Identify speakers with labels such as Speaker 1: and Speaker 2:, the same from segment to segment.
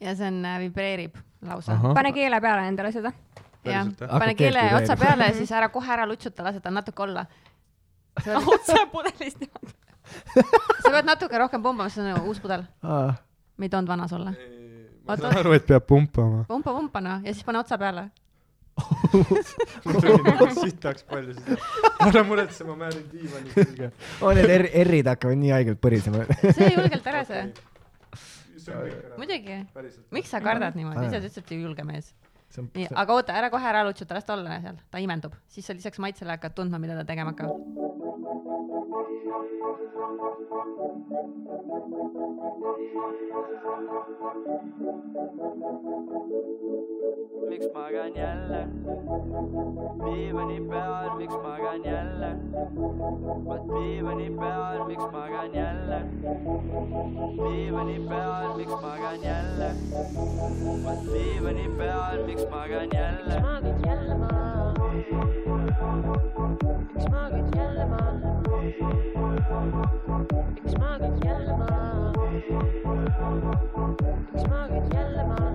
Speaker 1: ja see on , vibreerib lausa .
Speaker 2: Ahah.
Speaker 3: pane keele peale endale seda .
Speaker 1: jah
Speaker 2: Päriselt, , jah?
Speaker 1: pane
Speaker 2: Hakkab
Speaker 1: keele
Speaker 2: keelt
Speaker 1: otsa
Speaker 2: vibreerima.
Speaker 1: peale ja siis ära kohe ära lutsuta , lase tal natuke olla . sa
Speaker 3: otse pudelist niimoodi .
Speaker 1: pead natuke rohkem pumbama , see on nagu uus pudel ,
Speaker 2: aa ,
Speaker 1: me ei toonud vanas olla .
Speaker 4: ma
Speaker 1: Oota.
Speaker 4: saan aru , et peab pumpama .
Speaker 1: pumpa , pumpa noh , ja siis pane otsa peale .
Speaker 4: mul tuli nagu sitaks palju seda . ära muretse , ma määrin diivani külge .
Speaker 2: oo need R- , R-id hakkavad nii haigelt põrisema .
Speaker 1: see julgelt ära see ,.
Speaker 4: see on kõik ära .
Speaker 1: muidugi .
Speaker 4: päriselt .
Speaker 1: miks sa kardad niimoodi ,
Speaker 2: Pane.
Speaker 1: ise ta ütles , et ta julge mees .
Speaker 2: see on
Speaker 1: nii , aga oota , ära kohe ära lutsuta , las ta olla seal , ta imendub , siis sa lisaks maitsele hakkad tundma , mida ta tegema hakkab .
Speaker 5: miks magan jälle ? diivani peal , miks magan jälle ? vot diivani peal , miks magan jälle ? diivani peal , miks magan jälle ? vot diivani peal , miks magan jälle ?
Speaker 6: Miks magad jälle maha? Miks magad jälle maha? Miks magad jälle maha? Miks magad jälle maha?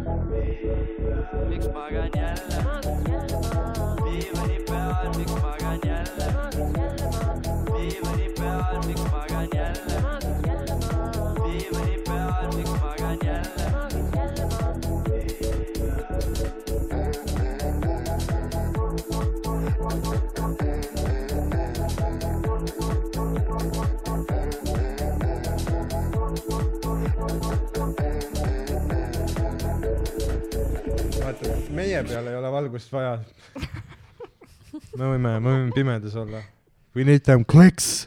Speaker 5: miks magan jälle ?
Speaker 6: Magad jälle maha?
Speaker 5: diivani peal , miks magan jälle ?
Speaker 6: Magad jälle maha?
Speaker 5: diivani peal , miks magan jälle ?
Speaker 6: Magad jälle maha?
Speaker 5: diivani peal , miks magan jälle ?
Speaker 6: Magad jälle maha?
Speaker 4: vaata , meie peal ei ole valgust vaja . me võime , me võime pimedas olla . We need them clicks .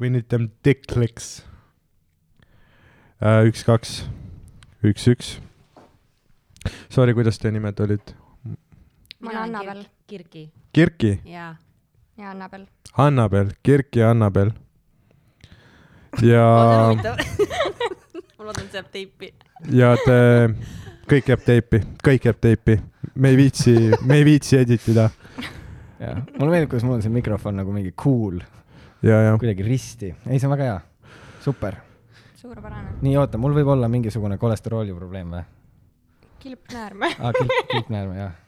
Speaker 4: We need them dick clicks uh, . üks , kaks , üks , üks . Sorry , kuidas teie nimed olid ?
Speaker 3: ma olen Annabel .
Speaker 1: Kirki ,
Speaker 4: Kirki ,
Speaker 1: jaa .
Speaker 3: ja Annabel .
Speaker 4: Annabel , Kirki , Annabel . ja ,
Speaker 1: ma loodan , et see jääb teipi .
Speaker 4: ja te , kõik jääb teipi , kõik jääb teipi . me ei viitsi , me ei viitsi edit ida
Speaker 2: jah , mulle meeldib , kuidas mul on see mikrofon nagu mingi cool ,
Speaker 4: ja , ja
Speaker 2: kuidagi risti . ei , see on väga hea . super .
Speaker 3: suurepärane .
Speaker 2: nii , oota , mul võib olla mingisugune kolesterooli probleem või ?
Speaker 3: kilpnäärme .
Speaker 2: aa , kilp , kilpnäärme , jah .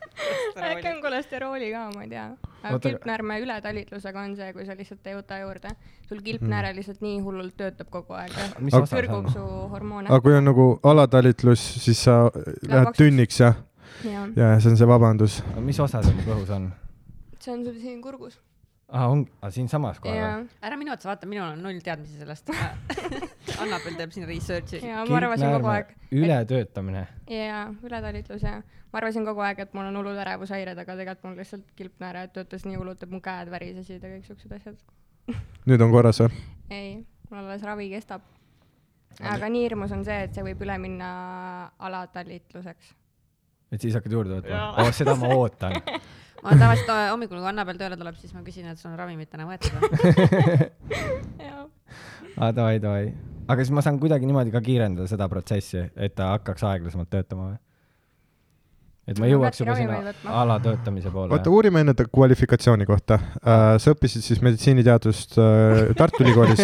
Speaker 3: äkki on kolesterooli ka , ma ei tea . aga
Speaker 2: Oota, aga-
Speaker 3: kilpnäärme ületalitlusega on see , kui sa lihtsalt ei võta juurde . sul kilpnääre lihtsalt nii hullult töötab kogu aeg .
Speaker 2: Mm. Ah, mis osa see
Speaker 3: sürgub
Speaker 2: on ?
Speaker 3: su hormoone
Speaker 4: aga . kui on nagu alatalitlus , siis sa lähed
Speaker 3: paksuks.
Speaker 4: tünniks ja ,
Speaker 3: jah ,
Speaker 4: ja see on see vabandus .
Speaker 2: mis osa see mu kõhus on ?
Speaker 3: see on sul siin kurgus .
Speaker 2: aa , on , siinsamas kohe või ?
Speaker 3: ja ,
Speaker 1: ära minu otsa vaata , minul on null teadmisi sellest . Annabel teeb siin research'i .
Speaker 3: ja ma arvasin kogu aeg .
Speaker 2: ületöötamine .
Speaker 3: ja , ületalitlus ja . ma arvasin kogu aeg , et mul on hullud ärevushäired , aga tegelikult mul lihtsalt kilpnääre töötas nii hullult , et mu käed värisesid ja kõik siuksed asjad .
Speaker 4: nüüd on korras või ?
Speaker 3: ei , mul alles ravi kestab . aga nii hirmus on see , et see võib üle minna alatalitluseks .
Speaker 2: et siis hakkad juurde võtma ? oo , seda ma ootan .
Speaker 1: ma tavaliselt äh, hommikul , kui Annabel tööle tuleb , siis ma küsin , et sul on ravimid täna võetud või ?
Speaker 2: aa , Ah, davai , davai . aga siis ma saan kuidagi niimoodi ka kiirendada seda protsessi , et ta hakkaks aeglasemalt töötama või ? et ma
Speaker 3: No,
Speaker 2: jõuaks
Speaker 3: peabki
Speaker 2: juba sinna
Speaker 3: ravimeid võtma.
Speaker 2: ala töötamise poole
Speaker 4: oota ,. uurime enne ta kvalifikatsiooni kohta . sa õppisid siis meditsiiniteadust äh, Tartu Ülikoolis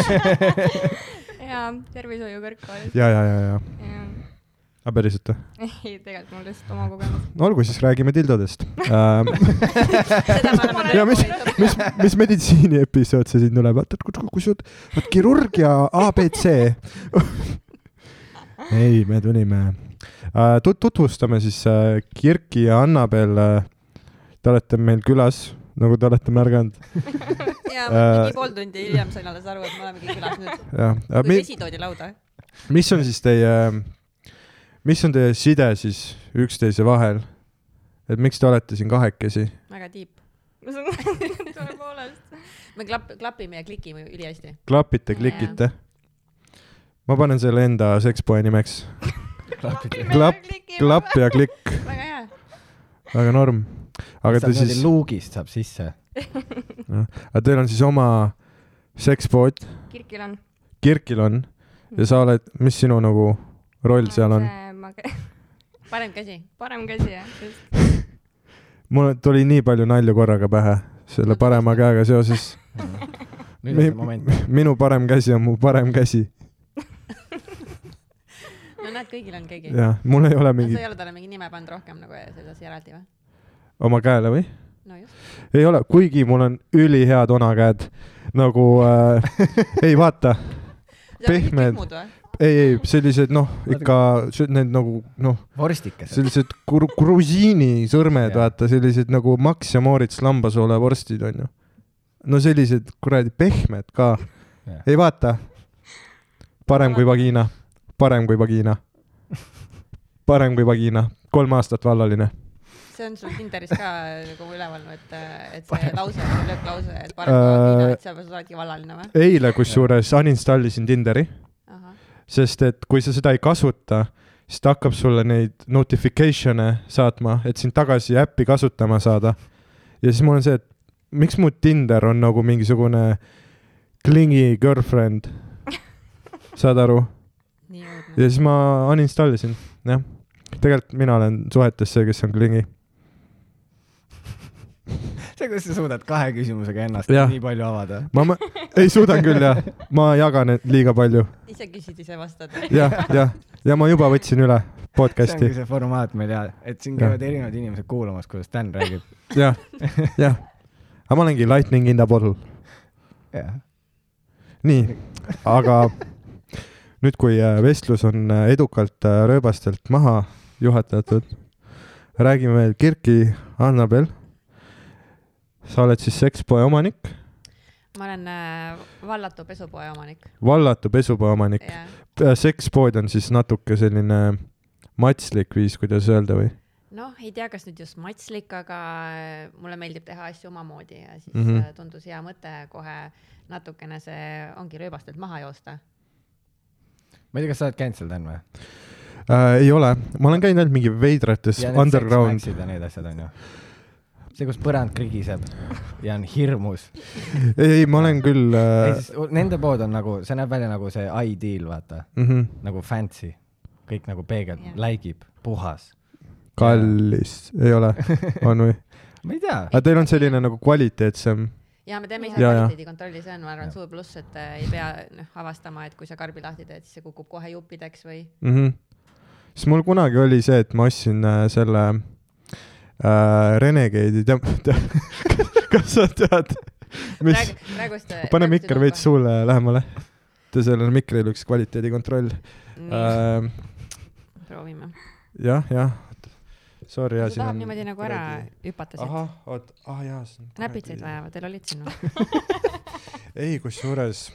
Speaker 3: jaa , tervishoiu kõrgkoolis .
Speaker 4: ja , ja , ja , ja .
Speaker 3: ei ,
Speaker 4: aga päriselt või ?
Speaker 3: tegelikult mul lihtsalt oma kogemus .
Speaker 4: no olgu , siis räägime tildodest ähm, .
Speaker 1: seda me oleme
Speaker 4: ja mis ,
Speaker 1: koolitanud.
Speaker 4: mis , mis meditsiini episood see siin tuleb , vaata , kus , kus jutt , vot kirurgia abc . ei , me tulime äh, , tut- , tutvustame siis äh, Kirki ja Annabel . Te olete meil külas , nagu te olete märganud ,
Speaker 1: ja
Speaker 4: Äh,
Speaker 1: mingi pool tundi hiljem sain alles aru , et me olemegi külas nüüd ,
Speaker 4: jah .
Speaker 1: kui vesi toodi lauda .
Speaker 4: mis on siis teie , mis on teie side siis üksteise vahel ? et miks te olete siin kahekesi ?
Speaker 1: väga tiip .
Speaker 3: tõepoolest .
Speaker 1: me klap- , klapime ja klikime ülihästi .
Speaker 4: klapite ,
Speaker 1: Jaa.
Speaker 4: klikite ? ma panen selle enda sekspoe nimeks . Klapp- klapp ja klikk ,
Speaker 1: väga hea .
Speaker 4: väga norm . aga te siis ,
Speaker 2: luugist saab sisse .
Speaker 4: aga teil on siis oma sekspood ,
Speaker 3: Kirkil on .
Speaker 4: Kirkil on ja sa oled , mis sinu nagu roll seal on ??
Speaker 1: parem käsi .
Speaker 3: parem käsi jah , just .
Speaker 4: mul tuli nii palju nalju korraga pähe selle parema
Speaker 1: nagu-
Speaker 4: käega seoses .
Speaker 2: nüüd on see moment .
Speaker 4: minu parem käsi on mu parem käsi .
Speaker 1: no näed , kõigil on keegi .
Speaker 4: jah , mul ei ole
Speaker 1: sa
Speaker 4: mingi
Speaker 1: ei ole talle mingi nime pannud rohkem nagu ja selles eraldi või ?
Speaker 4: oma käele või ?
Speaker 1: no just .
Speaker 4: ei ole , kuigi mul on ülihead onakäed nagu äh, , ei vaata , Pehmed. ei , ei sellised noh , ikka sü- need nagu noh ,
Speaker 2: vorstikas .
Speaker 4: sellised gru- grusiini sõrmed ,
Speaker 2: Jah.
Speaker 4: vaata sellised nagu Max ja Moritz lambasoolavorstid onju . no sellised kuradi pehmed ka ,
Speaker 2: jah ,
Speaker 4: ei vaata . parem kui vagiina , parem kui vagiina , parem kui vagiina , kolm aastat vallaline .
Speaker 1: see on sul Tinderis ka nagu üleval olnud , et , et see lause , lööklause , et parem kui vagina , et sa sa oledki vallaline või ?
Speaker 4: eile kusjuures uninstallisin Tinderi , sest et kui sa seda ei kasuta , siis ta hakkab sulle neid notification'e saatma , et sind tagasi äppi kasutama saada . ja siis mul on see , et miks mu Tinder on nagu mingisugune klingi girlfriend , saad aru ?
Speaker 1: nii
Speaker 4: ja
Speaker 1: õudne .
Speaker 4: siis ma uninstallisin , jah . tegelikult mina olen suhetes see , kes on klingi .
Speaker 2: see , kuidas sa suudad kahe küsimusega ennast
Speaker 4: Jah.
Speaker 2: nii palju avada .
Speaker 4: ma , ma , ei suudan küll jah , ma jagan neid liiga palju
Speaker 1: ise küsid , ise vastad .
Speaker 4: ja, , jah , jah , ja ma juba võtsin üle
Speaker 2: see ongi
Speaker 4: podcast'i ,
Speaker 2: see formaat meil ja , et siin
Speaker 4: Jah.
Speaker 2: käivad erinevad inimesed kuulamas , kuidas Dan räägib .
Speaker 4: jah , jah . aga ma olengi lightning in the bottle . nii , aga nüüd , kui äh, vestlus on äh, edukalt äh, rööbastelt maha juhatatud , räägime veel Kirki Annabel . sa oled siis sekspoe omanik ,
Speaker 1: ma olen äh, vallatu pesupoe omanik .
Speaker 4: vallatu pesupoe omanik .
Speaker 1: jah .
Speaker 4: sekspood on siis natuke selline matslik viis , kuidas öelda või ?
Speaker 1: noh , ei tea , kas nüüd just matslik , aga äh, mulle meeldib teha asju omamoodi ja siis mm
Speaker 4: Mhm.
Speaker 1: -hmm. tundus hea mõte kohe natukene see ongi rööbastelt maha joosta .
Speaker 2: ma ei tea , kas sa oled käinud seal , Dan või ?
Speaker 4: Äh, ei ole , ma olen käinud ainult mingi veidrates underground ,
Speaker 2: ja need asjad onju . see , kus põrand krigiseb ja on hirmus .
Speaker 4: ei , ei , ma olen küll äh, ,
Speaker 2: Nende pood on nagu , see näeb välja nagu see ideal , vaata ,
Speaker 4: mm -hmm,
Speaker 2: nagu fancy , kõik nagu peegel
Speaker 1: Jah.
Speaker 2: läigib , puhas .
Speaker 4: kallis , ei ole , on või ?
Speaker 2: ma ei tea ,
Speaker 4: aga teil on selline nagu kvaliteetsem
Speaker 1: ja me teeme ise
Speaker 4: Ja, ja.
Speaker 1: kvaliteedikontrolli , see on , ma arvan ,
Speaker 2: Ja.
Speaker 1: suur pluss , et äh, ei pea noh avastama , et kui sa karbi lahti teed , siis see kukub kohe juppideks või
Speaker 4: mm . -hmm. siis mul kunagi oli see , et ma ostsin äh, selle äh, Renegade'i , kas sa tead , mis ,
Speaker 1: Praegu, praegust . äh,
Speaker 4: pane mikker veits . suule lähemale . Te sellel mikril üks kvaliteedikontroll äh, .
Speaker 1: proovime .
Speaker 4: jah , jah , sorry .
Speaker 1: ta tahab niimoodi nagu ära hüpata sealt .
Speaker 4: ahah , oot , ah jaa , see on .
Speaker 1: näpitseid vaja või , teil olid siin või ?
Speaker 4: ei , kusjuures ,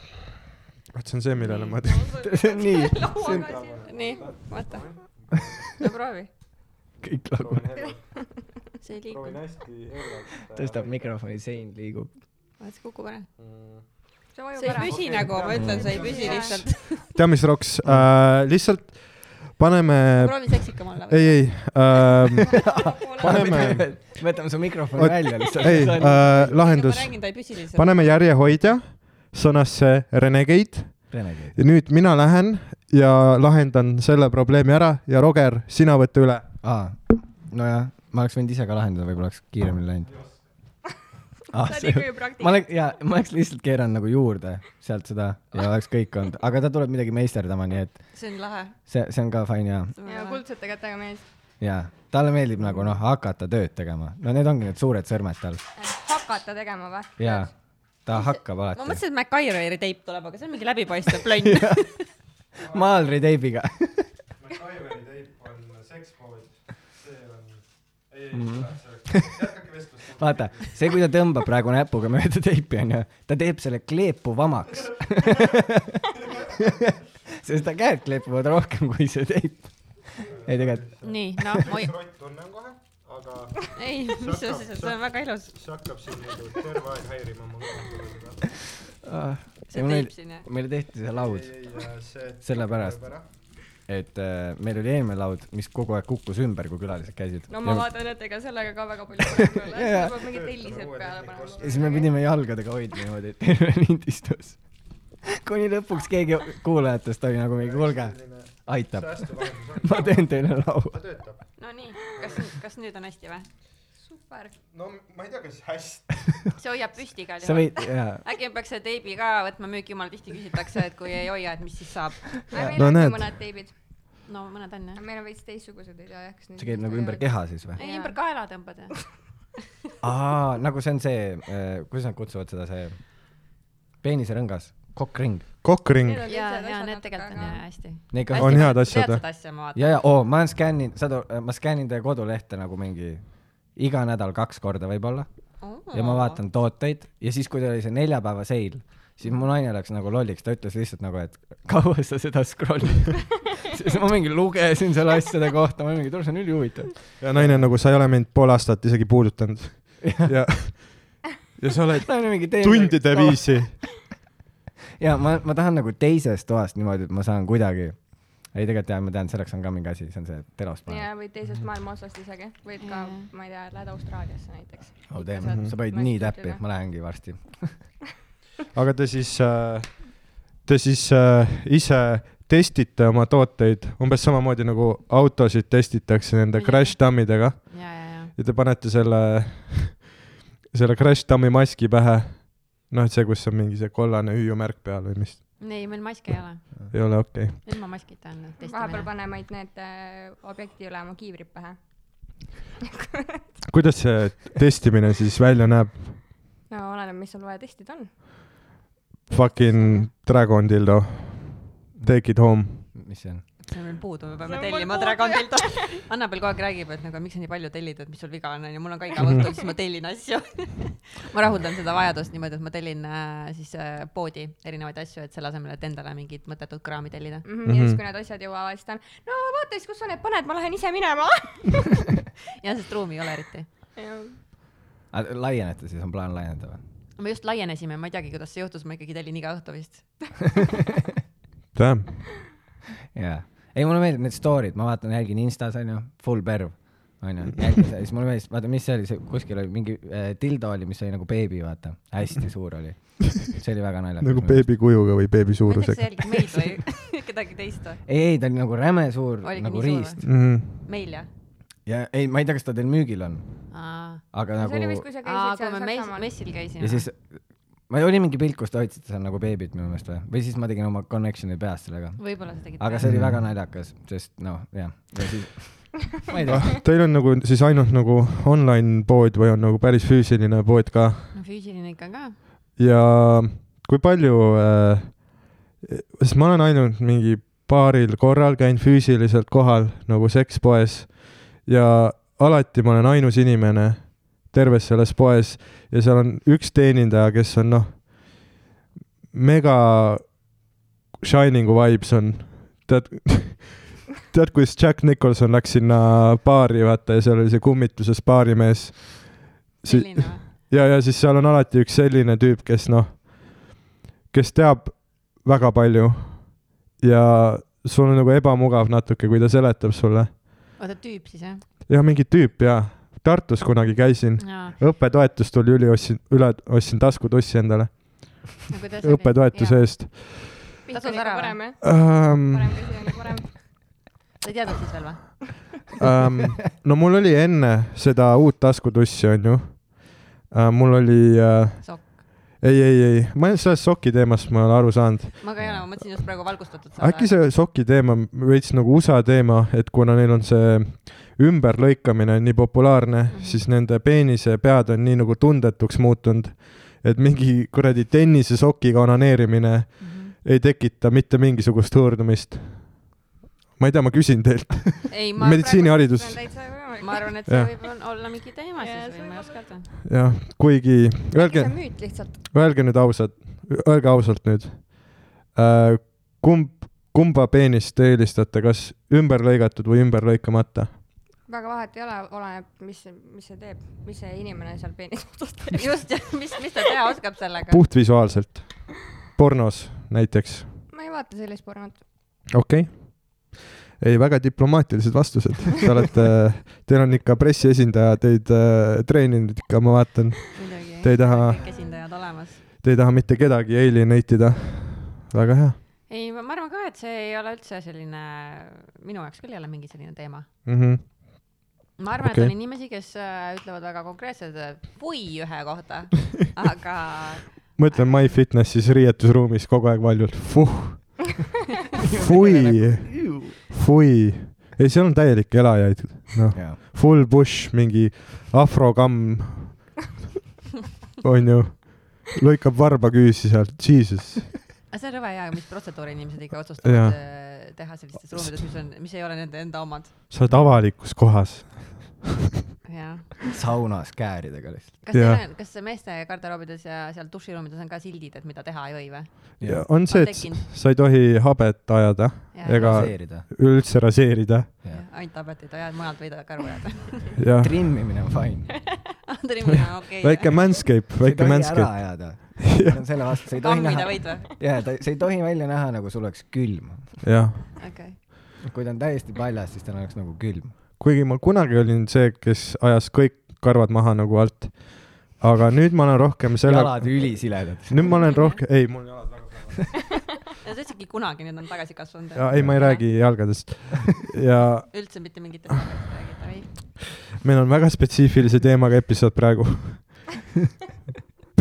Speaker 4: vot see on see , millele ma .
Speaker 2: see on nii ,
Speaker 1: nii , vaata . no proovi .
Speaker 2: kõik laguneb ,
Speaker 1: see ei liigu .
Speaker 2: tõstab . mikrofoni , sein liigub .
Speaker 1: vaata , see kukub ära .
Speaker 3: see vajub
Speaker 1: see ei
Speaker 3: ära .
Speaker 1: püsi nagu , ma ütlen , see ei püsi
Speaker 3: Jah.
Speaker 1: lihtsalt .
Speaker 4: tea , mis roks äh, , lihtsalt paneme ,
Speaker 1: proovi seksikam olla .
Speaker 4: Äh, ei , ei äh, , paneme ,
Speaker 2: võtame su mikrofoni
Speaker 4: Oot-
Speaker 2: välja
Speaker 4: ei
Speaker 2: lihtsalt .
Speaker 4: äh, ,
Speaker 1: ma
Speaker 4: lahendus ,
Speaker 1: räägin , ta ei püsi lihtsalt .
Speaker 4: paneme järjehoidja sõnasse renegade
Speaker 2: Renegade .
Speaker 4: ja nüüd mina lähen ja lahendan selle probleemi ära ja Roger , sina võta üle .
Speaker 2: aa , nojah , ma oleks võinud ise ka lahendada , võib-olla oleks kiiremini läinud . Ah,
Speaker 3: sa oled
Speaker 2: see,
Speaker 3: ikka ju
Speaker 2: ma
Speaker 3: praktik .
Speaker 2: oleks , jaa , ma oleks lihtsalt keeranud nagu juurde sealt seda ja oleks kõik olnud , aga ta tuleb midagi meisterdama , nii et
Speaker 1: see on lahe .
Speaker 2: see , see on ka fine ja ,
Speaker 3: ja kuldsete kätega mees .
Speaker 2: ja talle meeldib nagu noh , hakata tööd tegema . no need ongi need suured sõrmed tal
Speaker 3: Äh, hakata tegema või ?
Speaker 2: ja ta hakkab
Speaker 1: ma
Speaker 2: alati
Speaker 1: mõtlesin , et MacGyveri teip tuleb , aga see on mingi läbipaistev plönn .
Speaker 2: maalriteibiga .
Speaker 4: MacGyveri teip on sekspood , see on , ei , ei , jätkake vestlust .
Speaker 2: vaata , see , kui ta tõmbab praegu näpuga mööda teipi , onju , ta teeb selle kleepu vamaks . sest ta käed kleepuvad rohkem kui see teip . ei tegelikult ,
Speaker 1: nii , noh , oi ,
Speaker 4: tunne on kohe , aga
Speaker 1: ei , mis asja , see on väga ilus .
Speaker 4: see hakkab siin nagu terve aeg häirima mu kõrvale .
Speaker 1: see teip siin jah .
Speaker 2: meile tehti see laud ,
Speaker 4: see
Speaker 2: Sellepärast. tuleb . et äh, meil oli eelmine laud , mis kogu aeg kukkus ümber , kui külalised käisid .
Speaker 3: no ma vaatan , et ega sellega ka väga palju parem ei ole .
Speaker 2: Jaa.
Speaker 3: sa pead mingid tellised peale
Speaker 2: ja siis me
Speaker 3: panema .
Speaker 2: pidime jalgadega hoidma niimoodi , et terve lind istus . kuni lõpuks keegi kuulajatest oli nagu mingi , kuulge , aitab , ma teen teile laua .
Speaker 4: töötab .
Speaker 1: no nii , kas , kas nüüd on hästi või ?
Speaker 3: super .
Speaker 4: no ma ei tea , kas hästi .
Speaker 1: see hoiab püsti igal
Speaker 2: sa
Speaker 1: juhul .
Speaker 2: võid , jaa ,
Speaker 1: äkki peaks see teibi ka võtma müüki , jumala tihti küsitakse , et kui ei hoia , et mis siis saab .
Speaker 3: aga meil
Speaker 4: No
Speaker 3: on
Speaker 4: näed.
Speaker 3: ka mõned teibid .
Speaker 1: no mõned on jah .
Speaker 3: meil on veits teistsugused , ei tea jah , kas
Speaker 2: see käib nagu ümber . keha siis või ?
Speaker 1: ei
Speaker 3: Jaa. ,
Speaker 1: ümber kaela tõmbad jah .
Speaker 2: aa , nagu see on see , kuidas nad kutsuvad seda , see peeniserõngas , kokkring .
Speaker 4: kokkring ,
Speaker 1: ja , ja need tegelikult on jah hästi .
Speaker 2: Neid ka
Speaker 4: Hästi- on head asjad,
Speaker 1: tead
Speaker 4: jah.
Speaker 1: seda asja , ma vaatan .
Speaker 2: ja , ja oo , ma olen skänninud , saad aru , ma skännin teie kodulehte nagu mingi iga nädal kaks korda võib-olla ja ma . vaatan tooteid ja siis , kui teil oli see neljapäeva seil , siis mu naine läks nagu lolliks , ta ütles lihtsalt nagu , et kaua sa seda scroll'id . siis ma mingi lugesin selle asjade kohta , ma mingi , tule see on ülihuvitav .
Speaker 4: ja naine on nagu , sa ei ole mind pool aastat isegi puudutanud ja , ja sa oled
Speaker 2: naine mingi teeb .
Speaker 4: tundide . viisi .
Speaker 2: ja ma , ma tahan nagu teisest toast niimoodi , et ma saan kuidagi , ei tegelikult jah , ma tean , selleks on ka mingi asi , see on see telost
Speaker 3: ja
Speaker 2: panek .
Speaker 3: või teisest maailma osast isegi , võid ka , ma ei tea , lähed Austraaliasse näiteks .
Speaker 2: oh damn , sa panid nii täppi , ma lähengi varsti .
Speaker 4: aga te siis , te siis äh, ise testite oma tooteid umbes samamoodi nagu autosid testitakse nende
Speaker 1: Muidugi.
Speaker 4: crash tammidega
Speaker 1: ja , ja , ja .
Speaker 4: ja te panete selle , selle crash tammi maski pähe . noh , et see , kus on mingi see kollane hüüumärk peal või mis ,
Speaker 1: ei , meil maske ei ole .
Speaker 4: ei ole okei okay. .
Speaker 1: ilma maskita on
Speaker 3: vahepeal
Speaker 1: testimine .
Speaker 3: paneme ainult need äh, objekti üle oma kiivrid pähe .
Speaker 4: kuidas see testimine siis välja näeb ?
Speaker 3: no oleneb , mis sul vaja testida on .
Speaker 4: Fucking Dragon Dildo , Take it home .
Speaker 2: mis see on ?
Speaker 1: see on veel puudu , me peame
Speaker 3: See on veel
Speaker 1: tellima
Speaker 3: puudu,
Speaker 1: Dragonilt . Annabel kogu aeg räägib , et nagu miks sa nii palju tellid , et mis sul viga on , onju . mul on ka iga õhtu , siis ma tellin asju . ma rahuldan seda vajadust niimoodi , et ma tellin äh, siis äh, poodi erinevaid asju , et selle asemel , et endale mingit mõttetut kraami tellida .
Speaker 3: Mhm, ja siis , kui need asjad jõuavad , siis ta on , no vaata siis , kus sa need paned , ma lähen ise minema .
Speaker 1: ja sest ruumi ei ole eriti .
Speaker 2: laienete Ah, siis , on plaan laieneda või ?
Speaker 1: me just laienesime , ma ei teagi , kuidas see juhtus , ma ikkagi tellin iga õhtu vist .
Speaker 4: Damn .
Speaker 2: jaa , ei mulle meeldib need story'd , ma vaatan , jälgin Instas onju , full perv onju , jälgin seda , siis mulle meeldis , vaata , mis see oli , see kuskil oli mingi äh, tildo oli , mis oli nagu beebi , vaata , hästi suur oli . see oli väga naljakas .
Speaker 4: nagu . beebikujuga või beebi
Speaker 1: ma ei tea , kas
Speaker 4: suurusega
Speaker 1: see . jälgib meid või kedagi teist või ?
Speaker 2: ei , ei ta oli nagu räme suur
Speaker 1: Oligi
Speaker 2: nagu
Speaker 1: nii suur
Speaker 2: riist
Speaker 4: Mm.
Speaker 1: meil jah ?
Speaker 2: ja ei , ma ei tea , kas ta teil müügil on , aga
Speaker 3: see oli vist ,
Speaker 2: nagu
Speaker 3: kui sa
Speaker 1: aa , kui
Speaker 3: käisid seal
Speaker 1: me mes- ,
Speaker 3: Saksamaal .
Speaker 1: messil käisime .
Speaker 2: ja siis , või oli mingi pilt , kus te hoidsite seal nagu beebit minu meelest või , või siis ma tegin oma connection'i peast sellega ,
Speaker 1: võib-olla sa tegid .
Speaker 2: aga see oli väga
Speaker 4: Mm.
Speaker 2: naljakas , sest noh , jah , ja siis ma ei tea ,
Speaker 4: Teil on nagu siis ainult nagu online pood või on nagu päris füüsiline pood ka
Speaker 1: no füüsiline ikka ka .
Speaker 4: ja kui palju äh, , sest ma olen ainult mingi paaril korral käinud füüsiliselt kohal nagu sekspoes ja alati ma olen ainus inimene terves selles poes ja seal on üks teenindaja , kes on noh , mega Shiningu vibes on , tead , tead , kuidas Jack Nicholson läks sinna baari , vaata , ja seal oli see kummituses baarimees .
Speaker 1: selline või ?
Speaker 4: ja , ja siis seal on alati üks selline tüüp , kes noh , kes teab väga palju ja sul on nagu ebamugav natuke , kui ta seletab sulle .
Speaker 1: oota , tüüp siis jah ?
Speaker 4: jah , mingi tüüp jaa , Tartus kunagi käisin ,
Speaker 1: jaa .
Speaker 4: õppetoetus tuli üli , ostsin , üle , ostsin taskutussi endale õppetoetuse . eest
Speaker 1: Tasus
Speaker 3: tasus
Speaker 1: ära
Speaker 3: ära
Speaker 1: või?
Speaker 3: või ?
Speaker 4: um, .
Speaker 3: parem käsi oli parem .
Speaker 1: sa ei teadnud siis veel või ?
Speaker 4: um, . no mul oli enne seda uut taskutussi , onju uh, , mul oli uh, ,
Speaker 1: sokk .
Speaker 4: ei , ei , ei , ma sellest soki teemast ma ei ole aru saanud .
Speaker 1: ma ka ei ole , ma mõtlesin just praegu valgustatud saada .
Speaker 4: äkki see soki teema on veits nagu USA teema , et kuna neil on see ümberlõikamine nii populaarne mm , -hmm. siis nende peenise pead on nii nagu tundetuks muutunud , et mingi kuradi tennisesokiga onaneerimine mm
Speaker 1: Mhm.
Speaker 4: -hmm. ei tekita mitte mingisugust hõõrdumist . ma ei tea , ma küsin teilt ,
Speaker 1: ei , ma praegu ,
Speaker 4: meditsiiniharidus
Speaker 1: ma arvan , et see
Speaker 4: Jah.
Speaker 1: võib on- olla mingi teema
Speaker 3: Jaa,
Speaker 1: siis
Speaker 3: see
Speaker 1: või ma ei
Speaker 3: võib
Speaker 1: oska öelda .
Speaker 4: jah , kuigi
Speaker 3: see
Speaker 4: öelge
Speaker 3: on , müüt lihtsalt .
Speaker 4: öelge nüüd ausalt , öelge ausalt nüüd äh, . kumb , kumba peenist te eelistate , kas ümberlõigatud või ümberlõikamata ?
Speaker 3: väga vahet ei ole , oleneb , mis , mis see teeb , mis see inimene seal peenis otsas teeb .
Speaker 1: just , mis , mis ta teha oskab sellega ?
Speaker 4: puhtvisuaalselt , pornos näiteks ,
Speaker 3: ma ei vaata sellist pornot .
Speaker 4: okei okay. . ei , väga diplomaatilised vastused , te olete , teil on ikka pressiesindaja teid äh, treeninud ikka , ma vaatan ,
Speaker 1: muidugi .
Speaker 4: Te ei taha-
Speaker 1: kõik esindajad olemas .
Speaker 4: te ei taha mitte kedagi alienate ida . väga hea
Speaker 1: ei , ma ma arvan ka , et see ei ole üldse selline , minu jaoks küll ei ole mingi selline teema .
Speaker 4: mm . -hmm.
Speaker 1: ma arvan okay. ,
Speaker 4: Okei.
Speaker 1: et on inimesi , kes äh, ütlevad väga konkreetselt , et või ühe kohta , aga
Speaker 4: mõtlen MyFitnessis riietusruumis kogu aeg valjult , fuh , fui , fui , ei , seal on täielik elajaid , noh ,
Speaker 2: jaa .
Speaker 4: full bush , mingi afrokamm , onju , lõikab varba küüsi sealt , jesus .
Speaker 1: aga see on rõve jaa , mis protseduuri inimesed ikka
Speaker 4: Jaa.
Speaker 1: otsustavad äh, teha sellistes ruumides , mis on , mis ei ole nende enda omad .
Speaker 4: sa oled avalikus kohas ,
Speaker 1: jah .
Speaker 2: saunas kääridega lihtsalt .
Speaker 1: kas teil
Speaker 4: Jaa.
Speaker 1: on , kas meeste garderoobides ja seal duširuumides on ka sildid , et mida teha ei või või ?
Speaker 4: on see , et s- sa ei tohi habet ajada , Ega-
Speaker 2: raseerida .
Speaker 4: üldse raseerida
Speaker 2: jah .
Speaker 1: ainult tabetit ajad , mujalt võid ka aru jääda .
Speaker 4: ja
Speaker 2: trimmimine on fine .
Speaker 1: trimina , okei .
Speaker 4: väike manscape , väike
Speaker 2: ära
Speaker 4: manscape .
Speaker 2: ajada . see on selle vastu , sa ei tohi
Speaker 1: kammida
Speaker 2: näha ,
Speaker 1: võid või ?
Speaker 2: jaa , ta , see ei tohi välja näha nagu sul oleks külm .
Speaker 4: jah ,
Speaker 1: okei .
Speaker 2: kui ta on täiesti paljas , siis tal oleks nagu külm .
Speaker 4: kuigi ma kunagi olin see , kes ajas kõik karvad maha nagu alt . aga nüüd ma olen rohkem selle ,
Speaker 2: jalad ülisiledad .
Speaker 4: nüüd ma olen rohkem , ei , mul jalad väga
Speaker 1: sa ütlesidki kunagi , nüüd on tagasi kasvanud .
Speaker 4: ja, , ei , ma ei räägi jalgadest ja
Speaker 1: üldse mitte mingit asja ei räägita , ei .
Speaker 4: meil on väga spetsiifilise teemaga episood praegu .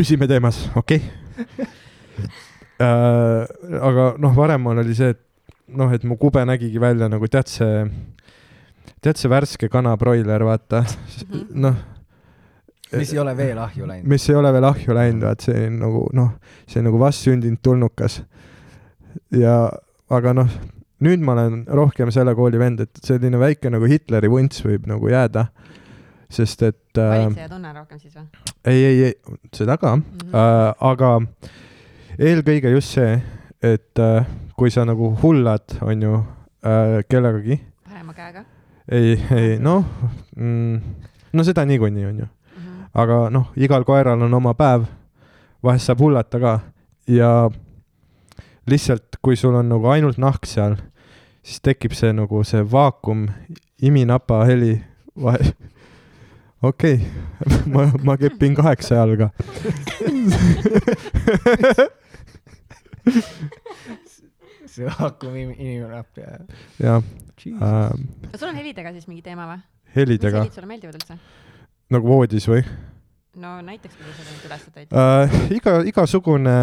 Speaker 4: püsime teemas , okei äh, . aga noh , varem mul oli see , et noh , et mu kube nägigi välja nagu tead see , tead see värske kanaproiler , vaata , noh ,
Speaker 2: mis ei ole veel ahju läinud .
Speaker 4: mis ei ole veel ahju läinud , vaat see on nagu noh , see on nagu vastsündinud tulnukas . ja , aga noh , nüüd ma olen rohkem selle kooli vend , et selline väike nagu Hitleri vunts võib nagu jääda . sest et äh,
Speaker 1: valitseja tunne rohkem siis või ?
Speaker 4: ei , ei , ei , seda ka mm ,
Speaker 1: Mhm.
Speaker 4: -hmm. äh, aga eelkõige just see , et äh, kui sa nagu hullad , on ju äh, , kellegagi ,
Speaker 1: parema käega
Speaker 4: ei , ei noh mm, , no seda niikuinii , on ju .
Speaker 1: mm . -hmm.
Speaker 4: aga noh , igal koeral on oma päev , vahest saab hullata ka ja lihtsalt , kui sul on nagu ainult nahk seal , siis tekib see nagu see vaakum , iminapa heli vahe . okei okay. , ma , ma kepin kaheksa jalga .
Speaker 2: see hakkab inimene appi ajama .
Speaker 4: ja äh,
Speaker 1: kas sul on helidega siis mingi teema või ? mis
Speaker 4: helidega
Speaker 1: helid sulle meeldivad üldse ?
Speaker 4: nagu voodis või
Speaker 1: no näiteks , kui sa neid üles tõid .
Speaker 4: äh, ? iga , igasugune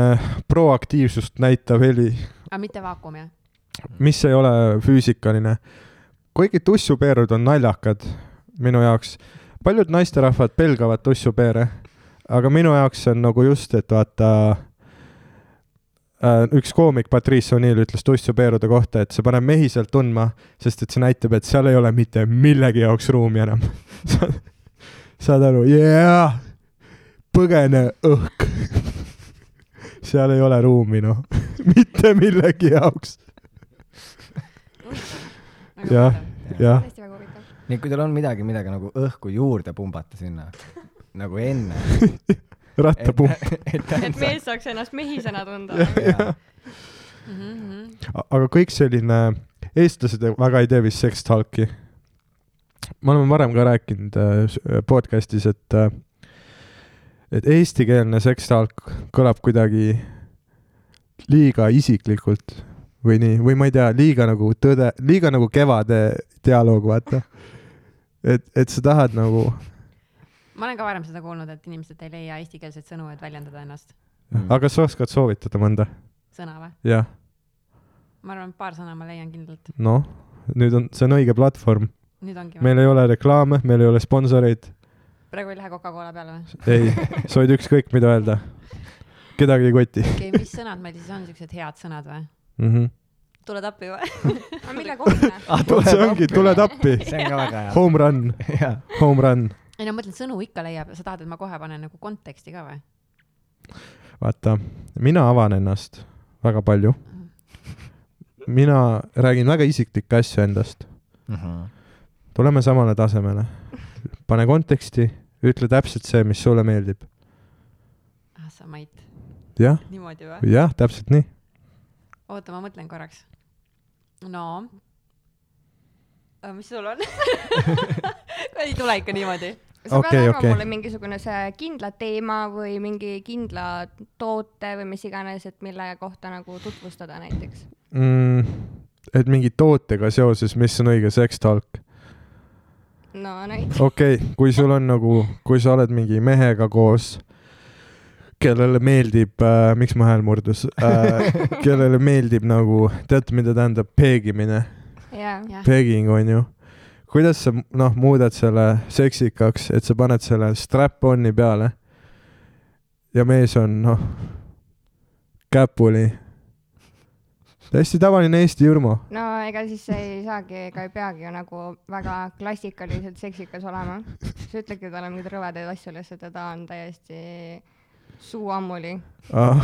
Speaker 4: proaktiivsust näitav heli
Speaker 1: aga mitte vaakum jah ?
Speaker 4: mis ei ole füüsikaline . kuigi tussupeerud on naljakad minu jaoks , paljud naisterahvad pelgavad tussupeere , aga minu jaoks see on nagu just , et vaata äh, üks koomik Patrice O'Neill ütles tussupeerude kohta , et see paneb mehiselt tundma , sest et see näitab , et seal ei ole mitte millegi jaoks ruumi enam . saad aru , jaa , põgene õhk . seal ei ole ruumi , noh , mitte millegi jaoks . Jah. jah ,
Speaker 3: hästi väga huvitav .
Speaker 2: nii , kui teil on midagi , midagi nagu õhku juurde pumbata sinna , nagu enne .
Speaker 4: rattapump .
Speaker 3: et mees saaks ennast mehisena tunda .
Speaker 1: Mhm,
Speaker 4: aga kõik selline , eestlased väga ei tee vist sekstalki . me oleme varem ka rääkinud äh, s- äh, podcast'is , et , et eestikeelne sekstalk kõlab kuidagi liiga isiklikult või nii , või ma ei tea , liiga nagu tõde , liiga nagu kevade dialoog , vaata . et , et sa tahad nagu ,
Speaker 1: ma olen ka varem seda kuulnud , et inimesed ei leia eestikeelseid sõnu , et väljendada ennast .
Speaker 4: aga kas sa oskad soovitada mõnda ?
Speaker 1: sõna või ?
Speaker 4: jah ,
Speaker 1: ma arvan , et paar sõna ma leian kindlalt .
Speaker 4: noh , nüüd on , see on õige platvorm ,
Speaker 1: nüüd ongi või ?
Speaker 4: meil ei ole reklaame , meil ei ole sponsoreid ,
Speaker 1: praegu ei lähe Coca-Cola peale või ?
Speaker 4: ei , sa võid ükskõik mida öelda . kedagi ei koti
Speaker 1: okei , mis sõnad meil siis on , siuksed head sõnad või ?
Speaker 4: mm . -hmm.
Speaker 1: tuled appi või ?
Speaker 3: aga mille kohta ?
Speaker 4: see ongi , Ah, tuled appi ,
Speaker 2: see on ka väga hea .
Speaker 4: home run ,
Speaker 2: jaa ,
Speaker 4: home run ,
Speaker 1: ei no ma mõtlen , sõnu ikka leiab , sa tahad , et ma kohe panen nagu konteksti ka või ?
Speaker 4: vaata , mina avan ennast väga palju . mina räägin väga isiklikke asju endast ,
Speaker 2: Mhm.
Speaker 4: tuleme samale tasemele . pane konteksti , ütle täpselt see , mis sulle meeldib .
Speaker 1: ah sa Mait ,
Speaker 4: jah ,
Speaker 1: niimoodi või ?
Speaker 4: jah , täpselt nii .
Speaker 1: oota , ma mõtlen korraks . no . mis sul on ? ei tule ikka niimoodi .
Speaker 3: sa
Speaker 4: Okei,
Speaker 3: okay, pead
Speaker 4: okei.
Speaker 3: andma okay. mulle mingisugune see kindla teema või mingi kindla toote või mis iganes , et mille kohta nagu tutvustada näiteks .
Speaker 4: mm, . et mingi tootega seoses , mis on õige sekstalk
Speaker 3: no näiteks .
Speaker 4: okei okay, , kui sul on nagu , kui sa oled mingi mehega koos , kellele meeldib äh, , miks mu hääl murdus äh, , kellele meeldib nagu , teate , mida tähendab peegimine ?
Speaker 3: jaa .
Speaker 1: jah ,
Speaker 4: pegging onju . kuidas sa noh , muudad selle seksikaks , et sa paned selle strap-on'i peale ja mees on noh , käpuli . täiesti tavaline Eesti Jürmo .
Speaker 3: no ega siis see ei saagi ega ei peagi ju nagu väga klassikaliselt seksikas olema . sa ütledki talle mingeid rõvedaid asju lihtsalt ja ta on täiesti suu ammuli .
Speaker 4: Ah.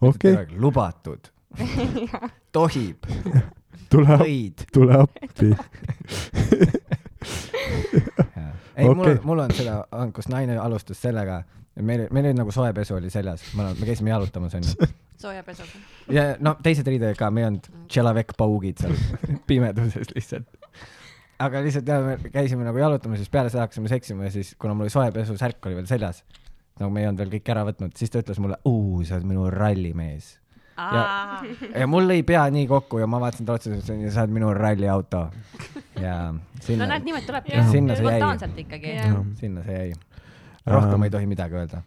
Speaker 4: okei ,
Speaker 2: lubatud , tohib ,
Speaker 4: tule ,
Speaker 2: võid .
Speaker 4: tule appi .
Speaker 2: ei okay. , mul
Speaker 4: Okei.
Speaker 2: on , mul on seda olnud , kus naine alustas sellega , meil , meil oli nagu soe pesu oli seljas , me käisime jalutamas onju .
Speaker 1: sooja pesuga .
Speaker 2: ja no teised riided ka , me ei olnud tšelavekk-paugid seal pimeduses lihtsalt . aga lihtsalt jah , me käisime nagu jalutamas , siis peale seda hakkasime seksima ja siis , kuna mul oli soe pesu , särk oli veel seljas , nagu me ei olnud veel kõik ära võtnud , siis ta ütles mulle , uu , sa oled minu rallimees . Ja- ja mul lõi pea nii kokku ja ma vaatasin talle otsa , ütlesin , sa oled minu ralliauto . ja
Speaker 1: no
Speaker 2: sinna
Speaker 1: näed ,, niimoodi tulebki
Speaker 2: Jah. Sinna see jäi.
Speaker 1: spontaanselt ikkagi .
Speaker 3: Jah.
Speaker 2: sinna see jäi . rohkem
Speaker 4: Ähm.
Speaker 2: ei tohi midagi öelda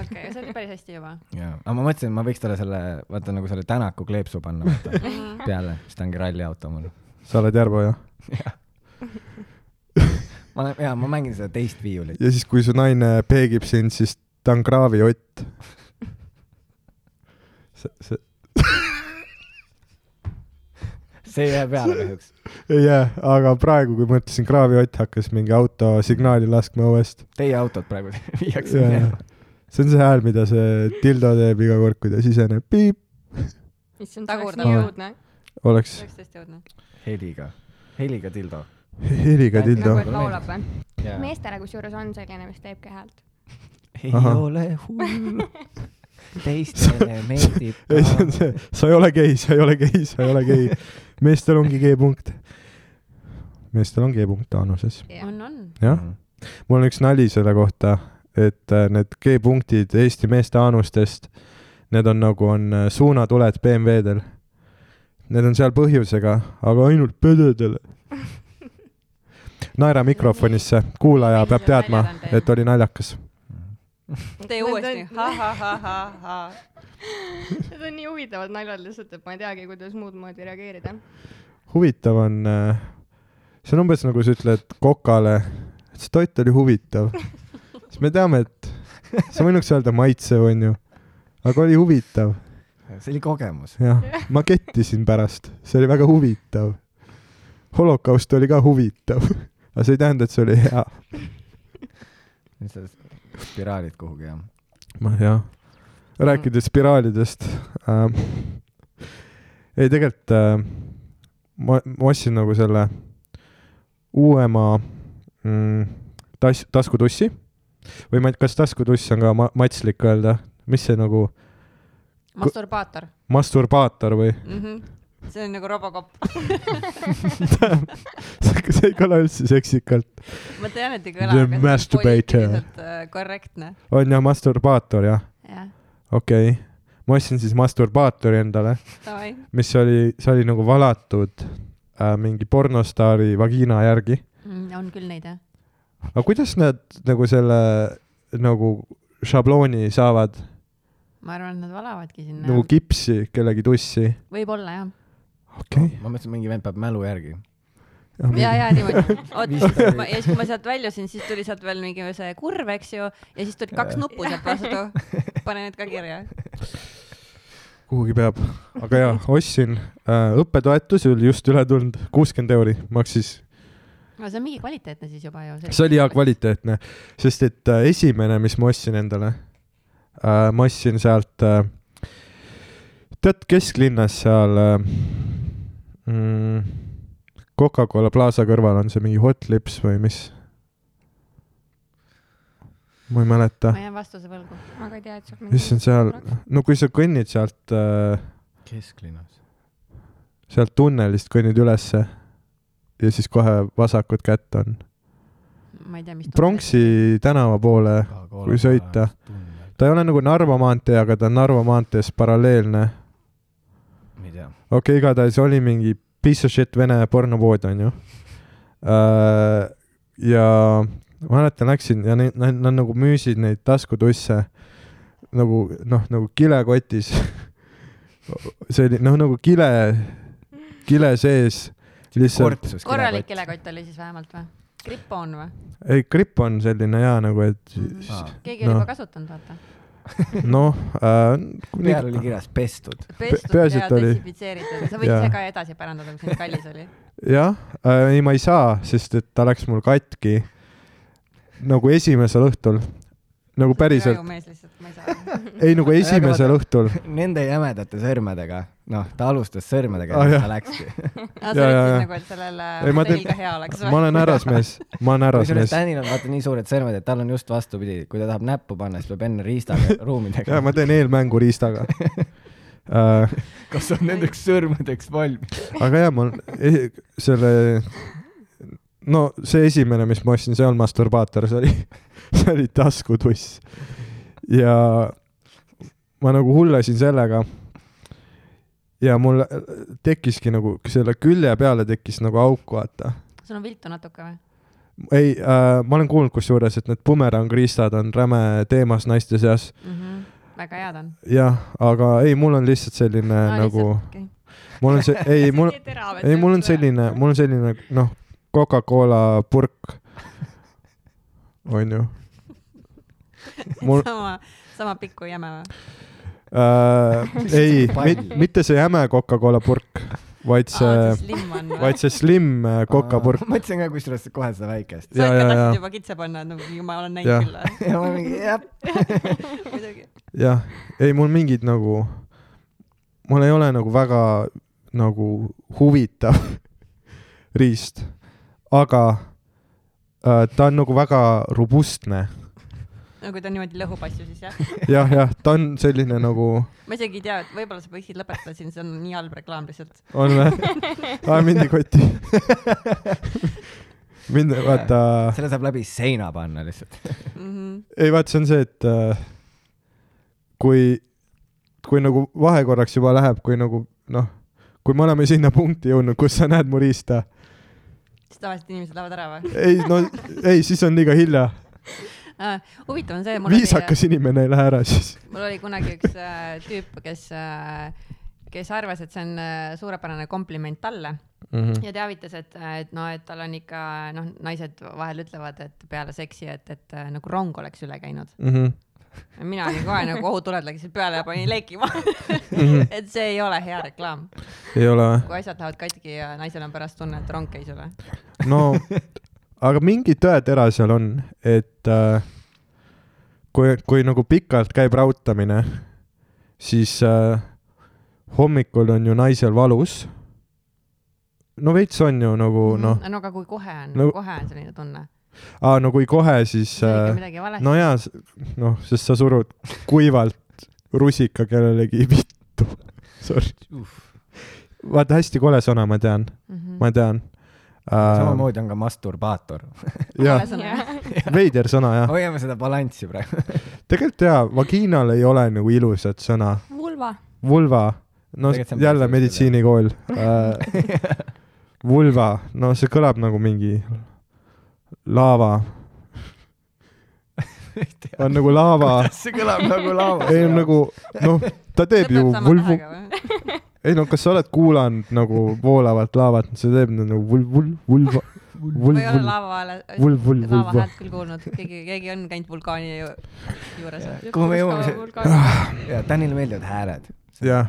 Speaker 1: okei , see oli päris hästi juba .
Speaker 2: jaa , aga ma mõtlesin , et ma võiks talle selle , vaata nagu selle Tänaku kleepsu panna vaata, peale , siis ta ongi ralliauto mul .
Speaker 4: sa oled Järveoja .
Speaker 2: ma olen , jaa , ma mängin seda teist viiulit .
Speaker 4: ja siis , kui su naine peegib sind , siis ta on kraaviott . see , see
Speaker 2: see ei jää peale kahjuks .
Speaker 4: ei jää , aga praegu , kui ma ütlesin kraaviott , hakkas mingi auto signaali laskma õuest .
Speaker 2: Teie autod praegu viiakse minema .
Speaker 4: see on see hääl , mida see Tildo teeb iga kord , kui ta siseneb , piip ,
Speaker 3: issand , see oleks
Speaker 1: Tagurdab.
Speaker 3: nii õudne .
Speaker 4: oleks
Speaker 1: see oleks tõesti õudne .
Speaker 2: heliga , heliga tildo .
Speaker 4: heliga Tildo
Speaker 3: nagu , et laulab või ?
Speaker 2: ei
Speaker 3: meestele kusjuures nagu on selline , mis teebki häält .
Speaker 4: Ahah.
Speaker 2: ole hull , teistele meeldib
Speaker 4: ei , see on see , sa ei ole gei , sa ei ole gei , sa ei ole gei . meestel ongi G-punkt . meestel on G-punkt Anuses ,
Speaker 1: on , on .
Speaker 4: jah .
Speaker 2: Mhm.
Speaker 4: mul on üks nali selle kohta , et äh, need G-punktid Eesti meeste anustest , need on nagu on äh, suunatuled BMW-del . Need on seal põhjusega , aga ainult pededele . naera mikrofonisse , kuulaja peab teadma , et oli naljakas .
Speaker 1: tee uuesti . ha-ha-ha-ha-ha .
Speaker 3: Need on nii huvitavad naljad lihtsalt , et ma ei teagi , kuidas muud moodi reageerida .
Speaker 4: huvitav on , see on umbes nagu sa ütled kokale , et see toit oli huvitav . siis me teame , et sa võinuks öelda maitsev , onju , aga oli huvitav .
Speaker 2: see oli kogemus .
Speaker 4: jah , ma kettisin pärast , see oli väga huvitav . holokaust oli ka huvitav , aga see ei tähenda , et see oli hea .
Speaker 2: nüüd sa spiraalid kuhugi jah .
Speaker 4: jah . rääkides spiraalidest ähm, . ei , tegelikult äh, ma , ma ostsin nagu selle uuema mm, tas- , taskutussi või ma ei , kas taskutuss on ka ma- , matslik öelda , mis see nagu ,
Speaker 1: masturbaator
Speaker 4: masturbaator või ?
Speaker 1: mm . -hmm. see on nagu Robocop .
Speaker 4: see ei kõla üldse seksikalt .
Speaker 1: ma tean , et ei
Speaker 4: The
Speaker 1: kõla .
Speaker 4: masturbator. .
Speaker 1: äh, korrektne .
Speaker 4: on jah , masturbaator jah ,
Speaker 1: jah ,
Speaker 4: okei okay. . ma ostsin siis masturbaatori endale ,
Speaker 1: davai .
Speaker 4: mis oli , see oli nagu valatud äh, mingi pornostaari vagiina järgi .
Speaker 1: Mm, on küll neid jah .
Speaker 4: aga kuidas nad nagu selle nagu šablooni saavad
Speaker 1: ma arvan , et nad valavadki
Speaker 4: no. nagu
Speaker 1: sinna .
Speaker 4: kipsi kellegi tussi ?
Speaker 1: võib-olla jah .
Speaker 4: okei Ah,
Speaker 2: ma mõtlesin , mingi vend peab mälu järgi .
Speaker 4: okay. .
Speaker 1: ja , ja niimoodi . oot ,
Speaker 2: Vist
Speaker 1: ja siis , kui ma sealt väljusin , siis tuli sealt veel mingi see kurv , eks ju , ja siis tulid kaks nuppu sealt vastu . pane need ka kirja .
Speaker 4: kuhugi peab , aga jaa , ostsin äh, , õppetoetus oli just üle tulnud , kuuskümmend euri maksis
Speaker 1: no see on mingi kvaliteetne siis juba ju .
Speaker 4: see oli hea . kvaliteetne , sest et äh, esimene , mis ma ostsin endale äh, , ma ostsin sealt äh, , tead kesklinnas seal äh, mm, Coca-Cola Plaza kõrval on see mingi Hot Lips või mis ? ma ei mäleta
Speaker 1: ma , jään vastuse võlgu .
Speaker 3: aga ei tea , et sul
Speaker 4: mis on seal , no kui sa kõnnid sealt äh, ,
Speaker 2: kesklinnas .
Speaker 4: sealt tunnelist kõnnid ülesse ja siis kohe vasakut kätt on .
Speaker 1: ma ei tea , mis .
Speaker 4: pronksi tänava poole Kui sõita. . ta ei ole nagu Narva maantee , aga ta on Narva maantees paralleelne .
Speaker 2: ma ei tea .
Speaker 4: okei okay, , igatahes oli mingi piece of shit vene pornopood , onju . ja ma mäletan , läksin ja neid , nad nad nagu müüsid neid taskutusse nagu noh , nagu kilekotis . see oli noh , nagu kile , kile sees , lihtsalt ,
Speaker 2: kortsus .
Speaker 1: korralik . kilekott oli siis vähemalt või ? gripp on või ?
Speaker 4: ei gripp on selline jaa nagu , et
Speaker 1: keegi oli
Speaker 4: No.
Speaker 1: juba kasutanud , vaata .
Speaker 4: noh äh, .
Speaker 2: peal oli kirjas pestud .
Speaker 1: pestud
Speaker 4: peaasi,
Speaker 1: ja
Speaker 4: et oli-
Speaker 1: desinfitseeritud , sa võid
Speaker 4: Jaa.
Speaker 1: ise ka edasi pärandada , kui see nii kallis oli .
Speaker 4: jah äh, , ei ma ei saa , sest et ta läks mul katki nagu esimesel õhtul , nagu päriselt ,
Speaker 1: mees lihtsalt , ma ei saa .
Speaker 4: ei nagu esimesel
Speaker 2: vaata-
Speaker 4: õhtul .
Speaker 2: Nende jämedate sõrmedega , noh , ta alustas sõrmedega ja
Speaker 4: Ah,
Speaker 2: siis
Speaker 4: jah.
Speaker 2: ta läkski .
Speaker 1: aga
Speaker 4: Jaa,
Speaker 1: sa olid
Speaker 4: jaa, jaa.
Speaker 1: siis nagu , et sellele
Speaker 4: Ei, ma teen-
Speaker 1: telga hea oleks
Speaker 4: ma olen härrasmees , ma olen
Speaker 2: kusjuures
Speaker 4: härrasmees .
Speaker 2: Tänil on vaata nii suured sõrmed , et tal on just vastupidi , kui ta tahab näppu panna , siis peab enne riistaga ruumi
Speaker 4: ja
Speaker 2: tegema
Speaker 4: ma . teen eelmängu riistaga äh, .
Speaker 2: kas on nendeks sõrmedeks valmis ?
Speaker 4: aga jaa , ma olen selle , no see esimene , mis ma ostsin , see on masturbaator , see oli , see oli taskutuss . ja ma nagu hullasin sellega . ja mul tekkiski nagu selle külje peale tekkis nagu auk , vaata .
Speaker 1: sul on viltu natuke või ?
Speaker 4: ei äh, , ma olen kuulnud kusjuures , et need bumerangriistad on räme teemas naiste seas .
Speaker 1: Mhm. väga head on .
Speaker 4: jah , aga ei , mul on lihtsalt selline no, nagu , mul on see , ei , mul , ei , mul on . selline , mul on selline noh , Coca-Cola purk , onju . mul
Speaker 1: sama , sama pikk kui jäme või ?
Speaker 4: äh, , ei
Speaker 2: Pall. ,
Speaker 4: mitte see jäme Coca-Cola purk , vaid see ,
Speaker 1: Ah, slim on või
Speaker 4: vaid ? see slim äh, Coca-purk .
Speaker 2: ma mõtlesin ka kusjuures kohe seda väikest .
Speaker 1: sa
Speaker 4: ja ,
Speaker 1: ikka
Speaker 4: ja ,
Speaker 1: tahtsid
Speaker 4: ja ,
Speaker 1: juba kitse panna , et nagu ma olen
Speaker 4: Jaa.
Speaker 1: näinud küll .
Speaker 2: ja ma mingi jah ,
Speaker 1: muidugi .
Speaker 4: jah , ei mul mingid nagu , mul ei ole nagu väga nagu huvitav riist , aga äh, ta on nagu väga robustne
Speaker 1: no kui ta niimoodi lõhub asju , siis jah .
Speaker 4: jah , jah , ta on selline nagu ,
Speaker 1: ma isegi ei tea , et võib-olla sa võiksid lõpetada siin , see on nii halb reklaam lihtsalt .
Speaker 4: on või ? aa , mindi kotti . mind , vaata ,
Speaker 2: selle saab läbi seina panna lihtsalt .
Speaker 1: Mhm.
Speaker 4: ei vaata , see on see , et äh, kui , kui nagu vahekorraks juba läheb , kui nagu noh , kui me oleme sinna punkti jõudnud , kus sa näed mu riista ,
Speaker 1: siis tavaliselt inimesed lähevad ära või ?
Speaker 4: ei no , ei , siis on liiga hilja .
Speaker 1: Äh, huvitav on see , mul oli ,
Speaker 4: viisakas inimene ei lähe ära siis .
Speaker 1: mul oli kunagi üks äh, tüüp , kes äh, , kes arvas , et see on äh, suurepärane kompliment talle
Speaker 4: Mhm. Mm.
Speaker 1: ja teavitas , et , et noh , et tal on ikka noh , naised vahel ütlevad , et peale seksi , et , et äh, nagu rong oleks üle käinud .
Speaker 4: Mhm.
Speaker 1: mina olin kohe nagu ohutuled läksid peale ja panin leikima .
Speaker 4: Mhm.
Speaker 1: et see ei ole hea reklaam ,
Speaker 4: ei ole või ?
Speaker 1: kui asjad lähevad katki ja naisel on pärast tunne , et rong käis üle .
Speaker 4: no aga mingi tõetera seal on , et äh, kui , kui nagu pikalt käib raudtamine , siis äh, hommikul on ju naisel valus . no veits on ju nagu noh ,
Speaker 1: no aga kui kohe on
Speaker 4: No-
Speaker 1: no, , kohe on selline tunne ,
Speaker 4: aa no kui kohe , siis
Speaker 1: siis on ikka
Speaker 4: äh,
Speaker 1: midagi valesti
Speaker 4: no jaa , noh , sest sa surud kuivalt rusika kellelegi vittu . Sorry . vaata hästi kole sõna , ma tean ,
Speaker 1: mm . -hmm.
Speaker 4: ma tean äh, .
Speaker 2: samamoodi on ka masturbaator .
Speaker 4: Ah. jah , veider sõna jah .
Speaker 2: hoiame seda balanssi praegu .
Speaker 4: tegelikult jaa , vagiinal ei ole nagu ilusat sõna ,
Speaker 3: vulva .
Speaker 4: vulva , no
Speaker 2: Tegelikult see on
Speaker 4: jälle
Speaker 2: päris
Speaker 4: meditsiinikool äh, . vulva , no see kõlab nagu mingi laava , on nagu laava ,
Speaker 2: see kõlab nagu laua .
Speaker 4: ei on nagu noh , ta teeb ju vulvu , ei no kas sa oled kuulanud nagu voolavat laavat , see teeb nagu vul- , vul- , vulva ,
Speaker 1: ma ei ole
Speaker 4: vulv ,
Speaker 1: laeva hääle ,
Speaker 4: vulv , vulv ,
Speaker 1: laeva
Speaker 4: vulva .
Speaker 1: häält küll kuulnud , keegi , keegi on käinud vulkaani ju, juures .
Speaker 2: kuhu me jõuame ? ja Tänile meeldivad hääled .
Speaker 4: jah ,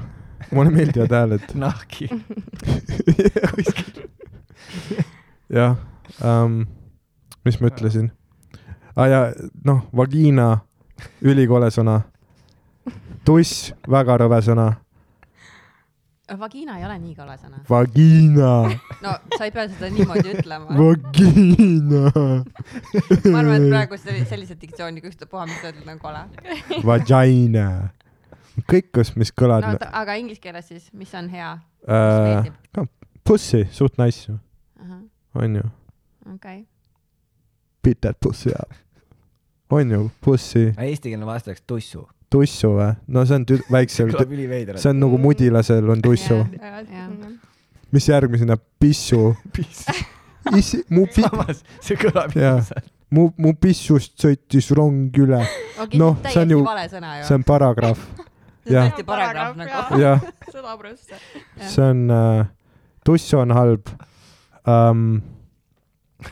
Speaker 4: mulle meeldivad hääled .
Speaker 2: nahki .
Speaker 4: jah um, , mis
Speaker 1: Äh.
Speaker 4: ma ütlesin ah, ? ja noh , vagiina , ülikole sõna . tuss , väga rõve sõna .
Speaker 1: Vagina ei ole nii kole sõna .
Speaker 4: Vagiina ,
Speaker 1: no sa ei pea seda niimoodi ütlema .
Speaker 4: vagiina ,
Speaker 1: ma arvan , et praegu selli- sellise diktsiooniga ükstapuha , mis sa ütled , on kole .
Speaker 4: vagina . kõik , kus , mis kõlad
Speaker 1: no
Speaker 4: no, .
Speaker 1: ta, aga inglise keeles siis , mis on hea ?
Speaker 4: Äh,
Speaker 1: meeldib.
Speaker 4: pussy , suht nice ju , onju .
Speaker 1: okei ,
Speaker 4: Beat that pussy up . onju , pussy ,
Speaker 2: eestikeelne vaste oleks tussu .
Speaker 4: tussu vä ? no see on tü- väiksel ,
Speaker 2: kõlab üliveider .
Speaker 4: see on nagu mudilasel on tussu .
Speaker 1: Oh,
Speaker 4: mis järgmisena , pissu . issi , mu pi- ,
Speaker 2: samas , see kõlab
Speaker 4: Jaa. mu , mu pissust sõitis rong üle , Noh,
Speaker 1: noh ,
Speaker 4: see on
Speaker 1: see on
Speaker 4: ju-
Speaker 1: ju vale sõna ju
Speaker 4: see . on paragrahv ,
Speaker 1: see on
Speaker 4: jah.
Speaker 1: tõesti paragrahv nagu .
Speaker 4: jah ,
Speaker 6: sõna prõssa .
Speaker 4: see on äh, tuss on halb um, .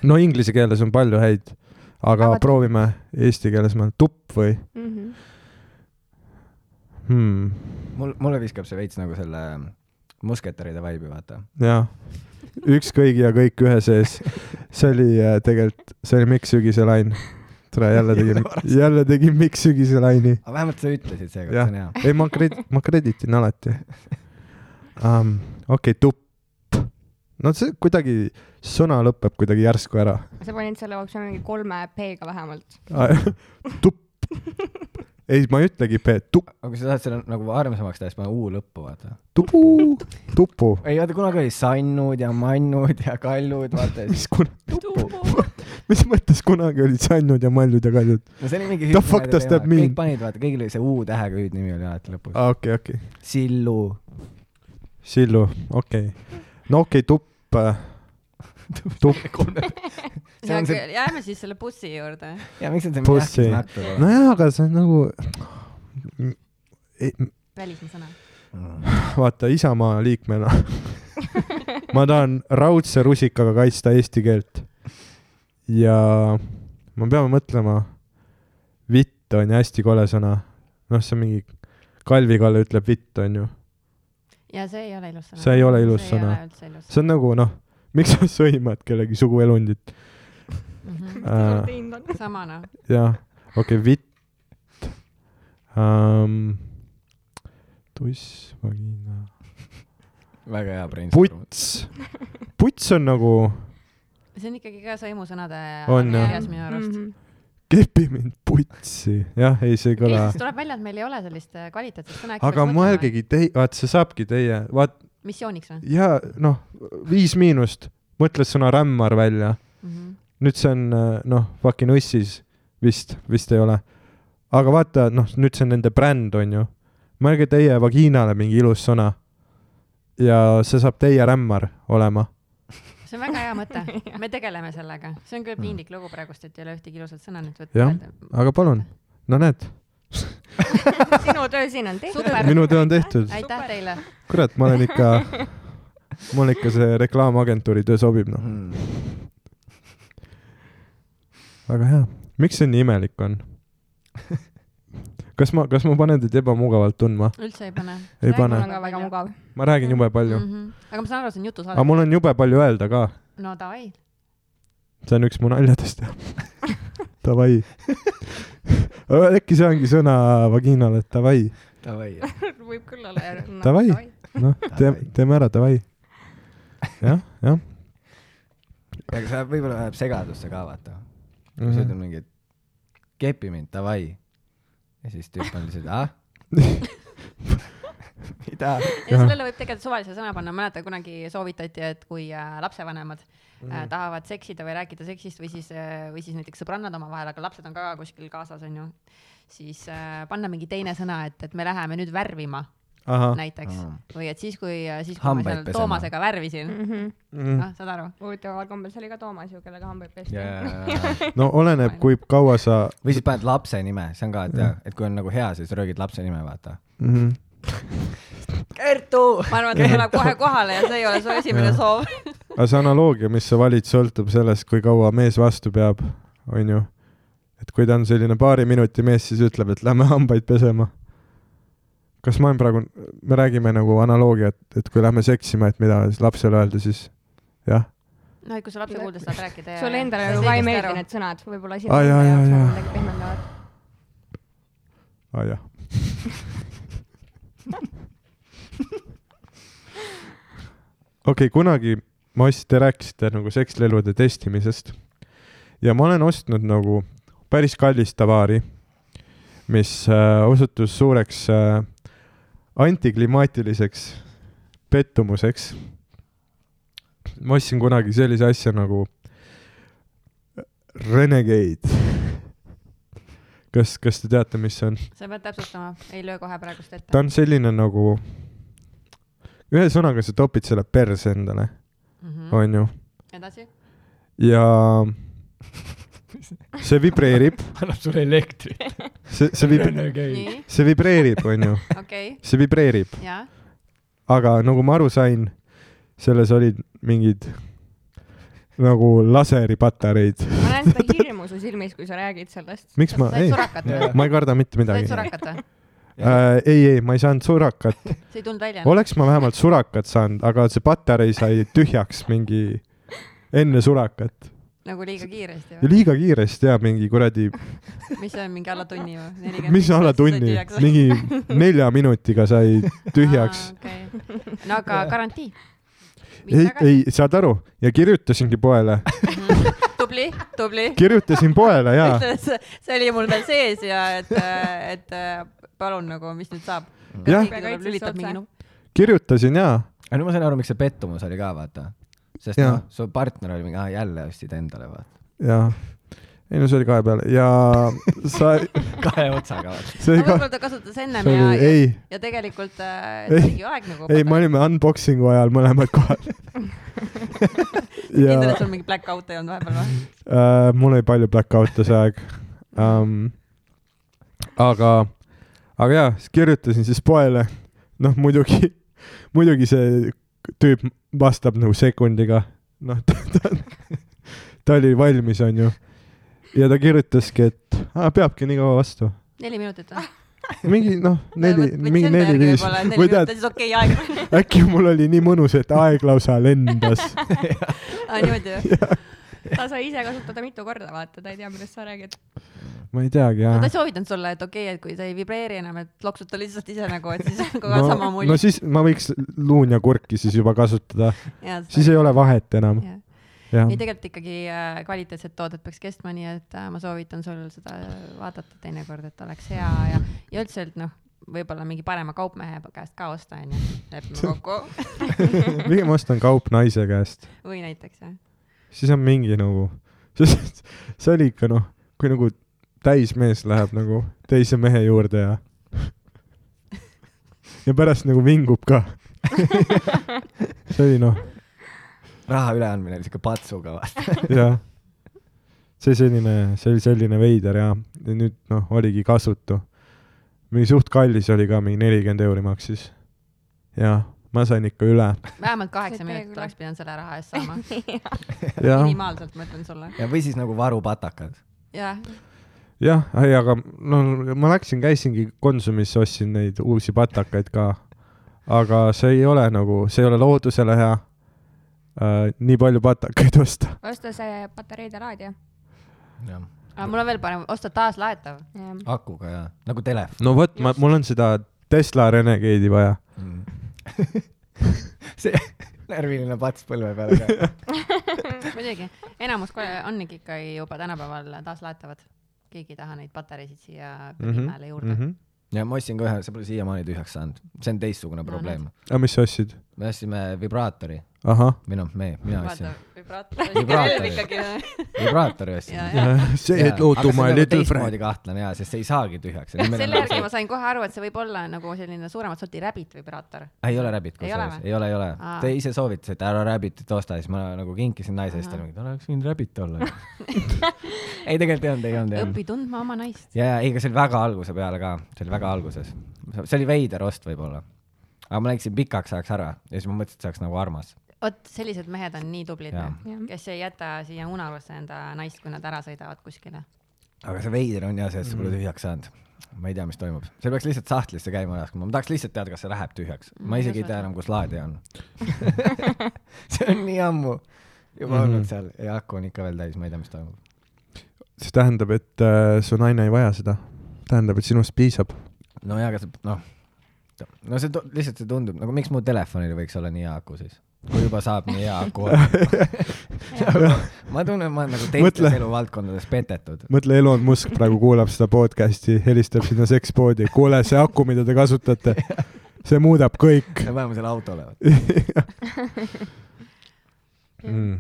Speaker 4: no inglise keeles on palju häid , aga
Speaker 3: Aga-
Speaker 4: proovime eesti keeles , ma , tupp või
Speaker 3: mhmh .
Speaker 4: hmm, ?
Speaker 2: mul , mulle viskab see veits nagu selle musketäride vibe'i , vaata .
Speaker 4: jah , üks kõigi ja kõik ühe sees . see oli äh, tegelikult , see oli Mikk Sügise lain . tere , jälle tegin , jälle tegin Mikk Sügise laini .
Speaker 2: aga vähemalt sa ütlesid seekord , see
Speaker 4: Jah.
Speaker 2: on hea .
Speaker 4: ei , ma kred- , ma kreditin alati um, . okei okay, , tupp . no see kuidagi , sõna lõpeb kuidagi järsku ära .
Speaker 3: sa panid selle optsiooni mingi kolme P-ga vähemalt .
Speaker 4: tupp . ei , ma ei ütlegi P , tupp ,
Speaker 2: aga kui sa tahad selle nagu armsamaks teha , siis pane U lõppu , vaata .
Speaker 4: tupu , tupu .
Speaker 2: ei , vaata kunagi oli sannud ja mannud ja kallud , vaata .
Speaker 4: mis kun- , mis mõttes kunagi olid sannud ja malljud ja kaljud ?
Speaker 2: no see oli mingi
Speaker 4: The fuck does that mean?
Speaker 2: kõik panid , vaata , kõigil oli see U tähega hüüdnimi oli alati lõpus .
Speaker 4: aa , Ah, okei , okei .
Speaker 2: Sillu .
Speaker 4: Sillu , okei okay. . no okei okay, , tupp , tupp .
Speaker 2: See on see-
Speaker 1: jääme siis selle bussi juurde .
Speaker 2: ja miks on see
Speaker 4: Pussy.
Speaker 2: mingi nähtus nakk
Speaker 4: nojah , aga see on nagu ,
Speaker 1: välismaa sõna .
Speaker 2: nagu ?
Speaker 4: vaata Isamaa liikmena ma tahan raudse rusikaga kaitsta eesti keelt . ja me peame mõtlema , vitt on ju hästi kole sõna . noh , see on mingi , Kalvi Kalle ütleb vitt , on ju .
Speaker 1: ja see ei ole ilus sõna .
Speaker 4: See ei ole ilus
Speaker 1: see
Speaker 4: sõna.
Speaker 1: ei ole üldse ilus
Speaker 4: see on nagu noh , miks sa sõimad kellegi suguelundit
Speaker 1: sõna .
Speaker 4: äh, ?
Speaker 1: Mhm. sama noh ,
Speaker 4: jah , okei okay, , vitt um, . tuss , vagina ,
Speaker 2: väga hea brainstorm .
Speaker 4: puts . puts on nagu ,
Speaker 1: see on ikkagi ka sõimusõnade
Speaker 4: On, jah. Mhm.
Speaker 1: kirjas minu arust .
Speaker 3: Mhm.
Speaker 4: kepi mind putsi , jah , ei see ei
Speaker 1: ei ,
Speaker 4: kõla
Speaker 1: siis . tuleb välja , et meil ei ole sellist äh, kvaliteetset sõna .
Speaker 4: aga . mõelgegi teie , vaat see saabki teie , vaat
Speaker 1: missiooniks või ?
Speaker 4: ja noh , viis miinust , mõtles sõna rämmar välja ,
Speaker 1: Mhm.
Speaker 4: nüüd see on äh, noh , fucking ussis vist , vist ei ole . aga vaata , noh , nüüd see on nende bränd , on ju . mõelge teie vagiinale mingi ilus sõna . ja see saab teie rämmar olema .
Speaker 1: see on väga hea mõte , me tegeleme sellega , see on küll piinlik lugu praegust , et ei ole ühtegi ilusat sõna nüüd võtta
Speaker 4: Mm. Jah. . aga palun , no näed ,
Speaker 3: sinu töö siin on tehtud .
Speaker 1: super ,
Speaker 4: minu töö on tehtud .
Speaker 1: aitäh teile .
Speaker 4: kurat , ma olen ikka , ma olen ikka see reklaamagentuuri töö sobib , noh .
Speaker 2: Mm.
Speaker 4: väga hea . miks see nii imelik on ? kas ma , kas ma panen teid ebamugavalt tundma ?
Speaker 1: üldse ei pane .
Speaker 4: Ei pane.
Speaker 3: mul on ka väga mugav .
Speaker 4: ma räägin jube palju mm , -hmm.
Speaker 1: Mhm. aga ma saan aru , see on
Speaker 4: aga
Speaker 1: jutusaade .
Speaker 4: mul on jube palju öelda ka .
Speaker 1: no davai ,
Speaker 4: see on üks mu naljadest . Davai . äkki see ongi sõna vagiinale , davai ,
Speaker 2: Davai .
Speaker 3: võib küll olla jah
Speaker 4: Davai. noh , teeme , teeme ära , davai . jah , jah .
Speaker 2: aga see võib-olla läheb segadusse ka , vaata . kui sa ütled mingi , kepi mind , davai . ja siis tüüp on lihtsalt , ah ?
Speaker 4: Mhm.
Speaker 2: mida ?
Speaker 1: ja sellele võib tegelikult suvalise sõna panna , mäletan kunagi soovitati , et kui äh, lapsevanemad
Speaker 4: Mhm.
Speaker 1: äh, tahavad seksida või rääkida seksist või siis , või siis näiteks sõbrannad omavahel , aga lapsed on ka kuskil kaasas , onju , siis äh, panna mingi teine sõna , et , et me läheme nüüd värvima
Speaker 4: ahah ,
Speaker 1: näiteks
Speaker 2: Aa.
Speaker 1: või et siis , kui , siis kui ma
Speaker 2: Hambaid
Speaker 1: seal
Speaker 2: pesema.
Speaker 1: Toomasega värvisin ,
Speaker 4: Mhm.
Speaker 1: noh , saad aru ,
Speaker 3: huvitaval kombel , see oli ka Toomas ju , kellega hambaid pesti yeah. .
Speaker 2: või
Speaker 4: no oleneb , kui kaua sa
Speaker 2: siis paned lapse nime , see on ka , et jah , et kui on nagu hea , siis röögid lapse nime , vaata .
Speaker 4: mm . -hmm.
Speaker 1: ma arvan , et ta tuleb kohe kohale ja see ei ole su esimene
Speaker 4: Jah.
Speaker 1: soov .
Speaker 4: aga see analoogia , mis sa valid , sõltub sellest , kui kaua mees vastu peab , onju . et kui ta on selline paari minuti mees , siis ütleb , et lähme hambaid pesema . kas ma olen praegu , me räägime nagu analoogiat , et kui lähme seksima , et mida siis lapsele öelda , siis jah .
Speaker 1: noh , et kui sa lapse kuuldes saad rääkida ja .
Speaker 3: sulle endale
Speaker 1: nagu
Speaker 3: ju ka ei meeldi need sõnad , võib-olla
Speaker 4: Ai,
Speaker 3: esimene
Speaker 4: ai, ai,
Speaker 3: jaoks on
Speaker 4: ai.
Speaker 3: midagi pehmendavat .
Speaker 4: aa Ah, jah . okei okay, , kunagi ma ostsin , te rääkisite nagu sekslelude testimisest ja ma olen ostnud nagu päris kallist tavaari , mis äh, osutus suureks äh, antiklimaatiliseks pettumuseks . ma ostsin kunagi sellise asja nagu äh, Renegade . kas , kas te teate , mis see on ?
Speaker 1: sa pead täpsustama , ei löö kohe praegust ette .
Speaker 4: ta on selline nagu , ühesõnaga sa topid selle perse endale ,
Speaker 1: Mm.
Speaker 4: onju ,
Speaker 1: Mhm. edasi ,
Speaker 4: ja see vibreerib ,
Speaker 2: annab sulle elektrit .
Speaker 4: see , see vib- ,
Speaker 2: Renegade .
Speaker 1: nii ,
Speaker 4: see vibreerib , onju ,
Speaker 1: okei okay. ,
Speaker 4: see vibreerib ,
Speaker 1: jaa ,
Speaker 4: aga nagu ma aru sain , selles olid mingid nagu laseripatareid .
Speaker 3: ma näen seda hirmu su silmis , kui sa räägid sellest .
Speaker 4: miks ma ,
Speaker 1: said
Speaker 4: ei ,
Speaker 1: surakat või ?
Speaker 2: Jaa.
Speaker 4: ma ei karda mitte
Speaker 1: said
Speaker 4: midagi .
Speaker 1: surakat või ?
Speaker 4: Äh, ei , ei , ma ei saanud surakat ,
Speaker 1: see ei tulnud välja ?
Speaker 4: oleks ma vähemalt surakat saanud , aga see patarei sai tühjaks mingi enne surakat .
Speaker 1: nagu liiga kiiresti või ?
Speaker 4: liiga kiiresti ja mingi kuradi ,
Speaker 1: mis see on , mingi alla tunni või ?
Speaker 4: mis alla tunni , mingi nelja minutiga sai tühjaks .
Speaker 1: okay. . no aga garantii ?
Speaker 4: ei , ei , saad aru ja kirjutasingi poele ,
Speaker 1: tubli , tubli .
Speaker 4: kirjutasin poele ja
Speaker 1: see oli mul veel sees ja et , et äh, palun nagu , mis nüüd saab ?
Speaker 4: Jah.
Speaker 1: lülitab mingi nupp .
Speaker 4: kirjutasin ja
Speaker 2: aga nüüd ma sain aru , miks see pettumus oli ka , vaata . sest
Speaker 4: Jaa.
Speaker 2: noh , su partner oli mingi , aa jälle ostsid endale , vaata .
Speaker 4: ja ei no see oli kahe peale ja sa ,
Speaker 2: kahe otsaga , vaata .
Speaker 4: see oli ka ,
Speaker 1: võib-olla ta kasutas ennem
Speaker 4: see
Speaker 1: ja ,
Speaker 4: oli ,
Speaker 1: ja,
Speaker 4: ei ,
Speaker 1: ja tegelikult äh,
Speaker 4: Ei.
Speaker 1: see oligi aeg nagu .
Speaker 4: ei , me olime unboxing'u ajal mõlemad kohal . ja
Speaker 1: kindel , et sul mingi black out ei olnud vahepeal või ?
Speaker 4: äh, mul oli palju black out'e see aeg um, . aga , aga jaa , siis kirjutasin siis poele , noh muidugi , muidugi see tüüp vastab nagu sekundiga , noh ta, ta , ta oli valmis , onju . ja ta kirjutaski , et aa, peabki nii kaua vastu .
Speaker 1: neli minutit või ?
Speaker 4: mingi noh , neli , mingi neli-viis või tead ,
Speaker 1: siis okei aeg .
Speaker 4: äkki mul oli nii mõnus , et aeg lausa lendas .
Speaker 1: aa , niimoodi või ?
Speaker 3: ta sai ise kasutada mitu korda , vaata , ta ei tea , millest sa räägid .
Speaker 4: ma ei teagi
Speaker 1: no
Speaker 4: jah
Speaker 1: ta ei soovitanud sulle , et okei okay, , et kui see ei vibreeri enam , et loksuta lihtsalt ise nagu , et siis on kogu aeg sama
Speaker 4: no,
Speaker 1: mulje
Speaker 4: no . siis ma võiks luun ja kurki siis juba kasutada , siis ei ole vahet enam .
Speaker 1: jah .
Speaker 4: jah
Speaker 1: ei , tegelikult ikkagi äh, kvaliteetsed tooted peaks kestma , nii et äh, ma soovitan sul seda vaadata teinekord , et oleks hea ja , ja üldse , et noh , võib-olla mingi parema kaupmehe käest ka osta , onju . lepime kokku .
Speaker 4: pigem ostan kaup naise käest ,
Speaker 1: või näiteks jah .
Speaker 4: siis on mingi nagu , sest see oli ikka noh , kui nagu täismees läheb nagu teise mehe juurde ja ja pärast nagu vingub ka . see oli noh ,
Speaker 2: raha üleandmine oli siuke patsuga , vaata .
Speaker 4: jah . see selline , see oli selline veider ja, ja nüüd noh , oligi kasutu . mingi suht kallis oli ka , mingi nelikümmend euri maksis . jah , ma sain ikka üle .
Speaker 1: vähemalt kaheksa
Speaker 3: See
Speaker 1: minutit
Speaker 3: peegel-
Speaker 1: oleks pidanud selle raha eest saama .
Speaker 4: jah ,
Speaker 1: minimaalselt , ma ütlen sulle .
Speaker 2: ja , või siis nagu varupatakad .
Speaker 1: jah ,
Speaker 4: jah , ei , aga no ma läksin , käisingi Konsumisse , ostsin neid uusi patakaid ka . aga see ei ole nagu , see ei ole loodusele hea äh, . nii palju patakaid osta .
Speaker 3: osta see patareide äh, raadio .
Speaker 1: aga mul on veel parem , osta taaslaetav .
Speaker 2: akuga ja , nagu telefon
Speaker 4: no vot , ma , mul on seda Tesla Renegade'i vaja .
Speaker 2: mm. . see närviline pats põlve peal , aga
Speaker 1: muidugi , enamus kohe ongi ikkagi juba tänapäeval taaslaetavad . keegi ei taha neid patareisid siia
Speaker 2: Mhm.
Speaker 4: Mhm.
Speaker 1: pinnale juurde .
Speaker 2: ja ma ostsin ka ühe , see pole siiamaani tühjaks saanud , see on teistsugune probleem .
Speaker 4: aga mis sa ostsid ?
Speaker 2: me ostsime vibraatori
Speaker 4: ahah .
Speaker 2: või noh , me , mina ostsin
Speaker 1: vaata , vibraator .
Speaker 2: Vibraator.
Speaker 1: ikkagi .
Speaker 2: vibraatori ostsin .
Speaker 1: Jaa,
Speaker 4: see , et loo to
Speaker 2: nagu
Speaker 4: my little friend .
Speaker 2: kahtlane jaa , sest see ei saagi tühjaks .
Speaker 1: selle järgi ma sain kohe aru , et see võib olla nagu selline suuremat sorti räbit vibraator .
Speaker 2: ei ole Rabbit
Speaker 1: Ei ole
Speaker 2: kusjuures ,
Speaker 1: või?
Speaker 2: ei ole , ei ole
Speaker 1: Aa. .
Speaker 2: Te ise soovitasite , ära Rabbitit osta , siis ma nagu kinkisin naise eest ja
Speaker 1: Ahah.
Speaker 2: mingi , tal oleks võinud Rabbit olla . ei , tegelikult ei olnud , ei olnud , ei olnud .
Speaker 1: õpi tundma oma naist .
Speaker 2: ja , ja ei , aga see oli väga alguse peale ka , see oli väga alguses . see oli veider ost võib-olla . aga ma läksin pikaks ajaks ära ja siis ma mõtlesin , et see oleks nagu armas .
Speaker 1: vot sellised mehed on nii tublid noh,
Speaker 2: Jaa. ,
Speaker 1: kes ei jäta siia unarusse enda naist , kui nad ära sõidavad kuskile .
Speaker 2: aga see veider on ja see , et see pole tühjaks saanud ma ei tea , mis toimub , see peaks lihtsalt sahtlisse käima laskma , ma tahaks lihtsalt teada , kas see läheb tühjaks , ma
Speaker 1: Mm,
Speaker 2: isegi ei
Speaker 1: just
Speaker 2: tea
Speaker 1: vaata.
Speaker 2: enam , kus laadija on . see on nii ammu juba
Speaker 4: Mhm.
Speaker 2: olnud seal ja aku on ikka veel täis , ma ei tea , mis toimub .
Speaker 4: see tähendab , et äh, su naine ei vaja seda . tähendab , et sinust piisab .
Speaker 2: nojah , aga see , noh , no see tu- lihtsalt see tundub nagu , miks mu telefonil võiks olla nii hea aku siis , kui juba saab nii hea aku olla . ma tunnen , ma olen nagu
Speaker 4: Mõtle.
Speaker 2: teistes eluvaldkondades petetud .
Speaker 4: mõtle , Elon Musk praegu kuulab seda podcast'i , helistab sinna sekspoodi , kuule , see aku , mida te kasutate , see muudab kõik
Speaker 2: me paneme selle autole .
Speaker 4: mm. .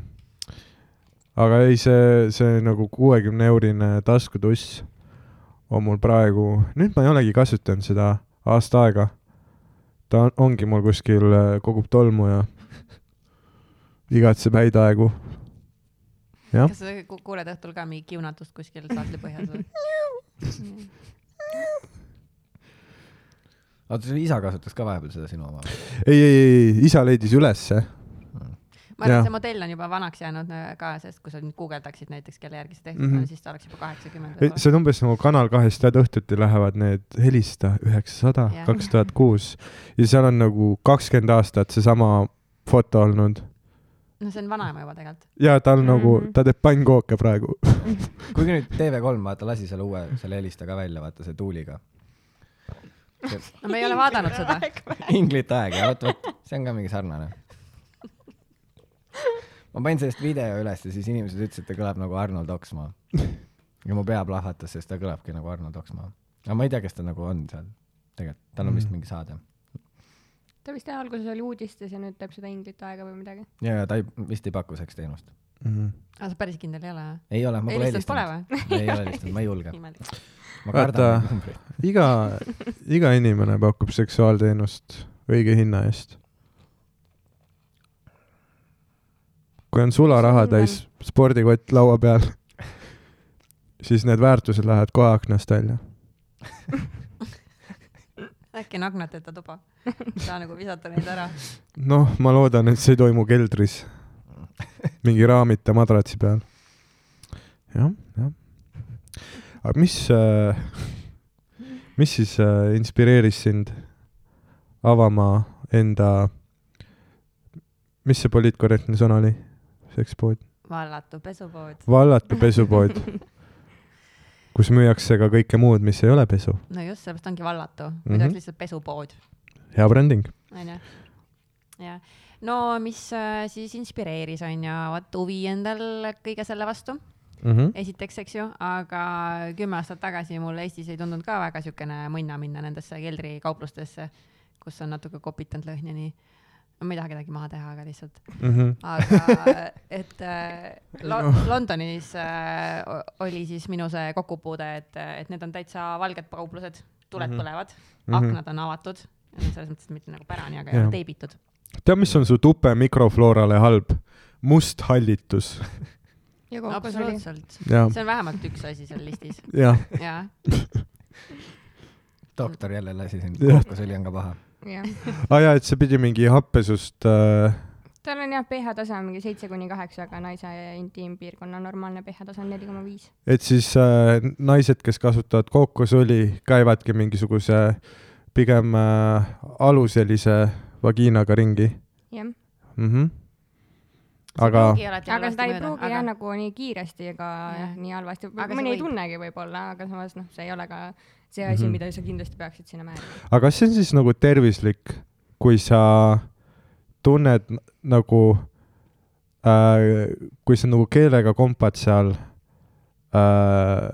Speaker 4: aga ei , see , see nagu kuuekümne eurine taskutuss on mul praegu , nüüd ma ei olegi kasutanud seda aasta aega . ta on, ongi mul kuskil , kogub tolmu ja igatseb häid aegu . Jah.
Speaker 1: kas sa ku- kuuled õhtul ka mingi kiunatust kuskil saatli põhjas või ?
Speaker 2: oota , su isa kasutas ka vahepeal seda sinu oma või ?
Speaker 4: ei , ei , ei , isa leidis ülesse
Speaker 1: ma arvan ,
Speaker 4: Jah.
Speaker 1: et see modell on juba vanaks jäänud äh, ka , sest kui sa nüüd guugeldaksid näiteks , kelle järgi see tehtud mm
Speaker 4: Mhm.
Speaker 1: -hmm. on , siis ta oleks juba kaheksakümmend
Speaker 4: see on umbes nagu Kanal kahest tead õhtuti lähevad need helista üheksasada
Speaker 1: Jah. ,
Speaker 4: kaks tuhat kuus ja seal on nagu kakskümmend aastat seesama foto olnud
Speaker 1: no see on vanaema juba tegelikult .
Speaker 4: ja tal nagu
Speaker 3: Mhm. ,
Speaker 4: ta teeb pannkooke praegu .
Speaker 2: kuigi nüüd TV3 vaata lasi selle uue , selle helista ka välja , vaata see tuuliga .
Speaker 1: no me ei ole vaadanud seda .
Speaker 2: inglit aega , vot , vot , see on ka mingi sarnane . ma panin sellest video üles ja siis inimesed ütlesid , et ta kõlab nagu Arnold Oksmaa . ja mu pea plahvatas , sest ta kõlabki nagu Arnold Oksmaa . aga ma ei tea , kes ta nagu on seal . tegelikult , tal on vist
Speaker 4: Mm.
Speaker 2: mingi saade .
Speaker 3: ta vist jah alguses oli uudistes ja nüüd teeb seda inglit aega või midagi .
Speaker 2: ja , ja ta ei, vist ei paku sellist teenust .
Speaker 1: aga sa päris kindel ei ole või ?
Speaker 2: ei ole , ma pole
Speaker 1: helistanud pole
Speaker 2: helistanud .
Speaker 1: või ?
Speaker 2: ei ole helistanud , ma ei julge .
Speaker 1: imelik .
Speaker 2: ma
Speaker 4: Vaata.
Speaker 2: kardan neid numbreid .
Speaker 4: iga , iga inimene pakub seksuaalteenust õige hinna eest . kui on sularaha täis spordikott laua peal , siis need väärtused lähevad kohe aknast välja .
Speaker 1: äkki on aknateta tuba ? ei saa nagu visata neid ära .
Speaker 4: noh , ma loodan , et see ei toimu keldris . mingi raamita madratsi peal . jah , jah . aga mis äh, , mis siis äh, inspireeris sind avama enda , mis see poliitkorrektne sõna oli ? sekspood ,
Speaker 1: vallatu pesupood .
Speaker 4: vallatu pesupood , kus müüakse ka kõike muud , mis ei ole pesu .
Speaker 1: no just , sellepärast ongi vallatu mm . muidu -hmm.
Speaker 4: Mhm.
Speaker 1: oleks lihtsalt pesupood ,
Speaker 4: hea bränding .
Speaker 1: onju . jah . no mis äh, siis inspireeris , onju , vot huvi endal kõige selle vastu ,
Speaker 4: Mm -hmm.
Speaker 1: esiteks , eks ju , aga kümme aastat tagasi mul Eestis ei tundunud ka väga siukene mõnna minna nendesse keldrikauplustesse , kus on natuke kopitanud lõhn ja nii . no ma ei taha kedagi maha teha , aga lihtsalt
Speaker 4: Mm -hmm.
Speaker 1: aga et äh, Lo-
Speaker 4: noh.
Speaker 1: Londonis äh, o- oli siis minu see kokkupuude , et , et need on täitsa valged kauplused , tuled
Speaker 4: Mhm.
Speaker 1: mm -hmm. põlevad mm ,
Speaker 4: Mhm.
Speaker 1: -hmm. aknad on avatud , selles mõttes et mitte nagu pärani , aga ei
Speaker 4: Jah.
Speaker 1: ole teibitud .
Speaker 4: tead , mis on su tupe mikrofloorale halb ? must hallitus .
Speaker 3: ja kokku see oli .
Speaker 1: absoluutselt ,
Speaker 4: jah ,
Speaker 1: see on vähemalt üks asi seal listis ,
Speaker 4: jah ,
Speaker 1: jah .
Speaker 2: doktor jälle lasi sind ,
Speaker 4: Jah.
Speaker 2: kokkusõli on ka paha .
Speaker 3: jah ,
Speaker 4: aa Ah, jaa , et see pidi mingi happesust äh, ,
Speaker 3: tal on jah pH tase on mingi seitse kuni kaheksa , aga naise intiimpiirkonna normaalne pH tase on neli koma viis .
Speaker 4: et siis äh, naised , kes kasutavad kookosõli , käivadki mingisuguse pigem äh, aluselise vagiinaga ringi
Speaker 3: jah ,
Speaker 4: mm . -hmm. aga ,
Speaker 3: aga seda ei pruugi jah . nagu nii kiiresti ega jah
Speaker 1: Jah. ,
Speaker 3: nii halvasti ,
Speaker 1: Aga see
Speaker 3: mõni ei
Speaker 1: võib.
Speaker 3: tunnegi võib-olla , aga samas noh , see ei ole ka see asi
Speaker 4: Mhm. ,
Speaker 3: mida sa kindlasti peaksid sinna määrama .
Speaker 4: aga kas see on siis nagu tervislik , kui sa tunned n- nagu äh, , kui sa nagu keelega kompad seal äh,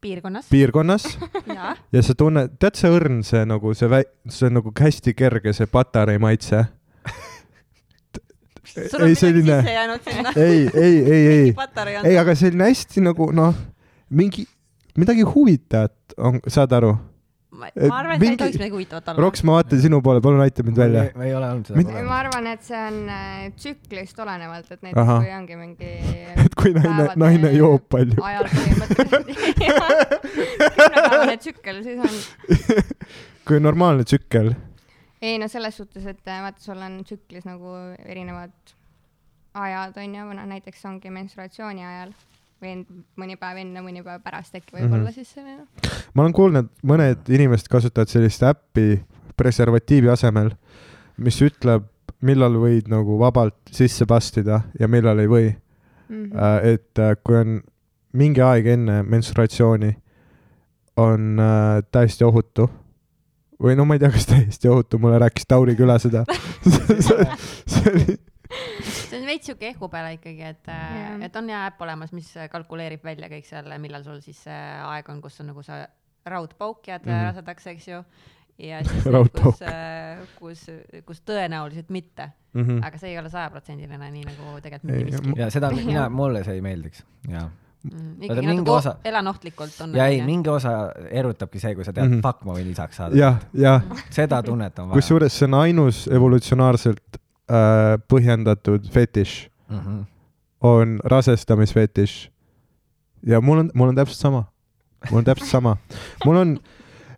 Speaker 1: piirkonnas ,
Speaker 4: piirkonnas
Speaker 1: jaa ,
Speaker 4: ja sa tunned , tead see õrn , see nagu see väi- , see on nagu hästi kerge , see patarei maitse .
Speaker 1: sul on
Speaker 4: ei,
Speaker 1: midagi
Speaker 4: selline-
Speaker 1: selline... sisse jäänud sinna .
Speaker 4: ei , ei , ei , ei ,
Speaker 1: patarei
Speaker 4: ei ,
Speaker 1: on ,
Speaker 4: aga selline hästi nagu noh , mingi , midagi huvitavat on , saad aru ?
Speaker 1: ma
Speaker 4: et
Speaker 1: ma arvan , et seal
Speaker 4: eh, mingi-
Speaker 1: ei tohiks midagi huvitavat olla .
Speaker 4: Roks , ma vaatan sinu poole , palun aita mind välja .
Speaker 2: ma ei ole olnud
Speaker 4: Mind-
Speaker 2: seda
Speaker 3: ma
Speaker 2: kogenud .
Speaker 3: arvan , et see on äh, tsüklist olenevalt , et näiteks
Speaker 4: Ahah.
Speaker 3: kui ongi mingi
Speaker 4: et kui naine ,
Speaker 3: päevade
Speaker 4: naine joob palju .
Speaker 3: ajal põhimõtteliselt jah, kümnepäevane tsükkel , siis on ,
Speaker 4: kui normaalne tsükkel ,
Speaker 3: ei no selles suhtes , et äh, vaata , sul on tsüklis nagu erinevad ajad onju , noh, näiteks ongi menstruatsiooni ajal või en- mõni päev enne , mõni päev pärast äkki
Speaker 4: Mhm.
Speaker 3: võib-olla mm -hmm. siis selline .
Speaker 4: ma olen kuulnud , mõned inimesed kasutavad sellist äppi preservatiivi asemel , mis ütleb , millal võid nagu vabalt sisse pastida ja millal ei või
Speaker 3: Mm
Speaker 1: Mhm.
Speaker 3: -hmm.
Speaker 4: Äh, et äh, kui on mingi aeg enne menstruatsiooni , on äh, täiesti ohutu . või no ma ei tea , kas täiesti ohutu , mulle rääkis Tauri Küla seda . see oli ,
Speaker 1: see on veits siuke ehku peale ikkagi , et yeah. ,
Speaker 3: Jah.
Speaker 1: et on hea äpp olemas , mis eh, kalkuleerib välja kõik selle , millal sul siis see aeg on , kus on nagu see raudpauk jääd
Speaker 4: Mhm.
Speaker 1: mm. rasedaks , eks ju . ja siis see,
Speaker 4: Raudpauk.
Speaker 1: kus , kus , kus tõenäoliselt mitte ,
Speaker 4: mm -hmm.
Speaker 1: aga see ei ole sajaprotsendiline , nii nagu tegelikult mitte
Speaker 4: Ei,
Speaker 1: miski .
Speaker 2: ja seda , mina , mulle see ei meeldiks . jaa
Speaker 1: ikkagi
Speaker 2: mingi
Speaker 1: natuke
Speaker 2: osa-
Speaker 1: o- elan ohtlikult on .
Speaker 2: ja ei , mingi osa erutabki see , kui sa tead mm ,
Speaker 4: Mhm.
Speaker 2: -hmm. fuck , ma võin isaks saada .
Speaker 4: jah , jah ,
Speaker 2: seda tunnet on vaja .
Speaker 4: kusjuures see on ainus evolutsionaarselt äh, põhjendatud fetiš ,
Speaker 2: mm . -hmm.
Speaker 4: on rasestamisfetiš . ja mul on , mul on täpselt sama , mul on täpselt sama , mul on ,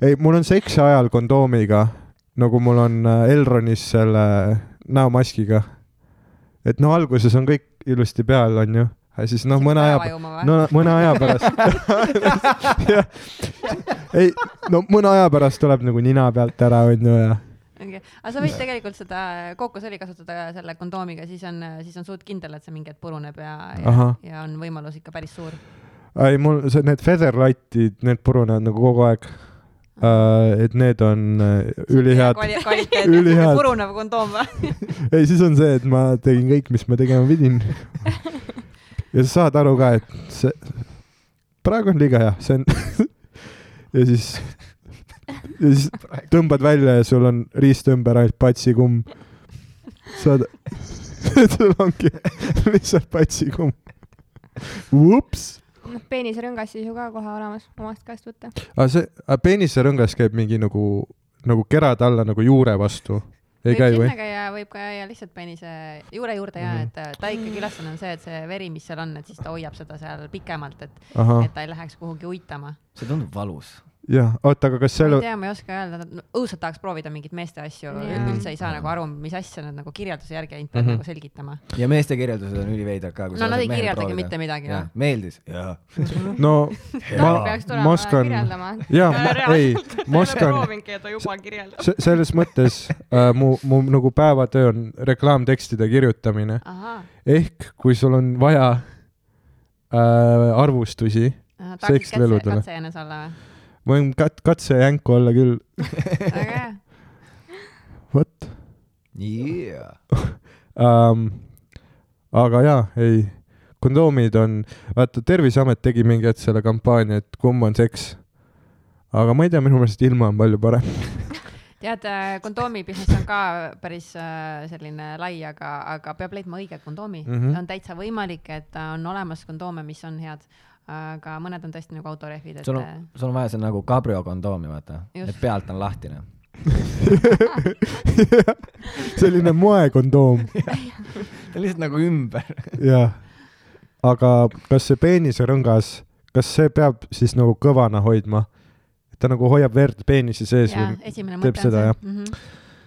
Speaker 4: ei , mul on seksi ajal kondoomiga , nagu mul on äh, Elronis selle äh, näomaskiga et no alguses on kõik ilusti peal , onju , siis noh , mõne aja , no mõne aja pärast . ei , no mõne aja pärast tuleb nagu nina pealt ära , onju ja .
Speaker 1: okay. . aga sa võid tegelikult seda kookosõli kasutada selle kondoomiga , siis on , siis on suht kindel , et see mingi hetk puruneb ja , ja,
Speaker 4: Ahah.
Speaker 1: ja on võimalus ikka päris suur .
Speaker 4: ei , mul see , need featherlight'id , need purunevad nagu kogu aeg äh, . et need on äh, ülihead .
Speaker 1: kvaliteet ,
Speaker 4: Ülihead.
Speaker 1: purunev kondoom või ?
Speaker 4: ei , siis on see , et ma tegin kõik , mis ma tegema pidin . ja sa saad aru ka , et see , praegu on liiga hea , see on ja siis , ja siis tõmbad välja ja sul on riist ümber ainult patsikumm . saad , sul ongi lihtsalt patsikumm . Ups ,
Speaker 3: noh , peenisrõngas siis ju ka kohe olemas , omast käest võtta .
Speaker 4: aga see , peeniserõngas käib mingi nagu , nagu kerad alla nagu juure vastu . ei
Speaker 1: võib
Speaker 4: käi või Mhm.
Speaker 1: sinna ? käia , võib ka jääda lihtsalt peenise juure juurde ja et äh, ta ikkagi ülesanne on see , et see veri , mis seal on , et siis ta hoiab seda seal pikemalt , et ,
Speaker 4: ahah
Speaker 1: et , ta ei läheks kuhugi uitama .
Speaker 2: see tundub valus .
Speaker 4: jah , oota , aga kas
Speaker 1: ma
Speaker 4: seal
Speaker 1: ei , tea , ma ei oska öelda , õudselt tahaks proovida mingeid meeste asju ,
Speaker 3: Jaa.
Speaker 1: üldse ei saa nagu aru , mis asja nad nagu kirjelduse järgi ainult peab
Speaker 4: Mhm.
Speaker 1: nagu selgitama .
Speaker 2: ja meeste kirjeldused on üliveidrad ka .
Speaker 1: no nad ei kirjeldagi mitte midagi , noh .
Speaker 2: meeldis ? jaa .
Speaker 4: no
Speaker 3: ma
Speaker 4: ma ,
Speaker 3: peaks
Speaker 4: ma
Speaker 3: tulema oskan...
Speaker 4: oskan ,
Speaker 3: kirjeldama .
Speaker 4: jaa , ei , ma oskan ,
Speaker 1: proovingi ja ta juba kirjeldab .
Speaker 4: se- selles mõttes äh, mu , mu nagu päevatöö on reklaamtekstide kirjutamine ,
Speaker 1: ahah ,
Speaker 4: ehk kui sul on vaja äh, arvustusi ,
Speaker 1: tahaksid katse ,
Speaker 4: Sekslõludele.
Speaker 1: katsejänes olla või ?
Speaker 4: võin kat- , katsejänku olla küll ,
Speaker 1: väga hea .
Speaker 4: vot
Speaker 2: jaa .
Speaker 4: ähm, . aga jaa , ei , kondoomid on , vaata Terviseamet tegi mingi hetk selle kampaania , et kumb on seks . aga ma ei tea , minu meelest ilma on palju parem .
Speaker 1: tead , kondoomi business on ka päris äh, selline lai , aga , aga peab leidma õige kondoomi mm .
Speaker 4: Mhm.
Speaker 1: -hmm. on täitsa võimalik , et äh, on olemas kondoome , mis on head , aga mõned on tõesti nagu autorehvid , et
Speaker 2: sul on , sul on vaja seal nagu kabrio kondoomi , vaata .
Speaker 1: Just.
Speaker 2: et pealt on lahtine .
Speaker 4: selline moekondoom .
Speaker 2: ta on lihtsalt nagu ümber .
Speaker 4: jah , aga kas see peeniserõngas , kas see peab siis nagu kõvana hoidma ? ta nagu hoiab verd peenise sees
Speaker 1: ja
Speaker 4: või ?
Speaker 1: esimene
Speaker 4: teeb
Speaker 1: mõte on
Speaker 4: seda,
Speaker 1: see
Speaker 4: jah.
Speaker 1: mm . -hmm.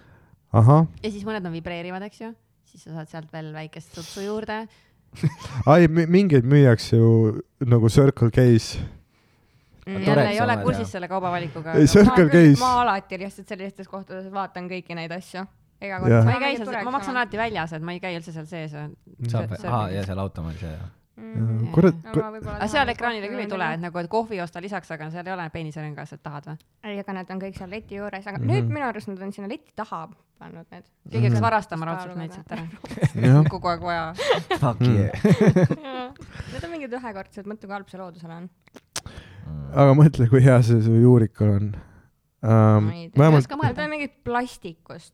Speaker 4: ahah ,
Speaker 1: ja siis mõned on vibreerivad , eks ju , siis sa saad sealt veel väikest sutsu juurde .
Speaker 4: ai , mingeid müüakse ju nagu Circle K-s .
Speaker 2: tore,
Speaker 1: Mm, jälle
Speaker 2: et
Speaker 1: ei
Speaker 2: sa
Speaker 1: ole
Speaker 2: oled,
Speaker 1: kursis
Speaker 2: jah.
Speaker 1: selle kaubavalikuga .
Speaker 4: Ei, see on-
Speaker 3: ma
Speaker 4: Circle
Speaker 3: küll-
Speaker 4: K-s.
Speaker 3: ma alati lihtsalt sellistes kohtades vaatan kõiki neid asju . iga
Speaker 4: Jah.
Speaker 3: kord .
Speaker 1: ma ei käi seal , ma maksan alati väljas , et ma ei käi üldse seal sees .
Speaker 2: saab ,
Speaker 1: See-
Speaker 2: aa , ja seal automaadis , jaa , jaa .
Speaker 3: alati
Speaker 4: kurat ,
Speaker 1: aga seal ekraanile küll ei tule , et nagu , et kohvi osta lisaks , aga seal ei ole peenisõrõngas , et tahad või ?
Speaker 3: ei , aga nad on kõik seal leti juures , aga mm
Speaker 4: Mhm.
Speaker 3: -hmm. nüüd minu arust nad on sinna leti taha pannud need .
Speaker 1: keegi
Speaker 4: Mhm.
Speaker 1: hakkas varastama raudselt
Speaker 3: Kaaluga
Speaker 1: neid sealt ära .
Speaker 4: jah ,
Speaker 1: kogu aeg vaja .
Speaker 2: Fuck
Speaker 4: Mm.
Speaker 2: yeah .
Speaker 3: Need on mingid ühekordsed , mõtle kui halb see loodusele on .
Speaker 4: aga mõtle , kui hea see su juurikul on um,
Speaker 3: Ma ei . tea.
Speaker 4: vähemalt ,
Speaker 1: ka
Speaker 3: Need
Speaker 1: mõelda
Speaker 3: on . mingid plastikust .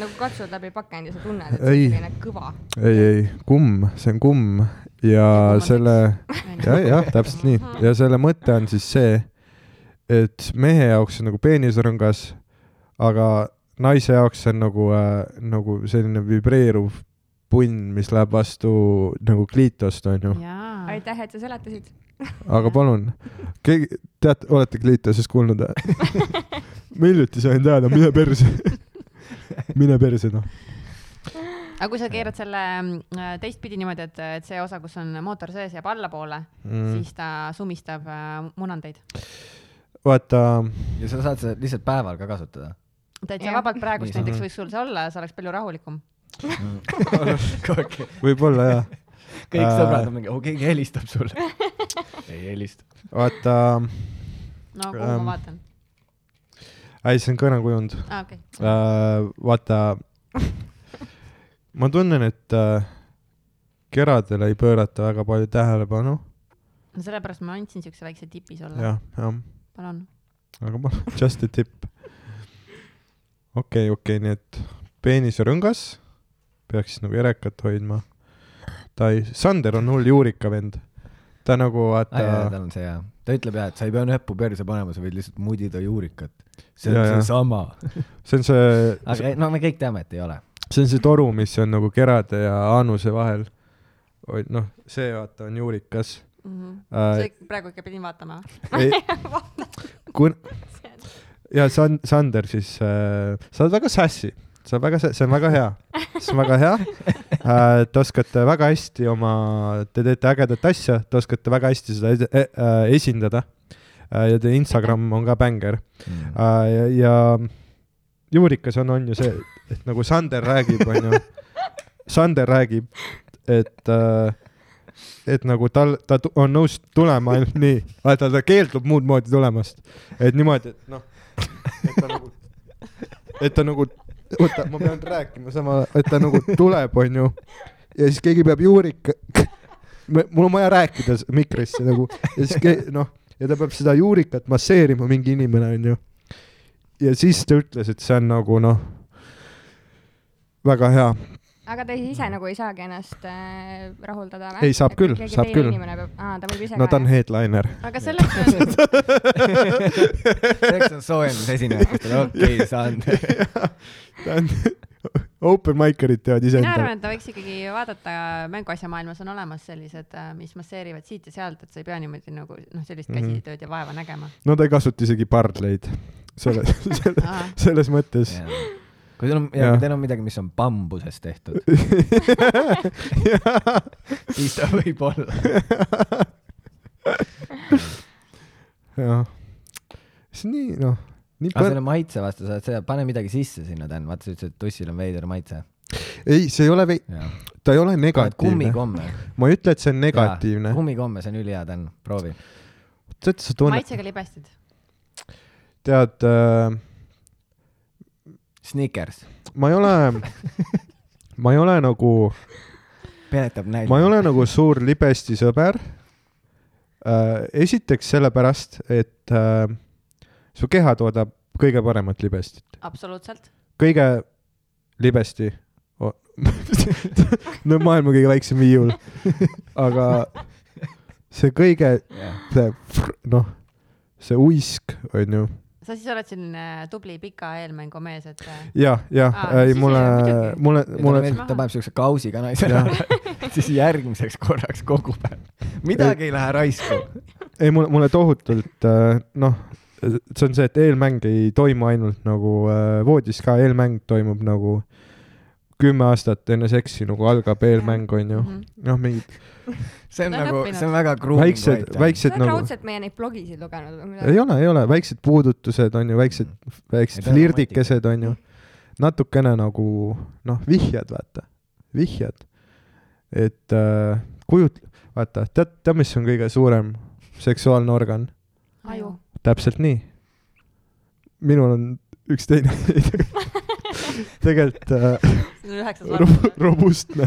Speaker 3: nagu katsud läbi pakendi , sa tunned , et see
Speaker 4: Ei.
Speaker 3: on selline kõva .
Speaker 4: ei , ei , kumm , see on kumm ja
Speaker 1: kumm on
Speaker 4: selle , jah , jah , täpselt nii
Speaker 3: Mhm.
Speaker 4: ja selle mõte on siis see , et mehe jaoks on nagu peenisrõngas , aga naise jaoks on nagu äh, , nagu selline vibreeruv punn , mis läheb vastu nagu kliitost , onju .
Speaker 1: jaa .
Speaker 3: aitäh , et sa seletasid .
Speaker 4: aga palun , keegi , teate , olete kliitosest kuulnud või ? ma hiljuti sain teada , mine perse . mine perse , noh .
Speaker 1: aga kui sa keerad selle äh, teistpidi niimoodi , et , et see osa , kus on mootor sees , jääb allapoole mm. , siis ta sumistab äh, munandeid .
Speaker 4: vaata ,
Speaker 2: ja sa saad seda lihtsalt päeval ka kasutada .
Speaker 1: täitsa
Speaker 3: Jah.
Speaker 1: vabalt praegust
Speaker 2: Niisama.
Speaker 1: näiteks võiks sul see olla , see oleks palju rahulikum .
Speaker 2: kõik
Speaker 4: võib-olla jaa
Speaker 2: kõik
Speaker 4: Mm. Äh.
Speaker 2: sõbrad on mingi , oo , keegi helistab sulle . ei helista .
Speaker 4: vaata ,
Speaker 1: no kuhu
Speaker 4: Ähm.
Speaker 1: ma vaatan ?
Speaker 4: ei , see on kõnekujund .
Speaker 1: aa , okei .
Speaker 4: äh, vaata , ma tunnen , et äh, keradele ei pöörata väga palju tähelepanu .
Speaker 1: no sellepärast ma andsin siukse väikse tipi sulle .
Speaker 4: jah , jah ,
Speaker 1: palun .
Speaker 4: aga ma , just a tip . okei , okei , nii et peeniserõngas peaks siis nagu erekat hoidma . ta ei , Sander on hull juurika vend . ta nagu
Speaker 2: aa Ah, jaa ,
Speaker 4: vaata ,
Speaker 2: tal on see jaa . ta ütleb jaa , et sa ei pea näppu perse panema , sa võid lihtsalt mudida juurikat . see
Speaker 4: Jaa,
Speaker 2: on
Speaker 4: jaa.
Speaker 2: seesama .
Speaker 4: see on see ,
Speaker 2: aga ei, no me kõik teame , et ei ole .
Speaker 4: see on see toru , mis on nagu kerade ja aanuse vahel . noh , see vaata on juurikas äh,
Speaker 2: Mhm.
Speaker 1: sa . praegu ikka pidin vaatama .
Speaker 4: ei , kun- , ja San- , Sander siis äh, , sa oled väga sassi . see on väga , see on väga hea , see on väga hea . Te oskate väga hästi oma , te teete ägedat asja , te oskate väga hästi seda ed- e- äh, esindada . ja teie Instagram on ka bängar .
Speaker 2: Mm.
Speaker 4: Äh, ja, ja juurikas on , on ju see , et nagu Sander räägib , on ju . Sander räägib , et , et nagu tal , ta tu- on nõus tulema ainult nii , vaata ta keeldub muud moodi tulemast , et niimoodi , et noh , et ta nagu , et ta nagu , oota , ma pean rääkima sama , et ta nagu tuleb , on ju , ja siis keegi peab juurika , mul on vaja rääkida s- mikrisse nagu ja siis ke- , noh , ja ta peab seda juurikat masseerima , mingi inimene , on ju . ja siis ta ütles , et see on nagu noh , väga hea ,
Speaker 3: aga ta siis ise nagu ei saagi ennast äh, rahuldada või ?
Speaker 4: Ei, saab küll, saab küll.
Speaker 3: aa , ta võib ise
Speaker 4: no
Speaker 3: ka
Speaker 4: ta on
Speaker 3: jah?
Speaker 4: headliner .
Speaker 1: aga selleks on ,
Speaker 2: selleks on soojendusesinejatele okei okay, saanud .
Speaker 4: ta on , open mic'erid teevad
Speaker 1: mina
Speaker 4: iseenda
Speaker 1: arvan ,, et ta võiks ikkagi vaadata , mänguasjamaailmas on olemas sellised , mis masseerivad siit ja sealt , et sa ei pea niimoodi nagu noh , sellist
Speaker 4: Mhm.
Speaker 1: käsitööd ja vaeva nägema .
Speaker 4: no ta ei kasuta isegi pardleid , selles , selles , selles mõttes .
Speaker 2: kui teil on , ja
Speaker 4: Jah.
Speaker 2: kui teil on midagi , mis on bambusest tehtud , siis ta võib olla .
Speaker 4: jah , see on nii noh , nii
Speaker 2: aga
Speaker 4: põnev
Speaker 2: selle . maitse vastu sa oled see , pane midagi sisse sinna , Dan , vaata sa ütlesid , et tussil on veider maitse .
Speaker 4: ei , see ei ole vei- , ta ei ole negatiivne .
Speaker 2: kummikomme .
Speaker 4: ma ei ütle , et see on negatiivne .
Speaker 2: kummikomme , see on ülihea , Dan , proovi .
Speaker 4: tead , sa tunned ,
Speaker 1: maitsega libestid .
Speaker 4: tead äh, ,
Speaker 2: Snickers ,
Speaker 4: ma ei ole , ma ei ole nagu ,
Speaker 2: peletab nälga .
Speaker 4: ma ei ole nagu suur libesti sõber äh, . esiteks sellepärast , et äh, su keha toodab kõige paremat libestit .
Speaker 1: absoluutselt .
Speaker 4: kõige libesti o- no maailma kõige väiksem viiul , aga see kõige , noh , see uisk onju ,
Speaker 1: sa siis oled selline tubli pika eelmängumees , et äh,
Speaker 4: ja , ja
Speaker 1: Aa,
Speaker 4: ei
Speaker 1: siis ei
Speaker 4: mulle
Speaker 1: ole , midagi.
Speaker 4: mulle ,
Speaker 2: mulle
Speaker 4: mulle ,
Speaker 2: meeldib , ta paneb siukse kausi ka naisele ära , siis järgmiseks korraks kogu päev . midagi ei lähe raisku .
Speaker 4: ei mulle , mulle tohutult äh, noh , see on see , et eelmäng ei toimu ainult nagu äh, voodis ka , eelmäng toimub nagu kümme aastat enne seksi nagu algab eelmäng onju ,
Speaker 1: mhm.
Speaker 4: noh mingid
Speaker 2: see on
Speaker 1: Ta on
Speaker 2: nagu ,
Speaker 1: õppinud.
Speaker 2: see on väga gruum .
Speaker 4: väiksed ,
Speaker 3: sa
Speaker 4: väiksed
Speaker 3: oled
Speaker 4: nagu
Speaker 3: raudselt meie neid blogisid lugenud või
Speaker 4: ei
Speaker 3: midagi ?
Speaker 4: ole , ei ole , väiksed puudutused on ju , väiksed , väiksed
Speaker 2: Ei, ta on
Speaker 4: flirdikesed on ju , natukene nagu noh , vihjed , vaata , vihjed . et äh, kujut- , vaata , tead , tead , mis on kõige suurem seksuaalne organ ?
Speaker 1: aju .
Speaker 4: täpselt nii . minul on üks teine tegelikult äh,
Speaker 1: see on üheksas
Speaker 4: ro-
Speaker 1: varv .
Speaker 4: robustne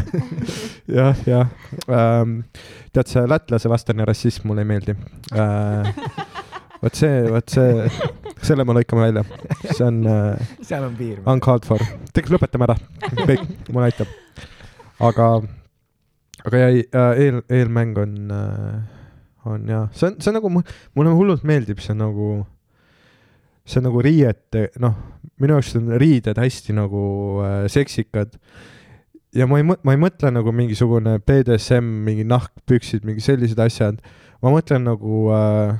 Speaker 4: jah , jah ähm, . tead , see lätlase vastane rassism mulle ei meeldi äh, . vot see , vot see , selle me lõikame välja , see on äh,
Speaker 2: seal on piir .
Speaker 4: uncalled for , tegelikult lõpetame ära , kõik , mulle aitab . aga , aga jäi äh, eel , eelmäng on äh, , on jah , see on , see on nagu , mulle hullult meeldib see nagu , see on nagu riiete , noh , minu jaoks on riided hästi nagu äh, seksikad . ja ma ei mõ- , ma ei mõtle nagu mingisugune BDSM , mingi nahkpüksid , mingi sellised asjad , ma mõtlen nagu äh, ,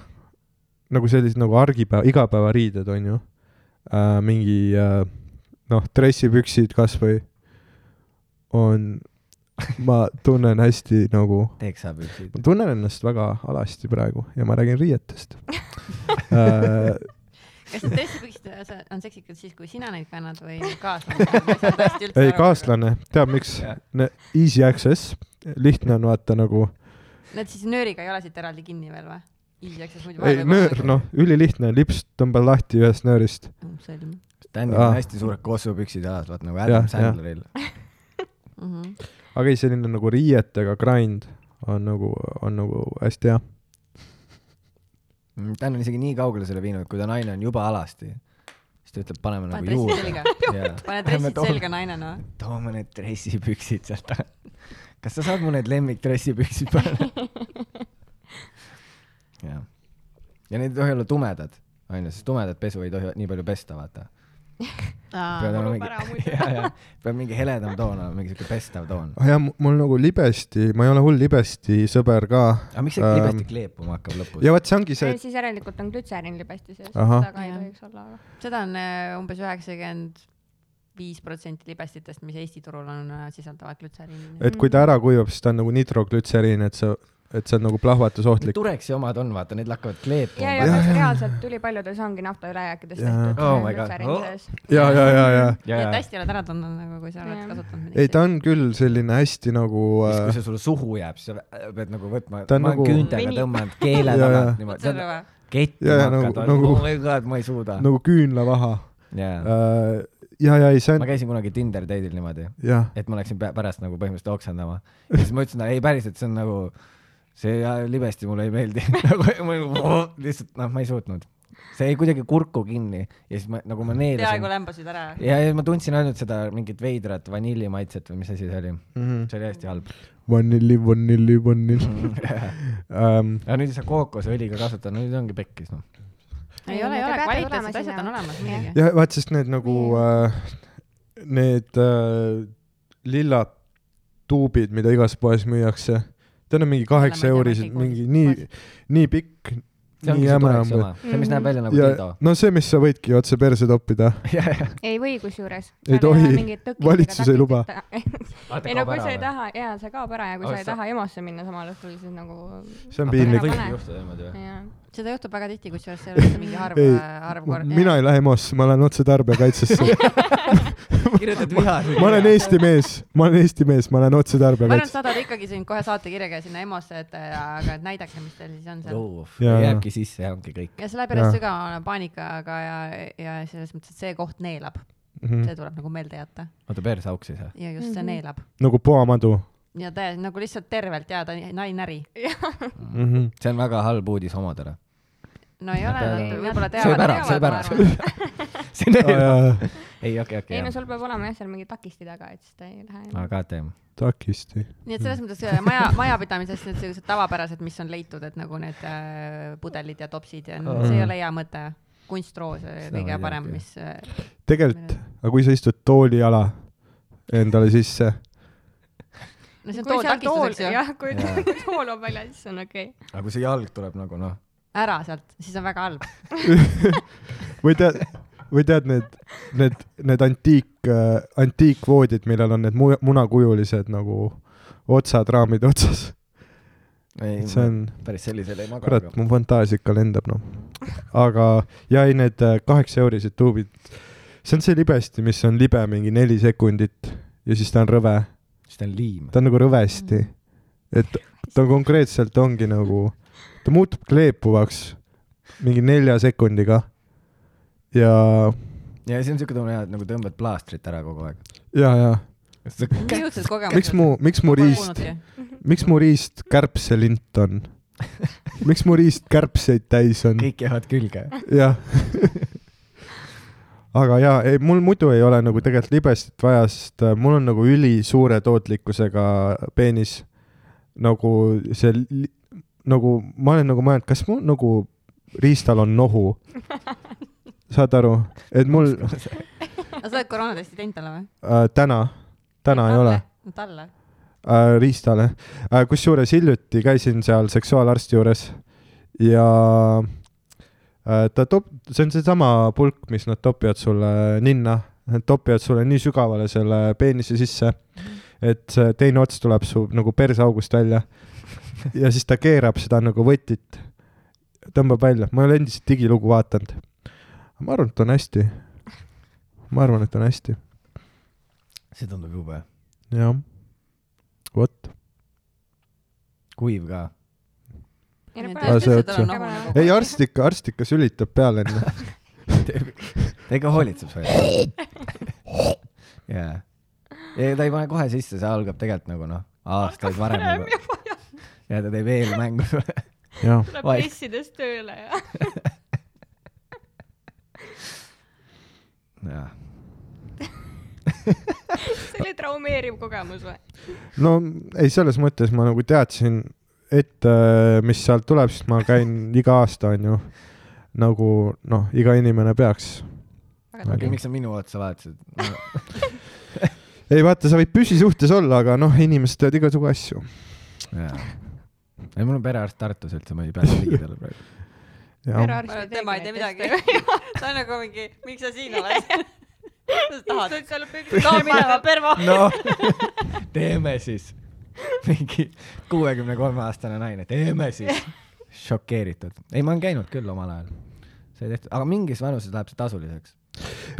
Speaker 4: nagu sellised nagu argipäeva , igapäevariided on ju äh, , mingi äh, noh , dressipüksid kasvõi on , ma tunnen hästi nagu ,
Speaker 2: teeks saab ükskõik
Speaker 4: ma . tunnen ennast väga alasti praegu ja ma räägin riietest äh, .
Speaker 1: kas need tõesti võiksid , on seksikad siis , kui sina neid kannad või kaaslane ?
Speaker 4: ei ,. kaaslane , teab miks
Speaker 2: Jah. ?
Speaker 4: Easy access , lihtne on vaata nagu ,
Speaker 1: Nad siis nööriga ei ole siit eraldi kinni veel või ? hiljaks , siis muidu
Speaker 4: ei nöör , noh , ülilihtne , lips tõmbad lahti ühest nöörist .
Speaker 1: noh . selm .
Speaker 2: Stanil on
Speaker 4: Aa.
Speaker 2: hästi suured kossupüksid jalas , vaat nagu
Speaker 4: ah. Jah,
Speaker 2: Adam
Speaker 4: jah.
Speaker 2: Sandleril .
Speaker 1: Mhm.
Speaker 4: aga ei , selline nagu riietega grind on nagu , on nagu hästi hea .
Speaker 2: Dan Mm, on isegi nii kaugele selle viinud , et kui ta naine on juba alasti , siis ta ütleb , paneme
Speaker 1: pane
Speaker 2: nagu
Speaker 1: dressid
Speaker 2: juurde .
Speaker 1: selga , pane dressid selga , naine noh .
Speaker 2: toome need dressipüksid sealt ära . kas sa saad mu need lemmikdressipüksid panna ? jah . ja need ei tohi olla tumedad , onju , sest tumedat pesu ei tohi nii palju pesta , vaata . peab olema mingi , ja , ja peab mingi heledam toon olema , mingi siuke pestav toon .
Speaker 4: jah , mul nagu libesti , ma ei ole hull libesti sõber ka .
Speaker 2: aga miks see
Speaker 4: Ähm,
Speaker 2: libesti kleepuma hakkab lõpus ?
Speaker 4: ja vot see ongi see , et
Speaker 3: siis järelikult on glütseriin libesti sees ,
Speaker 4: Ahah.
Speaker 3: seda ka ei
Speaker 1: Jah.
Speaker 3: tohiks olla .
Speaker 1: seda on äh, umbes üheksakümmend viis protsenti libestitest , mis Eesti turul on , sisaldavad glütseriini .
Speaker 4: et kui ta ära kuivab , siis ta on nagu nitroglütseriin , et sa , et see on nagu plahvatusohtlik .
Speaker 2: Tureksi omad on , vaata , need hakkavad kleepuma
Speaker 3: ja , ja
Speaker 4: Jah,
Speaker 3: kas
Speaker 4: jah.
Speaker 3: reaalselt ülipaljudes ongi nafta ülejääkidest
Speaker 4: Jaa.
Speaker 3: tehtud
Speaker 2: Oh
Speaker 3: äh,
Speaker 2: my god.
Speaker 3: glütseriini
Speaker 2: Oh.
Speaker 3: sees.
Speaker 4: ja , ja , ja ,
Speaker 1: nii
Speaker 4: ja .
Speaker 1: et
Speaker 2: ja , ja .
Speaker 1: hästi oled ära tundnud nagu , kui sa oled
Speaker 3: Jaa.
Speaker 1: kasutanud
Speaker 4: ei , ta on küll selline hästi nagu
Speaker 2: siis , kui
Speaker 4: äh,
Speaker 2: see sulle suhu jääb , siis sa pead nagu võtma ,
Speaker 4: Ta on
Speaker 2: ma olen
Speaker 4: nagu-
Speaker 2: küüntega
Speaker 1: Veni-
Speaker 2: tõmmanud keele
Speaker 4: Jaa,
Speaker 2: tagant
Speaker 4: jaa.
Speaker 2: niimoodi ,
Speaker 1: otse
Speaker 2: sa
Speaker 1: rõve .
Speaker 2: kettima
Speaker 4: Jaa, jaa,
Speaker 2: hakkad ,
Speaker 4: nagu- nagu-
Speaker 2: oh my god , ma ei suuda .
Speaker 4: nagu küünlavaha .
Speaker 2: jaa ,
Speaker 4: ja , ja ei , see
Speaker 2: ma
Speaker 4: on ,
Speaker 2: käisin kunagi Tinder date'il niimoodi ,
Speaker 4: jah ,
Speaker 2: et ma läksin pä- pärast nagu põhimõtteliselt oksendama ja siis ma ütlesin talle , ei päriselt , see on nagu , see äh, libesti mulle ei meeldi . nagu ma nagu, lihtsalt noh , ma ei suutnud , see jäi kuidagi kurku kinni ja siis ma nagu ma
Speaker 1: peaaegu
Speaker 2: neelasin
Speaker 1: lämbasid ära .
Speaker 2: ja , ja ma tundsin ainult seda mingit veidrat vanillimaitset või mis asi see oli , see oli hästi halb .
Speaker 4: Mhm. vanilli , vanilli , vanilli
Speaker 2: Mhm.
Speaker 4: um, .
Speaker 2: aga nüüd ei saa kookoseõliga kasutada , nüüd ongi pekkis noh .
Speaker 1: ei ole , ei
Speaker 3: Te
Speaker 1: ole ,
Speaker 3: peate
Speaker 1: kvaliteetsed
Speaker 3: tulema
Speaker 1: asjad
Speaker 3: sinna.
Speaker 1: on olemas
Speaker 3: Jah.
Speaker 1: muidugi .
Speaker 4: jah , vaat sest need nagu äh, , need äh, lillad tuubid , mida igas poes müüakse , ta on mingi kaheksa
Speaker 1: ma ei tea, ma
Speaker 4: eurised ,
Speaker 1: ei
Speaker 4: mingi
Speaker 1: kuulnud
Speaker 4: nii , nii pikk ,
Speaker 2: see ongi
Speaker 4: nii
Speaker 2: see
Speaker 4: jäme
Speaker 2: tuleks
Speaker 4: on .
Speaker 2: oma , see ,
Speaker 3: Mm.
Speaker 2: mis näeb välja nagu
Speaker 4: ja
Speaker 2: Tiido .
Speaker 4: no see , mis sa võidki otse perse toppida ,
Speaker 3: ei või kusjuures .
Speaker 4: Ei tohi. Valitsus ei luba. .
Speaker 3: ei no kui sa ei taha , jaa , see kaob ära ja kui
Speaker 2: Aga
Speaker 3: sa ei
Speaker 2: sa-
Speaker 3: taha EMO-sse minna samal õhtul , siis nagu
Speaker 4: see on piinlik .
Speaker 3: Pane.
Speaker 2: juhtuda niimoodi või ?
Speaker 3: jaa .
Speaker 1: seda juhtub väga tihti , kusjuures see ei ole üldse mingi harv äh,
Speaker 4: Ei, ,
Speaker 1: harv kord .
Speaker 4: mina ei lähe EMO-sse , ma lähen otse tarbijakaitsesse .
Speaker 2: kirjutad viha .
Speaker 4: ma olen Eesti mees , ma olen Eesti mees , ma lähen otse
Speaker 1: ma arvan , et
Speaker 4: tarbijakaitsesse .
Speaker 1: saadad ikkagi siin kohe saatekirjaga sinna EMO-sse , et äh, aga et näidake , mis teil siis on seal .
Speaker 4: Jaa.
Speaker 2: jääbki sisse ja ongi kõik .
Speaker 1: ja see läheb järjest
Speaker 4: Jaa.
Speaker 1: sügavamale paanikaga ja , ja selles mõttes , et see koht neelab ,
Speaker 4: Mm. Mhm.
Speaker 1: see tuleb nagu meelde jätta
Speaker 2: oota , perse auksis või ?
Speaker 1: ja just see
Speaker 3: Mhm.
Speaker 1: neelab
Speaker 4: nagu poamadu
Speaker 1: ja täiesti nagu lihtsalt tervelt jääda , nai näri .
Speaker 4: mm . -hmm.
Speaker 2: see on väga halb uudis omadele .
Speaker 1: no ei ole ,
Speaker 2: Peale-
Speaker 1: nad võib-olla
Speaker 2: sööb ära , sööb ära .
Speaker 1: teavad .
Speaker 2: see on
Speaker 4: Oh,
Speaker 2: hea .
Speaker 4: jaa.
Speaker 2: ei , okei ,
Speaker 3: ei no
Speaker 2: okei .
Speaker 3: sul peab olema jah seal mingi takisti taga , et siis ta ei lähe enam .
Speaker 2: aga teeme .
Speaker 4: takisti .
Speaker 1: nii et selles mõttes äh, maja , majapidamises need sellised tavapärased , mis on leitud , et nagu need äh, pudelid ja topsid ja no, see ei ole hea mõte . kunstroos äh,
Speaker 2: Seda ma ei
Speaker 1: kõige
Speaker 2: teagi.
Speaker 1: parem , mis äh,
Speaker 4: tegelikult , aga kui sa istud toolijala endale sisse ,
Speaker 1: no see on tool takistuseks ju .
Speaker 3: jah , kui
Speaker 2: Jaa.
Speaker 3: tool on väljas , siis on okei .
Speaker 2: aga kui see jalg tuleb nagu noh ,
Speaker 1: ära sealt , siis on väga halb .
Speaker 4: või tead , või tead need , need , need antiik , antiikvoodid , millel on need mu- munakujulised nagu otsad raamide otsas .
Speaker 2: ei ,
Speaker 4: see on ,
Speaker 2: päris sellisel ei maga .
Speaker 4: kurat , mu fantaasia ikka lendab , noh . aga , ja ei need äh, kaheksa eurised tuubid , see on see libesti , mis on libe mingi neli sekundit ja siis ta on rõve ,
Speaker 2: see on liim .
Speaker 4: ta on nagu rõvesti . et ta konkreetselt ongi nagu , ta muutub kleepuvaks mingi nelja sekundiga . ja ,
Speaker 2: ja see on siuke tunne , et nagu tõmbad plaastrit ära kogu aeg .
Speaker 4: ja , ja
Speaker 1: niisugused kogemused .
Speaker 4: miks mu , miks mu riist , miks mu riist kärbselint on ? miks mu riist kärbseid täis on ?
Speaker 2: kõik jäävad külge .
Speaker 4: jah . aga jaa , ei mul muidu ei ole nagu tegelikult libestit vaja , sest äh, mul on nagu ülisuure tootlikkusega peenis . nagu see , nagu ma olen nagu mõelnud , kas mul nagu riistal on nohu ? saad aru , et mul
Speaker 1: aga sa oled koroonatesti teinud talle või ?
Speaker 4: äh, täna , täna ei ole .
Speaker 1: talle ?
Speaker 4: äh, riistale äh, . kusjuures hiljuti käisin seal seksuaalarsti juures ja äh, ta top- , see on seesama pulk , mis nad topivad sulle ninna , nad topivad sulle nii sügavale selle peenise sisse , et see teine ots tuleb su nagu perseaugust välja . ja siis ta keerab seda nagu võtit , tõmbab välja , ma ei ole endiselt digilugu vaadanud . ma arvan , et on hästi . ma arvan , et on hästi ,
Speaker 2: see tundub jube .
Speaker 4: jah . vot .
Speaker 2: kuiv ka .
Speaker 3: ei no
Speaker 1: Need
Speaker 4: Aa, see
Speaker 1: tõesti
Speaker 4: otsa.
Speaker 1: tal on nohu nagu .
Speaker 4: ei , arst ikka , arst ikka sülitab peale enne .
Speaker 2: ta ikka hoolitseb su eest . jaa . ei , ta ei pane kohe sisse , see algab tegelikult nagu noh , aastaid varem juba . ja ta teeb eelmängu sulle .
Speaker 4: jaa .
Speaker 3: tuleb
Speaker 2: Vai-
Speaker 3: pressides tööle ja .
Speaker 2: jaa .
Speaker 3: see oli traumeeriv kogemus või ?
Speaker 4: no ei , selles mõttes ma nagu teadsin ette , mis sealt tuleb , sest ma käin iga aasta , onju . nagu noh , iga inimene peaks .
Speaker 2: okei okay, , miks sa minu otsa vaatasid no, ?
Speaker 4: ei vaata , sa võid püsisuhtes olla , aga noh , inimesed teevad igasugu asju .
Speaker 2: jaa . ei , mul on perearst Tartus üldse , ma ei pääse ligi talle praegu .
Speaker 4: jah ,
Speaker 1: tema ei tee midagi . ta on nagu mingi , miks sa siin oled ? sa tahad ,
Speaker 7: kõik allub püksid .
Speaker 1: tahad minema perma ?
Speaker 2: noh , teeme siis . mingi kuuekümne kolme aastane naine , teeme siis . šokeeritud . ei , ma olen käinud küll omal ajal . sai tehtud , aga mingis vanuses läheb see tasuliseks .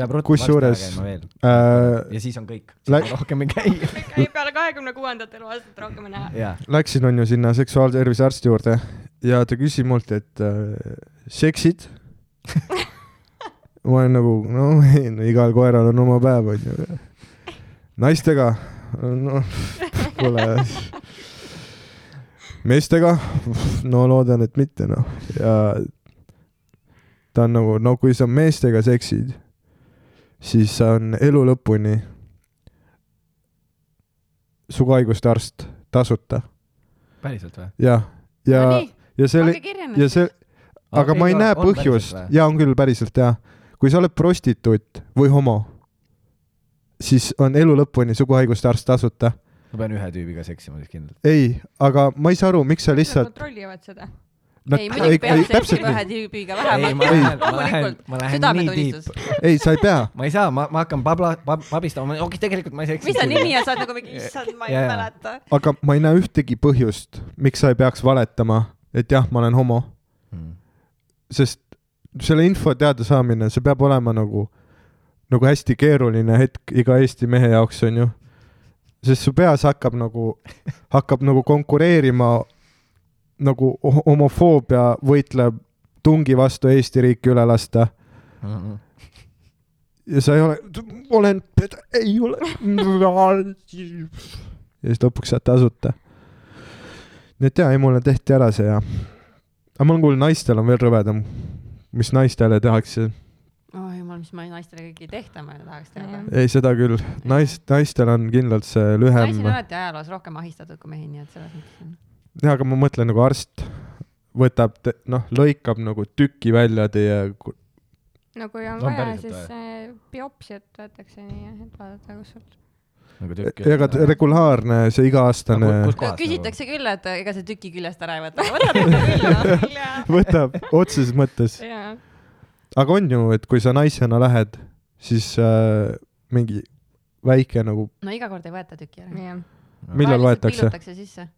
Speaker 2: peab ruttu varsti ära
Speaker 4: Kusjuures,
Speaker 2: käima veel .
Speaker 4: äh,
Speaker 2: ja siis on kõik .
Speaker 4: lä-
Speaker 2: rohkem ei käi .
Speaker 7: ei peale kahekümne kuuendat eluaastat rohkem ei näe .
Speaker 2: jaa .
Speaker 4: Läksin , on ju , sinna seksuaaltervise arsti juurde ja ta küsis mult , et äh, seksid ? ma olen nagu , no ei , no igal koeral on oma päev , on ju . naistega ? noh , pole . meestega ? no loodan , et mitte , noh . ja ta on nagu , no kui sa meestega seksid , siis sa on elu lõpuni suguhaiguste arst tasuta
Speaker 2: päriselt või ?
Speaker 4: jah , ja, ja , ja see oli , ja see , aga ma ei näe põhjust , ja on küll päriselt jah , kui sa oled prostituut või homo , siis on elu lõpuni suguhaiguste arst tasuta .
Speaker 2: ma pean ühe tüübiga seksima siis kindlalt .
Speaker 4: ei , aga ma ei saa aru , miks sa
Speaker 7: Nad
Speaker 4: lihtsalt .
Speaker 7: kontrollivad seda .
Speaker 1: ei , muidugi peab seksima ühe tüübiga
Speaker 2: ei , ma
Speaker 1: vähemalt
Speaker 2: lähen ,. ma lähen , ma lähen nii tiip
Speaker 1: südametunnistus ..
Speaker 4: ei , sa ei pea ,
Speaker 2: ma ei saa , ma , ma hakkan pabla- , pab- , pabistama , okei , tegelikult ma ei seksi .
Speaker 1: mis ta nimi on , sa oled nagu mingi , issand , ma ei
Speaker 2: Jaa.
Speaker 1: mäleta .
Speaker 4: aga ma ei näe ühtegi põhjust , miks sa ei peaks valetama , et jah , ma olen homo ,
Speaker 2: on ?
Speaker 4: sest selle info teadasaamine , see peab olema nagu , nagu hästi keeruline hetk iga Eesti mehe jaoks , on ju . sest su peas hakkab nagu , hakkab nagu konkureerima nagu ho- homofoobia võitleb tungi vastu Eesti riiki üle lasta
Speaker 2: Mm-hmm.
Speaker 4: ja sa ei ole , olen , ei ole . ja siis lõpuks saad tasuta . nii et jaa , ei mulle tehti ära see ja . aga ma olen kuulnud , naistel on veel rõvedam , mis naistele tehakse .
Speaker 1: oh jumal , mis ma naistele kõike ei tehta , ma tahaks teada .
Speaker 4: ei , seda küll , nais- , naistel on kindlalt see lühem
Speaker 1: naisi . on alati ajaloos rohkem ahistatud kui mehi , nii et selles mõttes on .
Speaker 4: jaa , aga ma mõtlen nagu arst võtab , noh , lõikab nagu tüki välja teie ku-
Speaker 3: no kui on
Speaker 2: On
Speaker 3: vaja ,
Speaker 2: päriselt
Speaker 3: siis äh, biopsiat võetakse nii jah , et vaadata , kus sul .
Speaker 2: nagu tükk .
Speaker 4: ega t- regulaarne see iga-aastane
Speaker 2: nagu?
Speaker 1: küsitakse küll , et ega see tüki küljest ära ei võta , võtab ikka küll .
Speaker 4: võtab otseses mõttes
Speaker 3: jaa .
Speaker 4: aga on ju , et kui sa naisena lähed , siis äh, mingi väike nagu ,
Speaker 1: no iga kord ei võeta tüki ära .
Speaker 3: jah .
Speaker 4: millal võetakse ?
Speaker 1: pillutakse sisse .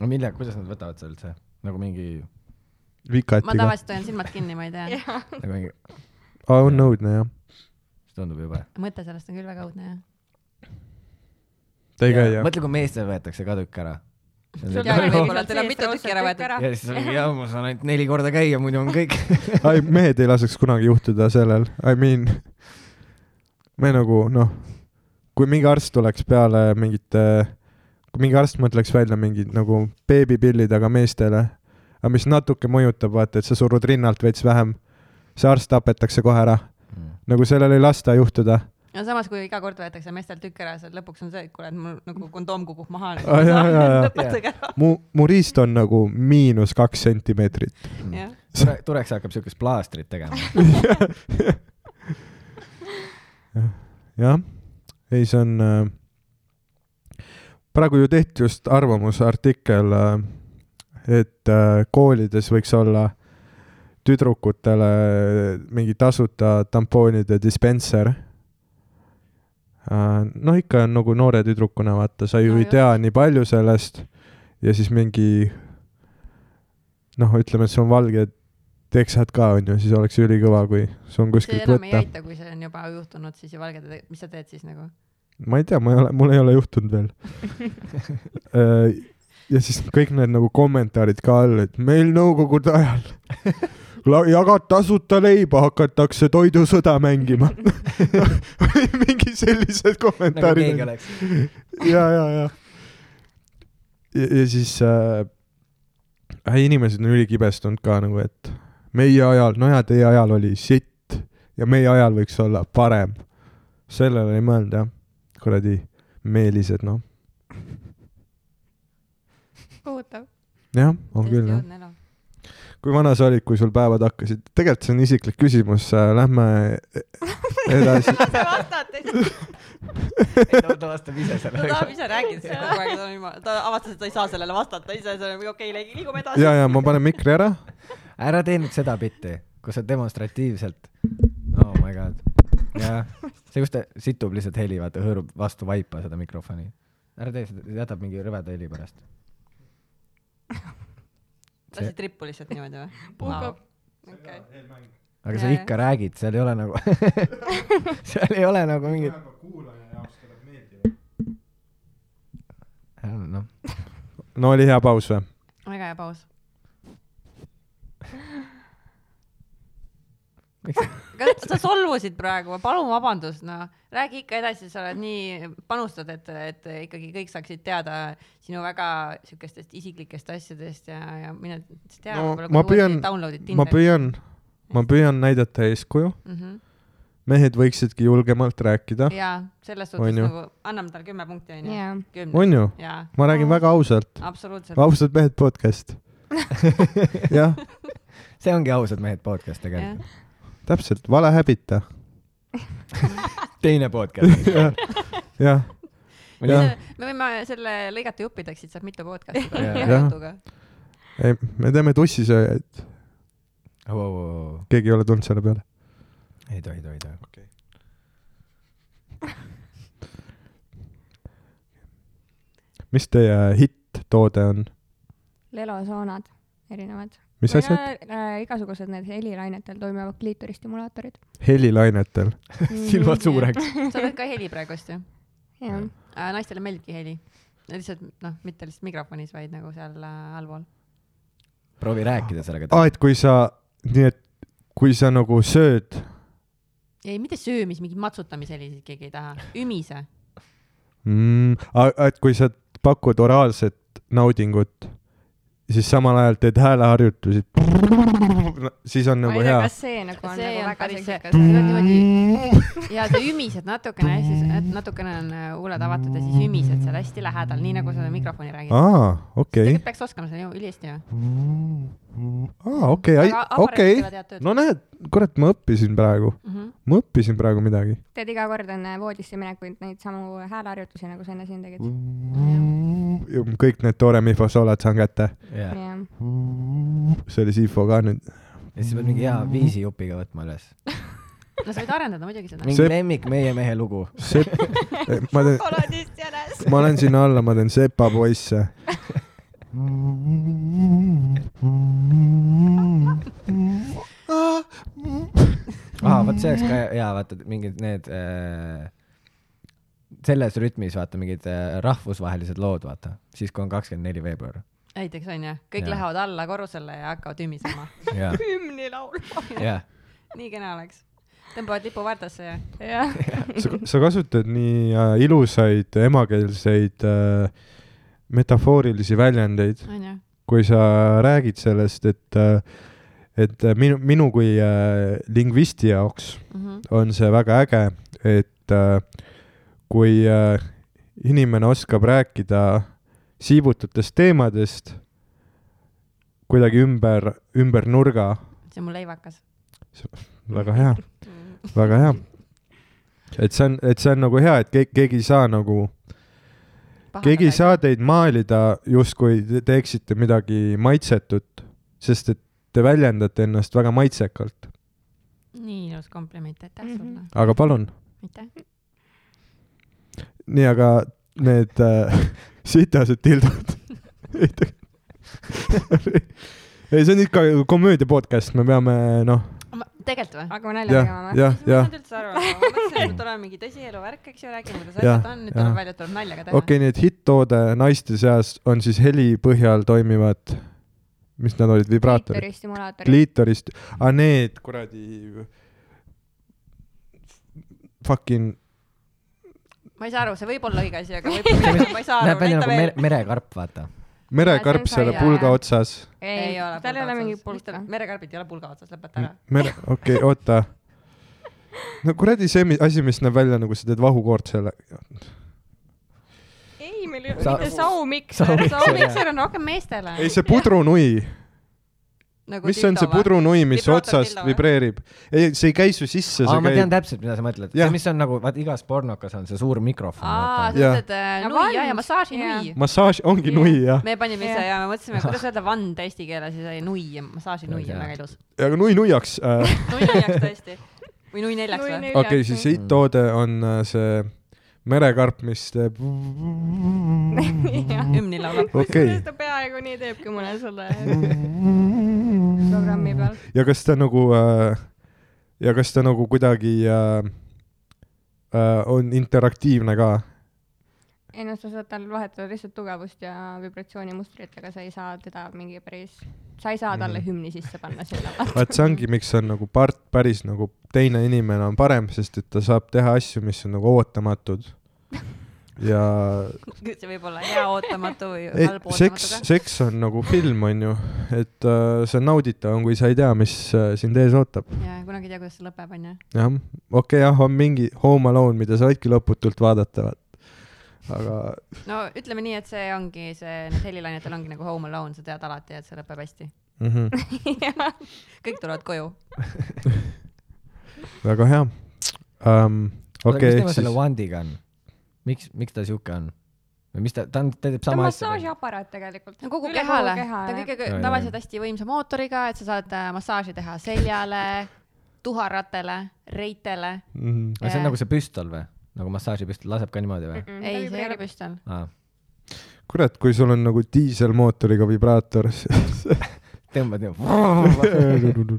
Speaker 2: no millega , kuidas nad võtavad seda üldse ? nagu mingi ,
Speaker 1: ma
Speaker 4: vikatiga .
Speaker 1: tavaliselt hoian silmad kinni , ma ei tea .
Speaker 2: nagu mingi ,
Speaker 4: aa , on õudne jah .
Speaker 2: see tundub jube .
Speaker 1: mõte sellest on küll väga õudne jah .
Speaker 4: Te ei käi jah ?
Speaker 2: mõtle , kui meestel võetakse ka tükk ära .
Speaker 1: Jaa,
Speaker 2: ja
Speaker 1: aga
Speaker 2: ja
Speaker 1: võib-olla teil on mitu tükki ära võetud. .
Speaker 2: siis on , jaa , ma saan ainult neli korda käia , muidu on kõik .
Speaker 4: ei , mehed ei laseks kunagi juhtuda sellel , I mean , me nagu noh , kui mingi arst tuleks peale mingite , kui mingi arst mõtleks välja mingid nagu beebipillid , aga meestele , aga mis natuke mõjutab , vaata , et sa surud rinnalt veits vähem , see arst tapetakse kohe ära , nagu sellel ei lasta juhtuda .
Speaker 1: no samas , kui iga kord võetakse meestel tükk ära , siis lõpuks on see , et kuule , et mul nagu kondoom kukub maha .
Speaker 4: Aa, jaa, jaa, jaa.
Speaker 1: lõpetage ära .
Speaker 4: mu , mu riist on nagu miinus kaks sentimeetrit .
Speaker 1: jah ,
Speaker 2: Tureks hakkab siukest plaastrit tegema .
Speaker 4: jah , ei , see on äh, praegu ju tehti just arvamusartikkel , et äh, koolides võiks olla tüdrukutele mingi tasuta tampoonide dispenser . noh , ikka nagu noore tüdrukuna , vaata , sa ju
Speaker 1: No
Speaker 4: ei
Speaker 1: just.
Speaker 4: tea nii palju sellest ja siis mingi noh , ütleme , et sul on valged teksad ka , on ju , siis oleks ülikõva , kui sul on
Speaker 1: see
Speaker 4: kuskilt
Speaker 1: enam ei
Speaker 4: võtta .
Speaker 1: aita , kui see on juba juhtunud , siis ju valged , mis sa teed siis nagu ?
Speaker 4: ma ei tea , ma ei ole , mul ei ole juhtunud veel . ja siis kõik need nagu kommentaarid ka all , et meil nõukogude ajal la- jagad tasuta leiba , hakatakse toidusõda mängima . mingi sellised
Speaker 2: nagu keegi
Speaker 4: kommentaarid .
Speaker 2: oleks .
Speaker 4: ja , ja , ja . ja siis äh, äh, inimesed on ülikibestunud ka nagu , et meie ajal , no jaa , teie ajal oli sitt ja meie ajal võiks olla parem . sellele ei mõelnud jah , kuradi meelised noh ,
Speaker 3: kohutav .
Speaker 4: jah , on küll jah . kui vana sa olid , kui sul päevad hakkasid ? tegelikult see on isiklik küsimus , lähme edasi .
Speaker 7: sa vastad ,
Speaker 2: ta vastab ise
Speaker 1: ta
Speaker 2: sellele .
Speaker 1: tahab ise rääkida seda kogu aeg , ta on juba , ta avastas , et ta ei saa sellele vastata ise , see on okei , liigume edasi .
Speaker 4: ja , ja ma panen mikri ära .
Speaker 2: ära tee nüüd seda bitti , kus sa demonstratiivselt . oh my god . jah , see , kus ta situb lihtsalt heli , vaata , hõõrub vastu vaipa seda mikrofoni . ära tee seda , see jätab mingi rõveda heli pärast .
Speaker 1: lasid rippu lihtsalt niimoodi või ?
Speaker 7: puhkab . okei .
Speaker 2: aga sa
Speaker 1: Jajah.
Speaker 2: ikka räägid , seal ei ole nagu , seal ei ole nagu mingit , noh ,
Speaker 4: no oli hea paus või ?
Speaker 1: väga hea paus . kas sa solvusid praegu , palun vabandust , no räägi ikka edasi , sa oled nii , panustad , et , et ikkagi kõik saaksid teada sinu väga siukestest isiklikest asjadest ja , ja mine tea
Speaker 4: No,
Speaker 1: võib-olla,
Speaker 4: ma
Speaker 1: kui uuesti
Speaker 4: püüan-
Speaker 1: download'id
Speaker 4: ma
Speaker 1: Tinderit
Speaker 4: püüan , ma püüan näidata eeskuju ,
Speaker 1: mm . -hmm.
Speaker 4: mehed võiksidki julgemalt rääkida ,
Speaker 1: ja selles
Speaker 4: Ah. On
Speaker 1: suhtes
Speaker 4: ju.
Speaker 1: nagu anname talle kümme punkti onju
Speaker 3: jaa .
Speaker 1: kümnest
Speaker 4: on ju ?
Speaker 1: ja
Speaker 4: ma räägin väga ausalt ,
Speaker 1: absoluutselt
Speaker 4: ausad mehed podcast . jah ,
Speaker 2: see ongi ausad mehed podcast
Speaker 1: jah
Speaker 2: tegelikult .
Speaker 4: täpselt , vale häbita .
Speaker 2: teine podcast .
Speaker 4: jah , Jah.
Speaker 1: me võime selle lõigata juppideks , siis saab mitu podcast'i
Speaker 2: Jah.
Speaker 1: teha
Speaker 4: Jah.
Speaker 1: jutuga
Speaker 4: ei , me teeme tussisööjaid ,
Speaker 2: ei
Speaker 4: keegi ei ole tulnud selle peale .
Speaker 2: tohi , tohi , tohi .
Speaker 4: mis teie hitt-toode on ,
Speaker 3: lelosoonad erinevad .
Speaker 4: mis asjad ?
Speaker 3: äh, igasugused need helilainetel toimivad kliitoristimulaatorid .
Speaker 4: helilainetel .
Speaker 1: Mhm.
Speaker 2: silmad suureks .
Speaker 1: sa teed ka heli praegust ju ?
Speaker 3: jah ,
Speaker 1: naistele meeldibki heli . lihtsalt noh , mitte lihtsalt mikrofonis , vaid nagu seal äh, allpool .
Speaker 2: proovi rääkida sellega
Speaker 4: aa ,. et kui sa , nii et kui sa nagu sööd ,
Speaker 1: ei , mitte söömis , mingi matsutamishelisid keegi ei taha . ümise .
Speaker 4: mm, et kui sa pakud oraalset naudingut , siis samal ajal teed hääleharjutusi . siis on
Speaker 3: ma
Speaker 4: nagu
Speaker 3: ei tea ,
Speaker 4: hea .
Speaker 3: kas see nagu
Speaker 1: See
Speaker 3: on Mm. nagu
Speaker 1: on
Speaker 3: väga
Speaker 1: päris see-
Speaker 3: seksikas asi.
Speaker 4: Mm.
Speaker 1: ja sa ümised natukene , siis natukene on äh, huuled avatud ja siis ümised seal hästi lähedal , nii nagu sa mikrofoni räägid .
Speaker 4: aa , okei .
Speaker 1: tegelikult peaks oskama seda ju ülihästi ju .
Speaker 4: aa , okei ,
Speaker 1: Aga aparaadid
Speaker 4: okei
Speaker 1: teevad head tööd. . Mhm.
Speaker 4: no näed , kurat , ma õppisin praegu , ma õppisin praegu midagi .
Speaker 3: teed iga kord enne voodisse minekuid neid samu hääleharjutusi , nagu sa enne siin tegid .
Speaker 2: Mm.
Speaker 4: kõik need Tore Mihva soolad saan kätte .
Speaker 2: jah ,
Speaker 3: jah ,
Speaker 4: see oli Siifo ka nüüd .
Speaker 2: ja siis pead mingi hea viisijupiga võtma üles .
Speaker 1: no sa võid arendada muidugi seda .
Speaker 2: mingi
Speaker 4: See-
Speaker 2: lemmik meie mehe lugu .
Speaker 4: see , Eh, ma teen ,
Speaker 7: koladist jänes .
Speaker 4: ma lähen sinna alla , ma teen sepapoisse .
Speaker 2: aa , vot see oleks ka hea , vaata et mingid need äh, , selles rütmis vaata mingid äh, rahvusvahelised lood , vaata , siis kui on kakskümmend neli veebruar .
Speaker 1: näiteks onju , kõik
Speaker 2: Jaa.
Speaker 1: ja. lähevad alla korrusele ja hakkavad ümisema .
Speaker 2: jah ,
Speaker 7: hümni laulma .
Speaker 2: jah .
Speaker 1: nii kena oleks . tõmbavad lipu vardasse ja
Speaker 7: jah .
Speaker 4: sa , sa kasutad nii äh, ilusaid emakeelseid äh, metafoorilisi väljendeid ,
Speaker 1: onju .
Speaker 4: kui sa räägid sellest , et äh, et äh, minu , minu kui äh, lingvisti jaoks
Speaker 1: Mhm.
Speaker 4: on see väga äge , et äh, kui äh, inimene oskab rääkida siibututest teemadest kuidagi ümber , ümber nurga ,
Speaker 1: see on mu leivakas .
Speaker 4: väga hea , väga hea . et see on , et see on nagu hea , et keegi , keegi ei saa nagu , keegi ei saa teid maalida justkui te teeksite midagi maitsetut , sest et te väljendate ennast väga maitsekalt ,
Speaker 1: nii ilus kompliment , aitäh mm -hmm. sulle ,
Speaker 4: aga palun ,
Speaker 1: aitäh .
Speaker 4: nii , aga need äh, sitased tildod . ei , see on ikka komöödia podcast , me peame noh ,
Speaker 1: tegelikult või ?
Speaker 3: hakkame nalja
Speaker 4: jah
Speaker 3: tegema , või ?
Speaker 1: ma
Speaker 4: jah ,
Speaker 1: ei
Speaker 4: jah ,
Speaker 1: saanud üldse aru , ma mõtlesin , et tuleb mingi tõsielu värk , eks ju , räägime , kuidas
Speaker 4: Jah,
Speaker 1: asjad on , nüüd
Speaker 4: jah.
Speaker 1: tuleb välja , et tuleb naljaga teha
Speaker 4: okei , nii et hitt-toode naiste seas on siis heli põhjal toimivad , mis nad olid , vibraatorid ,
Speaker 3: kliitoristimulaatorid .
Speaker 4: kliitorist , aga need kuradi fucking ,
Speaker 1: ma ei saa aru , see võib olla õige asi , aga võib-olla ma ei saa
Speaker 2: näeb
Speaker 1: aru ,
Speaker 2: välja
Speaker 1: näita
Speaker 2: nagu mere,
Speaker 1: veel .
Speaker 2: merekarp , vaata .
Speaker 4: merekarp
Speaker 3: see on
Speaker 4: selle
Speaker 3: saia,
Speaker 4: pulga
Speaker 3: jah.
Speaker 4: otsas ,
Speaker 1: ei ole .
Speaker 3: tal ei ole mingit pulka .
Speaker 1: merekarbid ei ole pulga otsas , lõpeta ära .
Speaker 4: mere , okei okay, , oota . no kuradi see mi- asi , mis näeb välja nagu sa teed vahukoort selle ,
Speaker 7: ei , meil ei
Speaker 2: Sa-
Speaker 7: ole , saumikser
Speaker 2: Saumikser. .
Speaker 1: saumikser on rohkem meestele .
Speaker 4: ei see pudrunui , mis see on see ? pudrunui , mis
Speaker 1: Nagu Vibraator
Speaker 4: otsast
Speaker 1: tildo või?
Speaker 4: vibreerib ? ei , see ei käi su sisse ,
Speaker 2: aa ,
Speaker 4: see
Speaker 2: ma tean
Speaker 4: käib ,
Speaker 2: täpselt , mida sa mõtled . see
Speaker 4: Jah. ,
Speaker 2: mis on nagu , vaat igas pornokas on see suur mikrofon .
Speaker 1: aa , sa
Speaker 2: vaata .
Speaker 4: Jah.
Speaker 1: mõtled äh,
Speaker 3: No
Speaker 1: nui ,
Speaker 3: vand.
Speaker 1: jaa , ja massaaži
Speaker 3: Jaa.
Speaker 1: nui .
Speaker 4: massaaž ongi nui jah ,
Speaker 1: me panime ise
Speaker 3: Jah.
Speaker 1: ja me mõtlesime , kuidas öelda vand eesti keeles ja sai nui , massaaži nui on väga ilus .
Speaker 4: aga nui nuiaks äh, .
Speaker 1: nui nuiaks tõesti . või nui neljaks
Speaker 3: Nui
Speaker 1: või ?
Speaker 3: neljaks.
Speaker 4: okei , siis
Speaker 3: või?
Speaker 4: siit-toode on äh, see merekarp , mis teeb
Speaker 3: jah ,
Speaker 1: hümni laulab .
Speaker 4: okei Mm.
Speaker 3: ta peaaegu nii teebki mõne selle programmi peal .
Speaker 4: ja kas ta nagu äh, ja kas ta nagu kuidagi äh, äh, on interaktiivne ka ?
Speaker 3: ei noh , sa saad tal vahetada lihtsalt tugevust ja vibratsioonimustrit , aga sa ei saa teda mingi päris , sa ei saa talle
Speaker 4: Mhm.
Speaker 3: hümni sisse panna sinna .
Speaker 4: vaat see ongi , miks on nagu part päris nagu teine inimene on parem , sest et ta saab teha asju , mis on nagu ootamatud . ja
Speaker 1: see võib olla hea ootamatu või
Speaker 4: ei,
Speaker 1: halb ootamatu
Speaker 4: seks
Speaker 1: ka .,
Speaker 4: seks on nagu film , onju , et äh, see on nauditav , kui sa ei tea , mis äh, sind ees ootab .
Speaker 1: jaa , kunagi ei tea , kuidas see lõpeb , onju .
Speaker 4: jah , okei okay, , jah , on mingi Home Alone , mida sa võidki lõputult vaadata , aga
Speaker 1: no ütleme nii , et see ongi see , need helilainetel ongi nagu Home Alone , sa tead alati , et see lõpeb hästi .
Speaker 4: mm -hmm,
Speaker 1: kõik tulevad koju .
Speaker 4: väga hea um, .
Speaker 2: mis
Speaker 4: okei okay, ,
Speaker 2: tema
Speaker 4: siis
Speaker 2: selle Wandiga on ? miks , miks ta siuke on ? või mis ta , ta on , ta teeb
Speaker 3: ta on
Speaker 2: sama asja .
Speaker 3: massaažiaparaat tegelikult .
Speaker 1: no kogu kehale , ta on
Speaker 3: kõige .
Speaker 1: kõige
Speaker 2: Jaa, jaa,
Speaker 1: tavaliselt hästi võimsa mootoriga , et sa saad äh, massaaži teha seljale , tuharatele , reitele .
Speaker 4: mm -hmm.
Speaker 2: aga see
Speaker 1: Jaa.
Speaker 2: on nagu see püstol või ? nagu massaažipüstol , laseb ka niimoodi või ?
Speaker 1: ei , see ei ole püstol .
Speaker 4: kurat , kui sul on nagu diiselmootoriga vibraator ,
Speaker 2: tõmbad ju .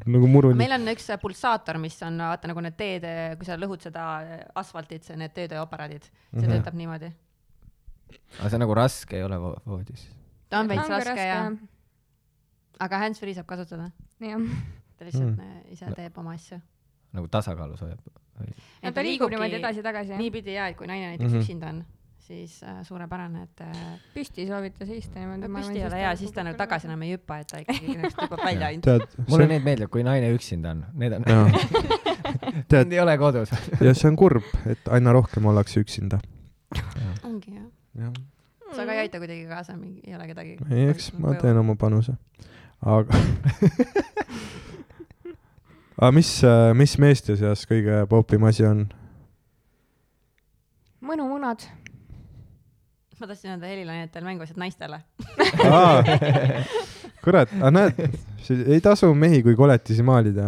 Speaker 4: nagu muruni .
Speaker 1: meil on üks äh, pulsaator , mis on vaata nagu need teed , kui sa lõhud seda äh, asfaltit , see need teetööaparaadid , see
Speaker 4: Mhm.
Speaker 1: töötab niimoodi .
Speaker 2: aga see on nagu raske ei ole vo- voodis .
Speaker 1: ta on veits raske ja , aga hands-free saab kasutada ,
Speaker 3: jah ,
Speaker 1: ta lihtsalt
Speaker 4: Mm.
Speaker 1: äh, ise teeb oma asju .
Speaker 2: nagu tasakaalus hoiab .
Speaker 3: no ta liigub niimoodi . edasi-tagasi jah .
Speaker 1: niipidi ja , et kui naine näiteks mm
Speaker 4: Mhm.
Speaker 1: -hmm. üksinda on , siis äh, suurepärane , et äh,
Speaker 3: püsti soovitas istuda niimoodi .
Speaker 1: no püsti ei ole hea , siis ta nagu tagasi . enam ei hüppa , et ta ikkagi üheks tõmbab välja ainult .
Speaker 4: tead ,
Speaker 2: mulle need meeldivad , kui naine üksinda on , need on ,
Speaker 4: tead
Speaker 2: need ei ole kodus .
Speaker 4: ja see on kurb , et aina rohkem ollakse üksinda .
Speaker 1: ongi jah ,
Speaker 4: ei ,
Speaker 1: sa ka ei aita kuidagi kaasa , ei ole kedagi .
Speaker 4: eks ma teen . oma panuse , aga . aga mis , mis meeste seas kõige popim asi on ?
Speaker 3: nagu- mõnumunad .
Speaker 1: ma tahtsin öelda helilainetel mänguasjad naistele .
Speaker 4: kurat , aga näed , ei tasu mehi kui koletisi maalida .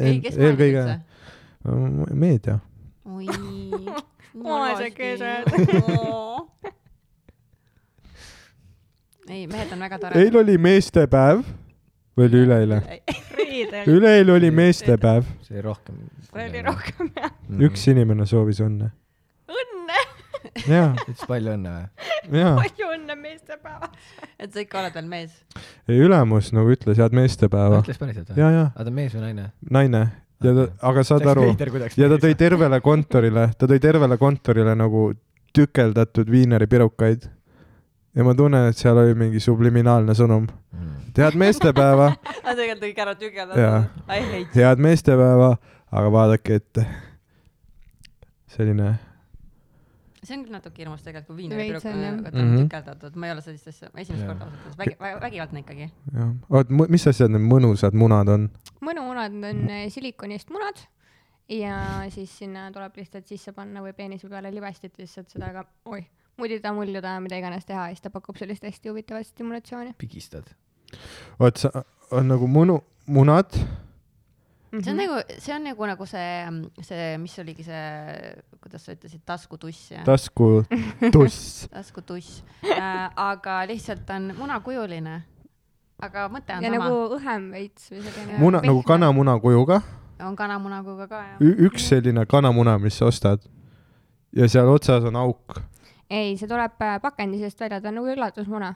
Speaker 1: ei , kes maalib üldse ?
Speaker 4: meedia .
Speaker 1: oi
Speaker 3: Vaesekesed. .
Speaker 1: ei , mehed on väga
Speaker 4: eile
Speaker 1: toredad .
Speaker 4: oli meestepäev või oli üleeile ?
Speaker 7: reedel .
Speaker 4: üleeile oli meestepäev ,
Speaker 2: see rohkem .
Speaker 7: see oli . rohkem jah .
Speaker 2: Mm.
Speaker 4: üks . inimene soovis õnne .
Speaker 7: õnne ,
Speaker 4: ja ,
Speaker 2: ütles palju õnne või ?
Speaker 4: ja ,
Speaker 7: palju õnne meestepäeval .
Speaker 1: et sa ikka oled veel mees .
Speaker 4: ülemus nagu ütles head meestepäeva .
Speaker 2: ütles päriselt või ?
Speaker 4: ja , ja
Speaker 2: aga ta on mees või naine ?
Speaker 4: naine ja ta , aga saad aru , ja ta tõi . tervele kontorile , ta tõi tervele kontorile nagu tükeldatud viineripirukaid . ja ma tunnen , et seal oli mingi subliminaalne sõnum .
Speaker 2: Mm.
Speaker 4: head meestepäeva ,
Speaker 1: aga tegelikult kõik ära
Speaker 4: Jaa.
Speaker 1: tükeldatud . I hate .
Speaker 4: head meestepäeva , aga vaadake ette . selline ,
Speaker 1: see on küll natuke hirmus tegelikult , kui viin
Speaker 3: Veits on, jah.
Speaker 1: on on
Speaker 4: Mhm.
Speaker 1: tükeldatud , ma ei ole sellist asja , esimest
Speaker 2: Jaa.
Speaker 1: korda ausalt öeldes , vägi- , vägivaldne ikkagi .
Speaker 4: jah . oot , mis asjad need mõnusad munad on ?
Speaker 3: mõnumunad
Speaker 4: Mhm.
Speaker 3: on eh, silikonist munad ja siis sinna tuleb lihtsalt sisse panna või peenise peale libestit lihtsalt seda ka , oih , mudida , muljuda , mida iganes teha ja siis ta pakub sellist hästi huvitavat stimulatsiooni .
Speaker 2: pigistad .
Speaker 4: oot , sa , on nagu munu , munad ,
Speaker 1: see on nagu , see on nagu , nagu see , see , mis oligi see , kuidas sa ütlesid , taskutuss ja
Speaker 4: tasku , tuss .
Speaker 1: taskutuss äh, , aga lihtsalt on munakujuline . aga mõte on
Speaker 3: ja
Speaker 1: sama
Speaker 3: nagu
Speaker 1: nagu... ,
Speaker 3: õhem veits või selline .
Speaker 4: muna nagu . kanamuna kujuga
Speaker 1: on kanamunaguga ka jah .
Speaker 4: Ü , üks selline kanamuna , mis sa ostad ja seal otsas on auk .
Speaker 3: ei , see tuleb äh, pakendi seest välja , ta on nagu üllatusmuna .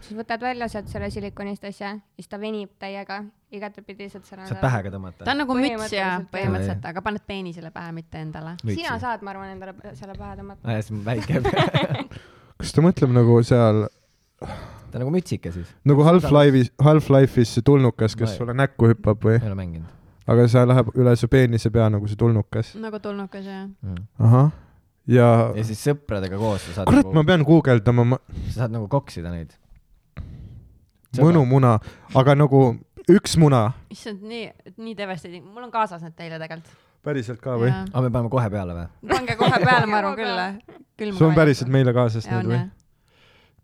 Speaker 3: siis võtad välja sealt selle silikonist asja , siis ta venib täiega igatepidi lihtsalt seal .
Speaker 2: saad pähega tõmmata
Speaker 1: ta . on nagu müts ja
Speaker 3: Põhimõtteliselt, jah.
Speaker 1: põhimõtteliselt , aga paned peenisele pähe , mitte endale .
Speaker 3: sina . saad , ma arvan , endale selle pähe tõmmata .
Speaker 2: aa jah , Ah, see on väike . ta
Speaker 4: kas ta mõtleb nagu seal
Speaker 2: on nagu mütsike siis .
Speaker 4: nagu Half-Life'is , Half-Life'is see tulnukas , kes
Speaker 2: Ma-
Speaker 4: sulle näkku hüppab või
Speaker 2: ei , ole mänginud
Speaker 4: aga see läheb üle su peenise pea nagu see tulnukas .
Speaker 1: nagu tulnukas jah .
Speaker 2: mm. .
Speaker 4: ahah , ja
Speaker 2: ja siis sõpradega koos sa saad
Speaker 4: kurat , ma
Speaker 2: nagu ,
Speaker 4: pean guugeldama ma...
Speaker 2: sa saad nagu koksida neid .
Speaker 4: mõnumuna , aga nagu üks muna ,
Speaker 1: issand , nii , nii devastating , mul on kaasas need teile tegelikult .
Speaker 4: päriselt ka Ah, või ?
Speaker 2: aa , Ah, me paneme kohe peale või ?
Speaker 1: pange kohe peale , ma arvan küll .
Speaker 4: sul on päriselt meile kaasas
Speaker 1: Ja on,
Speaker 4: need või
Speaker 1: jah. ?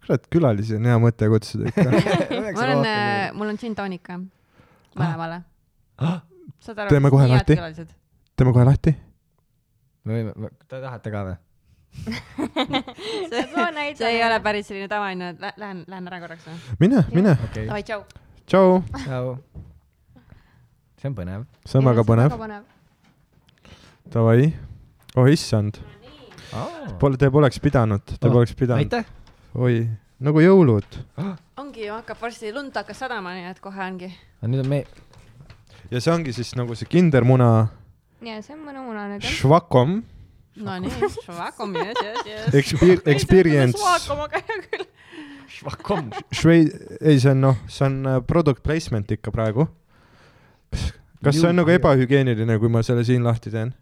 Speaker 4: kurat , külalisi on hea mõte kutsuda ikka .
Speaker 1: äh, mul on ,
Speaker 7: äh,
Speaker 4: Ah.
Speaker 1: mul on džinntoonika mõlemale . saad aru ?
Speaker 4: Teeme kohe Ah. lahti. . teeme kohe lahti .
Speaker 2: me võime , te tahate ka või ?
Speaker 3: soo näitab .
Speaker 1: see ei ole . päris selline tavaline , et lä- lähen , lähen ära korraks või ?
Speaker 4: mine , mine ,
Speaker 2: okei okay. ,
Speaker 1: davai , tšau .
Speaker 4: tšau ,
Speaker 2: tšau . see on põnev .
Speaker 4: see on väga põnev , davai . oh issand , pole , te poleks pidanud , te
Speaker 2: Oh,
Speaker 4: poleks pidanud .
Speaker 2: aitäh .
Speaker 4: oi , nagu jõulud
Speaker 1: ongi ju , hakkab varsti , lund hakkas sadama , nii et kohe ongi .
Speaker 2: aga nüüd on me ,
Speaker 4: ja see ongi siis nagu see kindermuna
Speaker 3: ja see on mõnu muna nüüd jah .
Speaker 4: švakom
Speaker 1: Nonii , švakom , jess , jess , jess .
Speaker 4: expe- experience ,
Speaker 7: suakomaga hea küll .
Speaker 2: švakom .
Speaker 4: Švei- , ei see on noh , see on äh, product placement ikka praegu . kas see on nagu ebahügieeniline , kui ma selle siin lahti teen ?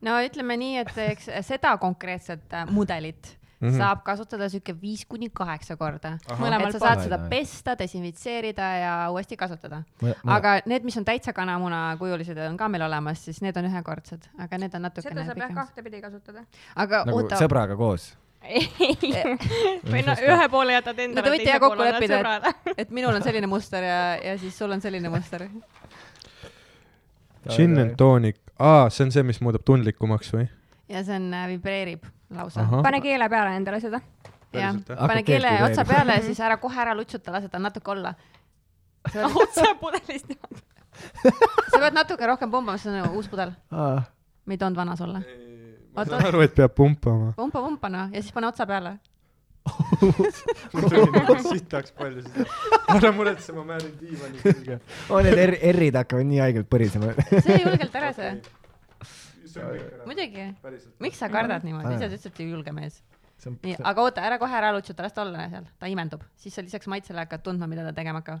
Speaker 1: no ütleme nii , et eks seda konkreetset äh, mudelit Mm
Speaker 4: Mhm.
Speaker 1: -hmm. saab kasutada sihuke viis kuni kaheksa korda , et sa saad
Speaker 2: pool.
Speaker 1: seda pesta , desinfitseerida ja uuesti kasutada .
Speaker 2: aga .
Speaker 1: aga need , mis on täitsa kanamuna kujulised , on ka meil olemas , siis need on ühekordsed , aga need on
Speaker 3: seda
Speaker 1: natukene
Speaker 3: saab jah
Speaker 1: pikemad .
Speaker 3: kahtepidi kasutada .
Speaker 1: aga
Speaker 2: nagu
Speaker 1: oota ,
Speaker 2: sõbraga koos .
Speaker 7: või no ühe poole jätad endale .
Speaker 1: no te võite jah kokku leppida , et , et minul on selline muster ja , ja siis sul on selline muster .
Speaker 4: Gin and tonic , aa , see on see , mis muudab tundlikumaks või ?
Speaker 1: ja see on , vibreerib lausa .
Speaker 4: ahah ,
Speaker 3: pane keele peale endale seda .
Speaker 1: jah
Speaker 4: päriselt ,
Speaker 2: jah?
Speaker 1: pane
Speaker 2: Hakkab
Speaker 1: keele
Speaker 2: keelt
Speaker 1: otsa
Speaker 2: vibreerima.
Speaker 1: peale ja siis ära kohe ära lutsuta , lase tal natuke olla . sa
Speaker 7: otse pudelist .
Speaker 1: pead natuke rohkem pumbama , see on nagu uus pudel ,
Speaker 2: aga
Speaker 1: me ei toonud vanas olla .
Speaker 4: ma saan aru , et peab pumpama .
Speaker 1: pumpa , pumpa noh , ja siis pane otsa peale .
Speaker 4: sitaks palju seda . ära muretse , ma määrin diivani külge .
Speaker 2: oo , need R- , R-id hakkavad nii haigelt põrisema .
Speaker 1: see julgelt ära see , muidugi . miks sa kardad niimoodi , ise sa ütlesid , et sa oled julge mees .
Speaker 2: See on-
Speaker 1: nii , aga oota , ära kohe ära lutsuta , las ta olla seal , ta imendub , siis sa lisaks maitsele hakkad tundma , mida ta tegema hakkab .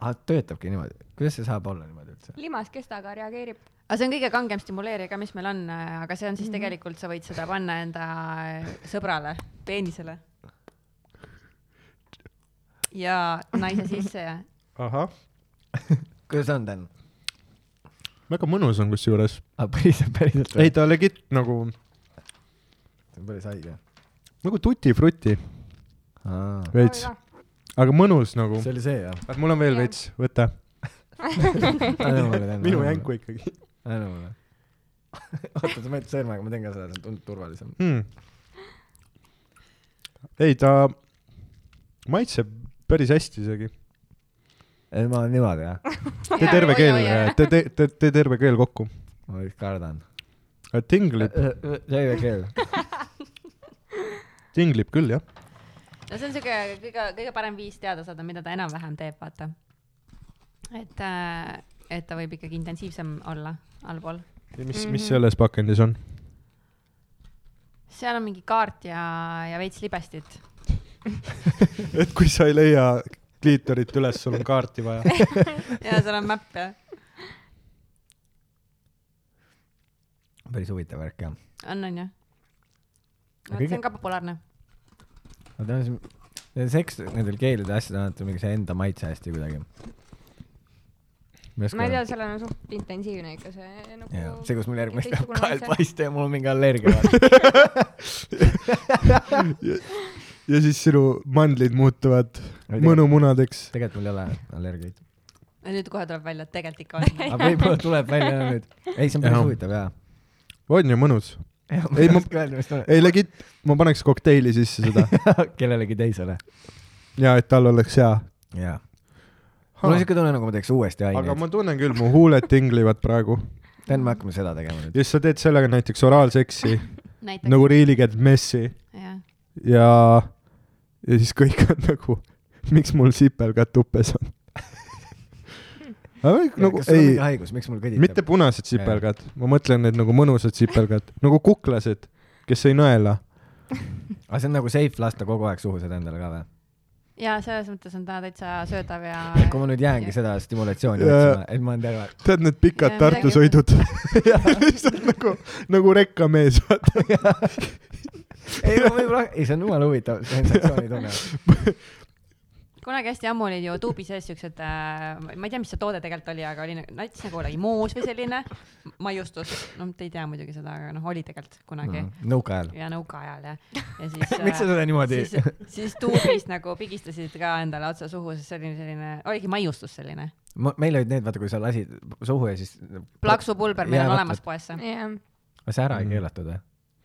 Speaker 2: aa , töötabki niimoodi . kuidas see saab olla niimoodi üldse ?
Speaker 3: limas kestaga reageerib .
Speaker 1: aga see on kõige kangem stimuleerija ka , mis meil on , aga see on siis tegelikult , sa võid seda panna enda äh, sõbrale , peenisele . ja naise sisse ja ,
Speaker 4: ahah ,
Speaker 2: kuidas on , Dan ?
Speaker 4: väga mõnus on kusjuures .
Speaker 2: aa , päriselt , päriselt
Speaker 4: ei , ta legit nagu ,
Speaker 2: see on päris haige .
Speaker 4: nagu tutifruti
Speaker 2: see
Speaker 4: veits , aga mõnus nagu .
Speaker 2: oli see jah ?
Speaker 4: mul on veel
Speaker 3: Jah.
Speaker 4: veits , võta .
Speaker 2: anna mulle , Dan .
Speaker 4: minu . jänku ikkagi
Speaker 2: anna mulle . oota , sa mõtled sõrmega , ma teen ka seda , see on tundub turvalisem .
Speaker 4: hmm. . ei , ta maitseb päris hästi isegi .
Speaker 2: ei , ma olen niimoodi jah .
Speaker 4: tee terve keel , tee , tee , tee , tee terve keel kokku .
Speaker 2: ma vist kardan . Äh.
Speaker 4: tinglib ,
Speaker 2: jäi keel .
Speaker 4: tinglib küll jah .
Speaker 1: no see on siuke kõige , kõige parem viis teada saada , mida ta enam-vähem teeb , vaata . et , et ta võib ikkagi intensiivsem olla allpool .
Speaker 4: ja mis , mis selles pakendis on ?
Speaker 1: seal on mingi kaart ja , ja veits libestit .
Speaker 4: et kui sa ei leia kliitorit üles , sul on kaarti vaja .
Speaker 1: ja seal on mäpp ja
Speaker 2: päris huvitav värk jah .
Speaker 1: on , on ju . vot
Speaker 2: Aga
Speaker 1: see
Speaker 2: kõige-
Speaker 1: on ka populaarne .
Speaker 2: ma tean , see , need seks , nendel keelide asjad on alati mingi see enda maitse hästi kuidagi .
Speaker 3: ma ei tea , sellel on suht intensiivne ikka see
Speaker 2: jaa ,
Speaker 3: nagu .
Speaker 2: see , kus mul järgmine
Speaker 3: teistsugune
Speaker 2: päev kael
Speaker 3: maitse.
Speaker 2: paista ja mul on mingi allergia vaata .
Speaker 4: ja siis sinu mandlid muutuvad mõnumunadeks .
Speaker 2: tegelikult mul ei ole allergiaid .
Speaker 1: ja nüüd kohe tuleb välja , et tegelikult ikka on .
Speaker 2: aga võib-olla tuleb välja jah nüüd . ei , see on
Speaker 4: Jaa.
Speaker 2: päris huvitav jaa .
Speaker 4: on ju mõnus ?
Speaker 2: ma
Speaker 4: Ei,
Speaker 2: ei
Speaker 4: ma-
Speaker 2: oska öelda , mis tuleb .
Speaker 4: ei legit , ma paneks kokteili sisse seda
Speaker 2: kellelegi teisele .
Speaker 4: ja et tal oleks hea .
Speaker 2: jaa . mul on siuke tunne , nagu ma teeks uuesti
Speaker 4: aga
Speaker 2: aineid .
Speaker 4: ma tunnen küll , mu huuled tinglivad praegu .
Speaker 2: Dan , me hakkame seda tegema nüüd .
Speaker 4: ja siis sa teed sellega näiteks oraalseksi
Speaker 1: näiteks
Speaker 4: nagu riilikeelt messi
Speaker 1: jah .
Speaker 4: ja , ja siis kõik on nagu , miks mul sipelgad tupes on . nagu
Speaker 2: kas sul on
Speaker 4: ei
Speaker 2: mingi , haigus , miks mul
Speaker 4: mitte
Speaker 2: kõditab ?
Speaker 4: punased sipelgad , ma mõtlen need nagu mõnusad sipelgad , nagu kuklased , kes ei nõela .
Speaker 2: aga see on nagu safe lasta kogu aeg suhu seda endale ka või ?
Speaker 1: ja selles mõttes on ta täitsa söödav ja .
Speaker 2: kui ma nüüd jäängi seda stimulatsiooni
Speaker 4: Jaa.
Speaker 2: otsima , et ma olen terve aeg .
Speaker 4: tead need pikad
Speaker 1: Jaa,
Speaker 4: Tartu
Speaker 1: midagi-
Speaker 4: sõidud ? lihtsalt nagu , nagu rekkamees , vaata .
Speaker 2: ei , ma võib-olla , ei , see on jumala huvitav sensatsioonitunne .
Speaker 1: kunagi hästi ammu olid ju tuubi sees siuksed äh, , ma ei tea , mis see toode tegelikult oli , aga oli nagu- nats nagu oli moos või selline maiustus . no te ei tea muidugi seda , aga noh , oli tegelikult kunagi mm.
Speaker 2: nõukaajal .
Speaker 1: ja nõukaajal ja , ja siis äh,
Speaker 2: miks sa seda niimoodi
Speaker 1: siis , siis tuubist nagu pigistasid ka endale otse suhu , sest see oli selline , oligi maiustus selline .
Speaker 2: meil olid need , vaata , kui sa lasid suhu ja siis .
Speaker 1: plaksupulber , meil
Speaker 2: Jaa,
Speaker 1: on
Speaker 2: vaata,
Speaker 1: olemas poes see .
Speaker 3: jah ,
Speaker 2: see ära ei
Speaker 4: Mm.
Speaker 2: keelatud või ?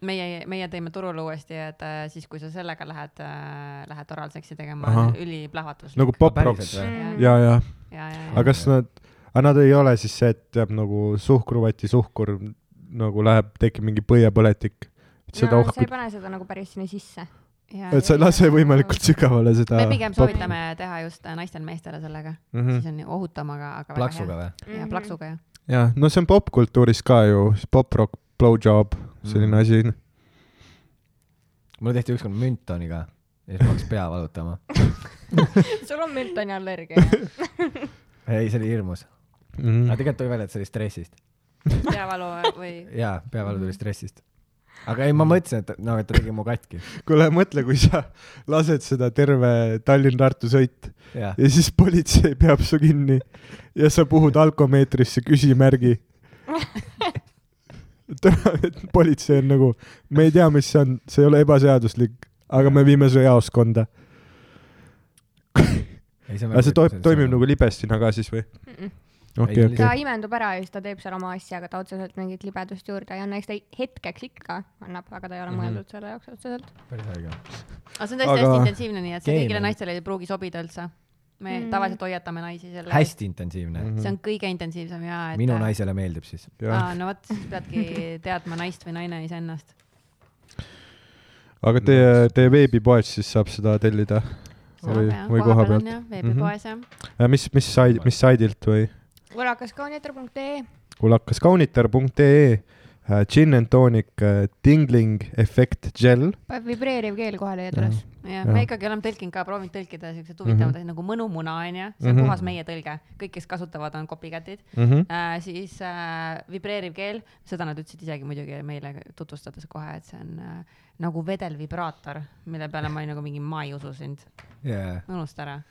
Speaker 1: meie , meie teeme turule uuesti , et äh, siis , kui sa sellega lähed äh, , lähed oraalseksi tegema
Speaker 4: Ahah. ,
Speaker 1: üliplahvatuslik .
Speaker 4: nagu
Speaker 2: Ah,
Speaker 4: poproks
Speaker 2: päriselt või?
Speaker 4: ja , ja ,
Speaker 1: ja , ja , ja
Speaker 4: aga . kas nad , aga nad ei ole siis see , et jääb nagu suhkruvati suhkur nagu läheb , tekib mingi põiepõletik , et seda
Speaker 3: no
Speaker 4: no,
Speaker 3: sa ei
Speaker 4: ohku ,
Speaker 3: pane seda nagu päris sinna sisse .
Speaker 4: et sa äh, ei lase võimalikult sügavale seda . Mhm.
Speaker 1: me pigem soovitame teha just äh, naistel-meestele sellega mm. , siis on ju ohutam , aga , aga .
Speaker 2: plaksuga või ?
Speaker 1: või ? jaa , plaksuga jah .
Speaker 4: jah , no see on popkultuuris ka ju , poprock , blowjob , selline asi .
Speaker 2: mulle tehti ükskord müntoniga ja siis ma hakkasin pea valutama .
Speaker 3: sul on müntoni allergia jah ?
Speaker 2: ei , see oli hirmus .
Speaker 4: Mhm. Mm.
Speaker 2: aga tegelikult tuli välja , et see oli stressist .
Speaker 1: peavalu või ?
Speaker 2: jaa , peavalu tuli stressist . aga ei , ma mõtlesin , et noh , et ta tegi mu katki .
Speaker 4: kuule , mõtle , kui sa lased seda terve Tallinn-Tartu sõit
Speaker 2: jah ,
Speaker 4: ja siis politsei peab su kinni ja sa puhud alkomeetrisse küsimärgi . politsei on nagu , me ei tea , mis see on , see ei ole ebaseaduslik , aga me viime su jaoskonda .
Speaker 2: ei Nagu see on
Speaker 4: aga see toib , toimib nagu libestina ka siis või ? okei ,
Speaker 2: Ei,
Speaker 4: okei
Speaker 3: ta . imendub ära ja siis ta teeb seal oma asja , aga ta otseselt mingit libedust juurde ei anna , eks ta hetkeks ikka annab , aga ta ei ole
Speaker 4: Mhm.
Speaker 3: mõeldud selle jaoks otseselt .
Speaker 4: nagu-
Speaker 2: päris õige .
Speaker 1: aga see on tõesti
Speaker 4: Aga-
Speaker 1: hästi intensiivne , nii et see
Speaker 2: Game
Speaker 1: kõigile
Speaker 2: on-
Speaker 1: naistele ei pruugi sobida üldse . me
Speaker 3: Mm.
Speaker 1: mm. tavaliselt hoiatame naisi selle .
Speaker 2: hästi intensiivne .
Speaker 4: Mm.
Speaker 1: see
Speaker 4: Mhm.
Speaker 1: on kõige intensiivsem ja et .
Speaker 2: minu . naisele meeldib siis .
Speaker 1: aa , no vot , siis peadki teadma naist või naine iseennast .
Speaker 4: aga teie , teie veebipoest siis saab seda tellida ? või , või koha pealt ?. Mhm.
Speaker 1: veebipoes jah .
Speaker 4: mis , mis said , mis saidilt või ?
Speaker 3: võlakaskaunitor.ee
Speaker 4: kulaskaskauniter.ee äh, Gin and tonic äh, tingling efekt gel .
Speaker 3: paneb vibreeriv keel kohale ja tulles .
Speaker 1: ja
Speaker 4: Jah.
Speaker 1: me ikkagi oleme tõlkinud ka , proovinud tõlkida siukseid huvitavaid asju nagu mõnumuna onju , see on
Speaker 4: Mhm.
Speaker 1: puhas meie tõlge , kõik , kes kasutavad , on copycat'id
Speaker 2: Mhm.
Speaker 1: äh, . siis äh, vibreeriv keel , seda nad ütlesid isegi muidugi meile tutvustades kohe , et see on äh, nagu vedelvibraator , mille peale ma olin nagu mingi , ma ei usu sind ,
Speaker 2: jaa .
Speaker 1: unusta ära .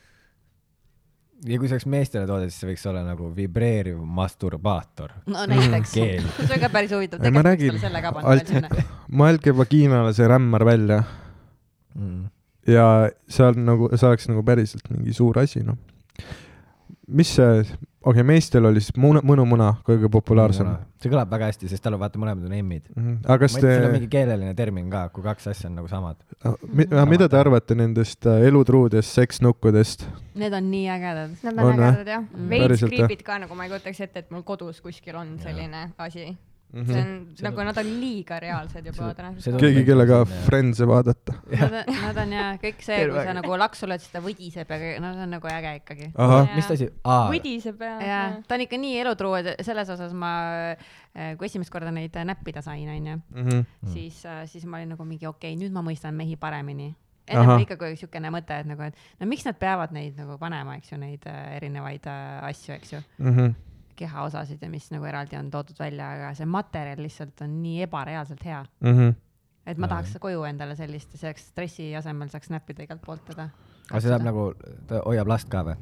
Speaker 2: ja kui see oleks meestele toode , siis see võiks olla nagu vibreeriv masturbaator .
Speaker 1: no näiteks ,
Speaker 2: Keel.
Speaker 1: see on ka päris huvitav ,
Speaker 4: Mhm. Ei, ma
Speaker 1: tegelikult võiks
Speaker 4: räägin,
Speaker 1: talle selle ka panna veel
Speaker 4: alt-
Speaker 1: sinna .
Speaker 4: mõelge vagiinale see rämmar välja ja seal nagu , see oleks nagu päriselt mingi suur asi , noh . mis see , okei okay, , meestel oli siis muna , mõnumuna kõige populaarsem .
Speaker 2: see kõlab väga hästi , sest tal on vaata , mõlemad on emmid .
Speaker 4: aga kas
Speaker 2: ma ei
Speaker 4: te ah,
Speaker 2: tea , seal on mingi , keeleline termin ka , kui kaks asja on nagu samad .
Speaker 4: mida te arvate nendest äh, elutruudest seksnukkudest ?
Speaker 1: Need on nii ägedad .
Speaker 3: Nad
Speaker 4: On
Speaker 3: on ägedad jah ,
Speaker 1: Mm.
Speaker 3: veits
Speaker 4: Päriselt, jah?
Speaker 3: kriipid ka nagu ma ei kujutaks ette , et mul kodus kuskil on selline asi .
Speaker 4: Mhm.
Speaker 3: see on nagu nad on liiga reaalsed juba tänasel
Speaker 4: keegi , kellega . Friends'e vaadata .
Speaker 1: Nad on , nad on jaa , kõik see , kui
Speaker 4: Terve.
Speaker 1: sa nagu laksu lööd , siis ta võdiseb ja kõik- no see on nagu äge ikkagi .
Speaker 4: ahah ,
Speaker 2: mis ta asi , aa ,
Speaker 3: võdiseb ja
Speaker 1: jaa , ta on ikka nii elutruu , et selles osas ma , kui esimest korda neid äh, näppida sain , onju ,
Speaker 4: Mhm, Mm.
Speaker 1: siis , siis ma olin nagu mingi okei okay, , nüüd ma mõistan mehi paremini . ennem
Speaker 4: Ahah.
Speaker 1: oli ikka kui siukene mõte , et nagu , et no miks nad peavad neid nagu panema , eks ju , neid äh, erinevaid äh, asju , eks ju ,
Speaker 4: mhm,
Speaker 1: kehaosasid ja mis nagu eraldi on toodud välja , aga see materjal lihtsalt on nii ebareaalselt hea ,
Speaker 4: mhm.
Speaker 1: et ma
Speaker 2: Jaa,
Speaker 1: tahaks koju endale sellist , see oleks stressi asemel saaks näppida igalt poolt teda .
Speaker 2: aga see läheb nagu , ta hoiab last ka või ?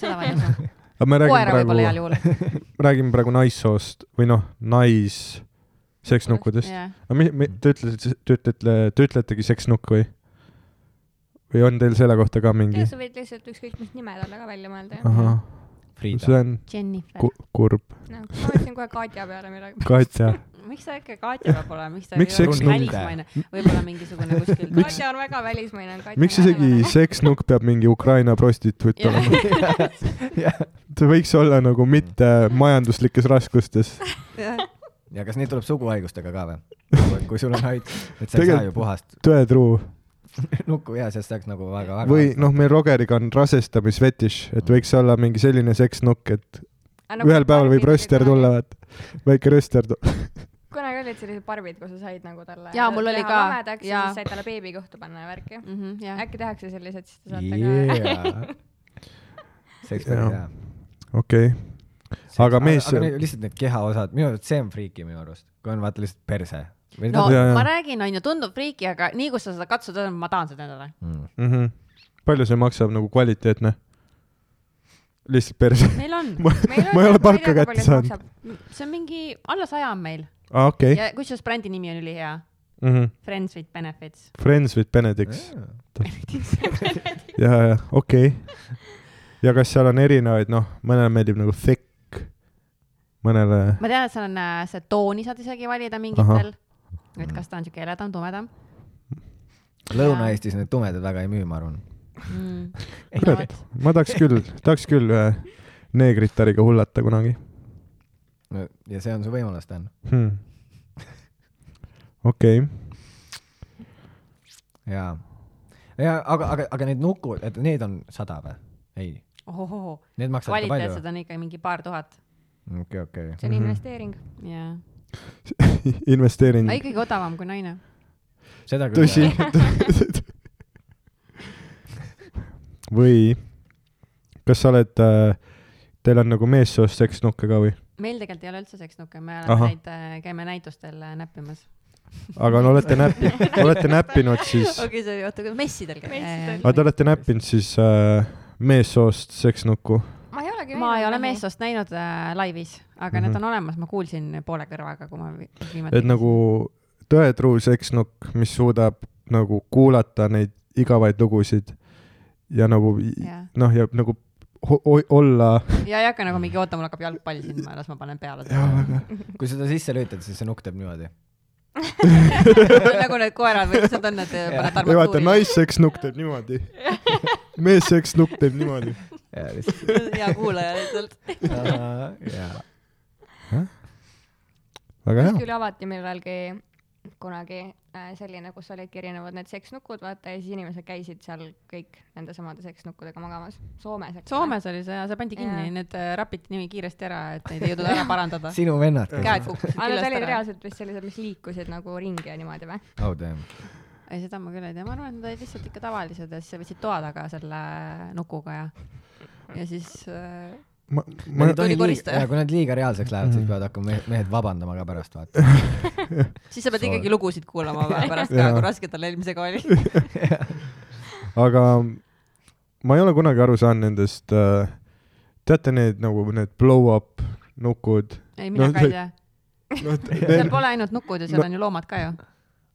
Speaker 1: seda ma ei usu .
Speaker 4: aga ma räägin
Speaker 1: koera võib-olla heal
Speaker 4: praegu ,
Speaker 1: juhul .
Speaker 4: räägin praegu naissoost või noh , nais seksnukkudest .
Speaker 1: Jah.
Speaker 4: aga mi- , mi- , te ütlesite , te ütlete , te ütletegi seksnukk või ? või on teil selle kohta ka mingi
Speaker 3: ja ? sa võid lihtsalt ükskõik mis nime talle ka välja mõelda jah .
Speaker 4: ahah , see
Speaker 2: Friida .
Speaker 4: on
Speaker 1: Jennifer
Speaker 4: ku- , kurb .
Speaker 3: noh , ma mõtlesin kohe Katja peale midagi .
Speaker 4: Katja ,
Speaker 1: miks ta ikka Katja peab olema , miks ta
Speaker 4: Miks
Speaker 1: ei ole
Speaker 4: seks
Speaker 1: mingi
Speaker 4: null?
Speaker 1: välismaine , võib-olla mingisugune kuskil
Speaker 3: Katja on väga välismaine .
Speaker 4: miks isegi seksnukk peab mingi Ukraina prostituut
Speaker 1: Jah.
Speaker 4: olema ? ta võiks olla nagu mitte majanduslikes raskustes .
Speaker 2: ja kas neid tuleb suguhaigustega ka või ? kui sul on haig- , et sa ei saa ju puhast
Speaker 4: tõetruu .
Speaker 2: nukku ja siis saaks nagu väga , väga .
Speaker 4: või noh , meil Rogeriga on rasestamisfetiš , et võiks olla mingi selline seksnukk , et
Speaker 3: nagu
Speaker 4: ühel päeval võib rööster tulla ,. vaata . väike rööster tu- .
Speaker 3: kunagi olid sellised barbid , kus sa said nagu talle .
Speaker 1: Jaa, mul oli ka.
Speaker 3: lamedaks ja
Speaker 1: Jaa.
Speaker 3: siis said talle beebi kohta panna ja värki .
Speaker 1: mm . -hmm,
Speaker 3: äkki tehakse sellised , siis te saate ka .
Speaker 2: jaa . see oleks päris
Speaker 4: Jaa.
Speaker 2: hea .
Speaker 4: okei , Aga mees-
Speaker 2: aga need- lihtsalt need kehaosad , minu arust see on friiki minu arust , kui on vaata lihtsalt perse .
Speaker 1: no
Speaker 4: Jaa, jaa.
Speaker 1: ma räägin , onju , tundub friiki , aga nii , kus sa seda katsud , ma tahan seda endale .
Speaker 4: Mhm. palju see maksab nagu kvaliteetne ? lihtsalt perse .
Speaker 1: meil on , nagu
Speaker 4: ma ei
Speaker 3: nagu
Speaker 4: ole palka kätte saanud ..
Speaker 1: see on mingi , alla saja on meil
Speaker 4: aa , okei . Mhm.
Speaker 1: ja kusjuures brändi nimi on ülihea , Friends with Benefits .
Speaker 4: Friends with Benedicts . ja , ja okei okay. . ja kas seal on erinevaid , noh , mõnele meeldib nagu thick , mõnele ,
Speaker 1: ma tean , et seal on äh, see tooni saad isegi valida mingitel , et kas ta on siuke heledam , tumedam
Speaker 2: Lõuna-Eestis need tumedad väga ei müü , ma arvan .
Speaker 1: mm. .
Speaker 4: kurat , ma tahaks küll , tahaks küll ühe neegritariga hullata kunagi
Speaker 2: ja see on su võimalus , Dan .
Speaker 4: hmm. . okei okay. ,
Speaker 2: jaa . ja aga , aga , aga need nukud , et need on sada või ? ei ,
Speaker 1: ohohoh ,
Speaker 2: need maksavad ka palju
Speaker 1: kvaliteetsed . on ikka mingi paar tuhat
Speaker 2: okei , okei .
Speaker 3: see on
Speaker 4: Mhm.
Speaker 3: investeering .
Speaker 1: ja ,
Speaker 4: investeering
Speaker 1: aga . ikkagi odavam kui naine .
Speaker 2: seda küll .
Speaker 4: tõsi . või kas sa oled äh, , teil on nagu meessoost seksnukke ka või ?
Speaker 1: meil tegelikult ei ole üldse seksnukke , me
Speaker 4: Ahah.
Speaker 1: oleme neid , käime näitustel äh, näppimas .
Speaker 4: aga no olete näppinud , olete näppinud siis ,
Speaker 1: okei , see oli , oota , messidel
Speaker 7: Messidel.
Speaker 4: aga te olete näppinud siis äh, meessoost seksnukku ?
Speaker 3: ma ei olegi .
Speaker 1: ma ei ole . meessoost näinud äh, laivis , aga mm -hmm.
Speaker 4: Mhm.
Speaker 1: need on olemas , ma kuulsin poole kõrvaga , kui ma vi- viimati .
Speaker 4: et nagu tõetruu seksnukk , mis suudab nagu kuulata neid igavaid lugusid ja nagu i-
Speaker 1: ja ,
Speaker 4: noh , ja nagu ho- ho- olla ,
Speaker 1: ja ei hakka nagu mingi oota , mul hakkab jalgpall siin , las ma panen peale .
Speaker 2: kui seda sisse lülitad , siis see nukk teeb niimoodi .
Speaker 1: nagu need koerad või mis nad on , need äh, paned
Speaker 4: ei vaata ,
Speaker 1: armatuuri
Speaker 4: naisseksnukk teeb niimoodi , meesseksnukk teeb niimoodi .
Speaker 2: ja lihtsalt ,
Speaker 1: ja kuulaja lihtsalt .
Speaker 2: jaa .
Speaker 4: väga hea ,
Speaker 3: kuskil avati millalgi kunagi äh, selline , kus olidki erinevad need seksnukud , vaata ja siis inimesed käisid seal kõik nende samade seksnukkudega magamas . Soomes , eks
Speaker 1: Soomes oli see ja see pandi kinni ,
Speaker 3: Jaa.
Speaker 1: need äh, rapiti nii kiiresti ära , et neid ei jõudnud ära parandada .
Speaker 2: sinu vennad
Speaker 1: käed . kukkusid
Speaker 3: aga need
Speaker 1: küljest
Speaker 3: olid
Speaker 1: ära .
Speaker 3: reaalselt vist sellised , mis liikusid nagu ringi ja niimoodi või ?
Speaker 2: oh damn .
Speaker 1: ei , seda ma küll ei tea , ma arvan , et nad olid lihtsalt ikka tavalised ja siis võtsid toa taga selle nukuga ja , ja siis äh,
Speaker 4: ma ,
Speaker 2: ma
Speaker 4: ma
Speaker 2: ei , tohi
Speaker 1: Tuli
Speaker 2: liiga ,
Speaker 1: koristaja.
Speaker 2: jaa , kui nad liiga reaalseks lähevad ,
Speaker 4: Mm.
Speaker 2: siis peavad hakkama mehed, mehed vabandama ka pärast , vaata .
Speaker 1: siis sa pead
Speaker 2: Sorry.
Speaker 1: ikkagi lugusid kuulama vä- pärast ka
Speaker 4: Jaa. ,
Speaker 1: kui raske tal eelmisega oli .
Speaker 4: aga ma ei ole kunagi aru saanud nendest äh, , teate need nagu need blow-up nukud ,
Speaker 1: ei , mina
Speaker 4: No
Speaker 1: no, ka
Speaker 4: see-
Speaker 1: ei tea .
Speaker 4: noh ,
Speaker 1: seal
Speaker 4: need
Speaker 1: pole ainult nukud ju , seal
Speaker 4: No-
Speaker 1: no. on ju loomad ka ju .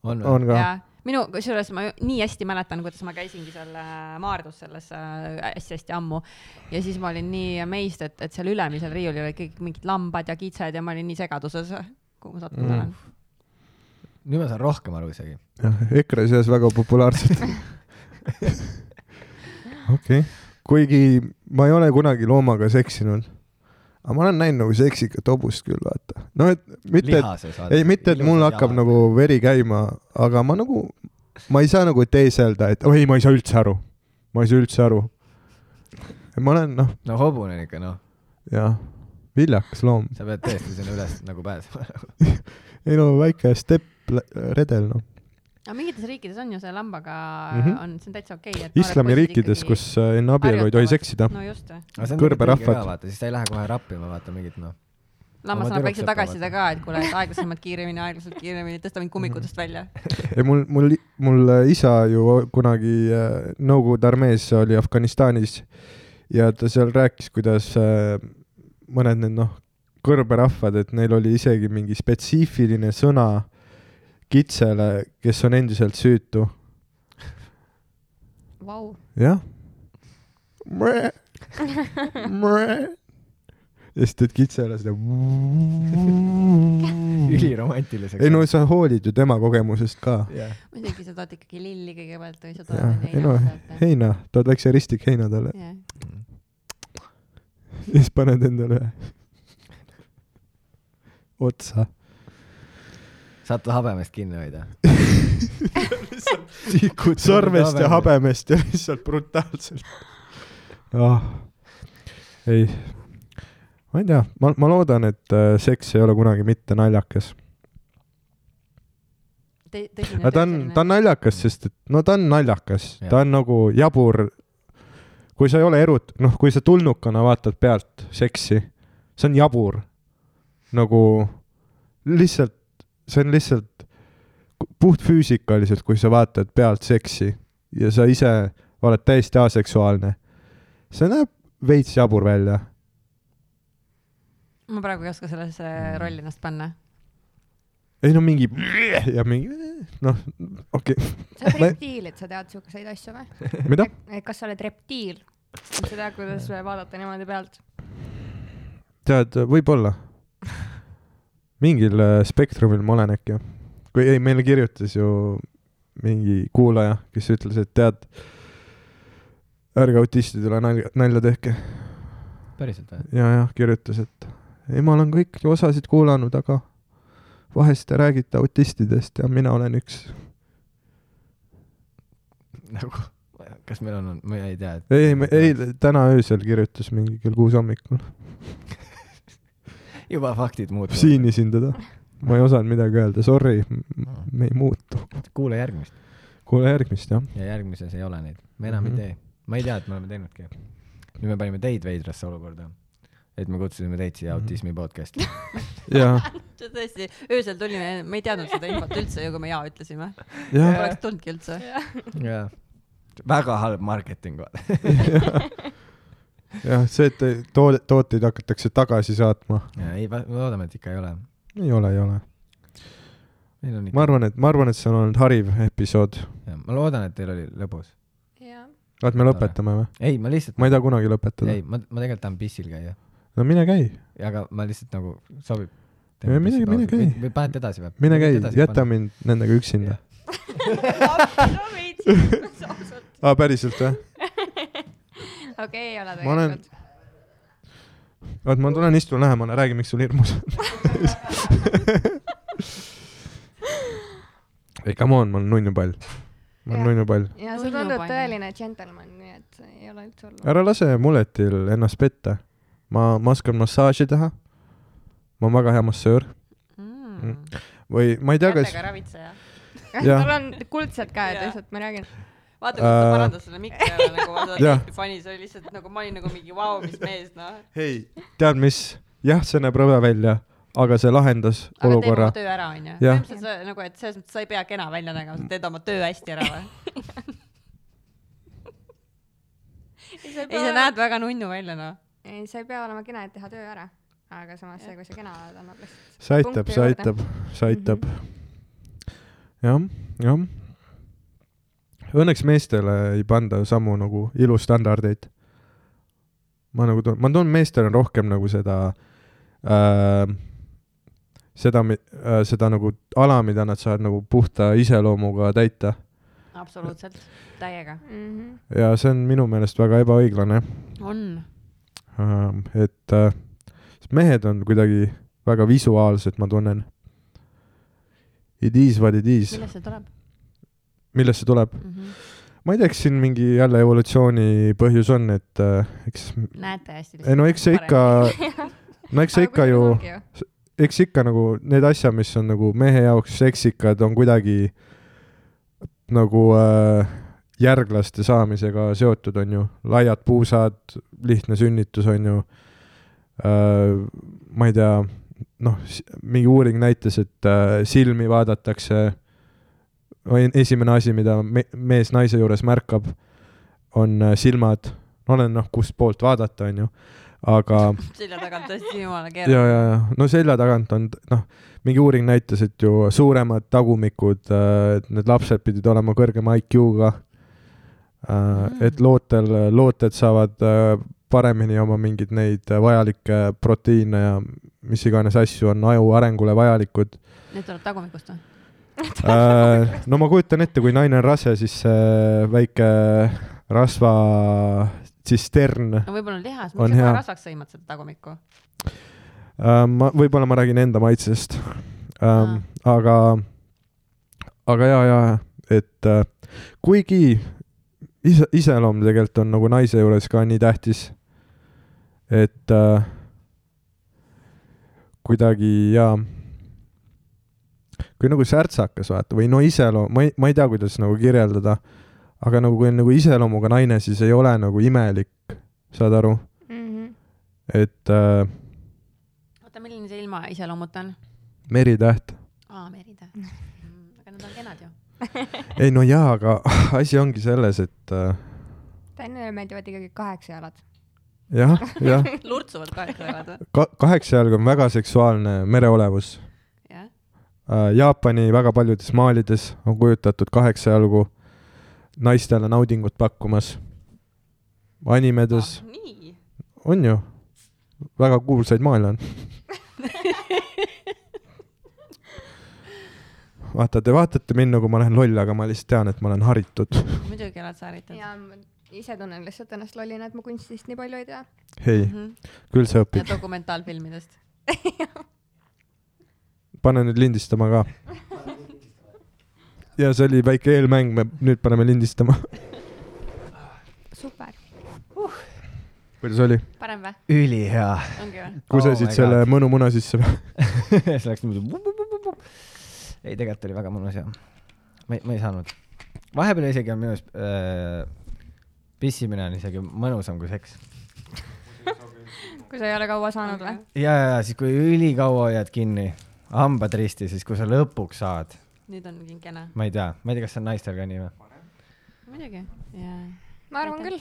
Speaker 2: on või ?
Speaker 4: on ka
Speaker 1: ja minu , kusjuures ma ju- nii hästi mäletan , kuidas ma käisingi seal äh, Maardus selles äh, hästi-hästi ammu ja siis ma olin nii amazed , et , et seal ülemisel riiulil olid kõik mingid lambad ja kitsed ja ma olin nii segaduses , kuhu ma sattunud
Speaker 4: Mm.
Speaker 1: olen .
Speaker 2: nüüd ma saan rohkem aru isegi .
Speaker 4: jah , EKRE seas väga populaarsed . okei , kuigi ma ei ole kunagi loomaga seksinud . aga ma olen näinud nagu seksikat hobust küll , vaata . no et mitte ,
Speaker 2: lihases .
Speaker 4: et ei mitte , et mul hakkab jalad. nagu veri käima , aga ma nagu , ma ei saa nagu teeselda , et oi , ma ei saa üldse aru . ma ei saa üldse aru . ma olen noh ,
Speaker 2: no hobune on ikka , noh .
Speaker 4: jah , viljakas loom .
Speaker 2: sa pead tõesti sinna üles nagu pääsema .
Speaker 4: ei no väike stepp , redel noh .
Speaker 1: aga mingites riikides on ju see lambaga mm ,
Speaker 4: Mhm.
Speaker 1: -hmm. on , see on täitsa okei okay, .
Speaker 4: islamiriikides , kus äh, enne abielu ei tohi
Speaker 1: harjutavad.
Speaker 4: seksida .
Speaker 1: no just ,
Speaker 4: Kõrberahvad.
Speaker 2: vaata , siis ta ei lähe kohe rappima , vaata mingit , noh .
Speaker 1: lammas
Speaker 2: Oma
Speaker 1: annab väikse
Speaker 2: tüdruksed
Speaker 1: tagasiside ka , et kuule , et aeglasemalt kiiremini , aeglaselt kiiremini , tõsta mind kummikutest välja .
Speaker 4: ei mul , mul , mul isa ju kunagi äh, Nõukogude armees oli Afganistanis ja ta seal rääkis , kuidas äh, mõned need noh , kõrberahvad , et neil oli isegi mingi spetsiifiline sõna kitsele , kes on endiselt süütu .
Speaker 3: Vau .
Speaker 4: jah . ja siis teed kitsele seda . Mm. ei
Speaker 2: üliromantiliseks .
Speaker 4: no sa hoolid ju tema kogemusest ka .
Speaker 2: jah ,
Speaker 1: muidugi sa tood ikkagi lilli kõigepealt või sa tood
Speaker 4: jah , ei no
Speaker 1: neid
Speaker 4: heina , tood väikse ristik heina talle .
Speaker 1: heina .
Speaker 4: ja siis paned endale otsa .
Speaker 2: saad ta habemest kinni hoida .
Speaker 4: tikud sarvest ja habemest ja lihtsalt brutaalselt ah. . ei , ma ei tea , ma , ma loodan , et äh, seks ei ole kunagi mitte naljakas . aga ta on , ta on naljakas , sest et no ta on naljakas ,
Speaker 2: Jah.
Speaker 4: ta on nagu jabur . kui sa ei ole erut- , noh , kui sa tulnukana vaatad pealt seksi , see on jabur . nagu lihtsalt , see on lihtsalt ku- puhtfüüsikaliselt , kui sa vaatad pealt seksi ja sa ise oled täiesti aseksuaalne , see näeb veits jabur välja .
Speaker 1: ma praegu ei oska sellesse
Speaker 4: Mm.
Speaker 1: rolli ennast panna .
Speaker 4: ei no mingi ja mingi noh , okei okay. ,
Speaker 3: sa oled
Speaker 4: Ma-
Speaker 3: reptiil , et sa tead siukseid asju või ?
Speaker 4: mida ?
Speaker 3: kas sa oled reptiil ? tahtnud seda , kuidas vaadata niimoodi pealt .
Speaker 4: tead , võib-olla . mingil äh, spektrumil ma olen äkki . kui ei , meile kirjutas ju mingi kuulaja , kes ütles , et tead , ärge autistidele nalja , nalja tehke .
Speaker 2: päriselt või ?
Speaker 4: ja , jah , kirjutas , et ei , ma olen kõiki osasid kuulanud , aga vahest te räägite autistidest ja mina olen üks .
Speaker 2: nagu , kas meil on , ma ei tea .
Speaker 4: ei , ei , ei , täna öösel kirjutas mingi kell kuus hommikul .
Speaker 2: juba faktid muutuvad .
Speaker 4: siinisin teda . ma ei osanud midagi öelda , sorry , me ei muutu .
Speaker 2: kuula järgmist
Speaker 4: kuule järgmist , jah .
Speaker 2: ja järgmises ei ole neid . me enam mm
Speaker 4: Mhm.
Speaker 2: -hmm. ei tee . ma ei tea , et me oleme teinudki . nüüd me panime teid veidrasse olukorda . et me kutsusime teid siia mm
Speaker 4: Mhm.
Speaker 2: -hmm. autismi podcast'i .
Speaker 4: jah ,
Speaker 1: see tõesti , öösel tulime , me ei teadnud seda infot üldse ju , kui me jaa ütlesime .
Speaker 4: jah .
Speaker 1: poleks tulnudki üldse .
Speaker 2: jaa . väga halb marketing .
Speaker 4: jah , see , et toode , tooteid hakatakse tagasi saatma ,
Speaker 2: ei , loodame , et ikka ei ole .
Speaker 4: ei ole , ei ole .
Speaker 2: meil on ikka .
Speaker 4: ma . arvan , et ma arvan , et see on olnud hariv episood .
Speaker 2: ma loodan , et teil oli lõbus .
Speaker 3: jah ,
Speaker 4: vaat me lõpetame või ?
Speaker 2: ei , ma lihtsalt ,
Speaker 4: ma ei taha kunagi lõpetada
Speaker 2: ei ,. ma , ma tegelikult tahan pissil käia ,
Speaker 4: no mine käi ,
Speaker 2: aga ma lihtsalt nagu sobib .
Speaker 4: Ei, mine- mine käi.
Speaker 2: või panete edasi või ?
Speaker 4: mine käi , jäta . mind nendega üksinda
Speaker 2: Jah. .
Speaker 7: no veits , ausalt .
Speaker 4: aa , Ah, päriselt või ?
Speaker 3: okei , ei ole
Speaker 4: ma olen , oot , ma tulen istun lähemale , räägi , miks sul hirmus on ei , come on , ma olen nunnupall . ma
Speaker 3: Jah.
Speaker 4: olen nunnupall .
Speaker 3: ja sa
Speaker 1: Nunnu
Speaker 3: tundud
Speaker 1: panna.
Speaker 3: tõeline džentelman , nii et ei ole üldse hullu .
Speaker 4: ära lase muletil ennast petta . ma , ma oskan massaaži teha . ma olen väga hea massöör või ma ei tea , kas
Speaker 1: kätega Mm. ravitseja .
Speaker 4: jah.
Speaker 3: tal on kuldsed käed
Speaker 1: Jah.
Speaker 3: lihtsalt , ma räägin .
Speaker 1: vaata , kuidas ta
Speaker 4: Äh,
Speaker 1: parandas selle mikri ära nagu , ma seda
Speaker 4: jah.
Speaker 1: tihti panin , see oli lihtsalt nagu , ma olin nagu mingi vau , mis mees , noh .
Speaker 4: hei , tead mis , jah , see näeb rõve välja , aga see lahendas
Speaker 1: aga teeb
Speaker 4: olukorra
Speaker 1: oma . töö ära , onju .
Speaker 4: Jah.
Speaker 1: selles mõttes nagu , et selles mõttes sa ei pea kena välja nägema , sa teed oma töö hästi ära või ? ei , sa näed väga nunnu välja , noh .
Speaker 3: ei , sa ei pea olema kena , et teha töö ära . aga samas see , kui sa kena oled , annab lihtsalt .
Speaker 4: see aitab ,
Speaker 3: punkti
Speaker 4: see
Speaker 3: juurde.
Speaker 4: aitab ,
Speaker 3: Mhm.
Speaker 4: see aitab . jah , jah . Õnneks meestele ei panda ju samu nagu ilustandardeid . ma nagu tunnen , ma tunnen , meestel on rohkem nagu seda äh, , seda äh, , seda nagu ala , mida nad saavad nagu puhta iseloomuga täita .
Speaker 1: absoluutselt , täiega .
Speaker 3: Mhm.
Speaker 4: ja see on minu meelest väga ebaõiglane .
Speaker 1: on .
Speaker 4: Ähm, et äh, sest mehed on kuidagi väga visuaalsed , ma tunnen . It is what it is ,
Speaker 1: millest see tuleb
Speaker 4: millest see tuleb ?
Speaker 1: mm ? -hmm.
Speaker 4: ma ei tea , eks siin mingi jälle evolutsiooni põhjus on , et äh, eks ,
Speaker 1: näete hästi .
Speaker 4: ei no eks see ikka , no eks see ikka ju , eks ikka nagu need asjad , mis on nagu mehe jaoks seksikad , on kuidagi nagu äh, järglaste saamisega seotud , on ju , laiad puusad , lihtne sünnitus , on ju äh, . ma ei tea , noh , mingi uuring näitas , et äh, silmi vaadatakse , esimene asi , mida me mees naise juures märkab , on äh, silmad , olen noh , kust poolt vaadata , on ju , aga
Speaker 1: selja tagant tõesti jumala
Speaker 4: ja ,
Speaker 1: keeruline .
Speaker 4: ja , ja no selja tagant on t- noh , mingi uuring näitas , et ju suuremad tagumikud , need lapsed pidid olema kõrgema IQ-ga . et lootel , looted saavad äh, paremini oma mingeid neid äh, vajalikke proteiine ja mis iganes asju on aju arengule vajalikud .
Speaker 1: Need tulevad tagumikust või ?
Speaker 4: no ma kujutan ette , kui naine on rase , siis see väike rasvatsistern
Speaker 1: no võib-olla on lihas ,
Speaker 4: On
Speaker 1: miks sa
Speaker 4: hea.
Speaker 1: kohe rasvaks sõimad seda tagumikku ?
Speaker 4: Ähm, ma , võib-olla ma räägin enda maitsest ähm, . aga , aga ja , ja , et äh, kuigi ise , iseloom tegelikult on nagu naise juures ka nii tähtis , et äh, kuidagi ja , kui nagu särtsakas vaata või no iseloom , ma ei , ma ei tea , kuidas nagu kirjeldada , aga nagu kui on nagu iseloomuga naine , siis ei ole nagu imelik , saad aru ,
Speaker 3: Mhm.
Speaker 4: et äh,
Speaker 1: oota , milline see ilma iseloomult on ?
Speaker 4: meritäht
Speaker 1: aa , Merida . Mhm. aga nad on kenad ju .
Speaker 4: ei no jaa , aga asi ongi selles , et äh,
Speaker 3: Tänile meeldivad ikkagi kaheksa jalad .
Speaker 4: jah , jah ,
Speaker 1: lurtsuvad kaheksa jalad või ?
Speaker 4: ka- , kaheksa jalga on väga seksuaalne mereolevus
Speaker 1: jah .
Speaker 4: äh, . Jaapani väga paljudes maalides on kujutatud kaheksa jalgu naistele naudingut pakkumas . animedes ,
Speaker 1: Ah, nii .
Speaker 4: on ju ? väga kuulsaid maale on . vaata , te vaatate mind nagu ma olen loll , aga ma lihtsalt tean , et ma olen haritud .
Speaker 1: muidugi oled sa haritatud .
Speaker 3: ja ma ise tunnen lihtsalt ennast lollina , et ma kunstist nii palju ei tea .
Speaker 4: ei , küll sa
Speaker 1: Mhm. ja
Speaker 4: õpid .
Speaker 1: dokumentaalfilmidest .
Speaker 4: pane nüüd lindistama ka . ja see oli väike eelmäng , me nüüd paneme lindistama .
Speaker 3: super .
Speaker 4: kuidas oli ?
Speaker 1: parem või ?
Speaker 2: ülihea .
Speaker 1: ongi või ?
Speaker 2: Oh
Speaker 4: kusesid
Speaker 2: my
Speaker 4: oh selle
Speaker 2: God.
Speaker 4: mõnumuna sisse või ?
Speaker 2: see läks niimoodi vup-vup-vup-vup. ei , tegelikult oli väga mõnus ja ma ei , ma ei saanud . vahepeal isegi on minu arust äh, pissimine on isegi mõnusam kui seks .
Speaker 3: kui sa ei ole kaua saanud või ?
Speaker 2: ja , ja , ja siis , kui ülikaua hoiad kinni , hambad risti , siis kui sa lõpuks saad ,
Speaker 1: nüüd on mingi kena .
Speaker 2: ma ei tea , ma ei tea , kas see on naistel ka nii või ,
Speaker 1: muidugi . jaa .
Speaker 3: ma arvan küll .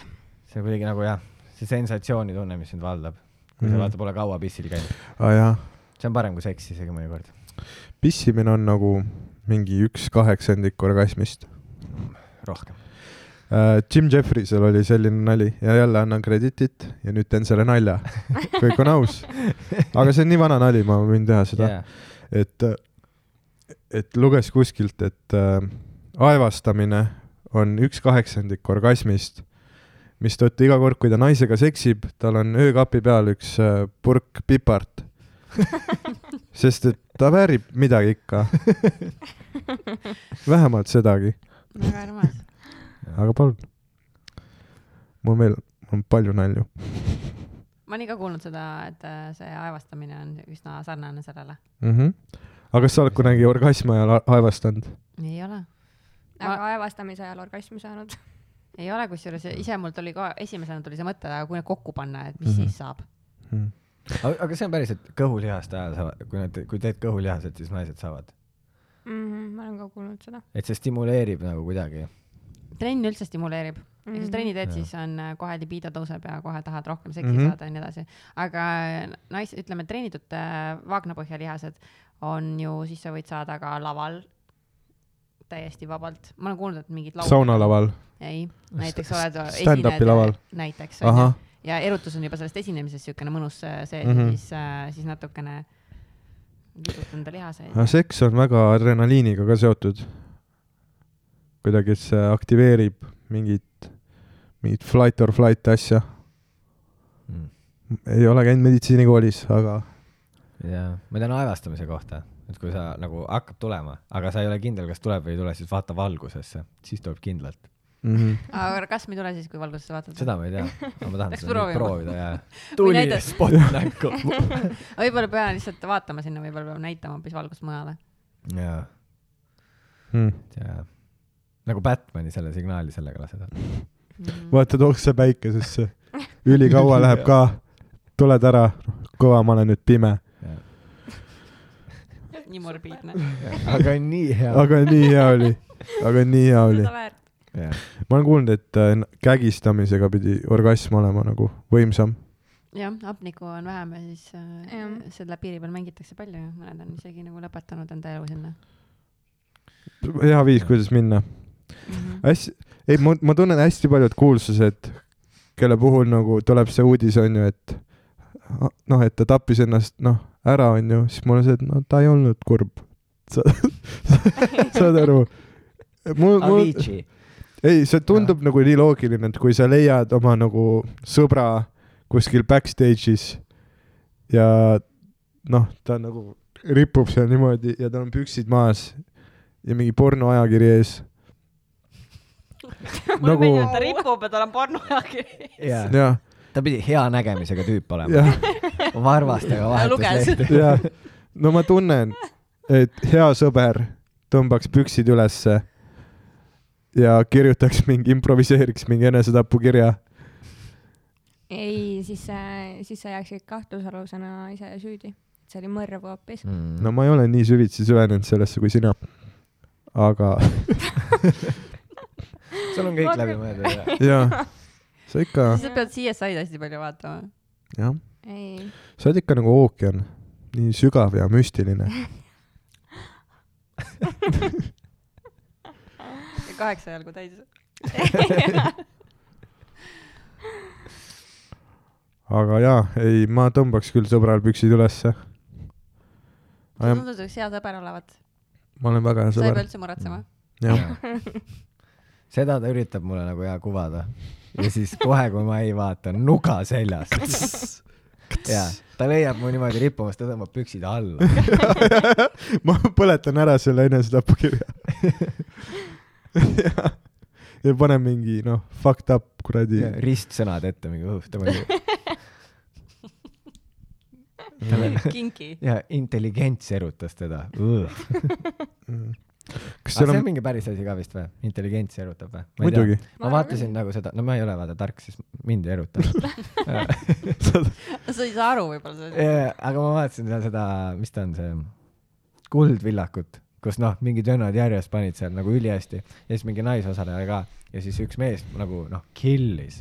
Speaker 2: see on kuidagi nagu jah , see sensatsiooni tunne , mis sind valdab , kui
Speaker 4: Mhm.
Speaker 2: sa vaata pole kaua pissil käinud ,
Speaker 4: aa Mm. Ah, jaa ,
Speaker 2: see on parem kui seks isegi mõnikord .
Speaker 4: pissimine on nagu mingi üks kaheksandik orgasmist .
Speaker 2: rohkem .
Speaker 4: Jim Jeffriesel oli selline nali ja jälle annan krediitit ja nüüd teen selle nalja . kõik on aus . aga see on nii vana nali , ma võin teha seda yeah. , et , et luges kuskilt , et äh, aevastamine on üks kaheksandik orgasmist , mistõttu iga kord , kui ta naisega seksib , tal on öökapi peal üks äh, purk pipart . sest et ta väärib midagi ikka . vähemalt sedagi .
Speaker 1: väga armas .
Speaker 4: aga palun . mul veel on palju nalju .
Speaker 1: ma olen ikka kuulnud seda , et äh, see aevastamine on üsna sarnane sellele .
Speaker 4: aga kas sa oled kunagi orgasmi ajal a- aevastanud ?
Speaker 1: ei ole .
Speaker 3: aga aevastamise ajal orgasmi saanud .
Speaker 1: ei ole , kusjuures ise mul tuli ka , esimesena tuli see mõte , aga kui need kokku panna , et mis mm
Speaker 4: Mhm.
Speaker 1: -hmm. siis saab .
Speaker 2: aga aga see on päriselt kõhulihaste ajal saavad , kui nad , kui teed kõhulihased , siis naised saavad ,
Speaker 3: Mhm, ma olen ka kuulnud seda .
Speaker 2: et see stimuleerib nagu kuidagi .
Speaker 1: trenn üldse stimuleerib mm . -hmm. ja kui sa trenni teed ,
Speaker 2: Jaa.
Speaker 1: siis on äh, kohe libido tõuseb ja kohe tahad rohkem seksi mm
Speaker 4: Mhm.
Speaker 1: -hmm. saada ja nii edasi . aga nais- , ütleme treenitud äh, vaagnapõhjalihased on ju , siis sa võid saada ka laval täiesti vabalt . ma olen kuulnud , et mingid laul- .
Speaker 4: saunalaval ?
Speaker 1: ei , näiteks oled .
Speaker 4: stand-up'i laval. .
Speaker 1: näiteks .
Speaker 4: ahah ,
Speaker 1: ja erutus on juba sellest esinemisest siukene mõnus äh, sees mm
Speaker 4: Mhm.
Speaker 1: -hmm. ja siis , siis natukene liigutad enda lihaseid .
Speaker 4: aga seks on väga adrenaliiniga ka seotud . kuidagi , et see aktiveerib mingit , mingit flight or flight asja .
Speaker 2: Mm.
Speaker 4: ei ole käinud meditsiinikoolis , aga
Speaker 2: jaa , ma tean aevastamise kohta , et kui sa nagu hakkab tulema , aga sa ei ole kindel , kas tuleb või ei tule , siis vaata valgusesse , siis tuleb kindlalt .
Speaker 4: mm . -hmm.
Speaker 1: aga orgasm ei tule siis , kui valgusesse vaatad ?
Speaker 2: seda ma ei tea , aga ma tahan
Speaker 1: Peaks
Speaker 2: seda nüüd
Speaker 1: proovima.
Speaker 2: proovida ja
Speaker 1: Või
Speaker 2: tuli
Speaker 1: näidata.
Speaker 2: spot näkku .
Speaker 1: võib-olla pean lihtsalt vaatama sinna , võib-olla peab näitama hoopis valgust mujale .
Speaker 2: jaa ,
Speaker 4: Mm.
Speaker 2: jaa . nagu Batman'i selle signaali sellega lased .
Speaker 4: vaata , tookseb päikesesse . ülikaua läheb ka . tuled ära , kõva , ma olen nüüd pime .
Speaker 1: nii morbiidne .
Speaker 2: aga nii hea .
Speaker 4: aga nii hea oli , aga nii hea oli .
Speaker 3: väärt .
Speaker 4: ma olen kuulnud , et äh, n- kägistamisega pidi orgasm olema nagu võimsam .
Speaker 1: jah , hapnikku on vähem ja siis äh,
Speaker 3: Jah.
Speaker 1: selle piiri peal mängitakse palju ja mõned on isegi nagu lõpetanud enda elu sinna .
Speaker 4: hea viis , kuidas minna .
Speaker 1: Mhm. Mm.
Speaker 4: hästi , ei , ma , ma tunnen hästi paljud kuulsused , kelle puhul nagu tuleb see uudis , on ju , et a- noh , et ta tappis ennast , noh , ära , on ju , siis mul on see , et no ta ei olnud kurb . sa saad aru ? mul , mul ,
Speaker 2: Avicii .
Speaker 4: ei , see tundub ja. nagu nii loogiline , et kui sa leiad oma nagu sõbra kuskil backstage'is ja noh , ta nagu ripub seal niimoodi ja tal on püksid maas ja mingi pornoajakiri ees . nagu
Speaker 7: ta ripub ja tal on pornoajakiri .
Speaker 2: jaa ,
Speaker 4: jah ,
Speaker 2: ta pidi hea nägemisega tüüp olema .
Speaker 4: jah ,
Speaker 2: varvastega vahetus
Speaker 1: luges.
Speaker 2: lehti .
Speaker 4: jah . no ma tunnen , et hea sõber tõmbaks püksid ülesse ja kirjutaks mingi , improviseeriks mingi enesetapukirja .
Speaker 3: ei , siis , siis sa jääksid kahtlusalusena ise süüdi . see oli mõrv hoopis .
Speaker 4: no
Speaker 2: Mm.
Speaker 4: ma ei ole nii süvitsi süvenenud sellesse kui sina . aga
Speaker 2: sul on kõik läbi mõeldud ja
Speaker 4: jaa , sa ikka ,
Speaker 1: siis sa pead CSI-d hästi palju vaatama .
Speaker 4: jah ,
Speaker 3: ei ,
Speaker 4: sa oled ikka nagu ookean , nii sügav ja müstiline .
Speaker 1: kaheksa jalgu täis .
Speaker 4: aga jaa , ei , ma tõmbaks küll sõbral püksid ülesse .
Speaker 1: sa tundud üks hea sõber olevat ,
Speaker 4: ma olen väga hea
Speaker 1: sa ei pea
Speaker 4: sõber . Mm.
Speaker 1: üldse muretsema .
Speaker 4: jah ,
Speaker 2: seda ta üritab mulle nagu hea kuvada . ja siis kohe , kui ma ei vaata , nuga seljas . ja ta leiab mu niimoodi rippumas , ta tõmbab püksid alla .
Speaker 4: ma põletan ära selle enesetapukirja . ja panen mingi noh , fucked up kuradi .
Speaker 2: ristsõnad ette mingi õhk , ta mingi
Speaker 1: kinki .
Speaker 2: ja intelligents erutas teda . aga
Speaker 4: Mm. kas
Speaker 2: see
Speaker 4: seal
Speaker 2: on
Speaker 4: on ,
Speaker 2: mingi päris asi ka vist või ? intelligents erutab või ?
Speaker 4: muidugi ,
Speaker 2: ma vaatasin nagu seda , no ma ei ole vaata tark , siis mind ei eruta .
Speaker 1: sa ei saa aru võib-olla sellest .
Speaker 2: Jaa, aga ma vaatasin seal seda , mis ta on , see Kuldvillakut , kus noh , mingid vennad järjest panid seal nagu ülihästi ja siis mingi naisosaleja ka ja siis üks mees nagu noh , killis .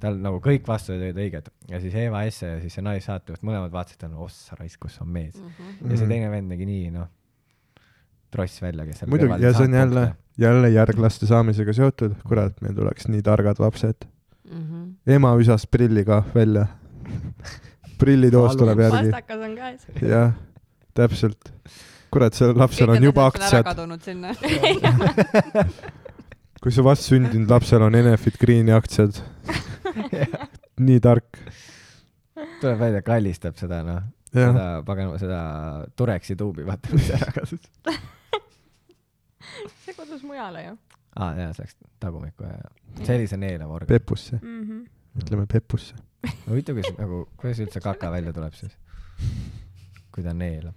Speaker 2: tal nagu kõik vastused olid õiged ja siis Eva Esse ja siis see naissaatejuht , mõlemad vaatasid , et no ossa raisk , kus on mees mm .
Speaker 1: Mhm.
Speaker 2: -hmm. ja see
Speaker 4: Mhm.
Speaker 2: teine vend nägi nii noh , tross välja , kes seal
Speaker 4: muidugi
Speaker 2: kõrval
Speaker 4: ja see on
Speaker 2: saatejuht-
Speaker 4: jälle , jälle järglaste saamisega seotud , kurat , meil tuleks nii targad lapsed .
Speaker 1: Mhm.
Speaker 4: ema visas prilliga välja . prillitoos tuleb järgi ,
Speaker 7: pastakas on käes .
Speaker 4: jah , täpselt . kurat , sellel lapsel on juba aktsiad ,
Speaker 1: kadunud sinna .
Speaker 4: kui su vastsündinud lapsel on Enefit Greeni aktsiad . nii tark ,
Speaker 2: tuleb välja , kallistab seda noh ,
Speaker 4: jah
Speaker 2: seda paganama , seda Tureksi tuubi , vaata mis ära kasus .
Speaker 7: see kodus mujale ju .
Speaker 2: aa ah, jaa , see läks tagumikku ja , see oli see neelav organ .
Speaker 4: pepusse ,
Speaker 3: Mhm.
Speaker 7: see
Speaker 4: ütleme pepusse .
Speaker 2: huvitav , kuidas nagu , kuidas üldse kaka välja tuleb siis ? kui ta neelab .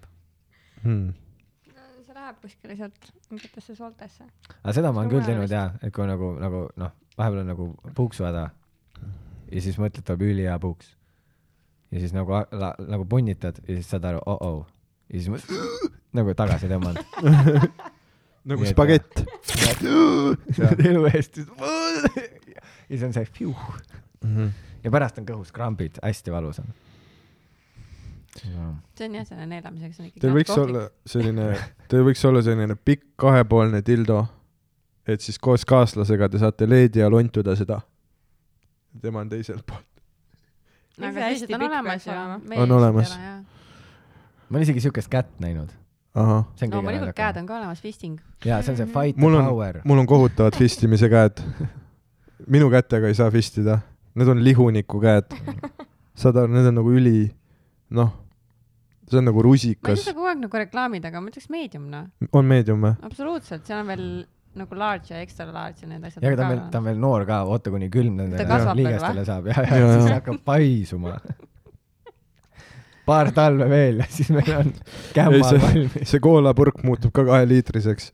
Speaker 4: Hmm.
Speaker 7: läheb kuskile sealt mingitesse sooltesse .
Speaker 2: aga seda ma
Speaker 7: See on
Speaker 2: olen küll
Speaker 7: vaja
Speaker 2: teinud jaa , et kui nagu , nagu noh , vahepeal on nagu puuksuhäda ja siis mõtled , tuleb ülihea puuks . ja siis nagu , nagu punnitad ja siis saad aru , oh-oh . ja siis mõtled , nagu tagasi tõmbad .
Speaker 4: nagu
Speaker 2: Nii et-
Speaker 4: spagett .
Speaker 2: elu eest . ja siis on see piuh. ja pärast on kõhus krambid , hästi valus on no. .
Speaker 1: see on jah , selle neelamiseks on ikkagi .
Speaker 4: Teil võiks olla selline , teil võiks olla selline pikk kahepoolne dildo , et siis koos kaaslasega te saate leedi all ontuda seda . tema on teisel pool .
Speaker 1: aga
Speaker 7: Miks see
Speaker 1: teised
Speaker 7: hästi
Speaker 1: on
Speaker 7: pikk
Speaker 1: olemas
Speaker 7: peaks
Speaker 1: ju
Speaker 7: olema? .
Speaker 4: On olemas. .
Speaker 2: ma olen isegi siukest kätt näinud .
Speaker 4: ahah ,
Speaker 2: see on kõige
Speaker 1: loomulikult käed on Mhm. ka olemas , fisting .
Speaker 2: jaa , see on see fight
Speaker 4: Mul
Speaker 2: the
Speaker 4: on-
Speaker 2: power .
Speaker 4: mul on kohutavad fistimise käed . minu kätega ei saa fistida , need on lihuniku käed . saad aru , need on nagu üli , noh , see on nagu
Speaker 1: ma ei tea ,
Speaker 4: rusikas
Speaker 1: sa . kogu aeg nagu reklaamid , aga ma ütleks meedium noh ,
Speaker 4: on meedium või ?
Speaker 1: absoluutselt , seal on veel nagu large ja extra large ja need asjad .
Speaker 2: ja aga ta on veel , ta on veel noor ka , oota kuni külm
Speaker 1: Ta
Speaker 2: nendele
Speaker 1: kasvab veel,
Speaker 2: liigestele
Speaker 1: või?
Speaker 2: saab ja ,
Speaker 4: Ja,
Speaker 2: ja siis
Speaker 4: ja.
Speaker 2: hakkab paisuma . paar talve veel ja siis meil on
Speaker 4: ei ,
Speaker 2: kämmal
Speaker 4: see ,
Speaker 2: valmis .
Speaker 4: see koolapurk muutub ka kaheliitriseks .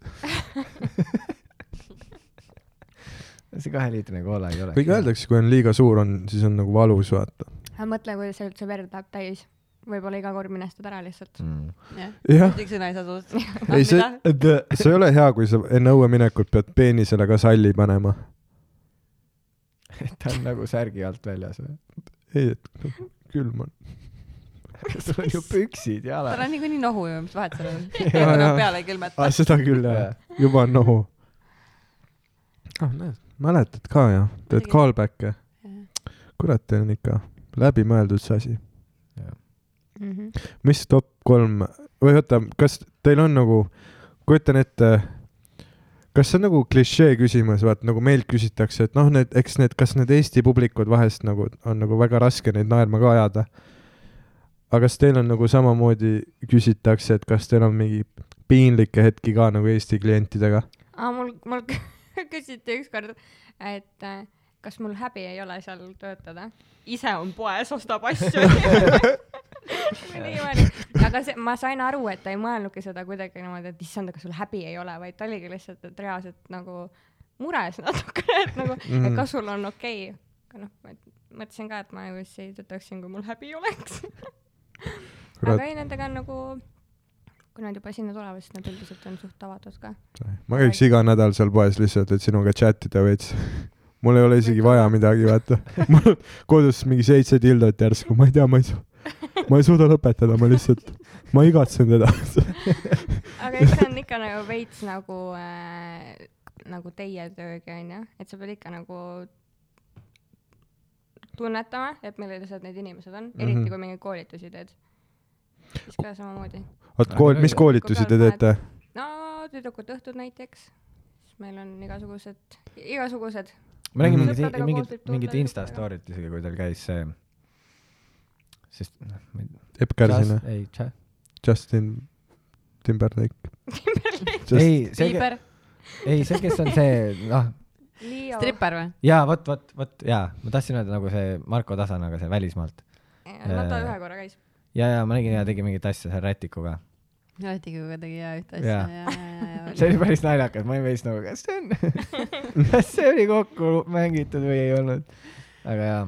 Speaker 2: see kaheliitrine koola ei ole .
Speaker 4: kuigi . öeldakse , kui on liiga suur , on , siis on nagu valus , vaata .
Speaker 3: aga mõtle , kuidas seal üldse verd läheb täis . võib-olla iga kord minestad ära lihtsalt .
Speaker 2: Mm.
Speaker 4: jah ,
Speaker 1: ühtegi sõna ei saa suust .
Speaker 4: ei see , see ei ole hea , kui sa enne õue minekut pead peenisele ka salli panema .
Speaker 2: ta on nagu särgi alt väljas või ?
Speaker 4: ei , et noh, külm on .
Speaker 2: sul on ju püksid
Speaker 1: tal
Speaker 2: jalas .
Speaker 1: on niikuinii nohu ju , mis vahet seal on .
Speaker 4: Jaa, jaa.
Speaker 1: peale ei külmeta .
Speaker 4: aa , Ah, seda küll jah , juba on nohu . ah , näed , mäletad ka jah , teed
Speaker 1: Muidugi.
Speaker 4: callback'e . kurat , teil on ikka läbimõeldud see asi .
Speaker 7: Mhm.
Speaker 4: mis top kolm või oota , kas teil on nagu , kujutan ette , kas see on nagu klišee küsimus , vaat nagu meilt küsitakse , et noh , need , eks need , kas need Eesti publikud vahest nagu on nagu väga raske neid naerma ka ajada . aga kas teil on nagu samamoodi küsitakse , et kas teil on mingi piinlikke hetki ka nagu Eesti klientidega ?
Speaker 3: aa , mul , mul küsiti ükskord , et äh, kas mul häbi ei ole seal töötada .
Speaker 7: ise on poes , ostab asju .
Speaker 3: aga see , ma sain aru , et ta ei mõelnudki seda kuidagi niimoodi , et issand , kas sul häbi ei ole , vaid ta oligi lihtsalt , et reaalselt nagu mures natukene , et nagu ,
Speaker 4: Mm.
Speaker 3: et kas sul on okei okay. . aga noh , ma mõtlesin ka , et ma ju siis ei töötaks siin , kui mul häbi oleks . aga
Speaker 4: kurat ,
Speaker 3: ei , nendega on nagu , kui nad juba sinna tulevad , siis nad üldiselt on suht avatud ka .
Speaker 4: ma käiks iga nädal seal poes lihtsalt , et sinuga chat ida veits mul ei ole isegi vaja midagi , vaata . mul on kodus mingi seitse tildot järsku , ma ei tea , ma ei su- , ma ei suuda lõpetada , ma lihtsalt , ma igatsen teda .
Speaker 3: aga eks see on ikka nagu veits nagu äh, , nagu teie töögi onju , et sa pead ikka nagu tunnetama , et millised need inimesed on , eriti mm
Speaker 4: Mhm.
Speaker 3: -hmm. kui mingeid koolitusi teed . siis ka samamoodi .
Speaker 4: oot , kool , mis koolitusi te teete ?
Speaker 3: no tüdrukute õhtud näiteks , siis meil on igasugused , igasugused .
Speaker 2: ma nägin
Speaker 4: Mhm.
Speaker 2: mingit
Speaker 3: Sõpradega ,
Speaker 2: mingit
Speaker 3: koos võib ,
Speaker 2: mingit
Speaker 3: tulla
Speaker 2: Insta
Speaker 3: sõpradega.
Speaker 2: story't isegi , kui tal käis see , sest noh , ma ei
Speaker 4: Epp Kärsina ,
Speaker 2: ei ,
Speaker 4: Justin Timberlake .
Speaker 2: ei , see ,
Speaker 3: Piiber ,
Speaker 2: ei see , kes on see , noh ,
Speaker 3: Leo .
Speaker 1: stripper või ?
Speaker 2: jaa , vot , vot , vot jaa , ma tahtsin öelda nagu see Marko Tasanaga , see välismaalt .
Speaker 3: no ta eh, ühe korra käis .
Speaker 2: ja , ja ma nägin ja tegi mingit asja seal Rätikuga .
Speaker 1: Lätikuga tegi jaa ühte asja
Speaker 2: Jaa.
Speaker 1: ja , ja , ja , ja .
Speaker 2: see oli päris naljakas , ma olin veits nagu , kas see on , kas see oli kokku mängitud või ei olnud . aga jaa .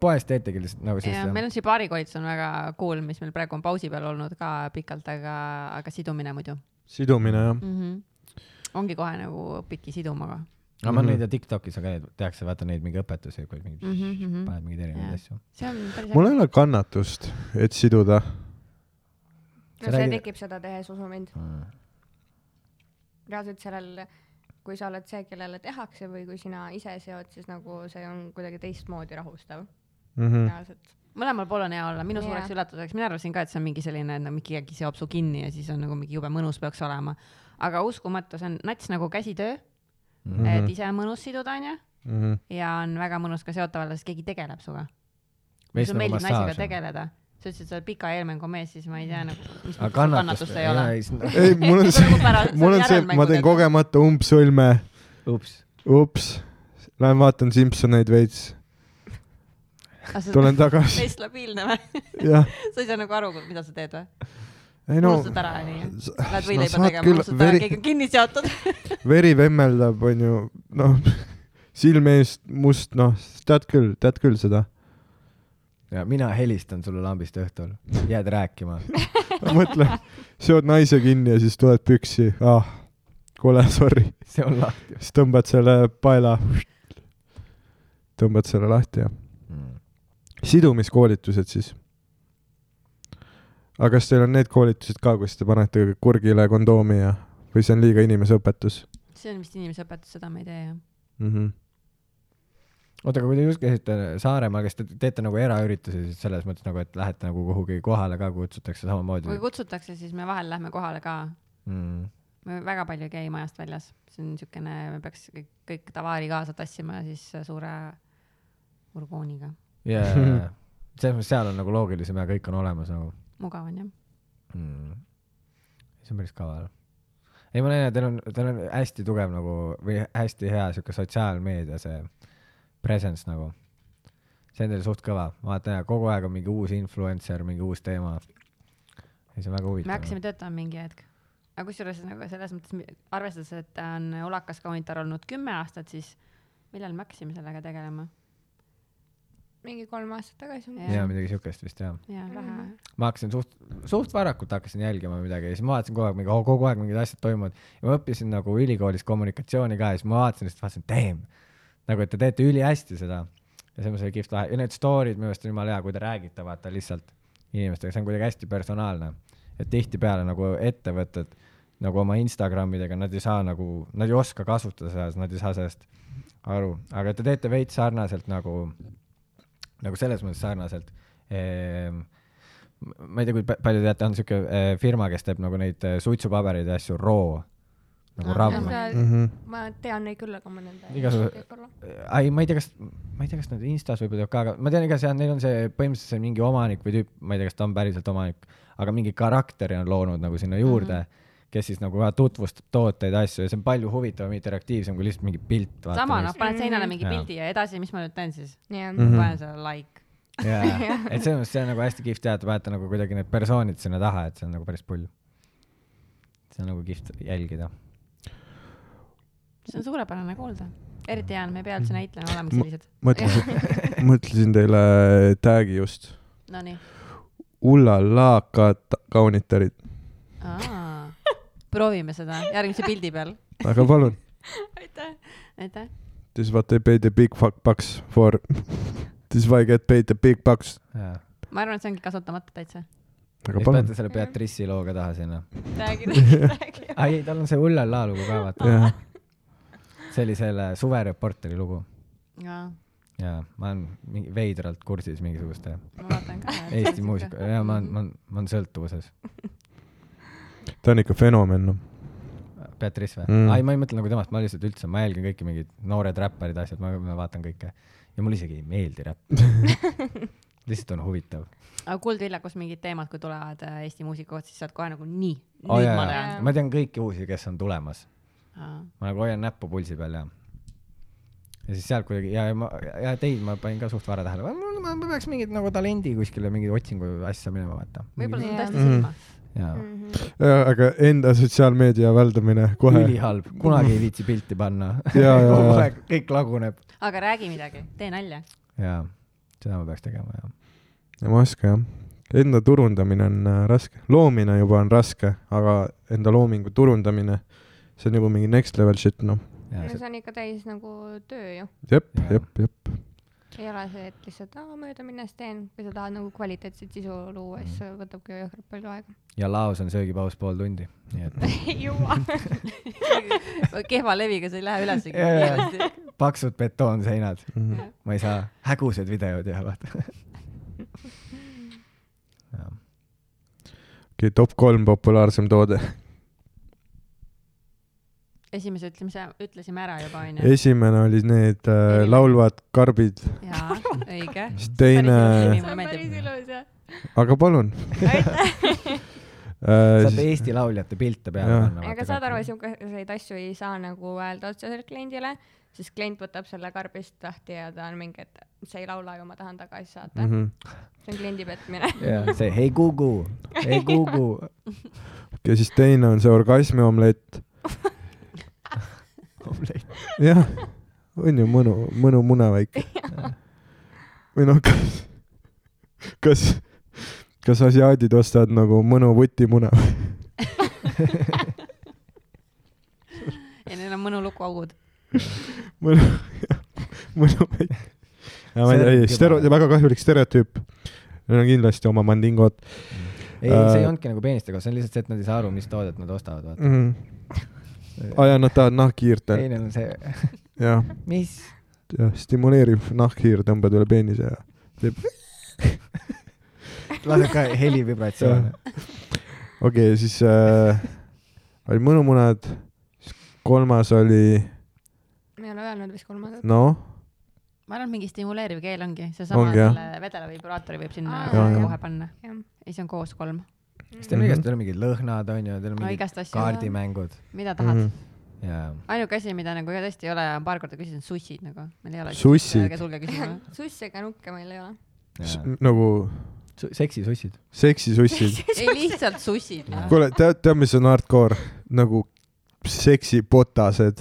Speaker 2: poes teetegi lihtsalt nagu
Speaker 1: ja meil
Speaker 2: sellist
Speaker 1: on šibaarikoolitus on väga cool , mis meil praegu on pausi peal olnud ka pikalt , aga , aga sidumine muidu
Speaker 4: sidumine jah .
Speaker 1: mm .
Speaker 7: Mhm.
Speaker 1: -hmm. ongi kohe nagu õpidki siduma ka
Speaker 2: aga ma
Speaker 4: Mhm.
Speaker 2: nüüd ja Tiktokis ka tehakse , vaata neid mingeid õpetusi , kui mingi
Speaker 1: mm . -hmm.
Speaker 2: paned mingeid erinevaid
Speaker 1: Jaa.
Speaker 2: asju .
Speaker 1: see on päris
Speaker 4: mul ei ole kannatust , et siduda .
Speaker 2: Sa
Speaker 3: no see
Speaker 2: räägid-
Speaker 3: tekib seda tehes , usu mind .
Speaker 4: Mhm.
Speaker 3: reaalselt sellel , kui sa oled see , kellele tehakse või kui sina ise seod , siis nagu see on kuidagi teistmoodi rahustav
Speaker 4: Mhm.
Speaker 3: reaalselt .
Speaker 1: mõlemal pool on hea olla , minu
Speaker 3: Jaa.
Speaker 1: suureks üllatuseks , mina arvasin ka , et see on mingi selline , et no mingi keegi seob su kinni ja siis on nagu mingi jube mõnus peaks olema . aga uskumatu , see on nats nagu käsitöö mm ,
Speaker 4: Mhm.
Speaker 1: -hmm. et ise on mõnus siduda , onju , ja on väga mõnus ka seotav olla , sest keegi tegeleb sinuga .
Speaker 2: Veits
Speaker 1: sulle
Speaker 2: nagu
Speaker 1: meeldib naisega
Speaker 2: massaaž on.
Speaker 1: tegeleda . sa ütlesid , sa oled pika eelmängu mees , siis ma ei tea nagu , mis mõttes
Speaker 2: aga
Speaker 1: sul
Speaker 2: kannatust
Speaker 1: kannatust ei ole . nagu
Speaker 4: ei , mul on see , mul on see , ma teen . kogemata umbsõlme ,
Speaker 2: ups ,
Speaker 4: ups , lähen vaatan Simsoneid veits , tulen tagasi ,
Speaker 1: täiesti labiilne või ?
Speaker 4: jah .
Speaker 1: sa ei saa nagu aru , mida sa teed või ?
Speaker 4: ei no ,
Speaker 1: unustad ära , onju . Lähed
Speaker 4: no
Speaker 1: võileiba
Speaker 4: saad
Speaker 1: tegema ,
Speaker 4: küll ,
Speaker 1: unustad ära ,
Speaker 4: veri ,
Speaker 1: keegi on kinni seotud .
Speaker 4: veri vemmeldab , onju , noh , silme eest must , noh , tead küll , tead küll seda .
Speaker 2: ja mina helistan sulle lambist õhtul , jääd rääkima .
Speaker 4: mõtle , seod naise kinni ja siis tuled püksi , ah , kuule , sorry .
Speaker 2: see on lahti
Speaker 4: siis tõmbad selle paela , tõmbad selle lahti ja
Speaker 2: mm. .
Speaker 4: sidumiskoolitused siis . aga kas teil on need koolitused ka , kus te panete kurgile kondoomi ja , või see on liiga inimeseõpetus
Speaker 1: see on vist inimese õpetus , seda ma ei tee jah .
Speaker 4: mm ? -hmm.
Speaker 2: oota , aga kui te just käisite Saaremaal , kas te teete nagu eraüritusi siis selles mõttes nagu , et lähete nagu kuhugi kohale ka , kutsutakse samamoodi
Speaker 1: kui ? kutsutakse , siis me vahel lähme kohale ka .
Speaker 2: Mm.
Speaker 1: me väga palju ei käi majast väljas , see on niisugune , me peaks kõik, kõik tavaari kaasa tassima ja siis suure urgooniga .
Speaker 2: ja , ja , ja , selles mõttes seal on nagu loogilisem ja kõik on olemas nagu
Speaker 1: mugav on jah ?
Speaker 2: mm. . see on päris kaval . ei , ma näen , et teil on , teil on hästi tugev nagu või hästi hea sihuke sotsiaalmeedia see presence nagu . see on teil suht kõva , vaata ja kogu aeg on mingi uus influencer , mingi uus teema . ei , see on väga
Speaker 1: me
Speaker 2: huvitav
Speaker 1: hakkasime . töötama mingi hetk . aga kusjuures nagu selles mõttes , arvestades , et ta on ulakas kaunitar olnud kümme aastat , siis millal me hakkasime sellega tegelema ?
Speaker 3: mingi kolm aastat tagasi umbes .
Speaker 2: ja midagi siukest vist jah .
Speaker 1: jaa , vähe .
Speaker 2: ma hakkasin suht , suht varakult hakkasin jälgima midagi ja siis ma vaatasin kogu aeg mingi , kogu aeg mingid asjad toimuvad . ja ma õppisin nagu ülikoolis kommunikatsiooni ka ja siis ma vaatasin , siis vaatasin , damn , nagu et te teete ülihästi seda . ja see on see kihvt lahe ja need story'd minu arust on jumala hea , kui te räägite , vaata lihtsalt inimestega , see on kuidagi hästi personaalne . et tihtipeale nagu ettevõtted nagu oma Instagramidega , nad ei saa nagu , nad ei oska kasutada seda , nad ei saa sellest aru , aga te teete veits sarnaselt nagu , nagu selles mõttes sarnaselt ehm, ma ei tea , kui pa- palju teate , on siuke eh, firma , kes teeb nagu neid eh, suitsupabereid ja asju roo , nagu ravm .
Speaker 3: ma
Speaker 4: Mm -hmm.
Speaker 3: tean neid küll , aga ma nende .
Speaker 2: Igasuguse- Äh, ai , ma ei tea , kas , ma ei tea , kas nad Instas võib-olla teevad ka , aga ma tean , ega seal neil on see põhimõtteliselt see mingi omanik või tüüp , ma ei tea , kas ta on päriselt omanik , aga mingi karakteri on loonud nagu sinna juurde mm ,
Speaker 1: Mhm.
Speaker 2: -hmm. kes siis nagu ka tutvustab tooteid , asju ja see on palju huvitavam , interaktiivsem kui lihtsalt mingi pilt .
Speaker 1: sama , noh , paned seinale mingi
Speaker 2: Jaa.
Speaker 1: pildi ja edasi , mis ma nüüd teen siis ?
Speaker 3: jah ,
Speaker 4: Mhm.
Speaker 1: panen selle like .
Speaker 2: jaa , et selles mõttes see on nagu hästi kihvt jah , et vaata nagu kuidagi need persoonid sinna taha , et see on nagu päris pull . see on nagu kihvt jälgida .
Speaker 1: see on suurepärane kuulda . eriti hea on , me ei pea üldse näitlema , olemegi sellised .
Speaker 4: mõtlesin , mõtlesin teile tag'i just .
Speaker 1: Nonii .
Speaker 4: Ullala ka- kaunitarid ,
Speaker 1: Aa, proovime seda järgmise pildi peal .
Speaker 4: aga palun .
Speaker 1: aitäh .
Speaker 4: This is what they pay the big fuck bucks for . This is why I get paid the big bucks .
Speaker 2: jaa .
Speaker 1: ma arvan , et see ongi kasutamata täitsa .
Speaker 4: aga
Speaker 2: siis
Speaker 4: palun
Speaker 2: panete . selle Beatrice'i
Speaker 1: Mhm.
Speaker 2: loo ka taha sinna .
Speaker 7: räägid , räägid .
Speaker 2: ai ei , tal on see Ullala lugu ka vaata .
Speaker 4: jah ,
Speaker 2: see oli selle Suvereporteri lugu .
Speaker 1: jaa .
Speaker 2: jaa , ma olen mingi veidralt kursis mingisuguste
Speaker 1: ma vaatan ka .
Speaker 2: Eesti muusika , jaa , ma olen , ma olen , ma olen sõltuvuses .
Speaker 4: ta on ikka fenomen , noh .
Speaker 2: Beatrice või
Speaker 4: Mm.
Speaker 2: mm. ? ei , ma ei mõtle nagu temast , ma lihtsalt üldse , ma jälgin kõiki mingeid noored räpparid , asjad , ma vaatan kõike . ja mulle isegi ei meeldi räpp . lihtsalt on huvitav .
Speaker 1: aga Kuldvillakus mingid teemad , kui tulevad äh, Eesti muusika kohta , siis saad kohe nagu nii , nüüd
Speaker 2: Oh,
Speaker 1: oh,
Speaker 2: jaa,
Speaker 1: ma
Speaker 2: jaa.
Speaker 1: tean .
Speaker 2: ma tean kõiki uusi , kes on tulemas . ma nagu hoian näppu pulsi peal ja , ja siis sealt kuidagi ja , ja ma , ja teid ma panin ka suht vara tähele . ma ma peaks mingit nagu talendi kuskile mingi otsingu asja minema vaata .
Speaker 1: võib-olla see on
Speaker 3: Jaa. Mhm.
Speaker 1: tõesti silma .
Speaker 2: jaa ,
Speaker 4: Äh, aga enda sotsiaalmeedia väldamine kohe .
Speaker 2: ülihalb , kunagi ei viitsi pilti panna .
Speaker 4: Jaa, jaa,
Speaker 2: kogu
Speaker 4: jaa.
Speaker 2: aeg kõik laguneb .
Speaker 1: aga räägi midagi , tee nalja .
Speaker 2: jaa , seda ma peaks tegema jah .
Speaker 4: ei , ma ei oska jah . Enda turundamine on äh, raske , loomine juba on raske , aga enda loomingu turundamine , see on juba mingi next level shit , noh .
Speaker 2: ja
Speaker 3: no
Speaker 2: see ,
Speaker 3: see on ikka täis nagu töö ju .
Speaker 4: jep
Speaker 2: Jaa. ,
Speaker 4: jep , jep .
Speaker 3: ei ole see , et lihtsalt aa mööda minnes teen , kui sa tahad nagu kvaliteetset sisu luua , siis see võtabki ju jõhkralt palju aega .
Speaker 2: ja laos on söögipaus pool tundi , nii et
Speaker 3: ei jõua .
Speaker 1: kehva leviga sa ei lähe ülesegi
Speaker 2: Jaa, jaa.
Speaker 1: kiiresti .
Speaker 2: paksud betoonseinad ,
Speaker 4: Mhm.
Speaker 2: ma ei saa , hägusad videod jah , vaata . jah ,
Speaker 4: okei , top kolm populaarsem toode .
Speaker 1: esimese ütlemise , ütlesime ära juba onju .
Speaker 4: esimene oli need äh, laulvad karbid ,
Speaker 1: jaa , õige .
Speaker 4: siis
Speaker 1: Päris
Speaker 4: teine
Speaker 1: ilus. , mulle meeldib.
Speaker 7: ilus jah .
Speaker 4: aga palun . Äh,
Speaker 2: saad Eesti lauljate pilte peale
Speaker 4: Jah.
Speaker 2: panna .
Speaker 3: aga saad aru , siukeseid asju ei saa nagu öelda otseselt kliendile , sest klient võtab selle karbist lahti ja ta on mingi , et sa ei laula ju , ma tahan tagasi saata mm .
Speaker 4: ja
Speaker 3: -hmm. see on kliendi petmine .
Speaker 2: jaa , see hei Gugu , hei Gugu .
Speaker 4: siis teine on see orgasmi omlett . jah , on ju mõnu , mõnu mune väike . või noh , kas , kas , kas asiaadid ostavad nagu mõnu vutimune ?
Speaker 1: ja neil on mõnu lukuaugud .
Speaker 4: mõnu , mõnu väike . ma ei tea , ei , stero- , väga kahjulik stereotüüp . Neil on kindlasti oma mandingod
Speaker 2: ei , see ei olnudki nagu peeniste kohta , see on lihtsalt see , et nad ei saa aru , mis toodet nad ostavad , vaata .
Speaker 4: mm. .
Speaker 2: Mm.
Speaker 4: aa jaa , nad tahavad nahkhiirte ,
Speaker 2: teine on see ,
Speaker 4: jah ,
Speaker 2: mis ?
Speaker 4: jah , stimuleeriv nahkhiir tõmbad üle peenise ja teeb ,
Speaker 2: laseb ka helivibratsioone .
Speaker 4: okei okay, , siis äh, oli mõnumunad , siis kolmas oli ,
Speaker 3: me ei ole öelnud vist kolmandat .
Speaker 4: noh ,
Speaker 1: ma arvan , et mingi stimuleeriv keel ongi , seesama
Speaker 4: Ongi, jah.
Speaker 1: selle vedela vibraatori võib sinna
Speaker 3: Aa,
Speaker 4: jah.
Speaker 1: kohe panna .
Speaker 3: jah ,
Speaker 1: ei , see on koos kolm .
Speaker 2: siis teil on igast , teil on mingid lõhnad , onju , teil on
Speaker 1: no
Speaker 2: mingid
Speaker 1: igast asju ,
Speaker 2: kaardimängud
Speaker 1: mida tahad .
Speaker 4: Mhm.
Speaker 2: ja
Speaker 1: ainuke asi , mida nagu ja tõesti ei ole , paar korda küsisin , sussid nagu . meil ei ole .
Speaker 4: Sussid.
Speaker 1: ärge tulge küsima .
Speaker 3: suss ega nukke meil ei ole .
Speaker 2: ja.
Speaker 4: nagu
Speaker 2: Su- seksisussid .
Speaker 4: seksisussid .
Speaker 1: ei , lihtsalt sussid .
Speaker 4: kuule , tead , tead , mis on hardcore ? nagu seksipotased .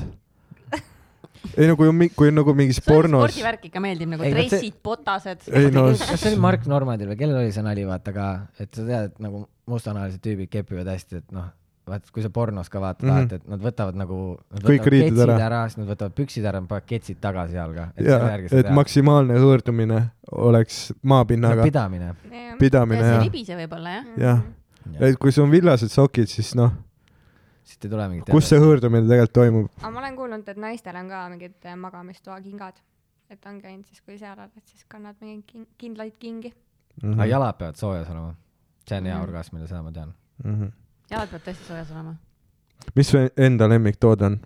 Speaker 4: ei no kui on , kui on nagu mingis pornos ,
Speaker 1: spordivärk ikka meeldib nagu
Speaker 2: Ei, no see-
Speaker 1: dressid , botased .
Speaker 4: ei no
Speaker 2: kas see oli Mark Normandil või kellel oli see nali , vaata ka , et sa tead , et nagu mustanahalised tüübid kepivad hästi , et noh , vaat kui sa pornos ka vaatad
Speaker 4: Mhm.
Speaker 2: mm , -hmm. et nad võtavad nagu , nad
Speaker 4: Kõik
Speaker 2: võtavad
Speaker 4: riided
Speaker 2: ketsid
Speaker 4: ära.
Speaker 2: ära, ära , siis nad võtavad püksid ära , panevad ketsid tagasi jalga .
Speaker 4: jaa , et maksimaalne hõõrdumine oleks maapinnaga no, ,
Speaker 2: pidamine .
Speaker 1: ja
Speaker 4: pidamine
Speaker 1: see
Speaker 4: ja ,
Speaker 1: libise võib-olla
Speaker 3: Mhm.
Speaker 1: jah .
Speaker 4: jah , et kui sul on villased sokid , siis noh ,
Speaker 2: siit ei tule mingit .
Speaker 4: kus see hõõrdumine tegelikult toimub ?
Speaker 3: aga ma olen kuulnud , et naistel on ka mingid äh, magamistoakingad , et ongi ainult siis , kui seal oled , siis kannad mingeid kin- kindlaid kingi .
Speaker 4: Mhm,
Speaker 2: aga jalad peavad soojas olema . see
Speaker 1: Mhm.
Speaker 2: on hea orgasmile , seda ma tean .
Speaker 1: jalad peavad tõesti soojas olema .
Speaker 4: mhm. mis su enda lemmiktoode on ?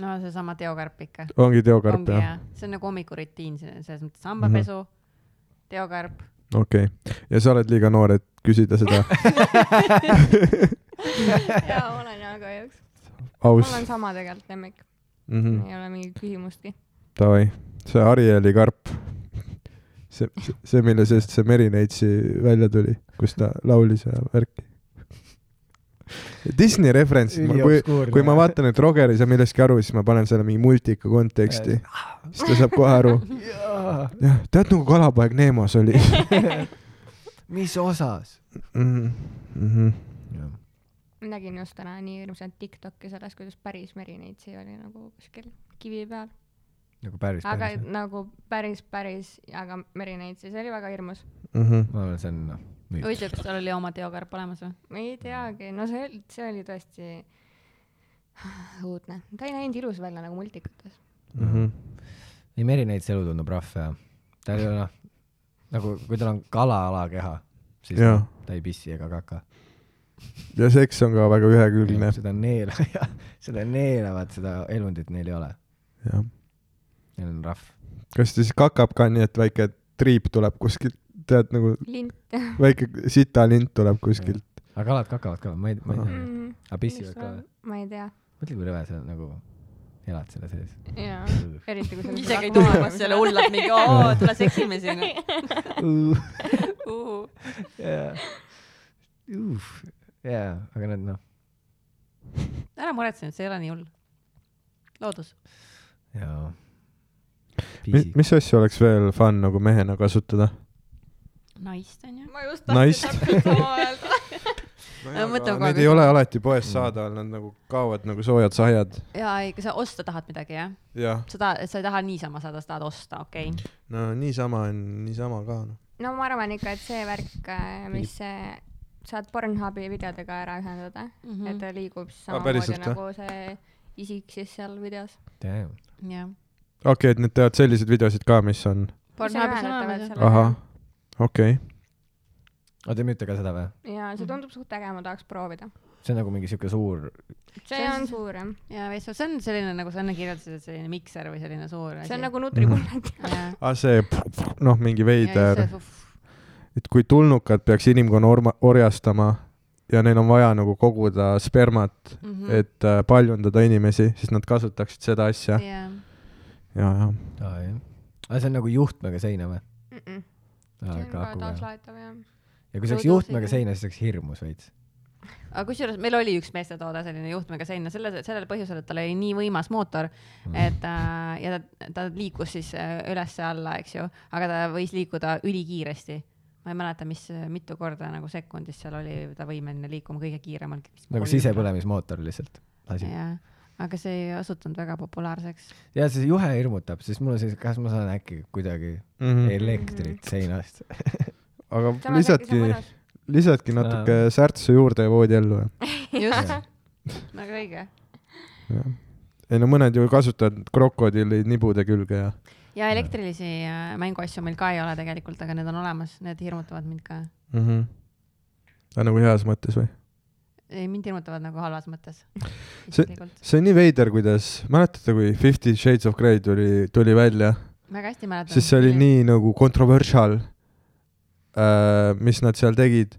Speaker 1: no seesama teokarp ikka .
Speaker 4: ongi teokarp
Speaker 1: ongi
Speaker 4: jah ? Mhm.
Speaker 1: jah , see on nagu hommikurutiin , selles mõttes hambapesu , teokarp .
Speaker 4: okei okay. , ja sa oled liiga noor , et küsida seda
Speaker 3: jaa , olen jaa kahjuks .
Speaker 4: aus
Speaker 3: mul on sama tegelikult lemmik ,
Speaker 4: mm -hmm.
Speaker 3: ei ole mingit küsimustki .
Speaker 4: davai , see Arieli karp , see , see , mille seest see Merineitsi välja tuli , kus ta laulis ja värki . Disney referents , kui , kui ma . vaatan , et Roger ei saa millestki aru , siis ma panen selle mingi multika konteksti , siis ta saab kohe aru . jah , tead nagu Kalapoeg Neemos oli
Speaker 2: mis osas ?
Speaker 4: mm . -hmm.
Speaker 3: ma nägin just täna nii hirmsat Tiktoki sellest , kuidas päris merineitsi oli nagu kuskil kivi peal ,
Speaker 2: nagu päris ,
Speaker 3: aga
Speaker 2: päris .
Speaker 3: nagu päris , päris , aga merineitsi , see oli väga hirmus .
Speaker 4: Mm -hmm.
Speaker 2: ma arvan , see on noh , müüt .
Speaker 1: huvitav , kas tal oli oma teokarp olemas või ?
Speaker 3: ma ei teagi , no see , see oli tõesti õudne , ta ei näinud ilus välja nagu multikates .
Speaker 4: Mm -hmm.
Speaker 2: ei , Meri Neits elu tundub rahv ja tal ei ole noh , nagu kui tal on kala alakeha , siis
Speaker 4: Jaa.
Speaker 2: ta ei pissi ega kaka .
Speaker 4: ja seks on ka väga ühekülgne .
Speaker 2: seda neela , seda neelavat , seda elundit neil ei ole ,
Speaker 4: jah .
Speaker 2: neil on rahv .
Speaker 4: kas ta siis kakab ka nii , et väike triip tuleb kuskilt , tead nagu
Speaker 3: lint .
Speaker 2: Hmm.
Speaker 4: väike sitalint tuleb kuskilt ?
Speaker 2: aga kalad kakavad ka , ma ei , ma ei tea , aga pissivad ka või ?
Speaker 3: Mm. ma ei tea .
Speaker 2: mõtle , kui rõve sa nagu elad selle sees .
Speaker 3: jaa , eriti kui sa .
Speaker 1: ise käid tulemas selle . hullalt mingi , oo , tule seksime siin .
Speaker 2: jaa , aga nad noh ,
Speaker 1: ära muretse nüüd , see ei ole nii hull . loodus .
Speaker 2: jaa .
Speaker 4: mis asja oleks veel fun nagu mehena kasutada ?
Speaker 1: naist onju .
Speaker 7: ma just
Speaker 4: Naist.
Speaker 7: tahtsin täpselt sama öelda .
Speaker 1: Ma mõtlen kogu
Speaker 4: Need
Speaker 1: aeg-
Speaker 4: ei ole alati poes saada , nad nagu kaovad nagu soojad sahjad .
Speaker 1: jaa , ei , kui sa osta tahad midagi jah ,
Speaker 4: jah ,
Speaker 1: sa tahad , sa ei taha niisama saada , sa tahad osta , okei okay. .
Speaker 4: no niisama on niisama ka noh .
Speaker 3: no ma arvan ikka , et see värk , mis äh, saad Pornhubi videodega ära ühendada mm , -hmm. et ta liigub samamoodi
Speaker 4: päriselt,
Speaker 3: nagu see isik siis seal videos .
Speaker 2: Damn .
Speaker 1: jah .
Speaker 4: okei okay, , et nad teevad selliseid videosid ka , mis on , ahah , okei okay. ,
Speaker 2: oota , müüte ka seda või ?
Speaker 3: ja see tundub suht äge , ma tahaks proovida .
Speaker 2: see on nagu mingi siuke suur ,
Speaker 3: see on suurem ,
Speaker 1: ja veits , see on selline , nagu sa enne kirjeldasid , et selline mikser või selline suur
Speaker 3: see on nagu nutripullet .
Speaker 1: jaa ,
Speaker 4: aga Ah, see noh , mingi
Speaker 1: ja
Speaker 4: veider ,
Speaker 1: siis see ,
Speaker 4: et kui tulnukad peaks inimkonna orma- , orjastama ja neil on vaja nagu koguda spermat ,
Speaker 1: Mm.
Speaker 4: et äh, paljundada inimesi , siis nad kasutaksid seda asja ja ,
Speaker 1: jah .
Speaker 4: ja
Speaker 2: aa jah . aga see on nagu juhtmega seina või ?
Speaker 3: see on ka
Speaker 2: ja
Speaker 3: taaslaetav jah .
Speaker 2: kui see oleks
Speaker 3: Õuduseina.
Speaker 2: juhtmega seina , siis oleks hirmus veits .
Speaker 1: aga kusjuures meil oli üks meestetoode selline juhtmega sein ja selle , sellel põhjusel , et tal oli nii võimas mootor ,
Speaker 4: Mm.
Speaker 1: et äh, ja ta, ta liikus siis äh, üles-alla , eks ju , aga ta võis liikuda ülikiiresti . ma ei mäleta , mis , mitu korda nagu sekundis seal oli ta võimeline liikuma kõige kiiremalt .
Speaker 2: nagu . sisepõlemismootor lihtsalt . asi .
Speaker 1: jah , aga see ei osutunud väga populaarseks .
Speaker 2: ja see juhe hirmutab , siis mul on see , kas ma saan äkki kuidagi
Speaker 4: mm .
Speaker 2: Mhm.
Speaker 4: -hmm.
Speaker 2: elektrit seinast .
Speaker 4: aga lisadki , lisadki natuke särtsu juurde voodi ellu .
Speaker 1: just , väga õige .
Speaker 4: ei no mõned ju kasutavad krokodilli nibude külge ja
Speaker 1: ja elektrilisi äh, mänguasju meil ka ei ole tegelikult , aga need on olemas , need hirmutavad mind ka .
Speaker 4: mm . -hmm. aga nagu heas mõttes või ?
Speaker 1: ei , mind hirmutavad nagu halvas mõttes .
Speaker 4: See- see on nii veider , kuidas , mäletate , kui Fifty Shades of Grey tuli , tuli välja ,
Speaker 1: väga hästi mäletan .
Speaker 4: siis see oli nii nagu controversial äh, , mis nad seal tegid .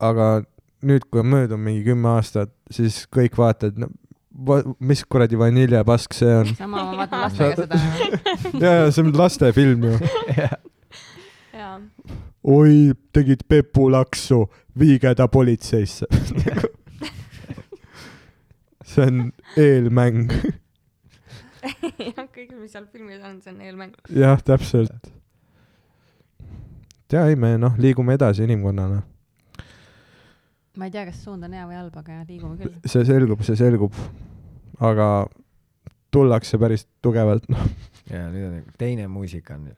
Speaker 4: aga nüüd , kui on möödunud mingi kümme aastat , siis kõik vaatavad , no va- mis kuradi vaniljepask see on .
Speaker 1: sama , ma vaatan lastega seda .
Speaker 4: ja , ja see on lastefilm ju .
Speaker 3: jaa ,
Speaker 4: oi , tegid pepulaksu , viige ta politseisse . see on eelmäng ,
Speaker 3: kõik , mis seal filmis on , see on eelmäng .
Speaker 4: jah , täpselt . ja ei , me noh , liigume edasi inimkonnana .
Speaker 1: ma ei tea , kas suund on hea või halb , aga liigume küll .
Speaker 4: see selgub , see selgub . aga tullakse päris tugevalt , noh .
Speaker 2: ja nüüd on nagu teine muusika on .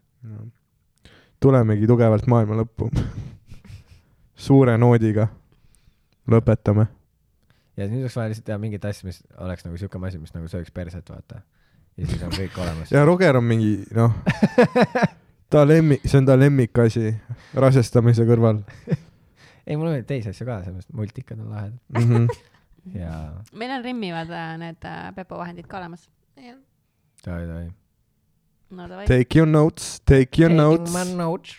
Speaker 4: tulemegi tugevalt maailma lõppu . suure noodiga lõpetame .
Speaker 2: ja nüüd oleks vaja lihtsalt teha mingit asja , mis oleks nagu siuke asi , mis nagu sööks perset , vaata . ja siis on kõik olemas .
Speaker 4: ja Roger on mingi noh , ta lemmik , see on ta lemmikasi rasestamise kõrval
Speaker 2: ei , mul on veel teisi asju ka , sellepärast multikad on lahedad
Speaker 4: mm . -hmm.
Speaker 2: ja
Speaker 1: meil on Rimmivad äh, need äh, Pepo vahendid ka olemas .
Speaker 2: oi , oi .
Speaker 1: no davai .
Speaker 4: Take your notes , take your notes .
Speaker 2: notes .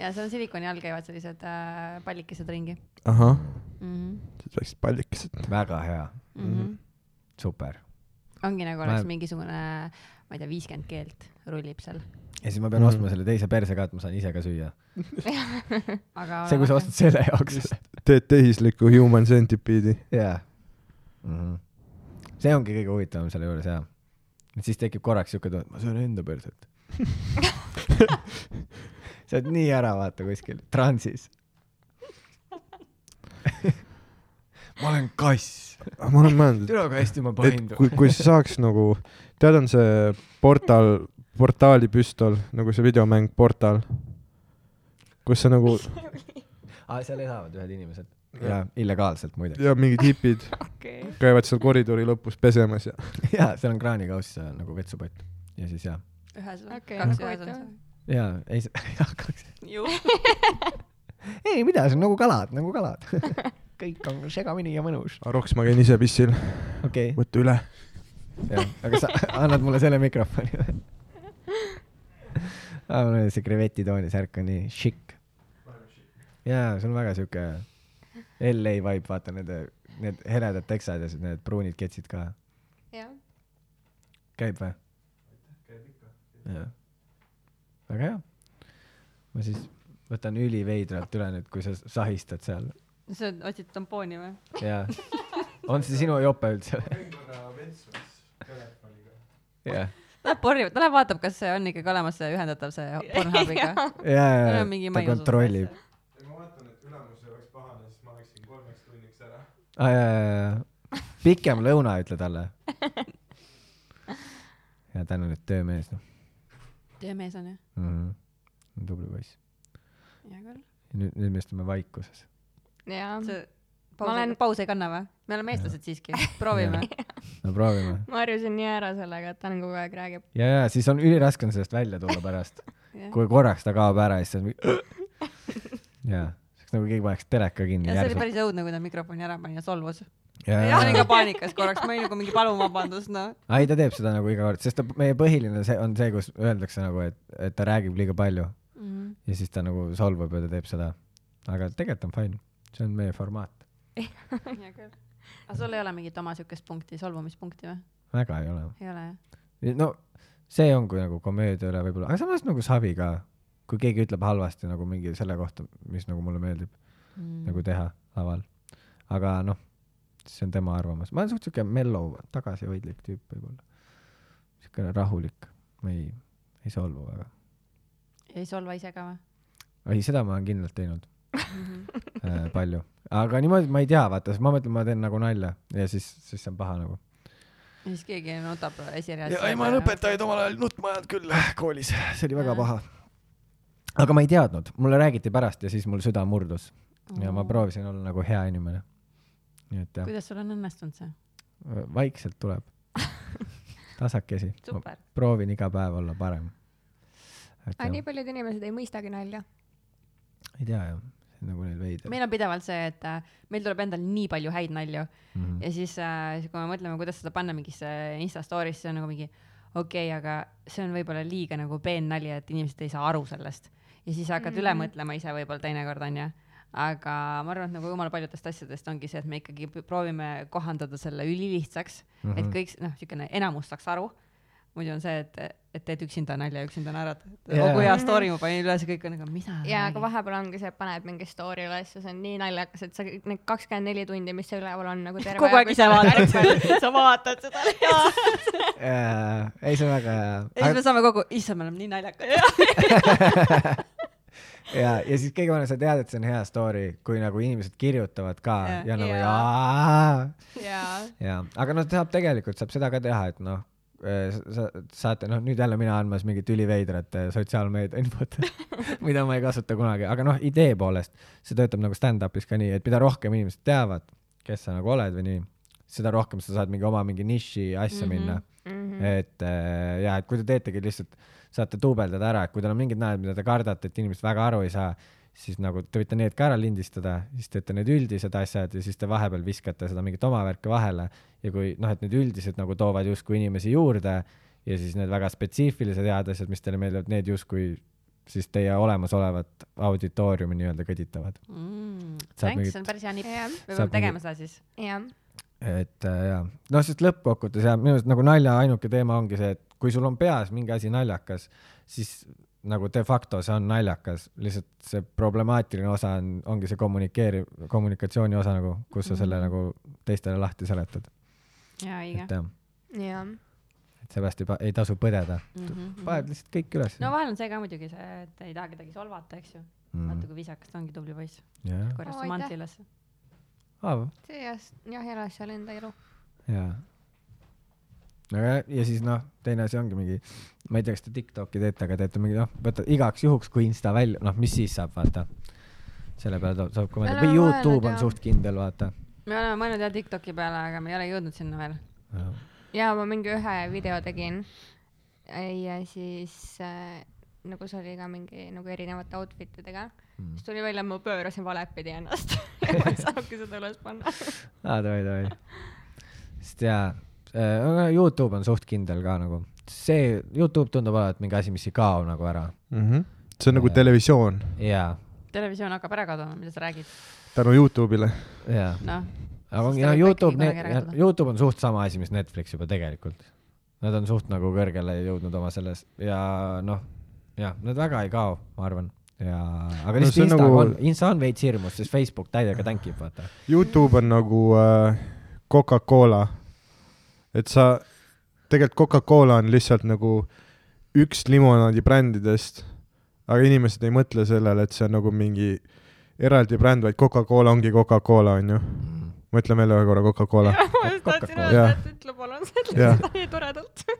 Speaker 1: ja seal silikoni all käivad sellised äh, pallikesed ringi
Speaker 4: ahah ,
Speaker 1: mm . -hmm.
Speaker 4: siis läksid pallikesed .
Speaker 2: väga hea ,
Speaker 1: Mm
Speaker 2: Mhm.
Speaker 1: -hmm.
Speaker 2: super .
Speaker 1: ongi nagu
Speaker 2: Ma-
Speaker 1: oleks mingisugune , ma ei tea , viiskümmend keelt rullib seal .
Speaker 2: ja siis ma pean
Speaker 4: Mhm.
Speaker 2: mm. ostma selle teise perse ka , et ma saan ise ka süüa .
Speaker 1: aga .
Speaker 2: see , kui sa . ostad selle jaoks .
Speaker 4: teed tehisliku human centipede'i .
Speaker 2: jaa . see ongi kõige huvitavam selle juures jaa . et siis tekib korraks siuke tunne , et ma söön enda perset . sa oled nii ära vaata kuskil transis . ma olen kass .
Speaker 4: ma olen mõelnud ,
Speaker 2: tule aga hästi ma
Speaker 4: et
Speaker 2: paindun .
Speaker 4: kui , kui saaks nagu , tead , on see portaal , portaali püstol , nagu see videomäng Portal , kus sa nagu
Speaker 2: aa , seal elavad ühed inimesed . jaa , illegaalselt muide .
Speaker 4: ja mingid hipid
Speaker 7: okei .
Speaker 4: käivad seal koridori lõpus pesemas ja
Speaker 2: jaa , seal on kraanikauss ja nagu vetsupott . ja siis jah .
Speaker 1: ühes või
Speaker 3: Okei,
Speaker 1: okay, kaks
Speaker 3: väga
Speaker 1: ühes on
Speaker 3: huvitav.
Speaker 1: see .
Speaker 2: jaa , ei s- , hakkaks .
Speaker 1: ju .
Speaker 2: ei , mida , see on nagu kalad , nagu kalad . kõik on segamini ja mõnus .
Speaker 4: Roks , ma käin ise pissil ,
Speaker 2: okei okay. ,
Speaker 4: võta üle .
Speaker 2: jah , aga sa annad mulle selle mikrofoni või ? aa , mul oli see krevetitooni särk on nii šikk . jaa , see on väga siuke LA vibe , vaata need , need heledad teksad ja siis need pruunid ketsid ka .
Speaker 3: jah .
Speaker 2: käib või ? jah . väga hea . ma siis võtan üliveidralt üle nüüd , kui sa sahistad seal .
Speaker 1: sa otsid tampooni või ?
Speaker 2: jaa . on see sinu jope üldse või ? jah ,
Speaker 1: ta läheb porjub , ta läheb vaatab , kas see on ikkagi olemas see ühendatav see Pornhubiga .
Speaker 2: jaa ,
Speaker 1: Tal
Speaker 2: jaa
Speaker 1: on , mingi
Speaker 2: ta
Speaker 1: maiusus
Speaker 2: kontrollib .
Speaker 4: ma vaatan , et ülemus ei oleks pahane , siis ma läksin kolmeks tunniks ära .
Speaker 2: aa Ah, jaa jaa jaa pikem lõuna ütle talle ja ta on nüüd töömees noh
Speaker 1: töömees on ju ?
Speaker 2: mm. tubli poiss
Speaker 1: hea küll .
Speaker 2: Ja nüüd nüüd me istume vaikuses
Speaker 3: jaa .
Speaker 1: see
Speaker 3: Ma
Speaker 1: paus olen...
Speaker 3: olen- ,
Speaker 1: paus ei kanna või ? me oleme eestlased siiski , proovime .
Speaker 2: no proovime
Speaker 3: ma harjusin nii ära sellega , et ta on kogu aeg räägib .
Speaker 2: ja ja siis on üliraske on sellest välja tulla pärast kui korraks ta kaob ära ja siis ta on mingi jaa see oleks nagu keegi paneks teleka kinni
Speaker 1: ja see oli
Speaker 2: järsult
Speaker 1: päris õudne , kui ta mikrofoni ära pani ja solvus .
Speaker 2: jaa
Speaker 1: ma
Speaker 2: jaa
Speaker 1: olin ka paanikas korraks , ma olin nagu mingi palun vabandust , noh .
Speaker 2: ei ta teeb seda nagu iga kord sest ta meie põhiline see on see kus öeldakse nagu et et ta räägib liiga palju ja siis ta nagu solvab ja ta teeb seda aga tegelikult on fine see on meie formaat
Speaker 1: hea küll . aga sul ei ole mingit oma siukest punkti , solvumispunkti või ?
Speaker 2: väga ei ole
Speaker 1: ei ole jah ?
Speaker 2: no see on kui nagu komöödia üle võibolla aga samas nagu savi ka kui keegi ütleb halvasti nagu mingi selle kohta mis nagu mulle meeldib mm. nagu teha laval aga noh see on tema arvamus ma olen suht siuke mellow tagasihoidlik tüüp võibolla siukene rahulik ma ei ei solvu väga Nagu-
Speaker 1: ei solva ise ka või ?
Speaker 2: ei seda ma olen kindlalt teinud äh, palju aga niimoodi ma ei tea vaata siis ma mõtlen ma teen nagu nalja ja siis siis see on paha nagu
Speaker 1: ja siis keegi nutab esireas .
Speaker 2: ja ei , ma olen . õpetajaid omal ajal nutma ajanud küll Ah, koolis , see oli väga paha . aga ma ei teadnud , mulle räägiti pärast ja siis mul süda murdus
Speaker 1: Mhm.
Speaker 2: ja ma proovisin olla nagu hea inimene . nii et jah ,
Speaker 1: kuidas sul on õnnestunud see ?
Speaker 2: Äh, vaikselt tuleb . tasakesi .
Speaker 1: Super.
Speaker 2: proovin iga päev olla parem .
Speaker 3: aga nii paljud inimesed ei mõistagi nalja .
Speaker 2: ei tea jah , see on nagu neil veider .
Speaker 1: meil on pidevalt see , et äh, meil tuleb endal nii palju häid nalju mm
Speaker 2: Mhm.
Speaker 1: -hmm. ja siis , siis kui me mõtleme , kuidas seda panna mingisse Insta story'sse , see on nagu mingi okei okay, , aga see on võib-olla liiga nagu peen nali , et inimesed ei saa aru sellest . ja siis hakkad mm -hmm.
Speaker 7: Mhm.
Speaker 1: üle mõtlema ise võib-olla teinekord onju aga ma arvan , et nagu jumala paljudest asjadest ongi see , et me ikkagi p- proovime kohandada selle ülilihtsaks mm ,
Speaker 2: Mhm.
Speaker 1: -hmm. et kõik s- noh , niisugune enamus saaks aru . muidu on see , et , et teed üksinda nalja , üksinda naerad
Speaker 2: Jaa.
Speaker 1: yeah. . kui hea story ma panin üles ja kõik on nagu , mida .
Speaker 3: jaa , aga vahepeal ongi see , et paned mingi story üles ja see on nii naljakas , et sa kõik need kakskümmend neli tundi , mis see üleval on nagu terve
Speaker 1: kogu aeg ise vaatad seda .
Speaker 7: sa vaatad seda .
Speaker 2: Mhm. Äh, ei , see on väga
Speaker 1: ja siis
Speaker 2: hea
Speaker 1: me . saame kogu , issand , me oleme nii naljakad .
Speaker 2: ja , ja siis kõige vanem , sa tead , et see on hea story , kui nagu inimesed kirjutavad ka ja,
Speaker 1: Jaa.
Speaker 2: ja nagu
Speaker 7: Jaa.
Speaker 2: jaa
Speaker 3: jaa .
Speaker 2: jaa , aga noh , saab tegelikult , saab seda ka teha , et noh , sa saate , noh , nüüd jälle mina andmas mingit üliveidrat eh, sotsiaalmeedia infot , mida ma ei kasuta kunagi , aga noh , idee poolest see töötab nagu stand-up'is ka nii , et mida rohkem inimesed teavad , kes sa nagu oled või nii , seda rohkem sa saad mingi oma mingi niši asja mm -hmm. minna
Speaker 3: Mhm.
Speaker 2: et äh, ja , et kui te teetegi lihtsalt , saate duubeldada ära , et kui teil on mingid naljad , mida te kardate , et inimesed väga aru ei saa , siis nagu te võite need ka ära lindistada , siis teete need üldised asjad ja siis te vahepeal viskate seda mingit oma värki vahele ja kui noh , et need üldised nagu toovad justkui inimesi juurde ja siis need väga spetsiifilised head asjad , mis teile meeldivad , need justkui siis teie olemasolevat auditooriumi nii-öelda kõditavad .
Speaker 1: mm, .
Speaker 2: Saab
Speaker 1: Thanks ,
Speaker 2: mingit-
Speaker 1: see on päris hea nipp .
Speaker 3: Jah.
Speaker 1: me
Speaker 2: Saab
Speaker 1: peame tegema seda siis .
Speaker 3: jah .
Speaker 2: et äh, jaa , noh , sest lõppkokkuvõttes jaa , minu arust nagu nalja ainuke teema ongi see , et kui sul on peas mingi asi naljakas , siis nagu de facto see on naljakas , lihtsalt see problemaatiline osa on , ongi see kommunikeeri- , kommunikatsiooni osa nagu , kus sa selle nagu teistele lahti seletad .
Speaker 1: jaa , õige
Speaker 2: et jah ,
Speaker 3: jah .
Speaker 2: et seepärast ei, pa- ei tasu põdeda ,
Speaker 1: mm . -hmm.
Speaker 2: paned lihtsalt kõik üles .
Speaker 1: no vahel on see ka muidugi see , et ei taha kedagi solvata , eks ju mm. . vaata kui viisakas ta ongi , tubli poiss .
Speaker 2: jaa ,
Speaker 1: korjas
Speaker 3: Oo,
Speaker 1: su
Speaker 3: aitäh.
Speaker 1: mantli üles .
Speaker 2: aa ,
Speaker 3: see jah , jah elas seal enda elu .
Speaker 2: jaa . aga jah, ja siis noh , teine asi ongi mingi , ma ei tea , kas te Tiktoki teete , aga teete mingi noh , võtad igaks juhuks , kui Insta välja , noh , mis siis saab , vaata . selle peale tuleb- saab ka mõelda või
Speaker 3: Oleme
Speaker 2: Youtube
Speaker 3: mõelnud,
Speaker 2: on
Speaker 3: jah.
Speaker 2: suht kindel , vaata .
Speaker 1: me oleme mõelnud jah Tiktoki peale , aga me ei ole jõudnud sinna veel .
Speaker 3: jaa , ma mingi ühe video tegin ja siis äh, nagu see oli ka mingi nagu erinevate outfit idega mm. , siis tuli välja , et ma pöörasin valepidi ennast ja ma ei saanudki seda üles panna .
Speaker 2: aa , davai , davai . sest jaa , Youtube on suht kindel ka nagu , see Youtube tundub olevat mingi asi , mis ei kao nagu ära
Speaker 4: mhmh . see on nagu
Speaker 2: Jaa.
Speaker 4: televisioon
Speaker 2: jaa ,
Speaker 1: televisioon hakkab ära kaduma , mida sa räägid ,
Speaker 4: tänu Youtube'ile .
Speaker 2: jaa .
Speaker 1: noh .
Speaker 2: aga ongi ,
Speaker 1: ta
Speaker 2: no
Speaker 1: võib
Speaker 2: Youtube ,
Speaker 1: ikkagi kunagi ära kaduda.
Speaker 2: Youtube on suht sama asi , mis Netflix juba tegelikult . Nad on suht nagu kõrgele jõudnud oma selles ja noh , jah , nad väga ei kao , ma arvan . ja , aga
Speaker 4: No
Speaker 2: lihtsalt
Speaker 4: see on
Speaker 2: Insta
Speaker 4: nagu-
Speaker 2: nagu... on , Insta on veits hirmus , sest Facebook täiega tänkib , vaata .
Speaker 4: Youtube on nagu äh, Coca-Cola . et sa , tegelikult Coca-Cola on lihtsalt nagu üks limonaadibrändidest , aga inimesed ei mõtle sellele , et see on nagu mingi eraldi bränd , vaid Coca-Cola ongi Coca-Cola , onju . mõtle veel ühe korra Coca-Cola .
Speaker 7: ma just tahtsin
Speaker 2: Coca-Cola.
Speaker 7: öelda
Speaker 4: Jah. ,
Speaker 7: et ütle palun selle
Speaker 4: jah ,
Speaker 7: nii toredalt .
Speaker 1: sa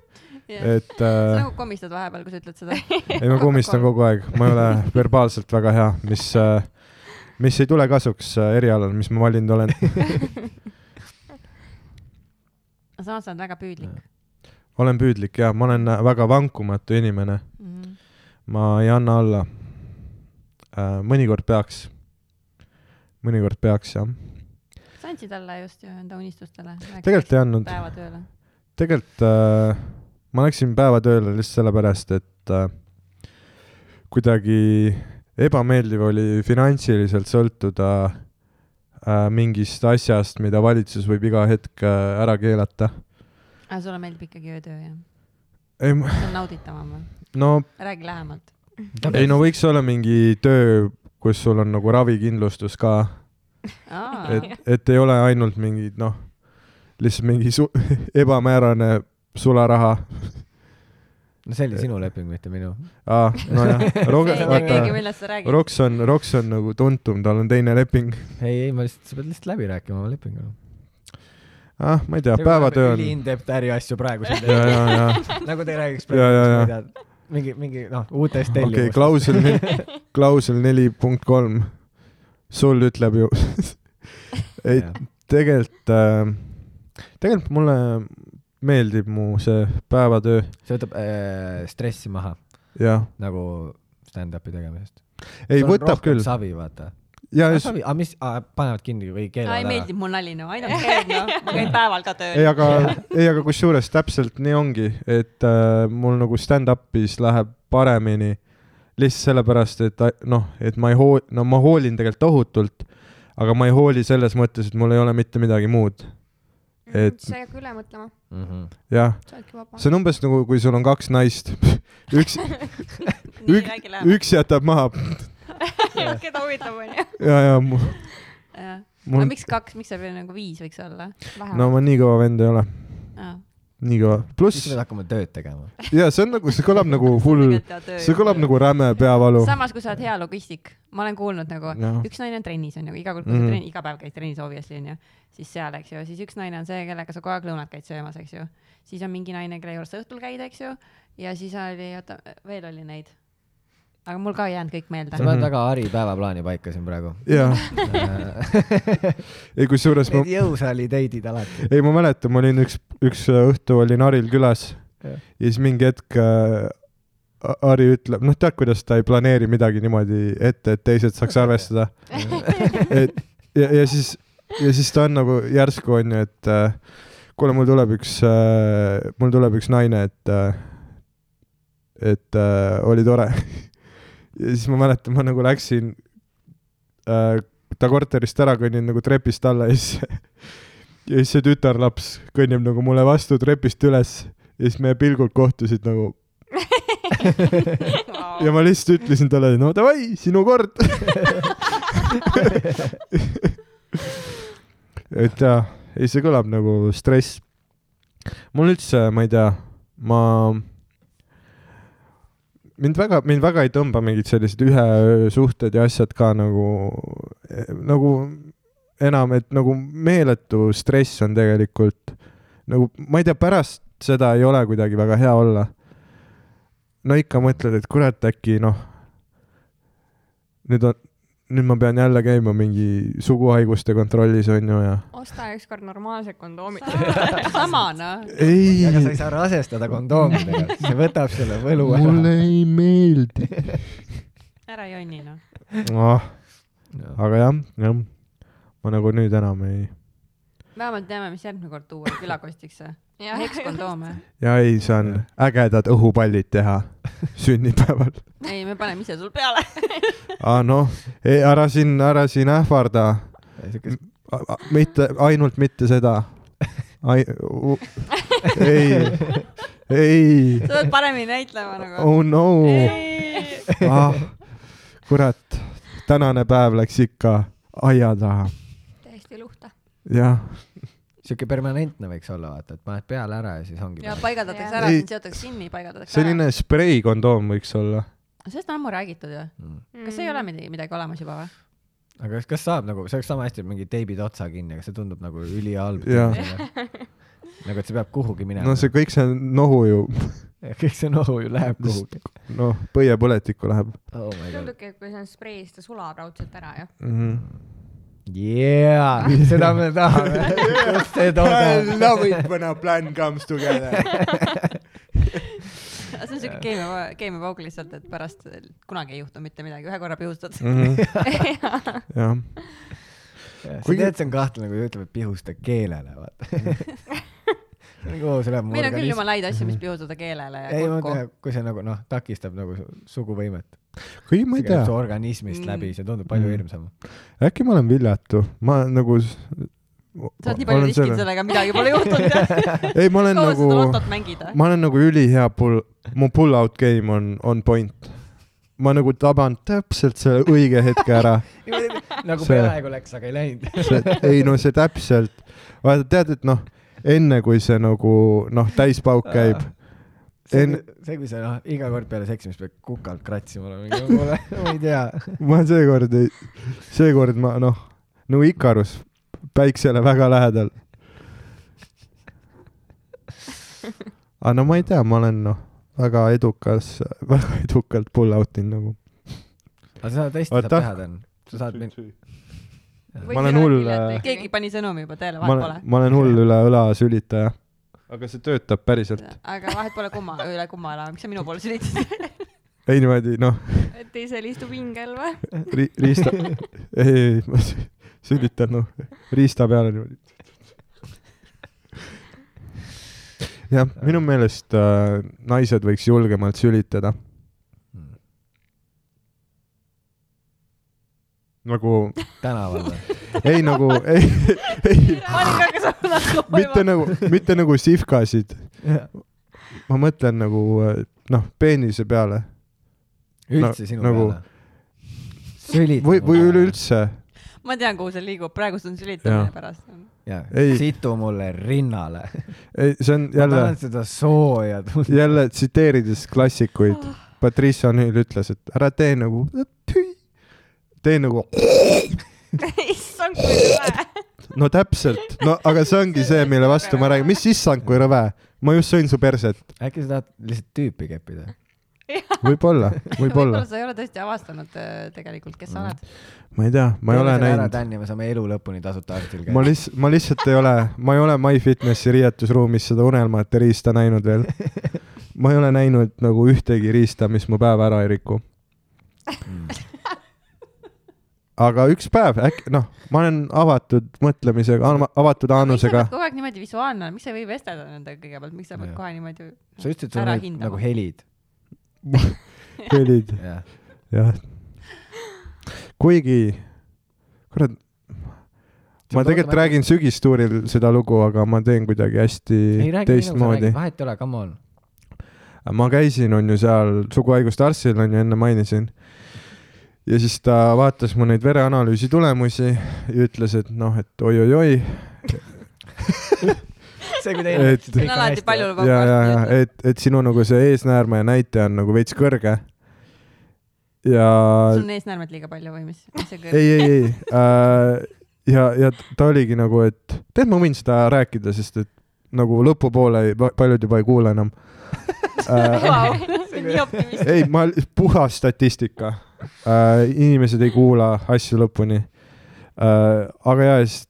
Speaker 4: et äh,
Speaker 1: nagu komistad vahepeal , kui sa ütled seda .
Speaker 4: ei ma kummistan kogu aeg , ma ei ole verbaalselt väga hea , mis äh, , mis ei tule kasuks äh, erialal , mis ma valinud olen .
Speaker 1: samas sa oled väga püüdlik
Speaker 4: olen püüdlik ja ma olen väga vankumatu inimene ,
Speaker 1: mm .
Speaker 4: ma ei anna alla äh, . mõnikord peaks , mõnikord peaks jah ,
Speaker 1: -hmm. sa andsid alla just ju enda unistustele .
Speaker 4: tegelikult ei andnud ,
Speaker 1: päevatööle .
Speaker 4: tegelikult äh, ma läksin päevatööle lihtsalt sellepärast , et äh, kuidagi ebameeldiv oli finantsiliselt sõltuda äh, mingist asjast , mida valitsus võib iga hetk äh, ära keelata .
Speaker 1: aga Ah, sulle meeldib ikkagi öötöö jah ?
Speaker 4: ei , ma ,
Speaker 1: see on nauditavam või ?
Speaker 4: no
Speaker 1: räägi lähemalt .
Speaker 4: ei no võiks olla mingi töö , kus sul on nagu ravikindlustus ka ,
Speaker 1: Ah,
Speaker 4: et , et ei ole ainult mingid noh , lihtsalt mingi su- ebamäärane sularaha
Speaker 2: no see oli sinu leping , mitte minu .
Speaker 4: ah, . nojah ,
Speaker 1: see
Speaker 4: Roge- ,
Speaker 1: ei tea keegi ,
Speaker 4: vaata ,
Speaker 1: millest sa räägid .
Speaker 4: Roks on , Roks on nagu tuntum , tal on teine leping .
Speaker 2: ei , ei , ma lihtsalt , sa pead lihtsalt läbi rääkima oma lepinguga .
Speaker 4: ah , ma ei tea , päevatöö on .
Speaker 2: üliindept nagu äriasju praegu siin
Speaker 4: ja ,
Speaker 2: teha ,
Speaker 4: ja , ja
Speaker 2: nagu te ei räägiks
Speaker 4: Ja,
Speaker 2: praegu ,
Speaker 4: ja,
Speaker 2: ma
Speaker 4: ja.
Speaker 2: ei tea , mingi , mingi noh , uutest
Speaker 4: okei okay, ,
Speaker 2: tellimustest .
Speaker 4: klausel , klausel neli punkt kolm . sul ütleb ju . ei , tegelikult äh, , tegelikult mulle meeldib mu see päevatöö
Speaker 2: see võtab äh, stressi maha
Speaker 4: ja
Speaker 2: nagu stand-up'i tegemisest .
Speaker 4: ei võtab küll
Speaker 2: savi , vaata .
Speaker 4: ja just ,
Speaker 2: savi , aga mis , panevad kinni
Speaker 1: aa ,
Speaker 2: või
Speaker 1: ei
Speaker 2: keelavad ära ?
Speaker 1: meeldinud mu nali , no ainult see , noh , ma käin päeval ka
Speaker 4: ei
Speaker 1: tööl .
Speaker 4: aga , ei aga kusjuures täpselt nii ongi , et äh, mul nagu stand-up'is läheb paremini lihtsalt sellepärast , et ta- noh , et ma ei hoo- , no ma hoolin tegelikult tohutult , aga ma ei hooli selles mõttes , et mul ei ole mitte midagi muud . Et-
Speaker 3: sa ei hakka üle mõtlema ,
Speaker 2: Mhm.
Speaker 4: jah ,
Speaker 3: sa oledki vaba .
Speaker 4: see on umbes nagu , kui sul on kaks naist , üks ,
Speaker 1: nii
Speaker 4: ük- ,
Speaker 1: räägi lähemalt .
Speaker 4: üks jätab maha
Speaker 7: keda huvitab , onju .
Speaker 4: ja , ja mu,
Speaker 1: no
Speaker 4: mul ,
Speaker 1: miks kaks , miks seal veel nagu viis võiks olla ?
Speaker 4: no ma nii kõva vend ei ole , nii kõva ,
Speaker 2: siis
Speaker 4: pluss
Speaker 2: pead hakkama tööd tegema .
Speaker 4: ja see on nagu , see kõlab nagu hull , see kõlab . nagu räme peavalu .
Speaker 1: samas , kui sa oled hea logistik , ma olen kuulnud nagu
Speaker 4: Jah.
Speaker 1: üks naine on trennis onju , iga kord kui sa
Speaker 4: Mhm.
Speaker 1: trenni , iga päev käid trennis obviously onju , siis seal , eks ju , siis üks naine on see , kellega sa kogu aeg lõunat käid söömas , eks ju , siis on mingi naine , kelle juures sa õhtul käid , eks ju , ja siis oli , oota , veel oli neid . aga mul ka ei jäänud kõik meelde
Speaker 2: sa .
Speaker 4: Mhm.
Speaker 2: paned väga Ari päevaplaani paika siin praegu .
Speaker 4: jah , ei kusjuures ma
Speaker 2: Need , jõusaali teidid alati .
Speaker 4: ei ma mäletan , ma olin üks , üks äh, õhtu olin Haril külas ja
Speaker 2: Jah.
Speaker 4: siis mingi hetk äh, A- Hari ütleb , noh tead , kuidas ta ei planeeri midagi niimoodi ette , et teised saaks arvestada . et ja , ja siis , ja siis ta on nagu järsku onju , et äh, kuule , mul tuleb üks äh, , mul tuleb üks naine , et äh, , et äh, oli tore . ja siis ma mäletan , ma nagu läksin äh, ta korterist ära , kõnnin nagu trepist alla ja siis ja siis see tütarlaps kõnnib nagu mulle vastu trepist üles ja siis meie pilgud kohtusid nagu ja ma lihtsalt ütlesin talle , no davai , sinu kord . et jaa , ei see kõlab nagu stress . mul üldse , ma ei tea , ma , mind väga , mind väga ei tõmba mingid sellised ühe öö suhted ja asjad ka nagu , nagu enam , et nagu meeletu stress on tegelikult nagu , ma ei tea , pärast seda ei ole kuidagi väga hea olla . no ikka mõtled , et kurat , äkki noh , nüüd on , nüüd ma pean jälle käima mingi suguhaiguste kontrollis onju ja .
Speaker 3: osta ükskord normaalsed kondoomid .
Speaker 1: sama noh .
Speaker 4: ei
Speaker 2: aga sa ei saa rasestada kondoomidega , see võtab selle võlu
Speaker 4: mulle
Speaker 2: ära .
Speaker 4: ei meeldi .
Speaker 1: ära jonni noh .
Speaker 4: ah ,
Speaker 2: Noh,
Speaker 4: aga jah , jah , ma nagu nüüd enam ei ,
Speaker 1: vähemalt teame , mis järgmine kord tuua külakostiks . eks
Speaker 3: jah ,
Speaker 1: kondoome .
Speaker 4: ja ei , see on ägedad õhupallid teha sünnipäeval .
Speaker 1: ei , me paneme ise sul peale .
Speaker 4: aa noh , ei ära siin , ära siin ähvarda , mitte ainult mitte seda . Ai, u, ei , ei ,
Speaker 1: sa pead paremini näitlema nagu .
Speaker 4: oh no , ah, kurat , tänane päev läks ikka aia taha ,
Speaker 3: täiesti luhta .
Speaker 4: jah .
Speaker 2: siuke permanentne võiks olla , vaata , et paned peale ära ja siis ongi .
Speaker 1: ja paigaldatakse ära ,
Speaker 4: Ei.
Speaker 1: siis seotakse kinni , paigaldatakse ära .
Speaker 4: selline spreikondoom võiks olla .
Speaker 1: sellest on ammu räägitud ju .
Speaker 4: Mm.
Speaker 1: kas ei ole midagi , midagi olemas juba või ?
Speaker 2: aga kas- kas saab nagu , see oleks sama hästi , et mingi teibid otsa kinni , aga see tundub nagu ülihalb .
Speaker 4: Jah.
Speaker 2: nagu , et see peab kuhugi minema
Speaker 4: no see . kõik see nohu ju ,
Speaker 2: kõik see nohu ju läheb kuhugi .
Speaker 4: noh , põiepõletikku läheb
Speaker 2: oh my god .
Speaker 3: tundubki , et kui see on spreis , ta sulab raudselt ära ju .
Speaker 4: mm . -hmm.
Speaker 2: Yeah , Mhm. seda me tahame . just see toode .
Speaker 4: love it when a plan comes together .
Speaker 1: see on siuke keemia , keemiapauk lihtsalt , et pärast kunagi ei juhtu mitte midagi , ühe korra pihustad .
Speaker 4: Mm, Mhm. jah ,
Speaker 2: sa
Speaker 4: Kuigi-
Speaker 2: tead , see on kahtlane , kui ta ütleb , et pihusta keelele , vaata . nagu see läheb
Speaker 1: meil on küll
Speaker 2: morganismi .
Speaker 1: jumala häid asju , mis pihutada keelele ja
Speaker 2: ei , ma
Speaker 1: kurku .
Speaker 2: tean , kui see nagu noh , takistab nagu su- suguvõimet .
Speaker 4: ei ma
Speaker 2: see
Speaker 4: ei tea
Speaker 2: käib su , organismist
Speaker 1: Mm.
Speaker 2: läbi , see tundub palju
Speaker 4: Mm.
Speaker 2: hirmsam .
Speaker 4: äkki ma olen viljatu , ma nagu .
Speaker 1: sa oled nii palju riskinud . sellega , midagi pole juhtunud .
Speaker 4: ei , ma olen
Speaker 1: kaua sa
Speaker 4: nagu
Speaker 1: seda , lotot mängid ?
Speaker 4: ma olen nagu ülihea pull , mu pull out game on , on point . ma nagu taban täpselt selle õige hetke ära ,
Speaker 2: nagu
Speaker 4: See-
Speaker 2: peaaegu läks , aga ei läinud .
Speaker 4: ei no see täpselt , vaata tead , et noh , enne kui see nagu noh , täispauk käib ,
Speaker 2: see
Speaker 4: En- ,
Speaker 2: see , kui sa noh , iga kord peale seksimist pead kukalt kratsima olema , kuule , ma ei tea .
Speaker 4: ma seekord ei , seekord ma noh , nagu Ikarus , päiksele väga lähedal . aga no ma ei tea , ma olen noh , väga edukas , väga edukalt pull out in nagu .
Speaker 2: aga seda tõesti saab
Speaker 4: Oota.
Speaker 2: teha , Dan . sa saad mind ,
Speaker 4: ma olen hull ,
Speaker 1: keegi pani sõnumi juba teele ,
Speaker 4: ma
Speaker 1: vahet
Speaker 4: olen
Speaker 1: pole .,
Speaker 4: ma olen hull üle õla sülitaja . aga see töötab päriselt .
Speaker 1: aga vahet pole kumma , üle kumma elama , miks sa minu poole sülitasid ?
Speaker 4: ei niimoodi noh ,
Speaker 3: et teisel istub hingel või ?
Speaker 4: ri- , riista , ei , ei , ma sü- sülitan noh , riista peale niimoodi . jah , minu meelest äh, naised võiks julgemalt sülitada .
Speaker 2: Hmm.
Speaker 4: nagu ,
Speaker 2: tänaval või ?
Speaker 4: ei nagu , ei , ei ,
Speaker 1: panin ka ka sõna kokku
Speaker 4: mitte . nagu , mitte nagu sihvkasid , ma mõtlen nagu äh, noh , peenise peale
Speaker 2: üldse
Speaker 4: No,
Speaker 2: sinu
Speaker 4: nagu-
Speaker 2: peale ? sülid .
Speaker 4: või , või . üleüldse .
Speaker 1: ma tean , kuhu see liigub , praegust on sülitamine
Speaker 4: Jah.
Speaker 1: pärast .
Speaker 4: Ei.
Speaker 2: situ mulle rinnale .
Speaker 4: ei , see on
Speaker 2: ma
Speaker 4: jälle
Speaker 2: tahan , seda sooja tunda .
Speaker 4: jälle tsiteerides klassikuid , Patrice O'Neill ütles , et ära tee nagu , tee nagu ,
Speaker 7: issand , kui rõve .
Speaker 4: no täpselt , no aga see ongi see , mille vastu ma räägin , mis issand kui rõve , ma just sõin su perset ,
Speaker 2: äkki sa tahad lihtsalt tüüpi keppida ?
Speaker 4: võib-olla , võib-olla
Speaker 1: võib-olla , sa ei ole tõesti avastanud äh, tegelikult , kes sa oled .
Speaker 4: ma ei tea , ma ei ole näinud ,
Speaker 2: Dan ja me saame elu lõpuni tasuta arstil
Speaker 4: ma
Speaker 2: käia .
Speaker 4: lihtsalt , ma lihtsalt ei ole , ma ei ole MyFitnessi riietusruumis seda unelmate riista näinud veel . ma ei ole näinud nagu ühtegi riista , mis mu päeva ära ei riku .
Speaker 2: Mm.
Speaker 4: aga üks päev äkki , noh , ma olen avatud mõtlemisega , avatud
Speaker 1: miks sa
Speaker 4: aanusega
Speaker 1: pead . kogu aeg niimoodi visuaalne olema , miks sa ei või vestelda nendega kõigepealt , miks sa pead
Speaker 2: Jah.
Speaker 1: kohe niimoodi
Speaker 2: sa ütlesid , et sul
Speaker 1: ära
Speaker 2: olid nagu
Speaker 1: hindama ?
Speaker 2: helid .
Speaker 4: helid ,
Speaker 2: jah .
Speaker 4: jah . kuigi , kurat , ma tegelikult . räägin sügistuuril seda lugu , aga ma teen kuidagi hästi
Speaker 2: ei räägi nii nagu sa
Speaker 4: teistmoodi
Speaker 2: räägid ,. vahet ei ole , come on .
Speaker 4: ma käisin , on ju seal suguhaiguste arstil , on ju , enne mainisin . ja siis ta vaatas mu neid vereanalüüsi tulemusi ja ütles , et noh , et oi-oi-oi
Speaker 2: see , kui
Speaker 4: teine- Et-
Speaker 1: see on alati palju .
Speaker 4: ja , ja , ja
Speaker 1: lubav .
Speaker 4: et , et sinu nagu see eesnäärme näitaja on nagu veits kõrge . ja
Speaker 1: sul on eesnäärmed liiga palju või mis ?
Speaker 4: ei , ei , ei äh, . ja , ja ta oligi nagu , et tead , ma võin seda rääkida , sest et nagu lõpupoole ei- pa- paljud juba ei kuule enam äh, .
Speaker 7: Vau , see on nii optimistlik .
Speaker 4: ei , ma , puhas statistika äh, inimesed ei kuula asju lõpuni äh, . aga ja siis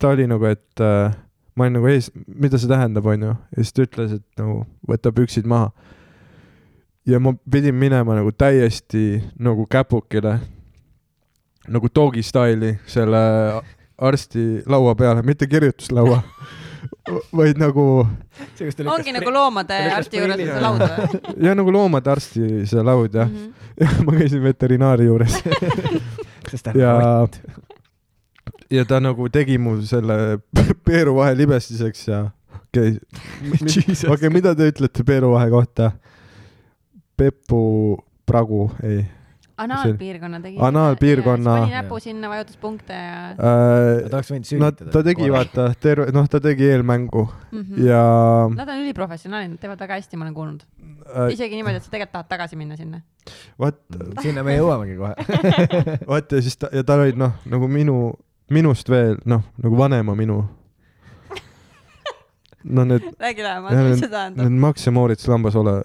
Speaker 4: ta oli nagu , et äh, ma olin nagu ees , mida see tähendab , onju , ja siis ta ütles , et nagu võta püksid maha . ja ma pidin minema nagu täiesti nagu käpukile , nagu dog'i staili selle arsti laua peale , mitte kirjutuslaua , vaid nagu
Speaker 1: ongi nagu loomade
Speaker 2: ta lükkas
Speaker 1: arsti juures
Speaker 2: prilli
Speaker 1: on see
Speaker 2: ära.
Speaker 1: laud või ?
Speaker 4: ja nagu loomade arsti see laud jah mm ,
Speaker 1: Mhm.
Speaker 4: -hmm. ma käisin veterinaari juures
Speaker 2: sest ta ja...
Speaker 4: ja , ja ta nagu tegi mu selle peeru vahe libestiseks ja okei okay. ,
Speaker 2: Jesus.
Speaker 4: okei okay, , mida te ütlete peeru vahe kohta ? pepu , pragu , ei
Speaker 1: anaalpiirkonna tegi .
Speaker 4: Anaalpiirkonna-
Speaker 1: pani näpu sinna , vajutas punkte ja
Speaker 4: äh, .
Speaker 2: ta nagu oleks võinud
Speaker 4: Nad ,
Speaker 2: süüditada .
Speaker 4: ta tegi . vaata terve , noh , ta tegi eelmängu
Speaker 1: mm . -hmm.
Speaker 4: ja
Speaker 1: Nad on üliprofessionaalid , nad teevad väga hästi , ma olen kuulnud .
Speaker 4: äh,
Speaker 1: isegi niimoodi , et sa tegelikult tahad tagasi minna sinna .
Speaker 4: vot ,
Speaker 2: sinna me jõuamegi kohe .
Speaker 4: vot äh, ja siis ta ja tal olid noh , nagu minu , minust veel noh , nagu vanema minu . no need
Speaker 1: räägi
Speaker 4: Ja
Speaker 1: lähemalt , mis see tähendab ?
Speaker 4: Need Max ja Moritz lambas ole ,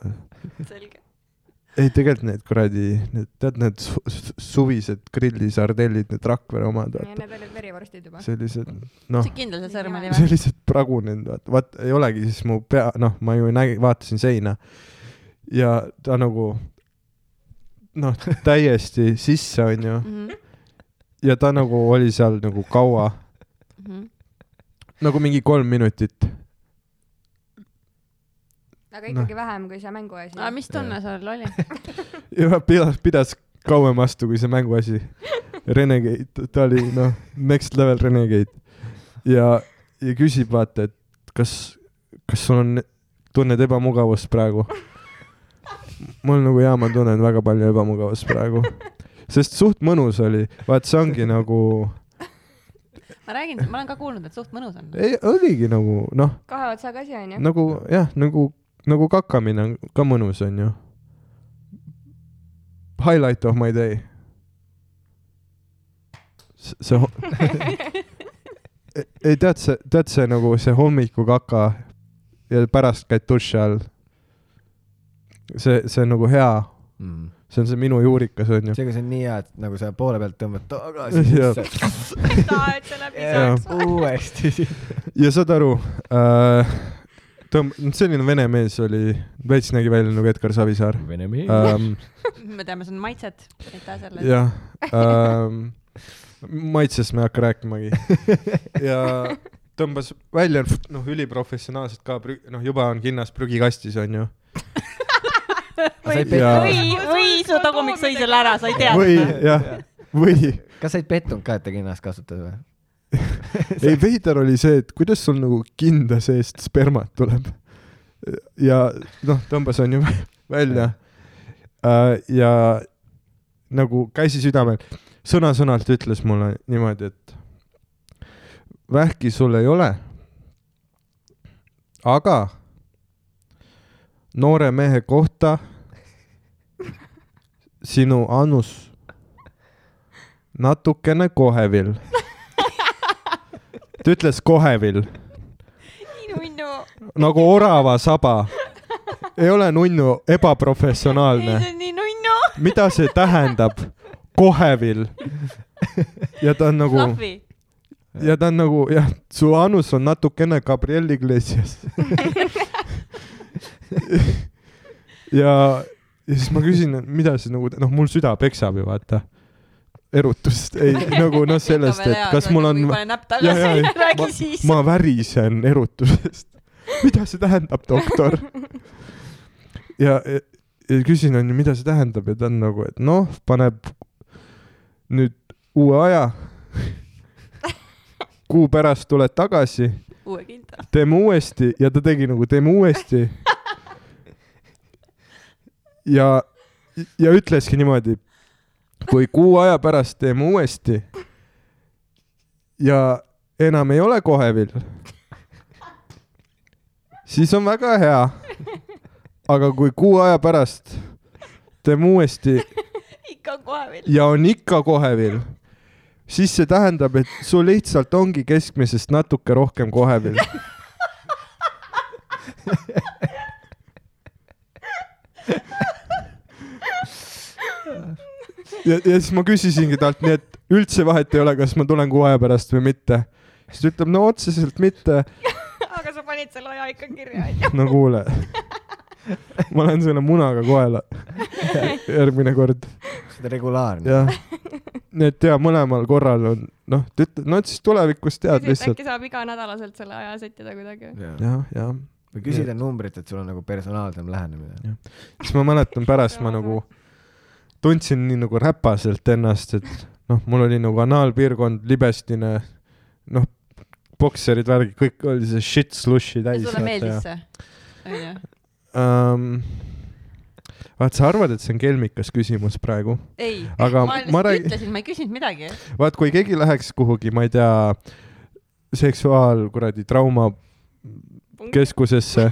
Speaker 1: selge .
Speaker 4: ei tegelikult need kuradi , need tead need su su- suvised grillisardellid , need Rakvere omad ,
Speaker 3: ja
Speaker 4: vaata
Speaker 3: need olid verivorstid juba .
Speaker 4: sellised ,
Speaker 1: sa
Speaker 4: noh ,
Speaker 1: oled kindel , see sõrm oli või ?
Speaker 4: sellised pragunenud , vaata , vaat ei olegi siis mu pea , noh , ma ju nägin , vaatasin seina ja ta nagu noh , täiesti sisse onju
Speaker 1: Mhm,
Speaker 4: ja ta nagu oli seal nagu kaua ,
Speaker 1: mhm.
Speaker 4: nagu mingi kolm minutit ,
Speaker 3: aga ikkagi vähem kui see mänguasi .
Speaker 1: aga Ah, mis tunne sul oli ?
Speaker 4: ja pidas , pidas kauem vastu kui see mänguasi . Renegade , ta oli noh , next level Renegade ja , ja küsib vaata , et kas , kas sul on , tunned ebamugavust praegu ? mul nagu jaa , ma tunnen väga palju ebamugavust praegu , sest suht mõnus oli , vaat see ongi nagu ,
Speaker 1: ma räägin , ma olen ka kuulnud , et suht mõnus on .
Speaker 4: ei oligi nagu noh ,
Speaker 3: kahe otsaga asi onju .
Speaker 4: nagu jah , nagu , nagu kakamine on ka mõnus , onju . Highlight of my day . see , ei tead see , tead see nagu see hommikukaka ja pärast käid duši all . see , see on nagu hea , see on see minu juurikas , onju .
Speaker 2: seega Mm. see on nii hea , et nagu sa poole pealt tõmbad tagasi
Speaker 4: Jah.
Speaker 2: sisse .
Speaker 7: tahad selle
Speaker 4: Jah.
Speaker 7: pisaks ?
Speaker 2: uuesti .
Speaker 4: ja saad aru äh, , tõmb- , selline vene mees oli , veits nägi välja nagu Edgar Savisaar
Speaker 2: Vene mees .
Speaker 4: ähm, .
Speaker 1: Mhm, me teame , see on maitset , aitäh selle eest .
Speaker 4: jah ähm, , maitsest ma ei hakka rääkimagi ja tõmbas välja , noh , üliprofessionaalselt ka , noh , juba on kinnas prügikastis , onju .
Speaker 2: said
Speaker 4: Jaa.
Speaker 2: pettunud ,
Speaker 1: või , või su tagumik sõi selle ära , sa ei noh. tea
Speaker 4: või
Speaker 1: seda .
Speaker 4: jah , või ,
Speaker 2: kas said pettunud ka , et ta kinnas kasutas või ?
Speaker 4: ei veider oli see , et kuidas sul nagu kinda seest spermat tuleb . ja noh , tõmbas onju välja äh, ja nagu käsi südamel , sõna-sõnalt ütles mulle niimoodi , et vähki sul ei ole . aga noore mehe kohta sinu annus natukene kohevil . ta ütles kohevil
Speaker 7: nunnu .
Speaker 4: nagu orava saba . ei ole nunnu
Speaker 7: ei ,
Speaker 4: ebaprofessionaalne
Speaker 7: see . on nii nunnu .
Speaker 4: mida see tähendab ? kohevil . ja ta on nagu ,
Speaker 1: Fluffy .
Speaker 4: ja ta on nagu jah , su annus on natukene Gabriel Iglesias . ja , ja siis ma küsin , mida see nagu , noh , mul süda peksab ju vaata . erutust , ei nagu noh , sellest , et
Speaker 1: nagu
Speaker 4: kas mul on ,
Speaker 1: pane näpp tagasi
Speaker 4: Jaa, jaa,
Speaker 1: ja
Speaker 4: ei.
Speaker 1: räägi siis .
Speaker 4: ma värisen erutusest . mida see tähendab , doktor ? ja, ja , ja küsin onju , mida see tähendab ja ta on nagu , et noh , paneb nüüd uue aja . kuu pärast tuled tagasi ,
Speaker 1: uue kinda .
Speaker 4: teeme uuesti ja ta tegi nagu teeme uuesti . ja , ja ütleski niimoodi , kui kuu aja pärast teeme uuesti ja enam ei ole kohevil , siis on väga hea . aga kui kuu aja pärast teeme uuesti
Speaker 7: ikka kohe veel .
Speaker 4: ja on ikka kohevil , siis see tähendab , et sul lihtsalt ongi keskmisest natuke rohkem kohevil . ja , ja siis ma küsisingi talt , nii et üldse vahet ei ole , kas ma tulen kuu aja pärast või mitte . siis ta ütleb , no otseselt mitte .
Speaker 7: aga sa panid selle aja ikka kirja , onju .
Speaker 4: no kuule , ma lähen selle munaga koela järgmine kord ,
Speaker 2: see on regulaarne .
Speaker 4: jah . nii et ja mõlemal korral on , noh , ta ütleb , no et siis tulevikus tead lihtsalt .
Speaker 7: äkki saab iganädalaselt selle aja sättida kuidagi .
Speaker 4: jah , jah .
Speaker 2: või küsida numbrit , et sul on nagu personaalsem lähenemine .
Speaker 4: siis ma mäletan pärast ma nagu tundsin nii nagu räpaselt ennast , et noh , mul oli nagu anaalpiirkond libestine , noh , bokserid , värgid , kõik oli see shit slushi
Speaker 1: ja
Speaker 4: täis .
Speaker 1: sulle meeldis see ? onju .
Speaker 4: um, ? Ehm, vaat sa arvad , et see on kelmikas küsimus praegu ,
Speaker 1: ei ,
Speaker 4: aga
Speaker 1: ma
Speaker 4: ma
Speaker 1: lihtsalt
Speaker 4: räägin ,
Speaker 1: ütlesin , ma ei küsinud midagi .
Speaker 4: vaat kui keegi läheks kuhugi , ma ei tea , seksuaal kuradi trauma keskusesse ,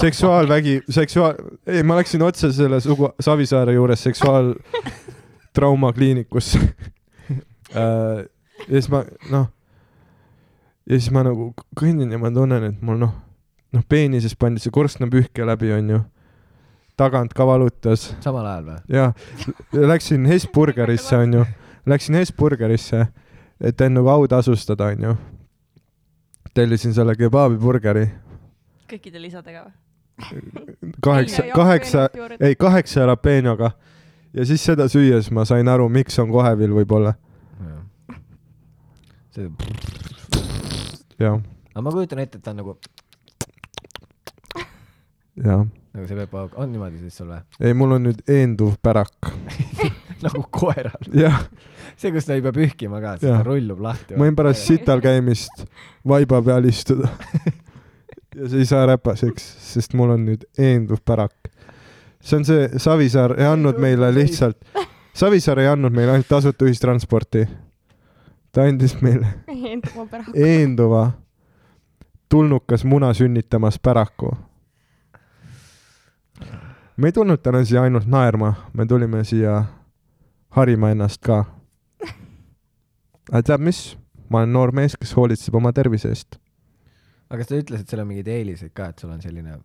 Speaker 4: seksuaalvägi , seksuaal , ei , ma läksin otse selle sugu , Savisaare juures seksuaaltrauma kliinikusse Äh, ja siis ma , noh , ja siis ma nagu k- kõnnin ja ma tunnen , et mul noh , noh , peenises pandi see korstnapühke läbi , onju , tagant ka valutas
Speaker 2: samal ajal või ?
Speaker 4: ja läksin Hesburgerisse , onju , läksin Hesburgerisse , et end nagu autasustada , onju . tellisin selle kebaabiburgeri
Speaker 1: kõikide lisadega või ?
Speaker 4: kaheksa , kaheksa , ei kaheksa jalapeenoga ja siis seda süües ma sain aru , miks on kohevil võib-olla ,
Speaker 2: see ,
Speaker 4: jah ,
Speaker 2: aga ma kujutan ette , et ta on nagu ,
Speaker 4: jah .
Speaker 2: nagu see peab , on niimoodi siis sul või ?
Speaker 4: ei , mul on nüüd eenduv pärak ,
Speaker 2: nagu koeral .
Speaker 4: jah ,
Speaker 2: see , kus ta ei pea pühkima ka , siis
Speaker 4: Jah.
Speaker 2: ta rullub lahti .
Speaker 4: ma võin pärast sital käimist vaiba peal istuda ja see ei saa räpaseks , sest mul on nüüd eenduv pärak . see on see , Savisaar ei andnud meile lihtsalt , Savisaar ei andnud meile ainult tasuta ühistransporti . ta andis meile
Speaker 7: enduma pärast .
Speaker 4: eenduva tulnukas muna sünnitamas päraku . me ei tulnud täna siia ainult naerma , me tulime siia harima ennast ka . aga tead mis , ma olen noor mees , kes hoolitseb oma tervise eest .
Speaker 2: aga sa ütlesid , seal on mingeid eeliseid ka , et sul on selline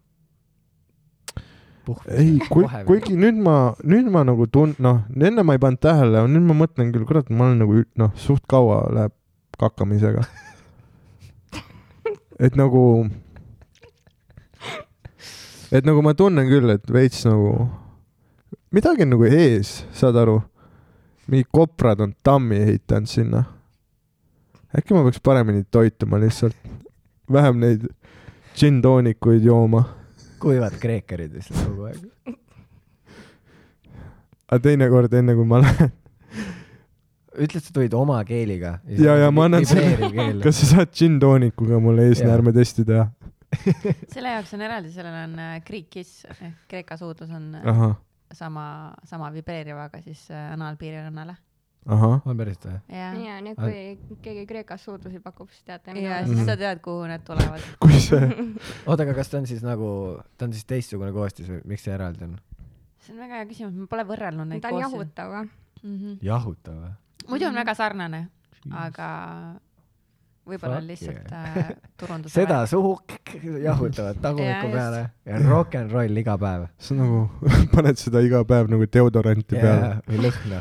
Speaker 2: puhv .
Speaker 4: ei , kui , kuigi nüüd ma , nüüd ma nagu tun- , noh , enne ma ei pannud tähele , nüüd ma mõtlen küll , kurat , ma olen nagu ü- noh , suht kaua läheb kakamisega . et nagu , et nagu ma tunnen küll , et veits nagu midagi on nagu ees , saad aru ? mingid koprad on tammi ehitanud sinna . äkki ma peaks paremini toituma lihtsalt , vähem neid džinn-toonikuid jooma
Speaker 2: kuivad kreekarid vist kogu aeg .
Speaker 4: aga teinekord , enne kui ma lähen ,
Speaker 2: ütled , sa tulid oma keeliga .
Speaker 4: Ja- ja ma annan
Speaker 2: selle . keel .
Speaker 4: kas sa saad džinn-toonikuga mulle eesnäärme testi teha ?
Speaker 1: selle jaoks on eraldi , sellel on äh, kriikis ehk Kreeka suudlus on
Speaker 2: Ah.
Speaker 1: äh,
Speaker 4: ahah ,
Speaker 1: sama , sama vibreeriv , aga siis äh, anaalpiirkonnale .
Speaker 4: ahah ,
Speaker 2: on päriselt või ?
Speaker 1: jah ,
Speaker 3: ja nüüd , kui keegi Kreekas suudlusi pakub , siis teate .
Speaker 1: ja
Speaker 2: Mhm.
Speaker 1: siis sa tead , kuhu need tulevad .
Speaker 4: kui see ,
Speaker 2: oota , aga kas ta on siis nagu , ta on siis teistsugune koostis või miks see eraldi on ?
Speaker 1: see on väga hea küsimus , ma pole võrrelnud neid
Speaker 3: ta on
Speaker 1: koos .
Speaker 3: jahutav ka .
Speaker 1: Mhm.
Speaker 2: jahutav või ?
Speaker 1: muidu on väga sarnane , aga võib-olla
Speaker 2: Fuck
Speaker 1: lihtsalt
Speaker 2: yeah.
Speaker 1: äh, turunduse
Speaker 2: seda suhu jahutavad tagumiku
Speaker 1: Jaa,
Speaker 2: peale ja rock n roll iga päev .
Speaker 4: see on nagu , paned seda iga päev nagu deodoranti peale ,
Speaker 2: või lõhna .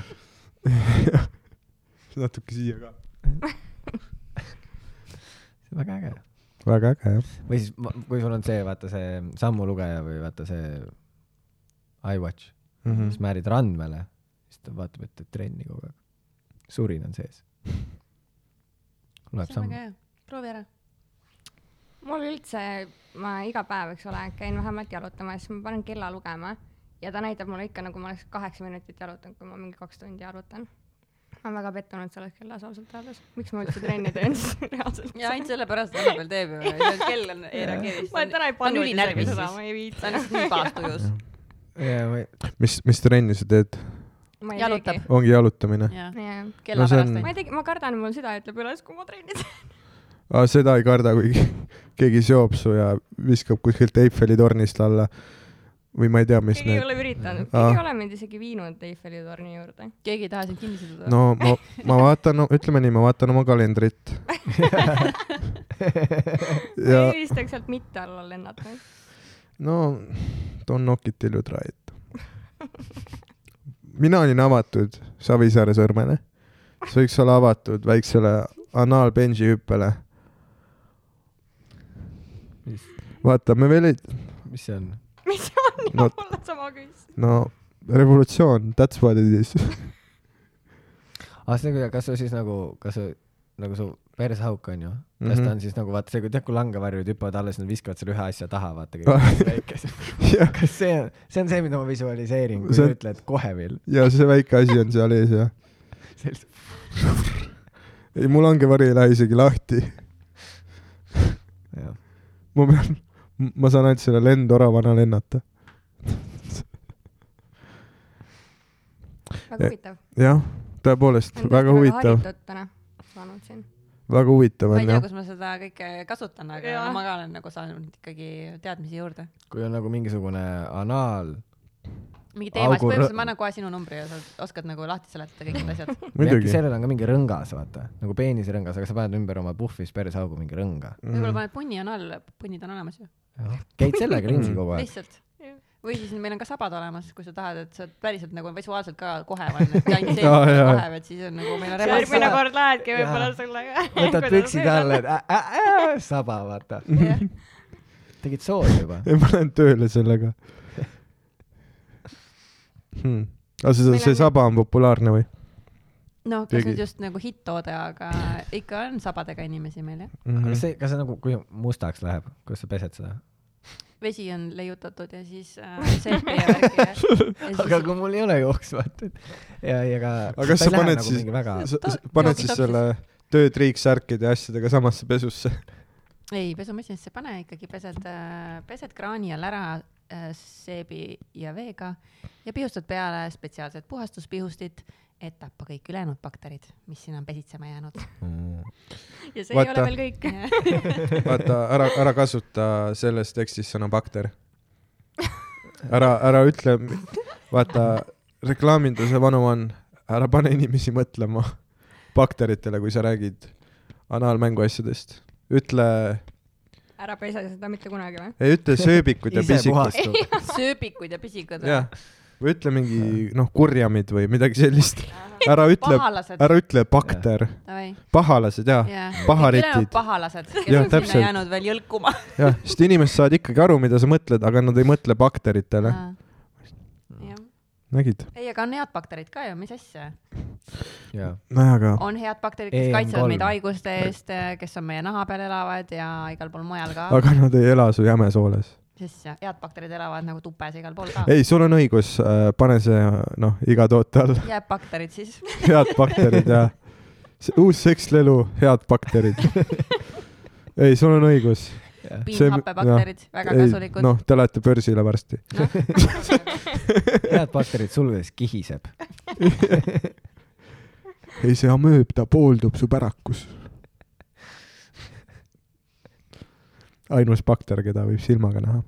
Speaker 4: natuke siia ka .
Speaker 2: väga äge .
Speaker 4: väga äge jah .
Speaker 2: või siis , kui sul on see , vaata see sammulugeja või vaata see iWatch ,
Speaker 4: Mhm.
Speaker 2: siis määrid randmele , siis ta vaatab , et teed trenni kogu aeg . surin on sees . tuleb
Speaker 1: see on
Speaker 2: samm
Speaker 1: väga . hea , proovi ära .
Speaker 3: mul üldse , ma iga päev , eks ole , käin vähemalt jalutamas , ma panen kella lugema ja ta näitab mulle ikka nagu ma oleks kaheksa minutit jalutanud , kui ma mingi kaks tundi jalutan . ma olen väga pettunud selles kellas ausalt öeldes , miks ma üldse trenni teen siis reaalselt .
Speaker 1: ja ainult sellepärast ta vahepeal teeb ju , kell on , ei reageeri .
Speaker 7: ma olen täna ei
Speaker 1: ta on
Speaker 7: pannud isegi
Speaker 1: ülinärvis
Speaker 7: seda ,
Speaker 1: siis .
Speaker 7: ma ei viitsi
Speaker 1: ta . on lihtsalt nii pahas tujus .
Speaker 2: ja või
Speaker 4: mis , mis trenni sa teed ?
Speaker 1: jalutab .
Speaker 4: ongi jalutamine ?
Speaker 1: jah ,
Speaker 3: jah ,
Speaker 1: kella
Speaker 4: No see on-
Speaker 1: pärast
Speaker 3: ma
Speaker 1: on
Speaker 3: ei tegi , ma kardan , mul süda ütleb üles , kui ma trenni teen .
Speaker 4: aa , seda ei karda , kui keegi seob su ja viskab kuskilt Eiffeli tornist alla või ma ei tea , mis
Speaker 7: keegi ei
Speaker 4: need .
Speaker 7: ole üritanud .
Speaker 3: keegi ei
Speaker 4: Aa.
Speaker 3: ole mind isegi viinud Eiffeli torni juurde .
Speaker 1: keegi ei taha sind kinni siduda
Speaker 4: no ma , ma vaatan , ütleme nii , ma vaatan oma kalendrit
Speaker 3: ma
Speaker 4: ja
Speaker 3: ei eelistaks sealt mitte alla lennata .
Speaker 4: no don't knock it till you try it . mina olin avatud Savisaare sõrmele , siis võiks olla avatud väiksele anaalbenži hüppele . vaata , me veel ei ,
Speaker 2: mis see on ?
Speaker 7: mis see on
Speaker 4: No-
Speaker 7: no. , mul on sama küsimus .
Speaker 4: no revolutsioon , that's what it is .
Speaker 2: aa , Ah, see küll , kas sa siis nagu , kas sa , nagu su persehauk on ju mm , -hmm. kas
Speaker 4: Mhm.
Speaker 2: ta on siis nagu vaata see , kui tead , kui langevarjud hüppavad alla , siis nad viskavad selle ühe asja taha , vaata
Speaker 4: Ah.
Speaker 2: kõik väikese .
Speaker 4: ja ,
Speaker 2: kas see on , see on see , mida ma visualiseerin , kui
Speaker 4: See
Speaker 2: sa
Speaker 4: on-
Speaker 2: ütled kohe veel
Speaker 4: ja see väike asi on seal ees ja .
Speaker 2: sellist ,
Speaker 4: ei , mul langevari ei lähe isegi lahti .
Speaker 2: jah .
Speaker 4: ma pean , ma saan ainult selle lendoravana lennata .
Speaker 3: väga huvitav .
Speaker 4: jah , tõepoolitud, tõepoolest , väga huvitav ,
Speaker 3: täna saanud siin .
Speaker 4: väga huvitav
Speaker 1: ma ei
Speaker 4: on
Speaker 1: tea ,
Speaker 4: jah .
Speaker 1: kus ma seda kõike kasutan , aga ja.
Speaker 7: Jaa.
Speaker 1: ma ka olen nagu saanud ikkagi teadmisi juurde .
Speaker 2: kui on nagu mingisugune anaal ,
Speaker 1: mingi teema , siis
Speaker 2: Augu rõ-
Speaker 1: põhimõtteliselt ma annan kohe sinu numbri ja sa oskad nagu lahti seletada kõik need asjad .
Speaker 4: muidugi ,
Speaker 2: sellel on ka mingi rõngas , vaata , nagu peenisrõngas , aga sa paned ümber oma puhvis perseaugu mingi rõnga .
Speaker 1: võib-olla paned punni on all , punnid on olemas ju ,
Speaker 2: käid sellega ringi
Speaker 4: Mm.
Speaker 2: kogu aeg .
Speaker 1: lihtsalt . või siis meil on ka sabad olemas , kui sa tahad , et sa päriselt nagu visuaalselt ka kohe paned , et ainult see
Speaker 4: Jaa, jaa.
Speaker 1: kohe , et siis on nagu meil on
Speaker 7: järgmine
Speaker 1: remas .
Speaker 7: kord lähedki võib-olla
Speaker 2: Jaa.
Speaker 7: sellega .
Speaker 2: võtad püksid alla , et ä- ä- ä- saba , vaata . tegid soos juba .
Speaker 4: ei ma lähen tööle sellega hmm. . aga see , see saba on populaarne või
Speaker 1: no kas
Speaker 4: Tegi-
Speaker 1: nüüd just nagu hitt-toode , aga ikka on sabadega inimesi meil jah .
Speaker 4: mm ?
Speaker 2: aga
Speaker 4: -hmm.
Speaker 2: see , kas see nagu , kui mustaks läheb , kuidas sa pesed seda ?
Speaker 1: vesi on leiutatud ja siis äh, seepi ja värki ja, ja
Speaker 2: aga
Speaker 1: siis
Speaker 2: kui mul ei ole jooksu , vaata , et ja , ja ka .
Speaker 4: aga kas sa paned siis
Speaker 2: nagu mingi väga ,
Speaker 4: Ah, sa sa
Speaker 1: Ta-
Speaker 4: paned
Speaker 1: joogitab
Speaker 4: siis
Speaker 1: siis.
Speaker 4: selle töötriiksärkide ja asjadega samasse pesusse ?
Speaker 1: ei pesumasinasse pane ikkagi , pesed , pesed kraani all ära äh, seebi ja veega ja pihustad peale spetsiaalset puhastuspihustit , et tappa kõik ülejäänud bakterid , mis sinna on pesitsema jäänud .
Speaker 2: Mm,
Speaker 7: ja see
Speaker 4: Vaata.
Speaker 7: Vaata. ei ole veel kõik .
Speaker 4: vaata , ära , ära kasuta selles tekstis sõna bakter . ära , ära ütle , vaata reklaaminduse vanu on , ära pane inimesi mõtlema bakteritele , kui sa räägid anaalmängu asjadest . ütle ,
Speaker 3: ära pesa seda mitte kunagi või ?
Speaker 4: ei ütle sööbikud ja
Speaker 2: ise
Speaker 4: pisikud ,
Speaker 2: puhastub .
Speaker 1: sööbikud ja pisikud .
Speaker 4: jah . või ütle mingi noh , kurjamid või midagi sellist . ära ütle ,
Speaker 1: pahalased .
Speaker 4: ära ütle bakter , pahalased ja ,
Speaker 1: ülejäänud
Speaker 4: paharitid ,
Speaker 1: pahalased , kes
Speaker 4: Jah,
Speaker 1: on
Speaker 4: täpselt.
Speaker 1: sinna jäänud veel jõlkuma .
Speaker 4: jah , sest inimesed saavad ikkagi aru , mida sa mõtled , aga nad ei mõtle bakteritele ,
Speaker 1: jah ,
Speaker 4: nägid ?
Speaker 1: ei , aga on head bakterid ka ju , mis asja .
Speaker 2: jaa .
Speaker 4: nojah , aga
Speaker 1: on head bakterid , kes
Speaker 2: EM3.
Speaker 1: kaitsevad meid haiguste eest , kes on meie naha peal elavad ja igal pool mujal ka .
Speaker 4: aga nad ei ela su jämesooles .
Speaker 1: sest jah, head bakterid elavad nagu tupes ja igal pool ka .
Speaker 4: ei , sul on õigus , pane see noh , iga toote all
Speaker 1: jääb bakterid siis .
Speaker 4: head bakterid ja see uus sekslelu , head bakterid . ei , sul on õigus .
Speaker 1: piimhappebakterid , väga kasulikud .
Speaker 4: noh , te lähete börsile varsti .
Speaker 2: head bakterid sulgudes kihiseb .
Speaker 4: ei , see amööb , ta pooldub su pärakus . ainus bakter , keda võib silmaga näha .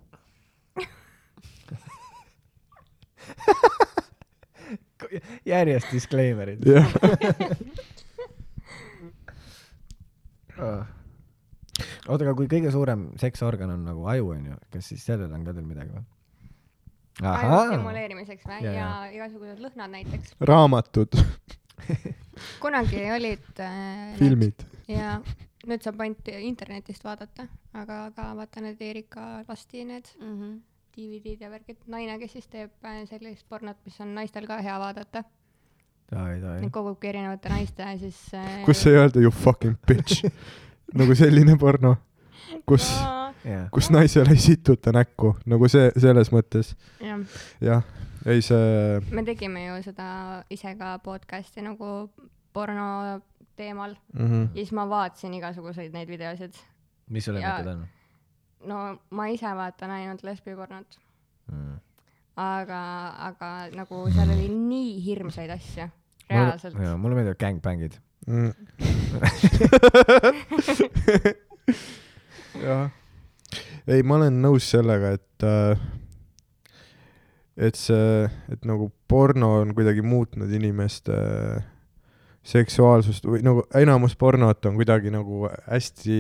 Speaker 2: järjest disclaimer'id .
Speaker 4: jah ,
Speaker 2: oota , Oh. aga kui kõige suurem seksorgan on nagu aju , onju , kas siis sellel on ka teil midagi või ?
Speaker 3: aju
Speaker 2: ahhaa ,
Speaker 3: stimuleerimiseks või
Speaker 2: Ja, ?
Speaker 3: ja
Speaker 2: ja.
Speaker 3: igasugused lõhnad näiteks .
Speaker 4: raamatud ,
Speaker 3: kunagi olid äh,
Speaker 4: filmid .
Speaker 3: need- ja nüüd saab ainult internetist vaadata , aga , aga vaata need Erika Lasti need
Speaker 1: Mhm.
Speaker 3: DVD-d ja värgid , naine , kes siis teeb äh, sellist pornot , mis on naistel ka hea vaadata .
Speaker 2: davai , davai
Speaker 3: Need . kogubki erinevate naiste siis äh,
Speaker 4: kus ei öelda you fucking bitch nagu selline porno , kus ,
Speaker 2: jaa ,
Speaker 4: kus naisele ei situta näkku nagu see selles mõttes
Speaker 3: jah.
Speaker 4: jah , ei see
Speaker 3: me tegime ju seda ise ka podcast'i nagu porno teemal
Speaker 4: mm -hmm.
Speaker 3: ja siis ma vaatasin igasuguseid neid videosid .
Speaker 2: mis sul
Speaker 3: Jaa.
Speaker 2: lemmikud on
Speaker 3: no ma ise vaatan ainult lesbipornot ,
Speaker 2: mm. ?
Speaker 3: aga , aga nagu seal oli nii hirmsaid asju , reaalselt .
Speaker 2: jaa , mulle meeldivad gängbängid .
Speaker 4: mm. . jah , ei , ma olen nõus sellega , et äh, et see , et nagu porno on kuidagi muutnud inimeste äh, seksuaalsust või nagu enamus pornot on kuidagi nagu hästi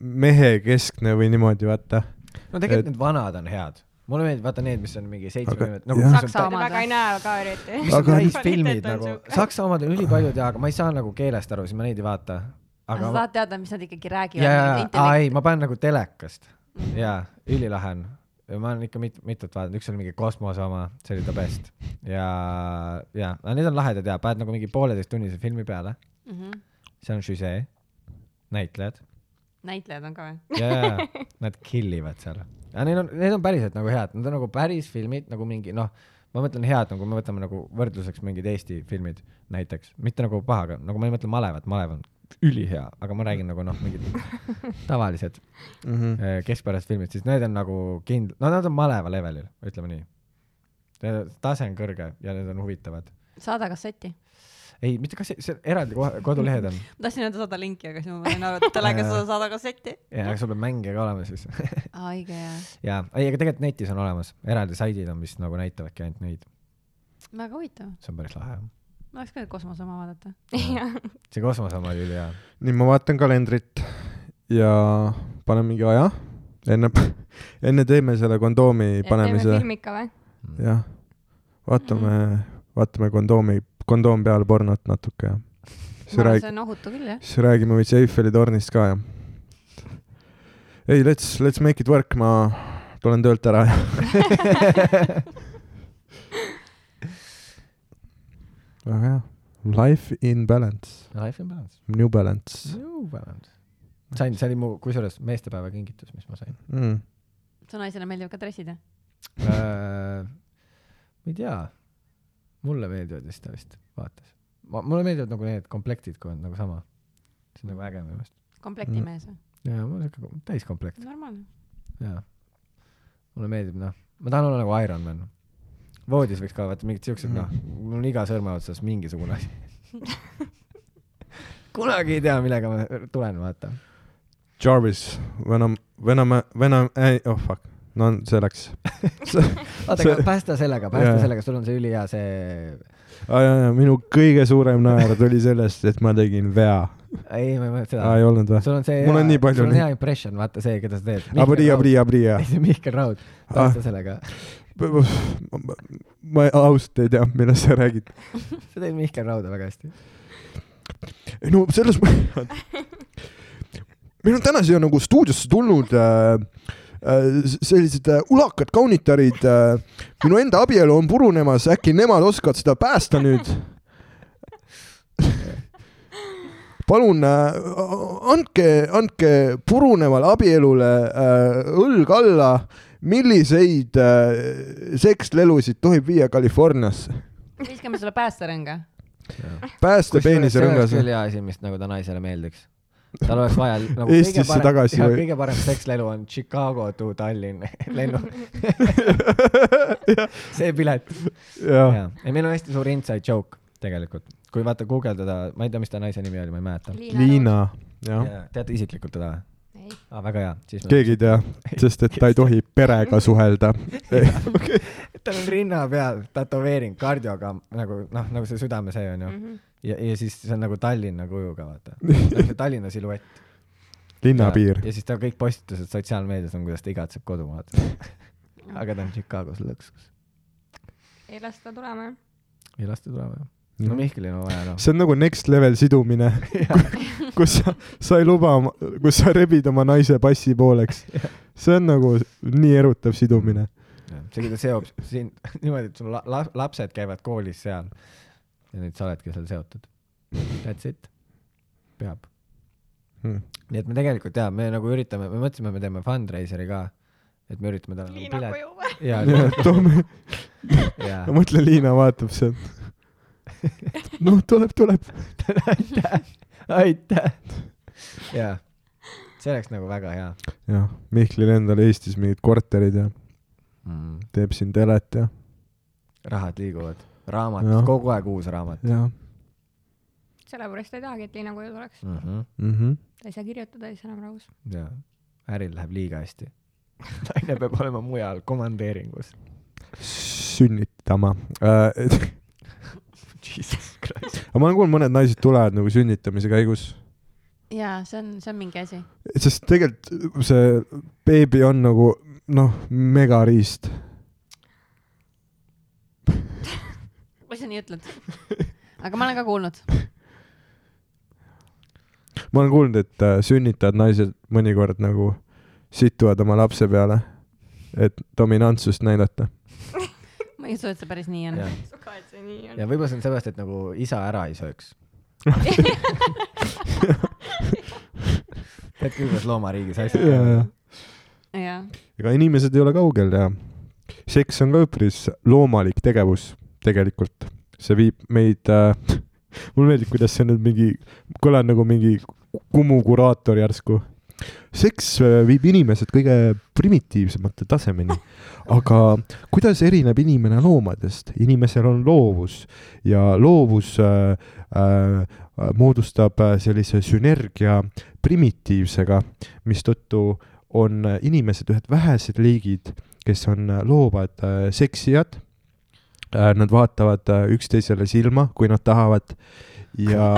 Speaker 4: mehekeskne või niimoodi , vaata .
Speaker 2: no tegelikult
Speaker 4: Et-
Speaker 2: need vanad on head . mulle meeldib , vaata need , mis on mingi seitsekümmend ,
Speaker 4: jah.
Speaker 2: nagu
Speaker 1: Saksa omad
Speaker 7: väga ei näe ka eriti .
Speaker 2: mis on
Speaker 4: Aga-
Speaker 2: päris filmid nagu , Saksa omad on ülipaljud ja , aga ma ei saa nagu keelest aru , siis ma neid ei vaata .
Speaker 1: aga sa
Speaker 2: aga ma ,
Speaker 1: tahad teada , mis nad ikkagi räägivad ?
Speaker 2: ja , ja , aa ei , ma panen nagu telekast ja ülilahe on . ma olen ikka mit- , mitut vaadanud , üks oli mingi kosmose oma , see oli the best ja , ja , aga need on lahedad ja paned nagu mingi pooleteisttunnise filmi peale ,
Speaker 1: Mhm.
Speaker 2: seal on žüsee , näitlejad
Speaker 1: näitlejad on ka või ?
Speaker 2: ja , ja , ja nad kill ivad seal . aga neil on , need on päriselt nagu head , nad on nagu päris filmid nagu mingi noh , ma mõtlen head , nagu me võtame nagu võrdluseks mingid Eesti filmid näiteks , mitte nagu pahaga , nagu ma ei mõtle malevat , malev on ülihea , aga ma räägin nagu noh , mingid tavalised
Speaker 4: mm . -hmm.
Speaker 2: eh, keskpärased filmid , siis need on nagu kind- , no nad on maleva levelil , ütleme nii . tase on kõrge ja need on huvitavad .
Speaker 1: saada kasseti .
Speaker 2: ei , mitte kas see, see eraldi koha- kodulehed on ,
Speaker 1: ma tahtsin öelda saada linki , aga siis ma panin aru , et telega
Speaker 2: Jaa.
Speaker 1: saada saada kasseti .
Speaker 2: aga sul peab mängija ka olema siis
Speaker 1: aa , õige jah .
Speaker 2: ja , ei , aga tegelikult netis on olemas , eraldi saidid on , mis nagu näitavadki ainult neid ,
Speaker 1: väga huvitav .
Speaker 2: see on päris lahe .
Speaker 1: ma tahaks ka kosmose oma vaadata .
Speaker 2: see kosmose oma oli ülihea .
Speaker 4: nii , ma vaatan kalendrit ja panen mingi aja . enne , enne teeme selle kondoomi panemise ,
Speaker 3: filmika või ?
Speaker 2: Mm.
Speaker 4: jah . vaatame , vaatame kondoomi , kondoom peal pornot natuke ja siis räägi- ,
Speaker 1: see on ohutu küll jah .
Speaker 4: siis räägime veits Eiffeli tornist ka ja . ei , let's , let's make it work , ma tulen töölt ära ja . väga hea . Life in balance ,
Speaker 2: Life in balance .
Speaker 4: new balance
Speaker 2: New balance . sain , see oli mu , kusjuures meestepäeva kingitus , mis ma sain
Speaker 1: Mhm.
Speaker 4: mm. .
Speaker 1: su naisele meeldivad ka dressid jah ?
Speaker 2: äh, . ma ei tea , mulle meeldivad vist ta vist vaatas . ma , mulle meeldivad nagu need komplektid , kui on nagu sama . see on nagu äge minu meelest .
Speaker 1: komplektimees või ?
Speaker 2: jaa , mul on siuke täiskomplekt ,
Speaker 1: normaalne .
Speaker 2: jaa . mulle meeldib noh , ma tahan olla nagu Ironman . voodis võiks ka vaata mingid siuksed noh , mul on iga sõrme otsas mingisugune asi . kunagi ei tea , millega ma tulen , vaata .
Speaker 4: Jarvis , Venom , Venom , Venom , ei , oh fuck , no see läks .
Speaker 2: oota , aga
Speaker 4: See-
Speaker 2: päästa sellega , päästa
Speaker 4: Jaa.
Speaker 2: sellega , sul on see ülihea see
Speaker 4: minu kõige suurem naer tuli sellest , et ma tegin vea .
Speaker 2: ei , ma ei mäleta seda
Speaker 4: aa , ei . olnud või ?
Speaker 2: sul on see
Speaker 4: Mul on nii palju
Speaker 2: sul on
Speaker 4: neid.
Speaker 2: hea impression , vaata see , keda sa teed .
Speaker 4: Abri , Abri , Abri ja .
Speaker 2: Mihkel Raud ,
Speaker 4: Ah.
Speaker 2: tausta sellega .
Speaker 4: ma ausalt ei tea , millest sa räägid .
Speaker 2: sa teed Mihkel Rauda väga hästi .
Speaker 4: ei no selles mõttes , meil on täna siia nagu stuudiosse tulnud äh, äh, s- sellised äh, ulakad kaunitarid äh, . minu enda abielu on purunemas , äkki nemad oskavad seda päästa nüüd ? palun äh, andke , andke purunevale abielule äh, õlg alla , milliseid äh, sekslelusid tohib viia Californiasse ?
Speaker 1: viskame sulle päästerõnga .
Speaker 4: päästa peenise rõngas
Speaker 2: see . oli hea asi , mis nagu ta naisele meeldiks . tal oleks vaja nagu
Speaker 4: Eestisse
Speaker 2: kõige parem,
Speaker 4: tagasi
Speaker 2: jah,
Speaker 4: või-
Speaker 2: kõige parem sekslelu on Chicago to Tallinn lennu , see pilet .
Speaker 4: jah
Speaker 2: ja , ei meil on hästi suur inside joke tegelikult , kui vaata guugeldada , ma ei tea , mis ta naise nimi oli , ma ei mäleta .
Speaker 4: Liina , jah .
Speaker 2: teate isiklikult teda või ? aa , väga hea , siis ma
Speaker 4: keegi ei tea , sest et ta ei tohi perega suhelda .
Speaker 2: tal on rinna peal tätoveering , kardioga nagu noh , nagu see südame see onju mm .
Speaker 3: Mhm.
Speaker 2: -hmm. ja , ja siis see on nagu Tallinna kujuga vaata , see Tallinna siluett .
Speaker 4: linnapiir .
Speaker 2: ja siis tal kõik postitused sotsiaalmeedias on , kuidas ta igatseb kodumaad . aga ta on Chicagos lõksus .
Speaker 3: ei las ta tulema .
Speaker 2: ei lasta tulema jah . no Mihkelil on vaja noh .
Speaker 4: see on nagu next level sidumine , kus sa , sa ei luba , kus sa rebid oma naise passi pooleks . see on nagu nii erutav sidumine .
Speaker 2: see , kui ta seob sind niimoodi , et sul la- la- lapsed käivad koolis seal ja nüüd sa oledki seal seotud . That's it . peab .
Speaker 4: Hmm.
Speaker 2: nii et me tegelikult jaa , me nagu üritame , me mõtlesime , me teeme fundraiser'i ka , et me üritame talle nagu
Speaker 7: Liina
Speaker 2: pilet
Speaker 7: koju või ?
Speaker 2: ja ,
Speaker 4: toome ,
Speaker 2: ja
Speaker 4: ma mõtlen , Liina vaatab sealt . noh , tuleb , tuleb .
Speaker 2: aitäh . ja see oleks nagu väga hea
Speaker 4: jah , Mihklil endal Eestis mingid korterid ja
Speaker 2: mm. .
Speaker 4: teeb siin telet ja ,
Speaker 2: rahad liiguvad , raamat
Speaker 4: Jah. ,
Speaker 2: kogu aeg uus raamat
Speaker 4: ja
Speaker 3: sellepärast ta ei tahagi , et Liina koju tuleks .
Speaker 2: mm . -hmm.
Speaker 4: mm . -hmm.
Speaker 3: ta ei saa kirjutada , ei saa enam rahus .
Speaker 2: ja äril läheb liiga hästi . naine peab olema mujal komandeeringus .
Speaker 4: sünnitama äh, .
Speaker 2: Jesus Christ .
Speaker 4: aga ma olen kuulnud , mõned naised tulevad nagu sünnitamise käigus
Speaker 1: jaa , see on , see on mingi asi .
Speaker 4: sest tegelikult see beebi on nagu noh , megariist .
Speaker 1: ma ise nii ütlen . aga ma olen ka kuulnud .
Speaker 4: ma olen kuulnud , et äh, sünnitavad naised mõnikord nagu situvad oma lapse peale , et dominantsust näidata .
Speaker 1: ma ei usu , et see päris nii on
Speaker 2: ja, .
Speaker 7: sa kaed , see nii on
Speaker 2: ja . võib-olla see on seepärast , et nagu isa ära ei sööks . tead küll , kuidas loomariigis asjad käivad .
Speaker 4: ega
Speaker 1: jah .
Speaker 4: inimesed ei ole kaugel ja seks on ka üpris loomalik tegevus tegelikult . see viib meid äh, , mulle meeldib , kuidas see nüüd mingi , kõlan nagu mingi Kumu kuraator järsku . seks äh, viib inimesed kõige primitiivsemate tasemeni , aga kuidas erineb inimene loomadest ? inimesel on loovus ja loovus äh, äh, moodustab äh, sellise sünergia primitiivsega , mistõttu on äh, inimesed ühed vähesed liigid , kes on äh, loovad äh, seksijad . Nad vaatavad äh, üksteisele silma , kui nad tahavad ja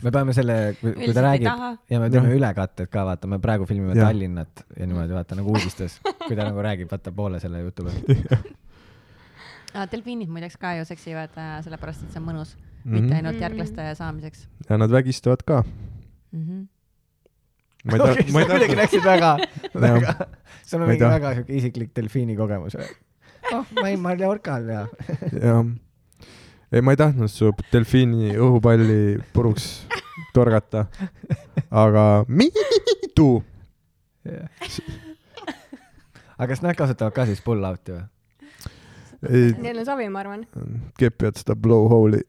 Speaker 2: me peame selle , kui ta
Speaker 1: üldiselt ei
Speaker 2: räägib ,
Speaker 1: taha .
Speaker 2: ja me teeme
Speaker 4: Jah.
Speaker 2: ülekatted ka , vaata , me praegu filmime
Speaker 4: Jah.
Speaker 2: Tallinnat ja niimoodi , vaata nagu uudistes , kui ta nagu räägib , vaata poole selle jutu pealt .
Speaker 4: Mhm.
Speaker 1: delfiinid muideks ka ju seksivad äh, sellepärast , et see on mõnus mm , -hmm.
Speaker 4: Mhm.
Speaker 1: mitte ainult
Speaker 3: Mhm.
Speaker 1: järglaste saamiseks
Speaker 4: ja nad vägistavad ka .
Speaker 1: mm . -hmm.
Speaker 4: ma ei taha , ma ei
Speaker 2: kuidagi
Speaker 4: taha ,
Speaker 2: läksid väga , väga , sul on
Speaker 4: Ma ei
Speaker 2: mingi
Speaker 4: taha.
Speaker 2: väga siuke isiklik delfiini kogemus või ? oh , ma olin Mallorcal ja
Speaker 4: jah . ei , ma ei tahtnud su delfiini õhupalli puruks torgata , aga miitu .
Speaker 2: yeah. . aga kas nad kasutavad ka siis pull out'i või ?
Speaker 3: Neil on sobi , ma arvan .
Speaker 4: kepivad seda blowhole'i .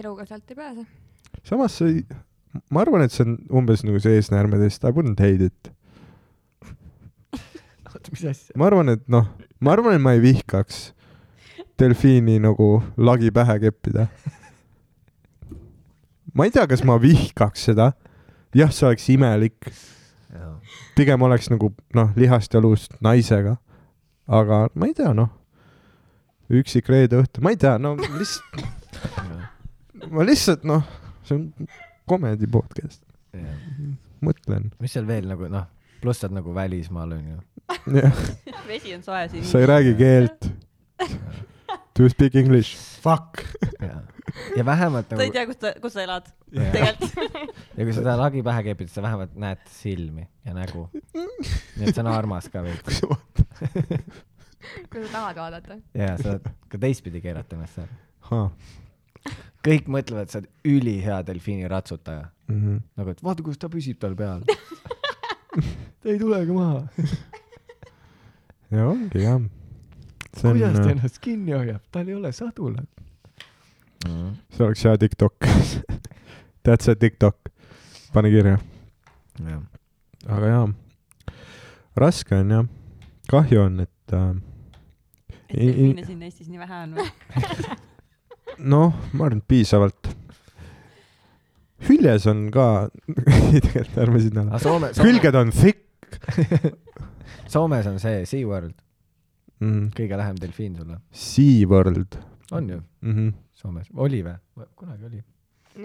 Speaker 3: eluga sealt ei pääse .
Speaker 4: samas see ei , ma arvan , et see on umbes nagu see eesnäärmeteest I wouldn't hate it .
Speaker 2: oota , mis asja ?
Speaker 4: ma arvan , et noh , ma arvan , et ma ei vihkaks delfiini nagu lagi pähe keppida . ma ei tea , kas ma vihkaks seda . jah , see oleks imelik , pigem oleks nagu noh , lihast ja luust naisega . aga ma ei tea , noh , üksik reede õhtu , ma ei tea , no lihtsalt , ma lihtsalt noh , see on komedi podcast , mõtlen .
Speaker 2: mis seal veel nagu noh , pluss sa oled nagu välismaal onju .
Speaker 4: jah ,
Speaker 1: vesi on soe siin .
Speaker 4: sa ei räägi keelt . Do you speak english ? Fuck .
Speaker 2: ja vähemalt
Speaker 1: sa ei
Speaker 2: nagu ,
Speaker 1: tea , kus sa , kus sa elad
Speaker 2: ja
Speaker 1: tegelikult .
Speaker 2: ja kui sa seda lagi pähe kepid , sa vähemalt näed silmi ja nägu . nii et see on armas ka veidi .
Speaker 3: kui sa tahad vaadata .
Speaker 2: ja sa saad ka teistpidi keerata ennast seal .
Speaker 4: Mm
Speaker 2: kõik mõtlevad , et sa oled ülihea delfiini ratsutaja .
Speaker 4: -hmm.
Speaker 2: nagu , et vaata , kuidas ta püsib tal peal . ta ei tulegi maha .
Speaker 4: ja ongi jah .
Speaker 2: kuidas ta
Speaker 4: see äh,
Speaker 2: ennast kinni hoiab , tal ei ole sadulat mm. .
Speaker 4: oleks hea Tiktok . That's a Tiktok . pane kirja .
Speaker 2: jah ,
Speaker 4: aga jaa , raske on jah , kahju on , et äh,
Speaker 1: et
Speaker 4: Ei- ei-
Speaker 1: delfiine siin Eestis nii vähe on või ?
Speaker 4: noh , ma arvan , et piisavalt . hüljes on ka , ei tegelikult ärme sinna
Speaker 2: aga
Speaker 4: lähe .
Speaker 2: Soome , Soome ,
Speaker 4: külged on thick
Speaker 2: Soomes on see SeaWorld ,
Speaker 4: mm. .
Speaker 2: kõige lähem delfiin sulle .
Speaker 4: SeaWorld
Speaker 2: on ju
Speaker 4: mm . -hmm.
Speaker 2: Soomes , oli või ? kunagi oli .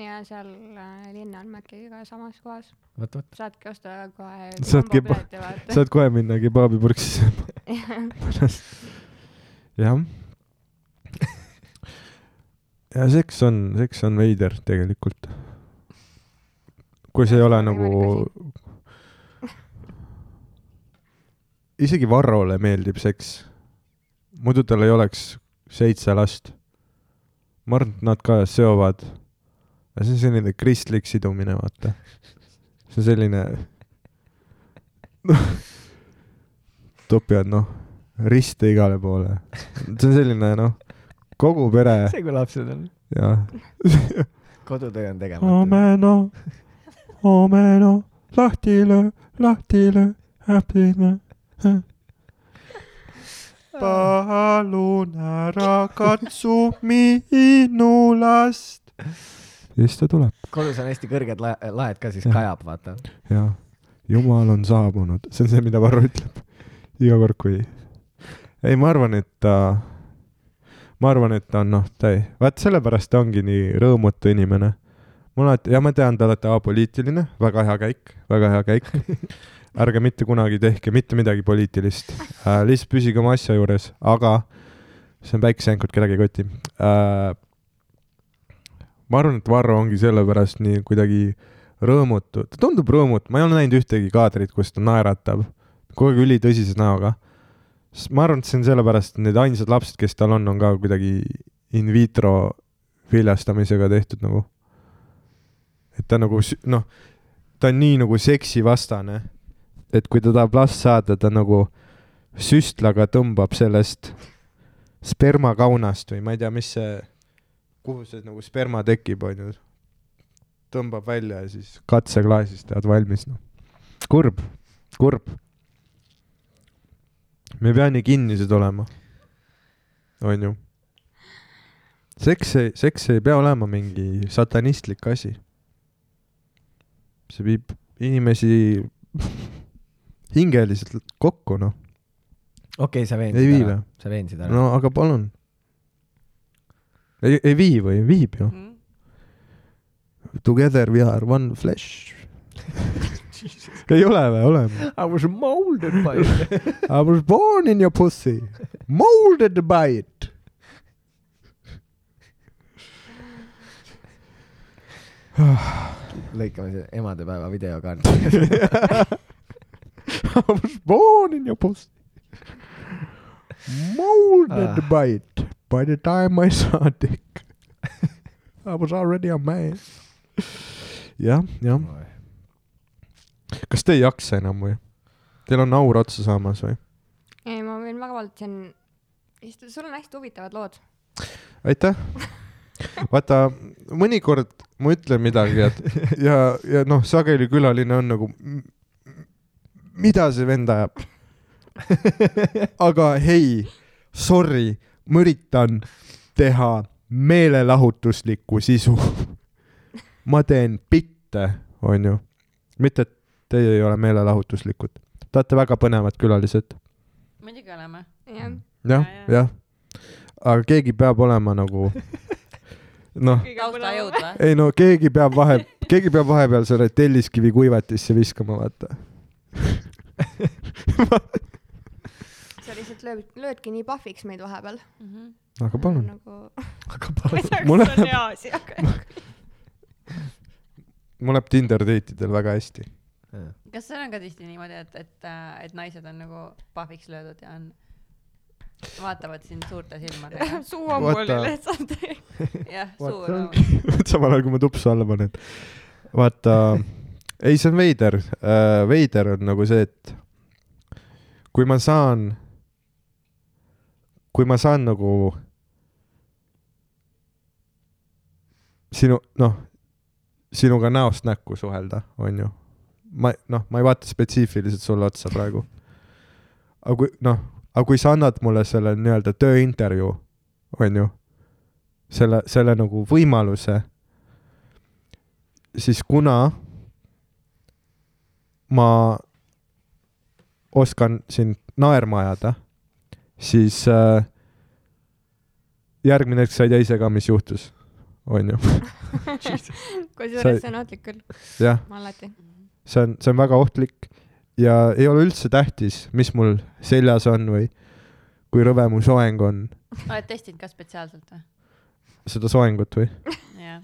Speaker 3: ja seal äh, Linnamägi ka samas kohas .
Speaker 2: vot , vot .
Speaker 3: saadki osta kohe .
Speaker 4: Saad keba- saad kohe minna kebaabipurksi sööma . jah . ja seks on , seks on veider tegelikult . kui see ei ole nagu . isegi Varrole meeldib seks . muidu tal ei oleks seitse last . ma arvan , et nad ka seovad . see on selline kristlik sidumine , vaata . see on selline topivad noh , riste igale poole . see on selline noh , kogu pere
Speaker 2: see , kui lapsed on .
Speaker 4: ja
Speaker 2: kodutöö on tegemata .
Speaker 4: omeno , omeno , oh. lahti löö , lahti löö , häbine . palun ära katsu minu last . ja siis ta tuleb
Speaker 2: kodus on hästi kõrged la- laed ka , siis kajab , vaata .
Speaker 4: ja jumal on saabunud , see on see , mida Varro ütleb iga kord , kui . ei , ma arvan , et ta , äh, ma arvan , et ta on noh , ta ei , vaat sellepärast ta ongi nii rõõmutu inimene . mul alati , ja ma tean , te olete apoliitiline , väga hea käik , väga hea käik . ärge mitte kunagi tehke mitte midagi poliitilist äh, , lihtsalt püsige oma asja juures , aga see on päikesejänkud , kedagi ei koti äh, . ma arvan , et Varro ongi sellepärast nii kuidagi rõõmutu , ta tundub rõõmutu , ma ei ole näinud ühtegi kaadrit , kus ta naeratab , kogu aeg ülitõsise näoga . sest ma arvan , et see on sellepärast , et need ainsad lapsed , kes tal on , on ka kuidagi in vitro viljastamisega tehtud nagu . et ta nagu sü- noh , ta on nii nagu seksivastane , et kui ta tahab last saada , ta nagu süstlaga tõmbab sellest spermakaunast või ma ei tea , mis see , kuhu see nagu sperma tekib , onju . tõmbab välja ja siis katseklaasis tead valmis , noh . kurb , kurb . me ei pea nii kinnised olema . onju . seks ei , seks ei pea olema mingi satanistlik asi . see viib inimesi hingeliselt kokku , noh .
Speaker 2: okei , sa
Speaker 4: Ei vii
Speaker 2: veensid ära
Speaker 4: või? ,
Speaker 2: sa veensid ära .
Speaker 4: no aga palun . ei , ei vii või , viib ju .
Speaker 1: Mm.
Speaker 4: Together we are one flesh . ei ole või , oleme .
Speaker 2: I was molded by it .
Speaker 4: I was born in your pussy , molded by it .
Speaker 2: lõikame selle emadepäeva videokaardi .
Speaker 4: I was born in your pussy , molded
Speaker 2: Ah.
Speaker 4: by it . By the time I saw dick , I was already a man . jah , jah . kas te ei jaksa enam või ? Teil on aur otsa saamas või ?
Speaker 3: ei , ma võin väga vabalt siin , sul on hästi huvitavad lood .
Speaker 4: aitäh . vaata , mõnikord ma ütlen midagi , et ja , ja noh , sageli külaline on nagu , mida see vend ajab ? aga hei , sorry , ma üritan teha meelelahutuslikku sisu . ma teen bitte , onju . mitte , et teie ei ole meelelahutuslikud . Te olete väga põnevad külalised .
Speaker 1: muidugi oleme .
Speaker 3: jah ,
Speaker 4: jah , jah . aga keegi peab olema nagu noh ,
Speaker 1: taustajõud või ?
Speaker 4: ei no keegi peab vahe , keegi peab vahepeal selle telliskivi kuivatisse viskama , vaata .
Speaker 3: sa lihtsalt lööd , löödki nii pahviks meid vahepeal .
Speaker 1: Mhm.
Speaker 4: aga palun ,
Speaker 3: nagu
Speaker 4: Mul
Speaker 7: see on hea asi , aga
Speaker 4: mul läheb Tinder date idel väga hästi .
Speaker 1: kas seal on ka tihti niimoodi , et , et , et naised on nagu pahviks löödud ja on , vaatavad sind suurte silmadega .
Speaker 7: suu on mul
Speaker 4: Vaata-
Speaker 7: lihtsalt .
Speaker 1: jah ,
Speaker 4: What
Speaker 1: suur
Speaker 4: the- . samal ajal , kui ma tupsu alla panen . vaata , ei , see on veider . veider on nagu see , et kui ma saan , kui ma saan nagu sinu , noh , sinuga näost näkku suhelda , onju . ma , noh , ma ei vaata spetsiifiliselt sulle otsa praegu . aga kui , noh , aga kui sa annad mulle selle nii-öelda tööintervjuu , onju , selle , selle nagu võimaluse , siis kuna ma oskan sind naerma ajada , siis äh, järgmine hetk sa ei tea ise ka , mis juhtus , onju .
Speaker 3: kusjuures see on ohtlik küll ,
Speaker 4: jah ,
Speaker 3: ma alati .
Speaker 4: see on , see on väga ohtlik ja ei ole üldse tähtis , mis mul seljas on või kui rõve mu soeng on ,
Speaker 1: oled testinud ka spetsiaalselt või ?
Speaker 4: seda soengut või .
Speaker 1: jah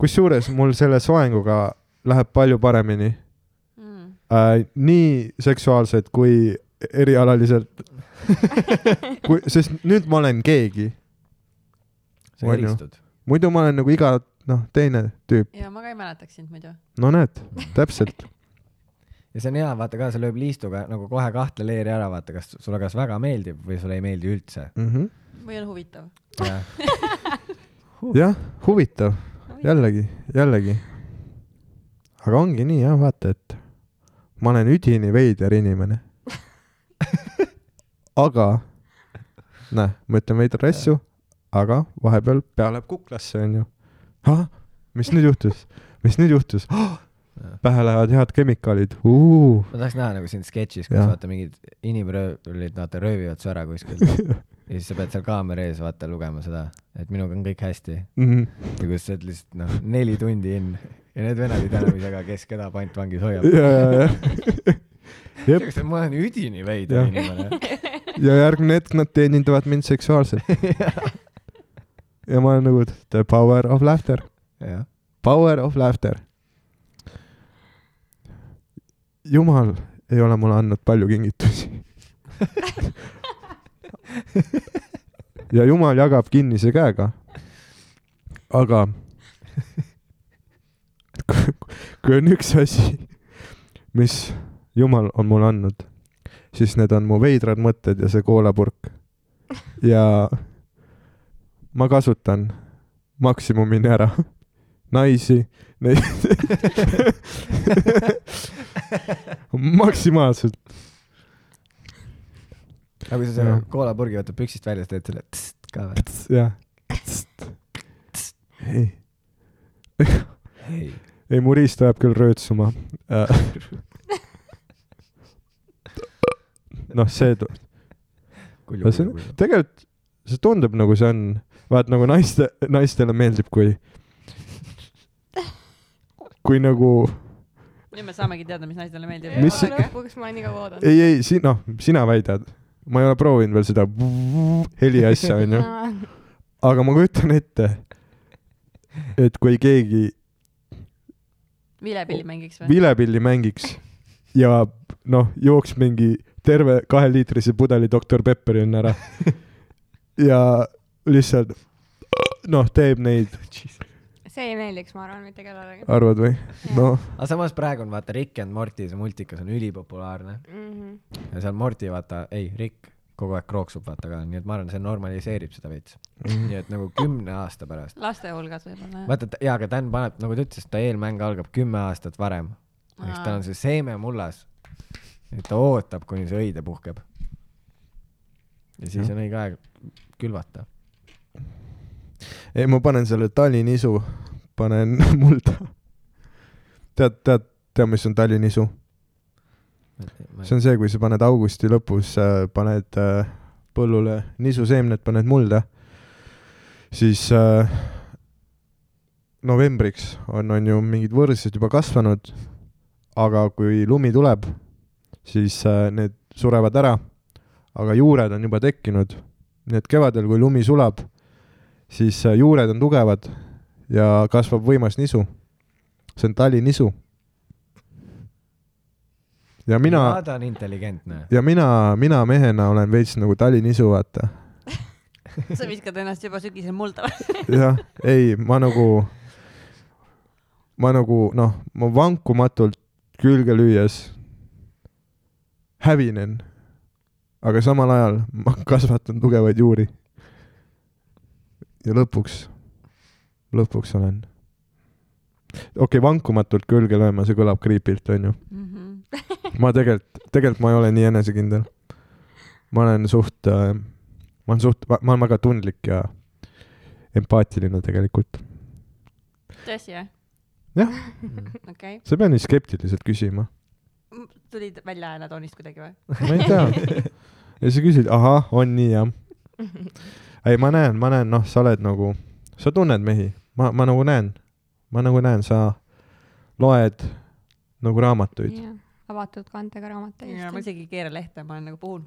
Speaker 4: kusjuures mul selle soenguga läheb palju paremini
Speaker 1: mm. .
Speaker 4: äh, , nii seksuaalselt kui erialaliselt . kui , sest nüüd ma olen keegi ,
Speaker 2: sa
Speaker 4: On ju.
Speaker 2: helistud .
Speaker 4: muidu ma olen nagu iga noh , teine tüüp ,
Speaker 1: ja ma ka ei mäletaks sind muidu .
Speaker 4: no näed , täpselt ,
Speaker 2: ja see on hea , vaata ka , see lööb liistuga nagu kohe kahte leeri ära , vaata , kas sulle kas väga meeldib või sulle ei meeldi üldse .
Speaker 4: mm -hmm.
Speaker 1: või on huvitav ?
Speaker 4: jah , huvitav , jällegi , jällegi . aga ongi nii jah , vaata , et ma olen üdini veider inimene . aga , näe , ma ütlen veidra asju , aga vahepeal pea läheb kuklasse , onju . ahah , mis nüüd juhtus , mis nüüd juhtus oh! ? pähe lähevad head kemikaalid ,
Speaker 2: ma tahaks näha nagu siin sketšis , kus
Speaker 4: Jah.
Speaker 2: vaata mingid inimröövlid , vaata röövivad su ära kuskil . ja siis sa pead seal kaamera ees vaata lugema seda , et minuga on kõik hästi .
Speaker 4: -hmm.
Speaker 2: ja kus sa oled lihtsalt noh , neli tundi in ja need venelad ei tea enam ise ka , kes keda pantvangis hoiab .
Speaker 4: ja , ja , ja , jep ,
Speaker 2: ma olen üdini
Speaker 4: Jah.
Speaker 2: veider inimene .
Speaker 4: ja järgmine hetk nad teenindavad mind seksuaalselt . ja ma olen nagu the power of laughter ,
Speaker 2: jah ,
Speaker 4: power of laughter . jumal ei ole mulle andnud palju kingitusi . ja jumal jagab kinnise käega . aga kui- kui on üks asi , mis jumal on mulle andnud , siis need on mu veidrad mõtted ja see koolapurk . ja ma kasutan maksimumini ära naisi , neid maksimaalselt .
Speaker 2: aga kui sa selle
Speaker 4: Jah.
Speaker 2: koolapurgi võtad püksist välja , siis teed selle tss ka või ?
Speaker 4: jah . ei ,
Speaker 2: ei ,
Speaker 4: ei mu riist ajab küll röötsuma . noh , see tu-
Speaker 2: kulju ,
Speaker 4: No see-
Speaker 2: kulju , kulju .
Speaker 4: tegelikult see tundub nagu see on , vaat nagu naiste , naistele meeldib , kui , kui nagu
Speaker 1: nüüd me saamegi teada , mis naistele meeldib .
Speaker 4: Mis see-
Speaker 3: lõpuks ma olen nii kaua oodanud .
Speaker 4: ei , ei , si- , noh , sina väidad , ma ei ole proovinud veel seda heli asja , onju , aga ma kujutan ette , et kui keegi
Speaker 1: vilepilli mängiks või ?
Speaker 4: vilepilli mängiks ja noh , jooks mingi terve kaheliitrise pudeli Doktor Pepperi enne ära ja lihtsalt noh , teeb neid ,
Speaker 3: see ei meeldiks , ma arvan , mitte kellelegi .
Speaker 4: arvad või ? noh ,
Speaker 2: aga samas praegu on vaata Rick and Morty , see multikas on ülipopulaarne
Speaker 3: Mhm.
Speaker 2: ja seal Morty vaata , ei , Rick kogu aeg krooksub vaata ka , nii et ma arvan , see normaliseerib seda veits .
Speaker 4: Mhm.
Speaker 2: nii et nagu kümne aasta pärast .
Speaker 1: laste hulgas võib-olla jah ?
Speaker 2: vaata , jaa , aga Dan paneb , nagu ta ütles , ta eelmäng algab kümme aastat varem . eks tal on see seeme mullas . et ta ootab , kuni see õide puhkeb . ja siis on õige aeg külvata .
Speaker 4: ei ma panen selle talinisu , panen mulda . tead , tead , tead , mis on talinisu ? see on see , kui sa paned augusti lõpus , paned äh, põllule nisuseemned , paned mulda , siis äh, novembriks on , on ju mingid võrsed juba kasvanud , aga kui lumi tuleb , siis äh, need surevad ära , aga juured on juba tekkinud . nii et kevadel , kui lumi sulab , siis äh, juured on tugevad ja kasvab võimas nisu . see on talinisu . ja mina
Speaker 2: ta on intelligentne .
Speaker 4: ja mina , mina mehena olen veits nagu talinisu , vaata .
Speaker 1: sa viskad ennast juba sügisel mulda või ?
Speaker 4: jah , ei , ma nagu , ma nagu noh , ma vankumatult külge lüües hävinen . aga samal ajal ma kasvatan tugevaid juuri . ja lõpuks , lõpuks olen . okei okay, , vankumatult külge lööma , see kõlab creepy't , onju .
Speaker 1: Mhm.
Speaker 4: ma tegelikult , tegelikult ma ei ole nii enesekindel . ma olen suht , ma olen suht , ma olen väga tundlik ja empaatiline tegelikult .
Speaker 1: tõsi jah ?
Speaker 4: Jah. .
Speaker 1: okei ,
Speaker 4: sa ei pea nii skeptiliselt küsima .
Speaker 1: tulid välja hääletoonist kuidagi või ?
Speaker 4: ma ei tea . ja sa küsid , ahah , on nii jah . ei , ma näen , ma näen , noh , sa oled nagu , sa tunned mehi , ma , ma nagu näen , ma nagu näen , sa loed nagu raamatuid .
Speaker 3: avatud kantega raamat
Speaker 1: ja ma
Speaker 3: täiesti .
Speaker 1: isegi ei keera lehte , ma olen nagu puhun .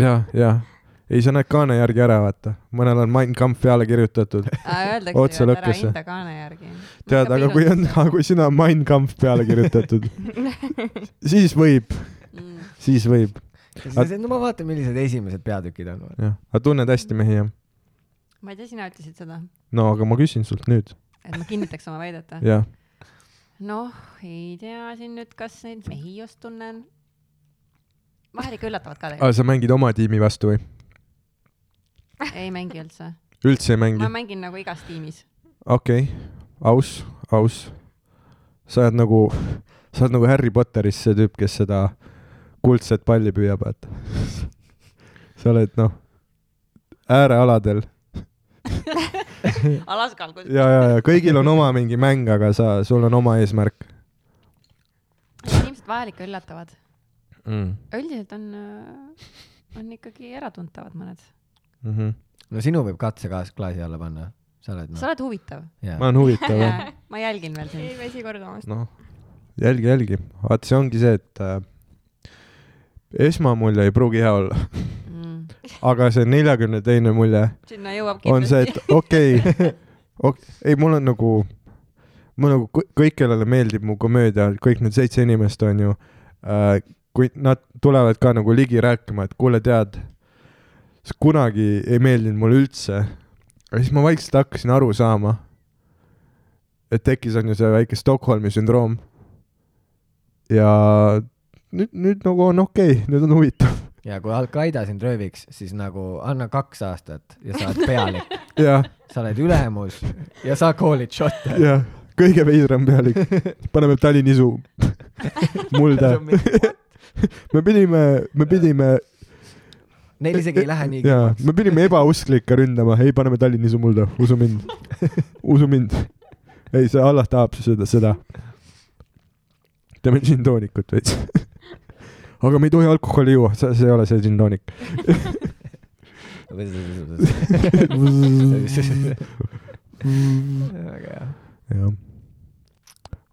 Speaker 4: jah , jah . ei , sa näed kaane järgi ära , vaata . mõnel on Mein Kampf peale kirjutatud .
Speaker 1: Öeldakse
Speaker 4: Otse
Speaker 1: ju , et ära
Speaker 4: lõkkesse.
Speaker 1: hinda kaane järgi .
Speaker 4: tead , aga kui on , nagu- aga kui sinna on Mein Kampf peale kirjutatud , siis võib ,
Speaker 1: mm. .
Speaker 4: siis võib ,
Speaker 2: ja siis ta ütles , no ma vaatan , millised esimesed peatükid on .
Speaker 4: jah . aga tunned hästi mehi , jah ?
Speaker 1: ma ei tea , sina ütlesid seda ,
Speaker 4: no aga ma küsin sult nüüd ,
Speaker 1: et ma kinnitaks oma väidet või ?
Speaker 4: jah .
Speaker 1: noh , ei tea siin nüüd , kas neid mehi just tunnen . vahel ikka üllatavad ka
Speaker 4: aga Ah, sa mängid oma tiimi vastu või ?
Speaker 1: tegelikult , ei mängi üldse .
Speaker 4: üldse ei
Speaker 1: ma
Speaker 4: mängi ?
Speaker 1: mängin nagu igas tiimis .
Speaker 4: okei okay. , aus , aus . sa oled nagu , sa oled nagu Harry Potteris see tüüp , kes seda kuldset palli püüab , vaata . sa oled , noh , äärealadel
Speaker 1: Alaskal kus... .
Speaker 4: ja , ja , ja kõigil on oma mingi mäng , aga sa , sul on oma eesmärk
Speaker 1: inimesed vahel ikka üllatavad .
Speaker 4: mm. .
Speaker 1: üldiselt on äh, on ikkagi äratuntavad mõned .
Speaker 4: mm . -hmm.
Speaker 2: no sinu võib katseklaas klaasi alla panna , sa oled
Speaker 1: sa
Speaker 2: noh ,
Speaker 1: oled huvitav .
Speaker 2: jaa .
Speaker 4: ma olen huvitav jah .
Speaker 1: ma jälgin veel
Speaker 3: ei
Speaker 1: sind .
Speaker 3: väsi kordamast .
Speaker 4: noh , jälgi , jälgi , vaat see ongi see , et äh, esmamulje ei pruugi hea olla , aga see neljakümne teine mulje
Speaker 1: Mm. sinna jõuab
Speaker 4: on see ,
Speaker 1: kindlasti .
Speaker 4: et okei okay, okay, , ei mul on nagu , mul nagu kõ- kõik , kellele meeldib mu komöödia , kõik need seitse inimest on ju äh, , kui nad tulevad ka nagu ligi rääkima , et kuule , tead , see kunagi ei meeldinud mulle üldse . aga siis ma vaikselt hakkasin aru saama , et tekkis on ju see väike Stockholmi sündroom . ja nüüd , nüüd nagu on okei okay, , nüüd on huvitav
Speaker 2: ja kui Al-Qaeda sind rööviks , siis nagu anna kaks aastat ja sa oled pealik ,
Speaker 4: ja ,
Speaker 2: sa oled ülemus ja sa koolid šotte .
Speaker 4: ja kõige veidram pealik , paneme Tallinn-Isu mulda me pidime , me pidime ,
Speaker 2: Neil isegi ei lähe nii
Speaker 4: jaa ,
Speaker 2: kõvaks .
Speaker 4: me pidime ebausklikke ründama , ei , paneme Tallinni su mulda , usu mind , usu mind . ei , see Allah tahab seda , seda . teeme džinntoonikut veits . aga me ei tohi alkoholi juua , see , see ei ole see džinntoonik .
Speaker 2: väga hea .
Speaker 4: jah .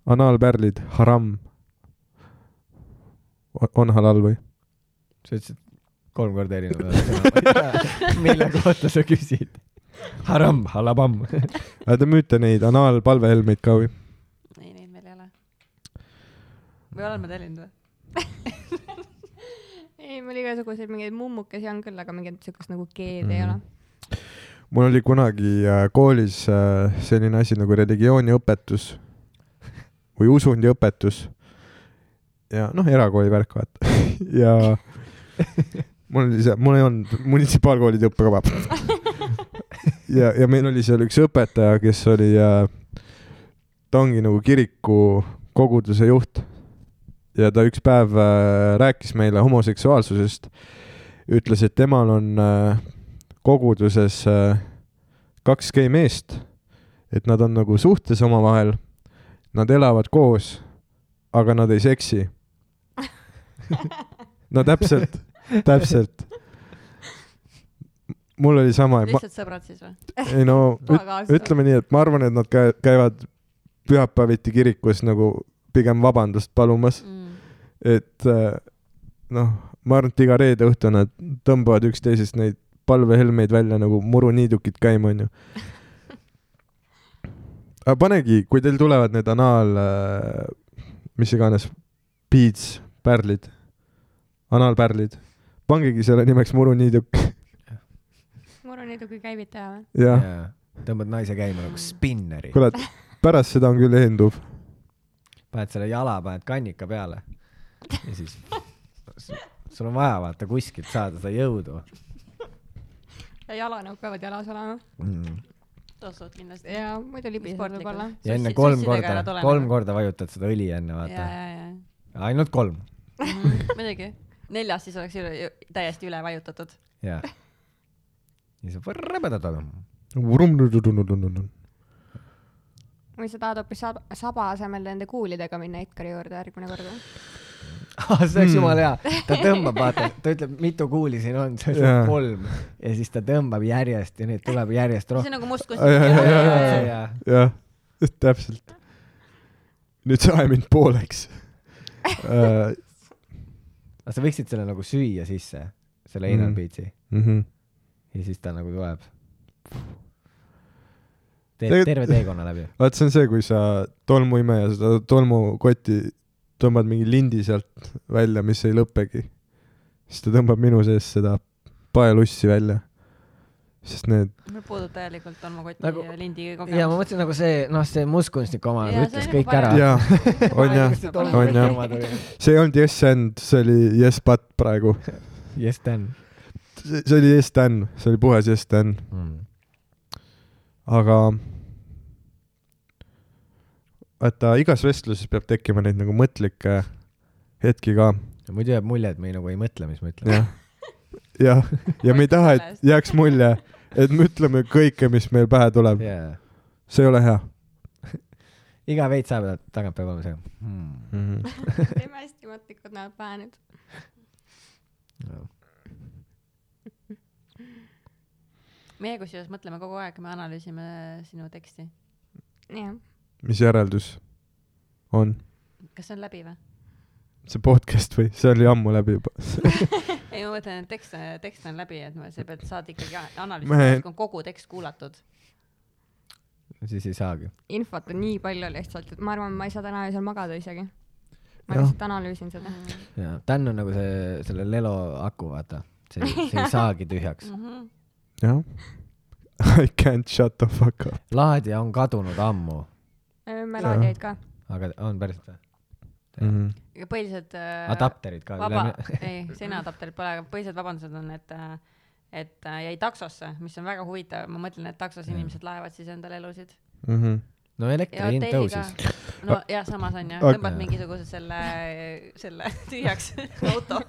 Speaker 4: anaalpärlid , haram . on halal või ?
Speaker 2: sa ütlesid kolm korda erinevat . mille kohta sa küsid ? haram , halabam .
Speaker 4: Te müüte neid anaalpalvehelmeid ka või ?
Speaker 1: ei , neid meil ei ole . või olen ma tellinud või ?
Speaker 3: ei , mul igasuguseid mingeid mummukesi on küll , aga mingit siukest nagu G-d mm. ei ole
Speaker 4: Mhm. . mul oli kunagi äh, koolis äh, selline asi nagu religiooniõpetus või usundiõpetus . ja noh , erakooli värk vaata . ja mul oli see , mul ei olnud munitsipaalkoolide õppekava . ja , ja meil oli seal üks õpetaja , kes oli äh, , ta ongi nagu kiriku koguduse juht . ja ta üks päev äh, rääkis meile homoseksuaalsusest , ütles , et temal on äh, koguduses äh, kaks gei meest , et nad on nagu suhtes omavahel , nad elavad koos , aga nad ei seksi . no täpselt , täpselt . mul oli sama , ma ,
Speaker 1: lihtsalt sõbrad siis või ?
Speaker 4: ei no üt, ütleme nii , et ma arvan , et nad käi- käivad pühapäeviti kirikus nagu pigem vabandust palumas ,
Speaker 1: Mm.
Speaker 4: et äh, noh , ma arvan , et iga reede õhtu nad tõmbavad üksteisest neid palvehelmeid välja nagu muruniidukid käima , onju . aga panegi , kui teil tulevad need anaal , mis iganes , beads , pärlid , anaalpärlid , pangegi selle nimeks muruniiduk
Speaker 3: muruniidu kui käivitaja või ?
Speaker 4: ja
Speaker 2: tõmbad naise käima nagu spinneri .
Speaker 4: kuule , et pärast seda on küll eenduv .
Speaker 2: paned selle jala , paned kannika peale ja siis s- sul on vaja vaata kuskilt saada seda jõudu
Speaker 3: ja jalanõud peavad jalas olema .
Speaker 2: mm. .
Speaker 1: tossud kindlasti .
Speaker 3: ja muidu libiseb
Speaker 1: Sportlikud.
Speaker 3: võib-olla .
Speaker 2: ja enne
Speaker 1: Sussi-
Speaker 2: kolm
Speaker 1: sussidega
Speaker 2: korda
Speaker 1: ära tulema. ,
Speaker 2: kolm korda vajutad seda õli enne
Speaker 1: ja ,
Speaker 2: vaata .
Speaker 1: ja , ja .
Speaker 2: ainult kolm ,
Speaker 1: muidugi . neljas siis oleks üle, ju- täiesti üle vajutatud .
Speaker 2: jaa . ja siis võrrebedatad .
Speaker 3: või sa tahad hoopis saba, saba asemel nende kuulidega minna Ikari juurde järgmine kord või ?
Speaker 2: Ah, see oleks jumala hea , ta tõmbab , vaata , ta ütleb , mitu kuuli siin on , see
Speaker 4: Jaa.
Speaker 2: on kolm ja siis ta tõmbab järjest ja neid tuleb järjest
Speaker 1: see on
Speaker 2: rohkem .
Speaker 1: nagu mustkunst .
Speaker 4: jah , täpselt . nüüd sa aja mind pooleks uh, .
Speaker 2: aga sa võiksid selle nagu süüa sisse , selle anal
Speaker 4: Mm.
Speaker 2: beats'i
Speaker 4: Mm -hmm.
Speaker 2: ja siis ta nagu tuleb .
Speaker 4: Tegelikult-
Speaker 2: teed terve teekonna läbi .
Speaker 4: vaat see on see , kui sa tolmuimeja seda tolmukotti tõmbad mingi lindi sealt välja , mis ei lõppegi . siis ta tõmbab minu sees seda paelussi välja . sest need ,
Speaker 1: mul puudub täielikult tolmukoti
Speaker 2: Nagu-
Speaker 1: nagu... ja lindi
Speaker 2: ja ma
Speaker 1: kogemus .
Speaker 2: mõtlesin nagu see , noh , see mustkunstniku oma
Speaker 1: Jaa, see
Speaker 2: ütles
Speaker 1: oli
Speaker 2: kõik
Speaker 1: nagu
Speaker 2: ära .
Speaker 1: parem.
Speaker 4: jaa , on jah , on jah. . see ei olnud yes and , see oli yes but praegu .
Speaker 2: Yes , Dan .
Speaker 4: see oli yes than , see oli puhas yes than ,
Speaker 2: Mm.
Speaker 4: aga vaata igas vestluses peab tekkima neid nagu mõtlikke hetki ka
Speaker 2: muidu jääb mulje , et me ei, nagu ei mõtle , mis me ütleme .
Speaker 4: jah , jah , ja me ei taha , et jääks mulje , et me ütleme kõike , mis meil pähe tuleb ,
Speaker 2: jaa .
Speaker 4: see ei ole hea
Speaker 2: iga veits aja pealt tagant peab olema see hmm. .
Speaker 4: mm . -hmm.
Speaker 3: teeme hästi mõtlikud näod pähe nüüd .
Speaker 1: meie kusjuures mõtleme kogu aeg , me analüüsime sinu teksti .
Speaker 3: jah ,
Speaker 4: mis järeldus on ?
Speaker 1: kas see on läbi või ?
Speaker 4: see podcast või ? see oli ammu läbi juba .
Speaker 1: ei , ma mõtlen , et tekst , tekst on läbi , et ma- sa pead , saad ikkagi a-
Speaker 4: Me-
Speaker 1: analüüsida , kui on kogu tekst kuulatud .
Speaker 2: siis ei saagi .
Speaker 3: infot on nii palju lihtsalt , et ma arvan , ma ei saa täna öösel magada isegi . ma
Speaker 4: Jah.
Speaker 3: lihtsalt analüüsin seda .
Speaker 2: jaa , Dan on nagu see , selle Lelo aku , vaata . see , see ei saagi tühjaks .
Speaker 1: Mhm.
Speaker 4: jah . I can't shut the fuck up .
Speaker 2: laadija on kadunud ammu ,
Speaker 3: me laadijaid ka .
Speaker 2: aga on päriselt
Speaker 1: Äh,
Speaker 2: või ?
Speaker 4: Mhm.
Speaker 1: ja põhilised äh,
Speaker 2: adapterid ka .
Speaker 1: vaba , ei , seinaadapterit pole , aga põhilised vabandused on , et äh, et äh, jäi taksosse , mis on väga huvitav , ma mõtlen , et taksos inimesed laevad siis endale elusid .
Speaker 4: Mhm.
Speaker 2: no
Speaker 1: ja
Speaker 2: elektri hind
Speaker 1: hotelliga
Speaker 2: tõusis .,
Speaker 1: no jah , samas on ju ,
Speaker 4: Aga-
Speaker 1: tõmbad mingisuguse selle , selle tühjaks auto ,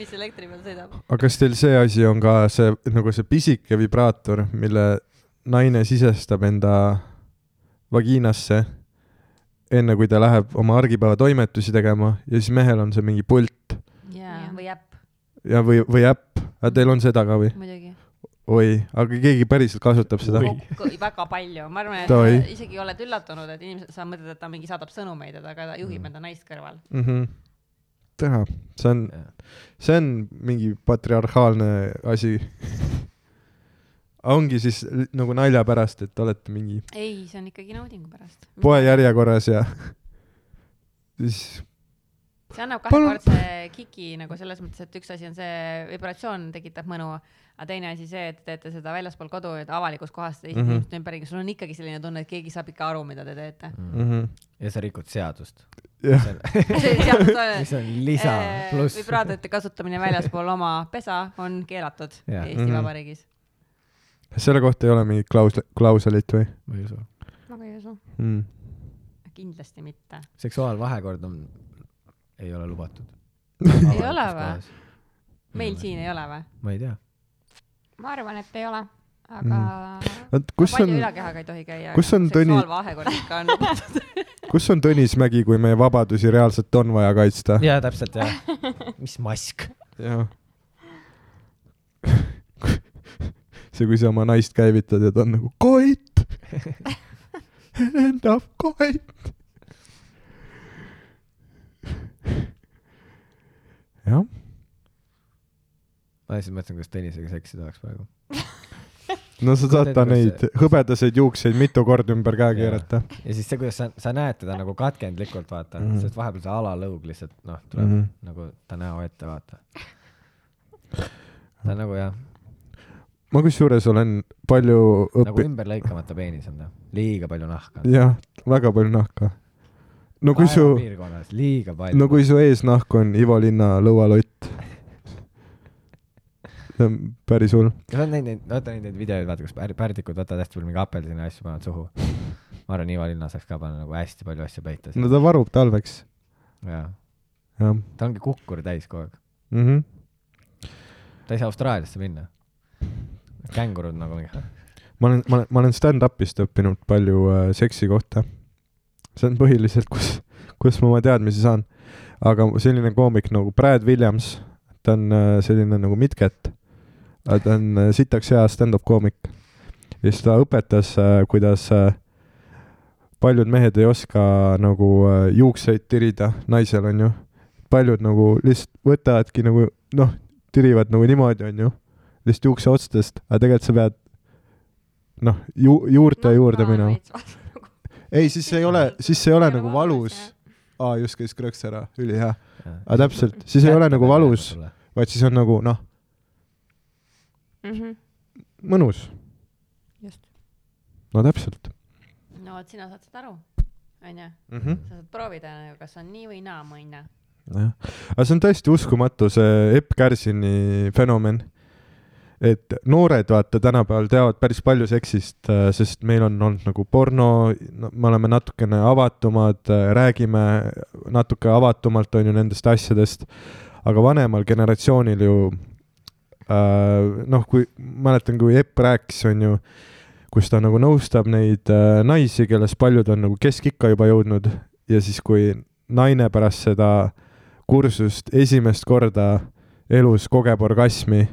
Speaker 1: mis elektri peal sõidab .
Speaker 4: aga kas teil see asi on ka see nagu see pisike vibraator , mille naine sisestab enda vagiinasse enne kui ta läheb oma argipäeva toimetusi tegema ja siis mehel on see mingi pult
Speaker 1: jaa , või äpp
Speaker 4: ja , või , või äpp , aga teil on seda ka või ?
Speaker 1: muidugi .
Speaker 4: oi , aga keegi päriselt kasutab seda ?
Speaker 1: väga palju , ma arvan , et
Speaker 4: Oi.
Speaker 1: sa isegi oled üllatunud , et inimesed , sa mõtled , et ta mingi saadab sõnumeid , et aga ta
Speaker 4: Mm.
Speaker 1: juhib enda naist kõrval .
Speaker 4: mhmh , teha , Mhm. see on , see on mingi patriarhaalne asi . ongi siis l- nagu nalja pärast , et olete mingi
Speaker 1: ei , see on ikkagi naudingu pärast .
Speaker 4: poe järjekorras ja siis
Speaker 1: see annab
Speaker 4: Palun-
Speaker 1: kahekordse kiki nagu selles mõttes , et üks asi on see vibratsioon tekitab mõnu , aga teine asi see , et te teete seda väljaspool kodu , et avalikus kohas teiste
Speaker 4: Mhm.
Speaker 1: inimeste mm -hmm. ümberringi , sul on ikkagi selline tunne , et keegi saab ikka aru , mida te teete .
Speaker 2: Mm. Mhm.
Speaker 4: mhmh ,
Speaker 2: ja sa rikud seadust ,
Speaker 4: jah ,
Speaker 2: mis on lisa
Speaker 1: Äh,
Speaker 2: pluss .
Speaker 1: vibraatorite kasutamine väljaspool oma pesa on keelatud
Speaker 2: Jah.
Speaker 1: Eesti
Speaker 4: Mhm.
Speaker 1: Vabariigis .
Speaker 4: selle kohta ei ole mingit klausli- , klauselit või
Speaker 2: ma ei usu .
Speaker 3: ma ka ei usu .
Speaker 4: mm. ?
Speaker 1: kindlasti mitte .
Speaker 2: seksuaalvahekord on , ei ole lubatud .
Speaker 1: Ei ole või? ? meil siin ei ole või ?
Speaker 2: ma ei tea .
Speaker 3: ma arvan , et ei ole , aga mm.
Speaker 4: vot kus
Speaker 1: palju
Speaker 4: on ,
Speaker 1: ülakehaga ei tohi käia .
Speaker 4: kus on Tõni-
Speaker 1: seksuaalvahekord ikka on lubatud .
Speaker 4: kus on Tõnis Mägi , kui meie vabadusi reaalselt on vaja kaitsta ?
Speaker 2: jaa , täpselt jah . mis mask ?
Speaker 4: jah . see , kui sa oma naist käivitad ja ta on nagu Koit . Helen tahab Koit . jah ,
Speaker 2: ma lihtsalt mõtlesin , kas Tõnisega seksi tahaks praegu .
Speaker 4: no sa saad ta neid hõbedaseid juukseid mitu korda ümber käe
Speaker 2: Jaa.
Speaker 4: keerata .
Speaker 2: ja siis see , kuidas sa , sa näed teda nagu katkendlikult , vaata mm ,
Speaker 4: Mhm.
Speaker 2: -hmm. sest vahepeal see alalõug lihtsalt noh , tuleb mm
Speaker 4: Mhm.
Speaker 2: -hmm. nagu ta näo ette , vaata .
Speaker 4: Mhm.
Speaker 2: ta on nagu jah ,
Speaker 4: ma kusjuures olen palju
Speaker 2: nagu
Speaker 4: õppinud ,
Speaker 2: ümber lõikamata peenis on ta , liiga palju nahka .
Speaker 4: jah , väga palju nahka . no kui su ,
Speaker 2: piirkonnas liiga palju
Speaker 4: no kui su eesnahk on Ivo Linna lõualott . see on päris hull .
Speaker 2: sa oled näinud neid , vaata neid , neid videoid , vaata , kus pär- , pärdikud võtavad hästi palju mingi apelsini asju , panevad suhu . ma arvan , Ivo Linna saaks ka panna nagu hästi palju asju peita
Speaker 4: no
Speaker 2: no. .
Speaker 4: ta varub talveks ,
Speaker 2: jaa ,
Speaker 4: jah
Speaker 2: ta ongi kukkur täis kogu aeg .
Speaker 4: mm . -hmm.
Speaker 2: ta ei saa Austraaliasse minna . kängurud nagu mingi ,
Speaker 4: ma olen , ma olen , ma olen stand-up'ist õppinud palju äh, seksi kohta . see on põhiliselt , kus , kus ma oma teadmisi saan . aga selline koomik nagu Brad Williams , ta on äh, selline nagu midget , ta on äh, sitaks hea stand-up koomik . ja siis ta õpetas , kuidas äh, paljud mehed ei oska nagu äh, juukseid tirida naisel , onju . paljud nagu lihtsalt võtavadki nagu noh , tirivad nagu niimoodi , onju , lihtsalt juukse otstest , aga tegelikult sa pead noh , ju- , juurte juurde minema . ei , siis ei ole , siis ei ole nagu valus . aa , just käis krõks ära , ülihea . aga täpselt , siis ei ole nagu valus ,. vaid siis on nagu noh ,
Speaker 3: Mhm.
Speaker 4: mõnus .
Speaker 3: just .
Speaker 4: no täpselt
Speaker 1: no vot , sina saad seda aru , onju .
Speaker 4: mm . -hmm.
Speaker 1: sa saad proovida , kas on nii või naa , mõnna .
Speaker 4: nojah , aga see on täiesti uskumatu , see Epp Kärsini fenomen . et noored , vaata , tänapäeval teavad päris palju seksist , sest meil on olnud nagu porno , me oleme natukene avatumad , räägime natuke avatumalt , on ju , nendest asjadest . aga vanemal generatsioonil ju äh, noh , kui mäletan , kui Epp rääkis , on ju , kus ta nagu nõustab neid äh, naisi , kellest paljud on nagu keskikka juba jõudnud ja siis , kui naine pärast seda kursust esimest korda elus kogeb orgasmi ,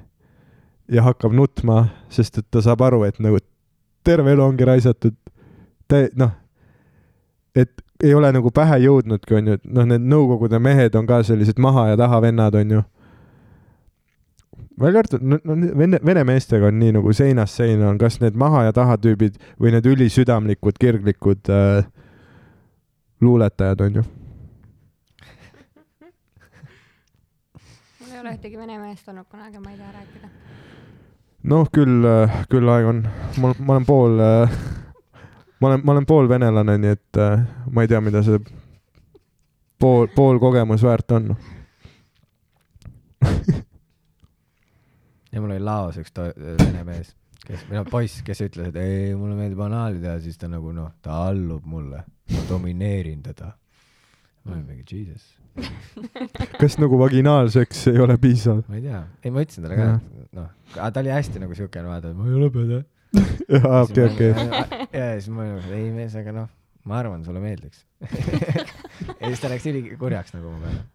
Speaker 4: ja hakkab nutma , sest et ta saab aru , et nagu terve elu ongi raisatud . ta noh , et ei ole nagu pähe jõudnudki , onju , et noh , need nõukogude mehed on ka sellised maha ja taha vennad , onju . välja arvatud , no no vene , vene meestega on nii nagu seinast seina on , kas need maha ja taha tüübid või need ülisüdamlikud , kirglikud äh, luuletajad , onju .
Speaker 3: mul ei ole ühtegi vene meest olnud kunagi , ma ei taha rääkida .
Speaker 4: noh , küll , küll aeg on , ma , ma olen pool , ma olen , ma olen pool venelane , nii et äh, ma ei tea , mida see pool , pool kogemus väärt on .
Speaker 2: ja mul oli laos üks to- vene mees , kes , või noh , poiss , kes ütles , et ei , mulle meeldib anaalid ja siis ta nagu noh , ta allub mulle , ma domineerin teda . ma olin mingi jesus ,
Speaker 4: kas nagu vaginaalseks ei ole piisav ?
Speaker 2: ma ei tea , ei ma ütlesin talle ka , noh , aga ta oli hästi nagu siukene , vaata , ma ei ole pede .
Speaker 4: jaa , okei , okei .
Speaker 2: ja siis ma olin nagu , ei mees , aga noh , ma arvan , sulle meeldiks . ja siis ta läks ülikurjaks nagu mu peale .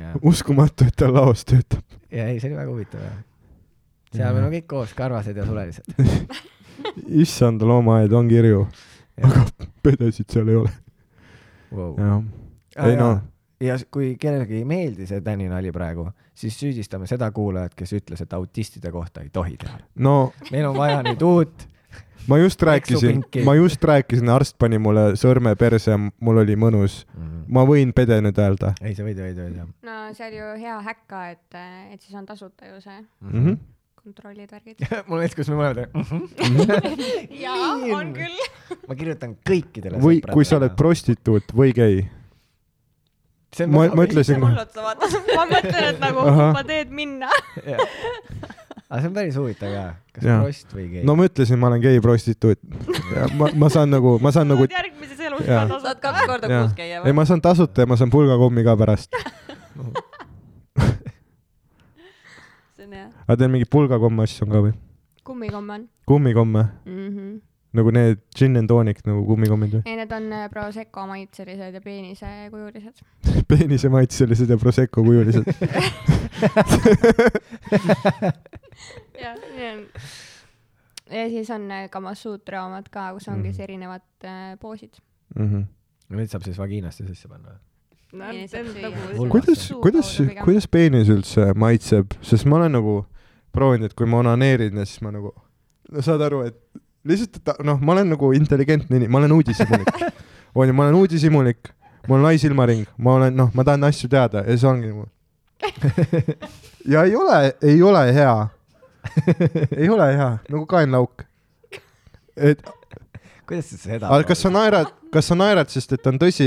Speaker 2: ja ,
Speaker 4: uskumatu , et ta laos töötab .
Speaker 2: ja ei , see oli väga huvitav jah . seal me olime kõik koos , karvased ja sulelised .
Speaker 4: issand , loomaaed on kirju , aga pedesid seal ei ole .
Speaker 2: wow.
Speaker 4: jah , ei noh. no ,
Speaker 2: ja s- kui kellelegi ei meeldi see Täni nali praegu , siis süüdistame seda kuulajat , kes ütles , et autistide kohta ei tohi teha .
Speaker 4: no
Speaker 2: meil on vaja nüüd uut ,
Speaker 4: ma just rääkisin
Speaker 2: Eksupinki. ,
Speaker 4: ma just rääkisin , arst pani mulle sõrme perse , mul oli mõnus . ma võin pede nüüd öelda
Speaker 2: ei , sa võid , võid , võid jah .
Speaker 3: no see oli ju hea häkka , et , et siis on tasuta ju see
Speaker 4: mm . -hmm.
Speaker 3: kontrollid , värgid .
Speaker 2: mul on hetk , kus me mõlemad ,
Speaker 7: Mhm. jaa , on küll .
Speaker 2: ma kirjutan kõikidele .
Speaker 4: või kui sa oled . prostituut või gei . ma , ma . ütlesin ,
Speaker 1: nagu-
Speaker 7: mul otsa vaata , ma mõtlen , et nagu
Speaker 4: Ahah.
Speaker 7: kumba teed minna .
Speaker 2: aga see on päris huvitav ka , kas
Speaker 4: Jaa.
Speaker 2: prost või gei
Speaker 4: no
Speaker 2: no. .
Speaker 4: ma ütlesin , ma olen gei prostituut . ma , ma saan nagu , ma saan nagu ,
Speaker 7: järgmises elus
Speaker 4: Jaa.
Speaker 7: ka
Speaker 1: saad
Speaker 7: tasuta .
Speaker 1: kaks korda
Speaker 4: Jaa.
Speaker 1: kuus käia
Speaker 4: ei
Speaker 1: või ?
Speaker 4: ma saan tasuta ja ma saan pulgakommi ka pärast .
Speaker 1: see on hea .
Speaker 4: aga teil mingeid pulgakomme asju on ka või ?
Speaker 3: kummikomm on
Speaker 4: kummikomme ,
Speaker 3: mm .
Speaker 7: Mhm.
Speaker 3: -hmm.
Speaker 4: nagu need gin and tonic nagu kummikommid või ?
Speaker 3: ei , need on äh, Prosecco maitselised ja peenisekujulised .
Speaker 4: peenisemaitselised ja Prosecco kujulised .
Speaker 3: jah , nii on . ja siis on äh, Kamasuutra omad ka , kus ongi
Speaker 4: Mhm.
Speaker 3: siis erinevad äh, poosid .
Speaker 2: nüüd saab siis vaginasse sisse panna .
Speaker 1: Ei, see on
Speaker 7: nagu
Speaker 1: süüa.
Speaker 4: kuidas , kuidas , kuidas peenis üldse maitseb , sest ma olen nagu proovinud , et kui ma onaneerin ja siis ma nagu , no saad aru , et lihtsalt , et ta- noh , ma olen nagu intelligentne inimene , ma olen uudishimulik , onju , ma olen uudishimulik , mul on lai silmaring , ma olen , noh , ma tahan asju teada ja see ongi nagu . ja ei ole , ei ole hea , ei ole hea , nagu kaenlauk . et ,
Speaker 2: kuidas sa seda
Speaker 4: aga kas sa naerad , kas sa naerad , sest et on tõsi ,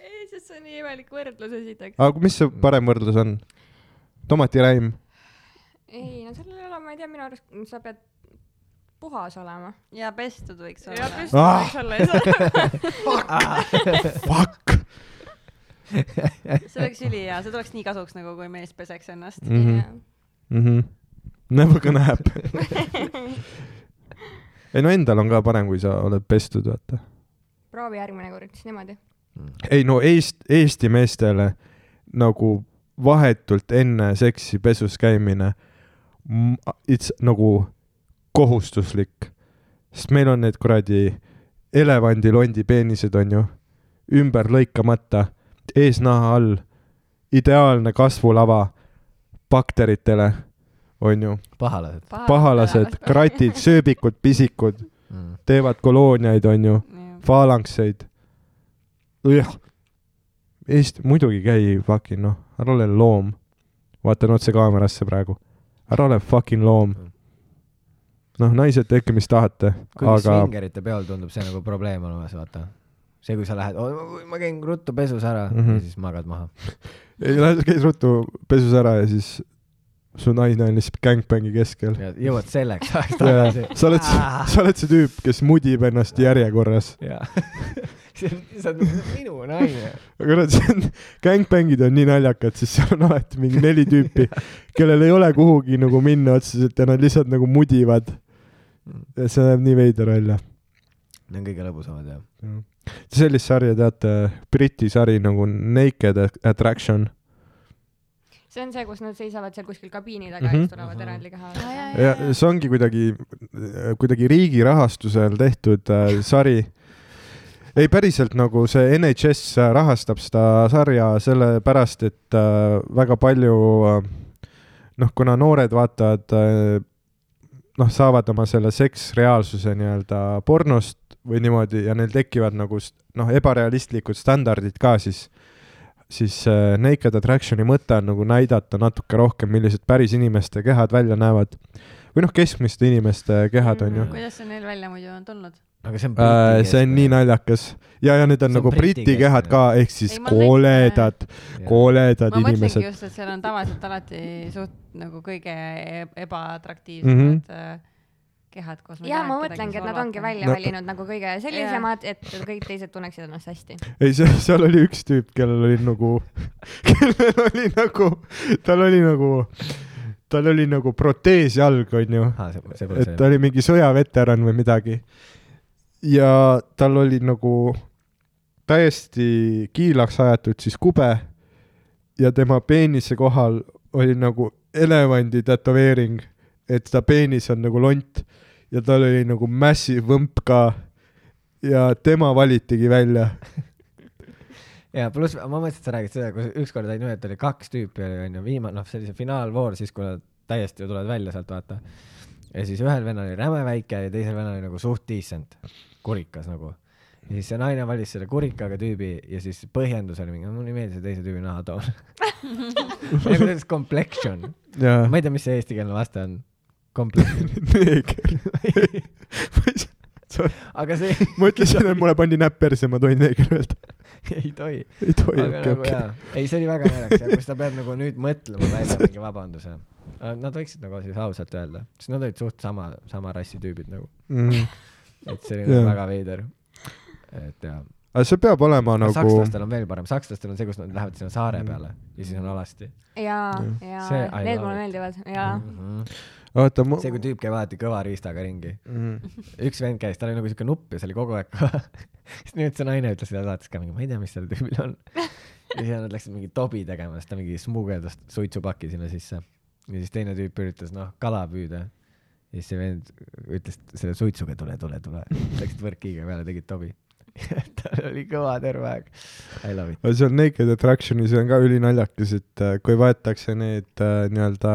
Speaker 7: ei , sest see on nii imelik võrdlus esiteks .
Speaker 4: aga mis see parem võrdlus on ? tomatiräim
Speaker 3: ei , no sellel ei ole , ma ei tea , minu arust sa pead puhas olema .
Speaker 1: ja pestud võiks
Speaker 7: ja
Speaker 1: olla .
Speaker 7: püsti
Speaker 4: Ah!
Speaker 7: võiks olla , ei saa .
Speaker 4: fuck
Speaker 1: see oleks ülihea , see tuleks nii kasuks nagu , kui mees peseks ennast .
Speaker 4: mm . -hmm. Mm -hmm. Never gonna happen . ei no endal on ka parem , kui sa oled pestud , vaata .
Speaker 3: proovi järgmine kord siis niimoodi .
Speaker 4: ei no Eest- , Eesti meestele nagu vahetult enne seksi pesus käimine , it's nagu kohustuslik . sest meil on need kuradi elevandilondi peenised , onju , ümber lõikamata , eesnaha all , ideaalne kasvulava bakteritele , onju
Speaker 2: pahalased
Speaker 4: pahalased , kratid , sööbikud , pisikud
Speaker 2: mm. ?
Speaker 4: teevad kolooniaid , onju ,
Speaker 1: Jah.
Speaker 4: faalankseid . Eesti , muidugi käi fucking noh , ära ole loom . vaatan otse kaamerasse praegu . ära ole fucking loom . noh , naised , tehke , mis tahate ,
Speaker 2: kuigi aga...
Speaker 4: aga
Speaker 2: svingerite peol tundub see nagu probleem olemas , vaata . see , kui sa lähed , ma käin ruttu pesus ära mm
Speaker 4: Mhm.
Speaker 2: -hmm. ja siis magad maha .
Speaker 4: ei lähe , käi ruttu pesus ära ja siis su naine on lihtsalt gängbängi keskel .
Speaker 2: jõuad selleks ajaks tagasi .
Speaker 4: sa oled , sa oled see tüüp , kes mudib ennast järjekorras .
Speaker 2: jaa . see on , see on minu naine .
Speaker 4: aga nad siin , gängbängid on nii naljakad , sest seal on alati mingi neli tüüpi , kellel ei ole kuhugi nagu minna otseselt ja nad lihtsalt nagu mudivad . see näeb nii veider välja .
Speaker 2: Need on kõige lõbusamad jah .
Speaker 4: sellist sarja teate , Briti sari nagu Naked Attraction .
Speaker 3: see on see , kus nad seisavad seal kuskil kabiini taga
Speaker 4: Mhm.
Speaker 3: mm -hmm. ja siis tulevad erandliga haavadega .
Speaker 4: ja see ongi kuidagi , kuidagi riigi rahastusel tehtud äh, sari . ei , päriselt nagu see NHS rahastab seda sarja sellepärast , et äh, väga palju äh, noh , kuna noored vaatavad , äh, noh , saavad oma selle seksreaalsuse nii-öelda pornost või niimoodi ja neil tekivad nagu st- noh , ebarealistlikud standardid ka siis , siis äh, Naked Attractioni mõte on nagu näidata natuke rohkem , millised päris inimeste kehad välja näevad . või noh , keskmiste inimeste kehad on ju .
Speaker 1: kuidas see neil välja muidu on tulnud ?
Speaker 2: aga see on
Speaker 4: Äh, see on nii naljakas ja , ja need on
Speaker 2: See on
Speaker 4: nagu briti
Speaker 2: Briti
Speaker 4: kehad
Speaker 2: keskmine.
Speaker 4: ka , ehk siis
Speaker 1: Ei, ma
Speaker 4: koledad , koledad
Speaker 1: ma mõtlengi
Speaker 4: inimesed .
Speaker 1: just , et seal on tavaliselt alati suht nagu kõige e-
Speaker 4: Mhm.
Speaker 1: ebaatraktiivsemad mm -hmm. kehad , kus
Speaker 3: ja ma mõtlengi , et nad ongi välja
Speaker 4: No-
Speaker 3: valinud nagu kõige sellisemad , et kõik teised tunneksid ennast hästi .
Speaker 4: ei , see , seal oli üks tüüp , kellel oli nagu , kellel oli nagu , tal oli nagu , tal oli nagu protees jalg , onju . et ta
Speaker 2: nii .
Speaker 4: oli mingi sõjaveteran või midagi . ja tal oli nagu täiesti kiilaks aetud siis kube ja tema peenise kohal oli nagu elevandi tätoveering , et ta peenis on nagu lont ja tal oli nagu massive võmp ka ja tema valitigi välja .
Speaker 2: ja pluss ma mõtlesin , et sa räägid seda , kus ükskord oli niimoodi , et oli kaks tüüpi oli onju , viimane noh , sellise finaalvoor , siis kui nad täiesti ju tulevad välja sealt vaata . ja siis ühel vennal oli räme väike ja teisel vennal oli nagu suht decent , kurikas nagu . ja siis see naine valis selle kurikaga tüübi ja siis põhjendus oli mingi , mulle ei meeldi see teise tüübi nahatoon . nagu ta ütles complexion ,
Speaker 4: ja
Speaker 2: ma ei tea , mis see eestikeelne vaste on . Complexion ,
Speaker 4: neeger .
Speaker 2: aga see
Speaker 4: ma ütlesin , et mulle pandi näpp perse , ma tohin neeger öelda .
Speaker 2: ei tohi .
Speaker 4: ei tohi ,
Speaker 2: aga
Speaker 4: okei ,
Speaker 2: nagu
Speaker 4: okei .
Speaker 2: jaa , ei see oli väga naljakas jah , kus ta peab nagu nüüd mõtlema välja mingi vabanduse . Nad võiksid nagu siis ausalt öelda , sest nad olid suht sama , sama rassi tüübid nagu ,
Speaker 4: Mm.
Speaker 2: et see oli nagu
Speaker 4: Jaa.
Speaker 2: väga veider . et jaa
Speaker 4: aga see peab olema
Speaker 2: nagu... ,
Speaker 4: nagu ,
Speaker 2: sakslastel on veel parem , sakslastel on see , kus nad lähevad sinna saare peale ja siis on alasti
Speaker 3: ja , ja
Speaker 2: See- I
Speaker 3: need
Speaker 2: love
Speaker 3: mulle
Speaker 2: it.
Speaker 3: meeldivad ja
Speaker 2: mm . -hmm.
Speaker 4: oota ma
Speaker 2: see , kui tüüp käib alati kõva riistaga ringi ,
Speaker 4: mm. .
Speaker 2: üks vend käis , tal oli nagu siuke nupp ja see oli kogu aeg kõva . siis nüüd see naine ütles seda saates ka mingi , ma ei tea , mis seal tüübil on . ja siis nad läksid mingi tobi tegema , siis ta mingi smugeldas suitsupaki sinna sisse . ja siis teine tüüp üritas , noh , kala püüda . ja siis see vend ütles selle suitsuga , tule , tule , tule . Läksid võrkkiiga peale , tegid tobi . tal oli kõva terve aeg . I love it .
Speaker 4: aga seal Naked Attractionis on ka ülinaljakas , et äh, kui võetakse need äh, nii-öelda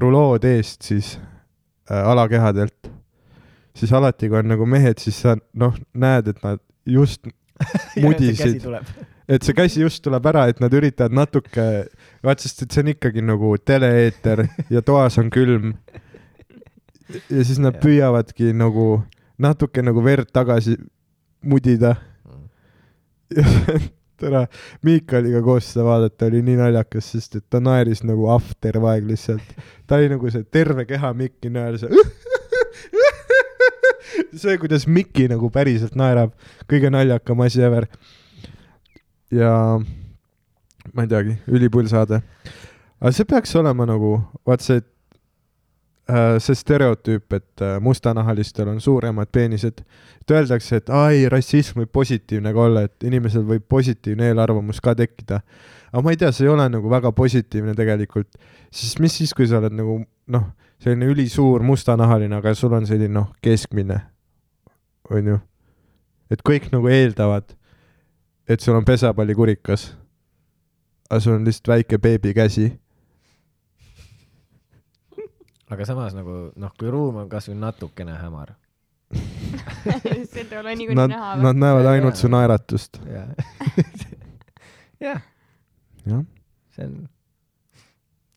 Speaker 4: rulood eest siis äh, alakehadelt , siis alati , kui on nagu mehed , siis sa noh , näed , et nad just , Mudisid. et see käsi just tuleb ära , et nad üritavad natuke , vaat sest et see on ikkagi nagu tele-eeter ja toas on külm . ja siis nad
Speaker 2: Jah.
Speaker 4: püüavadki nagu natuke nagu verd tagasi mudida tere , Miikaliga koos seda vaadata oli nii naljakas , sest et ta naeris nagu ahv terve aeg lihtsalt . ta oli nagu see terve keha Mikki naer , see see , kuidas Mikki nagu päriselt naerab , kõige naljakam asi ever . ja ma ei teagi , ülipull saade . aga see peaks olema nagu , vaat see , see stereotüüp , et äh, mustanahalistel on suuremad peenised , et öeldakse , et ai , rassism võib positiivne ka olla , et inimesel võib positiivne eelarvamus ka tekkida . aga ma ei tea , see ei ole nagu väga positiivne tegelikult , siis mis siis , kui sa oled nagu noh , selline ülisuur mustanahaline , aga sul on selline noh , keskmine , onju . et kõik nagu eeldavad , et sul on pesapallikurikas . aga sul on lihtsalt väike beebikäsi .
Speaker 2: aga samas nagu , noh , kui ruum on kasvõi natukene hämar .
Speaker 7: seda ei ole niikuinii
Speaker 4: Nad ,
Speaker 7: näha .
Speaker 4: nad näevad ainult su naeratust .
Speaker 2: jah ,
Speaker 4: jah ,
Speaker 2: see on ,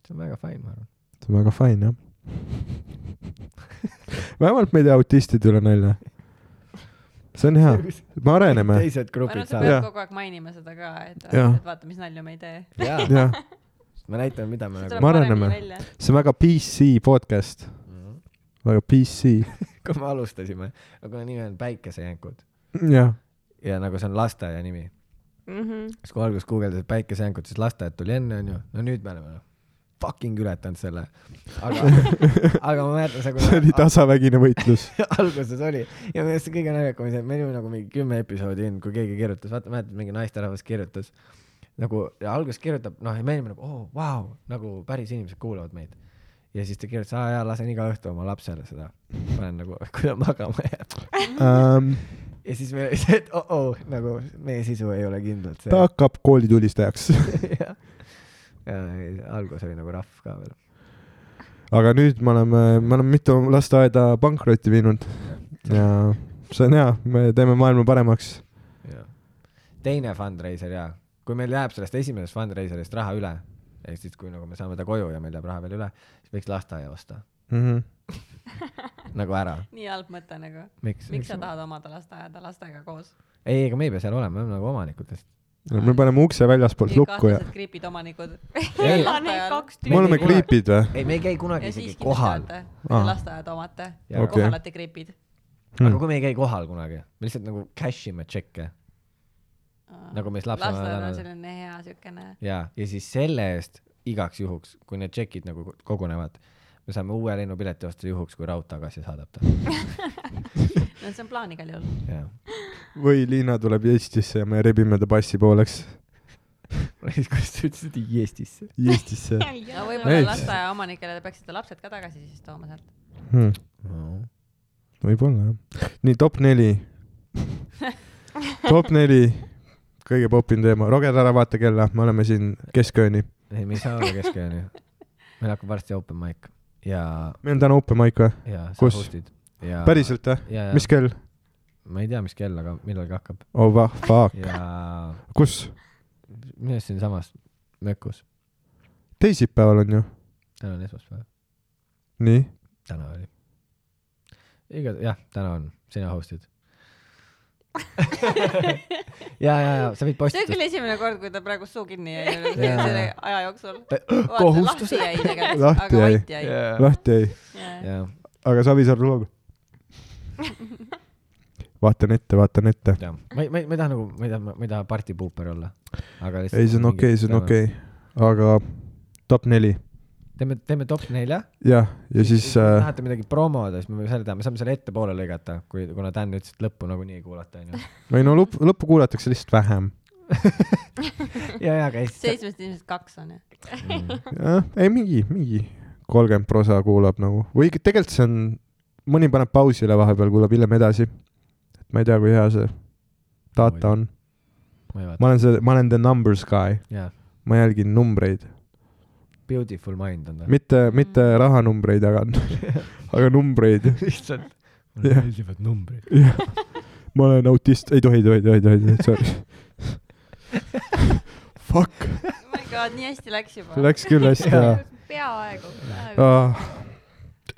Speaker 2: see on väga fine , ma arvan .
Speaker 4: see on väga fine jah . vähemalt me ei tee autistide üle nalja . see on hea , me areneme .
Speaker 2: teised
Speaker 1: ma arvan ,
Speaker 2: grupid
Speaker 1: et sa
Speaker 2: saavad .
Speaker 1: pead
Speaker 4: Jaa.
Speaker 1: kogu aeg mainima seda ka , et ,
Speaker 4: Jaa.
Speaker 1: et vaata , mis nalju me ei tee .
Speaker 2: jaa ,
Speaker 4: jah ,
Speaker 2: me näitame , mida me
Speaker 1: tuleb
Speaker 2: nagu ,
Speaker 4: Ma
Speaker 1: paremini
Speaker 4: areneme.
Speaker 1: välja .
Speaker 4: see on väga PC podcast , väga PC .
Speaker 2: Mhm. kui me alustasime , aga nimi on Päikesejänkud
Speaker 4: jah ,
Speaker 2: ja nagu see on lasteaia nimi , siis kui alguses guugeldasid Päikesejänkud , siis lasteaed tuli enne , onju , no nüüd me oleme noh, fucking ületanud selle , aga , aga ma mäletan seda ,
Speaker 4: see oli
Speaker 2: kui
Speaker 4: tasavägine võitlus .
Speaker 2: alguses oli ja minu arust see kõige naljakam oli see , et me olime nagu mingi kümme episoodi enne , kui keegi kirjutas , vaata mäletad , mingi naisterahvas kirjutas nagu ja alguses kirjutab , noh , ja me olime nagu , oo , vau , nagu päris inimesed kuulavad meid . ja siis ta kirjutas , aa jaa , lasen iga õhtu oma lapsele seda , panen nagu , kui ta magama jääb .
Speaker 4: ähm, .
Speaker 2: ja siis meil oli see , et oo-oo , nagu meie sisu ei ole kindlalt see
Speaker 4: ta . hakkab koolitulistajaks .
Speaker 2: ja, ja ei, algus oli nagu rahv ka veel .
Speaker 4: aga nüüd me oleme , me oleme mitu lasteaeda pankrotti viinud ja see on hea , me teeme maailma paremaks .
Speaker 2: teine fundraiser jaa , kui meil jääb sellest esimesest fundraiserist raha üle , ehk siis kui nagu me saame ta koju ja meil jääb raha veel üle , siis võiks lasteaia osta
Speaker 4: Mm -hmm.
Speaker 2: nagu ära .
Speaker 1: nii halb mõte nagu .
Speaker 2: miks,
Speaker 1: miks sa tahad omada lasteaeda lastega koos ?
Speaker 2: ei , ega me ei pea seal olema , me oleme nagu omanikud lihtsalt .
Speaker 4: me paneme ukse väljaspoolt lukku ja .
Speaker 1: kahtlased kriipid omanikud .
Speaker 2: Ei.
Speaker 7: neid kaks
Speaker 4: me oleme kriipid või ?
Speaker 2: ei , me ei käi kunagi
Speaker 1: ja
Speaker 2: isegi
Speaker 1: siiski
Speaker 2: kohal .
Speaker 1: teate ,
Speaker 4: Aa.
Speaker 1: lasteaeda omate ,
Speaker 2: Jaa.
Speaker 4: Okei.
Speaker 1: kohal olete kriipid .
Speaker 4: Hmm.
Speaker 2: aga kui me ei käi kohal kunagi , me lihtsalt nagu cash ime tšekke Nagu mis lapsevanemad
Speaker 1: lasteaed Ah, on
Speaker 2: annavad.
Speaker 1: selline hea siukene ,
Speaker 2: ja , ja siis selle eest igaks juhuks , kui need tšekid nagu kogunevad , me saame uue lennupileti osta juhuks , kui raud tagasi saadab ta .
Speaker 1: no see on plaan igal juhul .
Speaker 2: jah .
Speaker 4: või Liina tuleb Eestisse ja me rebime ta passi pooleks .
Speaker 2: siis , kuidas sa ütlesid Eestisse ?
Speaker 4: Eestisse
Speaker 1: no
Speaker 4: Ei.
Speaker 1: võib-olla lasteaia omanikele te peaksite lapsed ka tagasi siis tooma sealt .
Speaker 4: hmm. . võib-olla jah . nii top neli . top neli , kõige popim teema , Roger , ära vaata kella , me oleme siin keskööni .
Speaker 2: ei , me ei saa olla keskööni . meil hakkab varsti open mic ja ,
Speaker 4: meil on täna open mic või ?
Speaker 2: ja sa
Speaker 4: Kus?
Speaker 2: host'id ja .
Speaker 4: päriselt või ?
Speaker 2: ja , ja
Speaker 4: mis , kell ?
Speaker 2: ma ei tea , mis kell , aga millalgi hakkab
Speaker 4: oh vah , fuck .
Speaker 2: ja
Speaker 4: kus ?
Speaker 2: minu arust siinsamas mökus ,
Speaker 4: teisipäeval on ju ?
Speaker 2: täna on esmaspäev ,
Speaker 4: nii .
Speaker 2: täna oli . iga , jah , täna on , sina host'id ja , ja , ja sa
Speaker 1: see
Speaker 2: võid
Speaker 1: on
Speaker 2: postitust
Speaker 1: küll esimene kord , kui ta praegu suu kinni jäi
Speaker 2: Jaa.
Speaker 1: selle aja jooksul .
Speaker 2: kohustus .
Speaker 1: lahti jäi tegelikult ,
Speaker 4: Eh, Lahti
Speaker 1: aga
Speaker 4: jäi.
Speaker 1: vait jäi .
Speaker 4: lahti jäi ,
Speaker 2: ja ,
Speaker 4: aga Savisaar loob . vaatan ette , vaatan ette .
Speaker 2: ja ma ei , ma ei , ma ei taha nagu , ma ei taha , ma ei taha party pooper olla , aga lihtsalt .
Speaker 4: ei , see on okei okay, , see on okei okay. , aga top neli ,
Speaker 2: okay. . teeme , teeme top nelja
Speaker 4: jah , ja siis
Speaker 2: kui te
Speaker 4: äh,
Speaker 2: tahate midagi promoda , siis me võime selle teha , me saame selle ettepoole lõigata , kui , kuna Dan ütles , et lõppu nagunii ei kuulata , onju .
Speaker 4: ei no lõpp , lõppu kuulatakse lihtsalt vähem .
Speaker 2: ja , ja , aga Mm, siis .
Speaker 1: seitsmest inimesest kaks on ju .
Speaker 4: ei mingi , mingi kolmkümmend prosa kuulab nagu või ikka tegelikult see on , mõni paneb pausile vahepeal , kuulab hiljem edasi . et ma ei tea , kui hea see data on .
Speaker 2: ma ei vaata .
Speaker 4: ma olen see , ma olen the numbers guy ,
Speaker 2: jaa ,
Speaker 4: ma jälgin numbreid ,
Speaker 2: Beautiful Mind on ta .
Speaker 4: mitte , mitte rahanumbreid , aga , aga numbreid .
Speaker 2: lihtsalt .
Speaker 4: mulle Jah.
Speaker 2: meeldivad numbrid .
Speaker 4: jah , ma olen autist , ei tohi , tohi , tohi , tohi , tohi , sorry . Fuck ,
Speaker 1: oh my god , nii hästi läks juba .
Speaker 4: läks küll hästi hea
Speaker 3: peaaegu .
Speaker 4: ah. .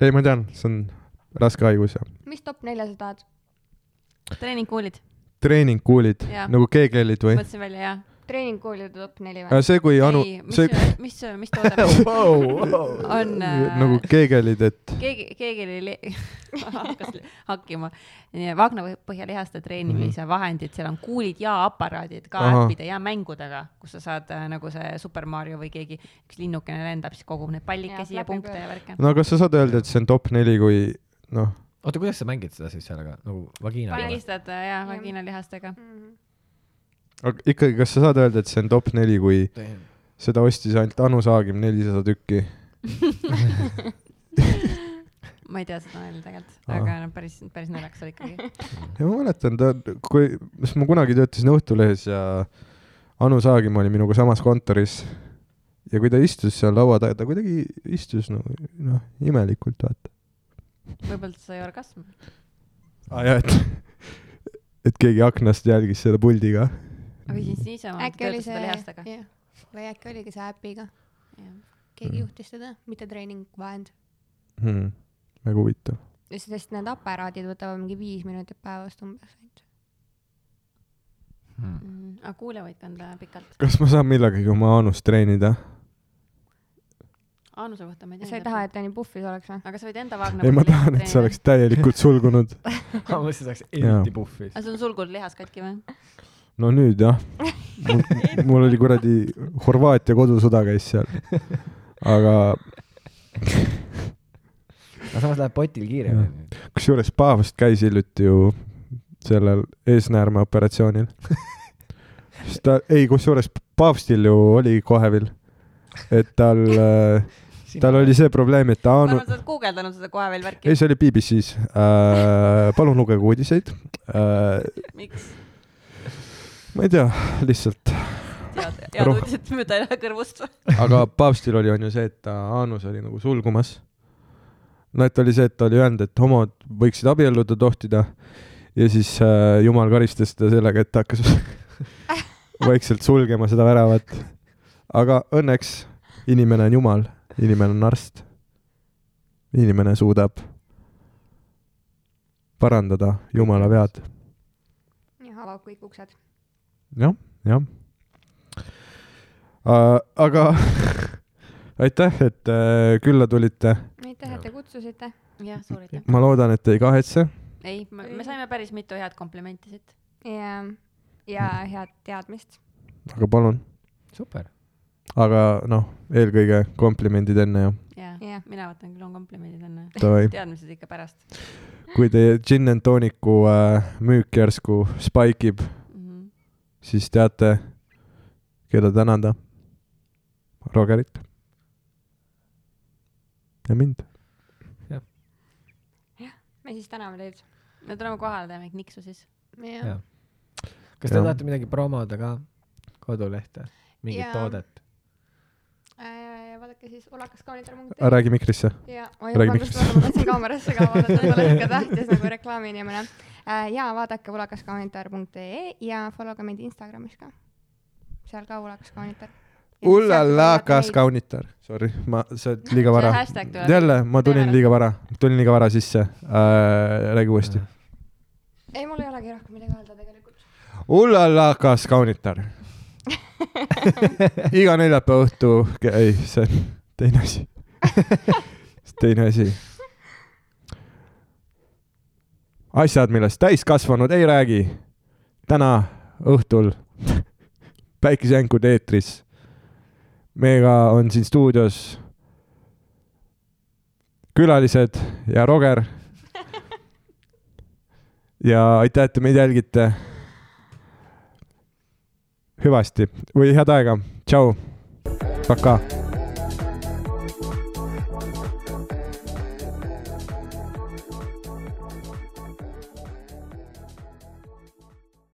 Speaker 4: ei , ma tean , see on raske haigus ja
Speaker 3: mis top nelja sa tahad ?
Speaker 1: treeningkuulid ,
Speaker 4: treeningkuulid
Speaker 1: Jaa.
Speaker 4: nagu G-kellid või ?
Speaker 1: mõtlesin välja jah .
Speaker 3: treeningkoolide top neli või ?
Speaker 4: see , kui Anu ,
Speaker 1: ei , mis
Speaker 4: see ,
Speaker 1: mis , mis toode on
Speaker 4: nagu
Speaker 1: äh,
Speaker 4: G-kellid , et
Speaker 1: keegi , keegi oli li- hakkas li- hakkima . vagnapõhjalihaste treenimise vahendid , seal on kuulid ja aparaadid ka
Speaker 4: Mhm. Ahah.
Speaker 1: äppide ja mängudega , kus sa saad äh, nagu see Super Mario või keegi , üks linnukene lendab , siis kogub neid pallikesi
Speaker 3: Ja,
Speaker 1: ja punkte
Speaker 3: flapper
Speaker 1: ja värke .
Speaker 4: no kas sa saad öelda , et see on top neli , kui noh ,
Speaker 2: oota , kuidas sa mängid seda siis sellega nagu vaginaga või ?
Speaker 1: palgistad äh, ja vaginalihastega .
Speaker 3: Mhm. Mm.
Speaker 4: aga ikkagi , kas sa saad öelda , et see on top neli , kui seda ostis ainult Anu Saagim nelisada tükki ?
Speaker 1: ma ei tea seda nalja tegelikult ,
Speaker 4: Ahah.
Speaker 1: aga no päris , päris naljakas oli ikkagi .
Speaker 4: ja ma mäletan ta , kui , sest ma kunagi töötasin Õhtulehes ja Anu Saagim oli minuga samas kontoris . ja kui ta istus seal laua taga , ta kuidagi istus nagu noh , imelikult vaata .
Speaker 1: võib-olla ta sai orgasmi .
Speaker 4: aa Ah, jaa , et , et keegi aknast jälgis selle puldiga .
Speaker 1: või siis niisama
Speaker 3: äkki
Speaker 1: töötas
Speaker 3: oli
Speaker 1: seda lihastega .
Speaker 3: see , või äkki oligi see äpiga , keegi
Speaker 4: Mhm.
Speaker 3: juhtis seda , mitte treeningvahend .
Speaker 4: hmm. väga huvitav .
Speaker 3: sest need aparaadid võtavad mingi viis minutit päevast umbes .
Speaker 4: Hmm.
Speaker 1: Mm, aga kuule võid kanda pikalt .
Speaker 4: kas ma saan millegagi oma anust treenida ?
Speaker 1: Anuse kohta ma ei tea .
Speaker 3: sa ei taha , et ta nii puhvis oleks või ?
Speaker 1: aga sa võid enda Wagner .
Speaker 4: ei , ma tahan , et see oleks . täielikult sulgunud .
Speaker 2: ma mõtlesin , et oleks
Speaker 4: Jaa.
Speaker 2: eriti puhvis .
Speaker 1: aga sul Ah, on sulgud lihas katki või ?
Speaker 4: no nüüd jah . mul oli kuradi Horvaatia kodusõda käis seal . aga
Speaker 2: aga samas läheb potil kiiremini .
Speaker 4: kusjuures Paavst käis hiljuti ju sellel eesnäärme operatsioonil . siis ta , ei , kusjuures Paavstil ju oli Kohevil , et tal , tal oli see probleem , et ta
Speaker 1: ma
Speaker 4: on
Speaker 1: arvan , sa , oled guugeldanud seda kohe veel värki
Speaker 4: ei ,. see oli BBC-s äh, . palun lugege uudiseid äh, .
Speaker 1: miks ?
Speaker 4: ma ei tea , lihtsalt ,
Speaker 1: head , head
Speaker 4: Roh-
Speaker 1: uudised mööda kõrvust .
Speaker 4: aga Paavstil oli , on ju see , et ta aanus oli nagu sulgumas . no et oli see , et ta oli öelnud , et homod võiksid abielluda , tohtida ja siis äh, jumal karistas teda sellega , et ta hakkas vaikselt sulgema seda väravat . aga õnneks inimene on jumal , inimene on arst . inimene suudab parandada jumala vead .
Speaker 3: ja avab kõik uksed .
Speaker 4: jah , jah . aga aitäh , et äh, külla tulite .
Speaker 3: aitäh , et te kutsusite .
Speaker 1: jah , suur aitäh .
Speaker 4: ma loodan , et te ei kahetse .
Speaker 1: ei , me saime päris mitu head komplimenti siit .
Speaker 3: ja , ja head teadmist .
Speaker 4: aga palun ,
Speaker 2: super .
Speaker 4: aga noh , eelkõige komplimendid enne ja
Speaker 1: jaa
Speaker 3: Jah. ,
Speaker 1: mina võtan küll oma komplimendid enne .
Speaker 4: davai ,
Speaker 1: teadmised ikka pärast
Speaker 4: kui teie gin and toniku äh, müük järsku spike ib ,
Speaker 1: mm . -hmm.
Speaker 4: siis teate , keda tänada . Rogerit . ja mind .
Speaker 3: me siis täname teid .
Speaker 1: me tuleme kohale , teeme kõik niksu siis .
Speaker 3: jah ,
Speaker 2: kas te
Speaker 4: Jah.
Speaker 2: tahate midagi promoda ka ? kodulehte , mingit
Speaker 3: Jaa.
Speaker 2: toodet ?
Speaker 3: Äh, vaadake siis Olakas kaunitarmung .
Speaker 4: räägi mikrisse .
Speaker 3: ja , oi ,
Speaker 4: Räägi
Speaker 3: vabandust ,
Speaker 4: mikrisse.
Speaker 3: ma tahtsin kaamerasse ka vaadata , pole ikka tähtis nagu reklaami inimene . ja vaadake ulakaskaunitar.ee ja follow ge meid Instagramis ka . seal ka ulaskaskaunitar .
Speaker 4: ullalakas . kaunitar . Sorry , ma , sa oled liiga
Speaker 1: see
Speaker 4: vara .
Speaker 1: hashtag tuleb .
Speaker 4: jälle , ma tulin
Speaker 1: Peale.
Speaker 4: liiga vara , tulin liiga vara sisse äh, . räägi uuesti .
Speaker 3: ei , mul ei olegi rohkem midagi öelda tegelikult .
Speaker 4: ullalakas kaunitar . iga neljapäeva õhtu , ei , see on teine asi . teine asi . asjad , millest täiskasvanud ei räägi . täna õhtul päikesejänkud eetris . meiega on siin stuudios külalised ja Roger . ja aitäh , et te meid jälgite . hüvasti või head aega , tšau , pakaa .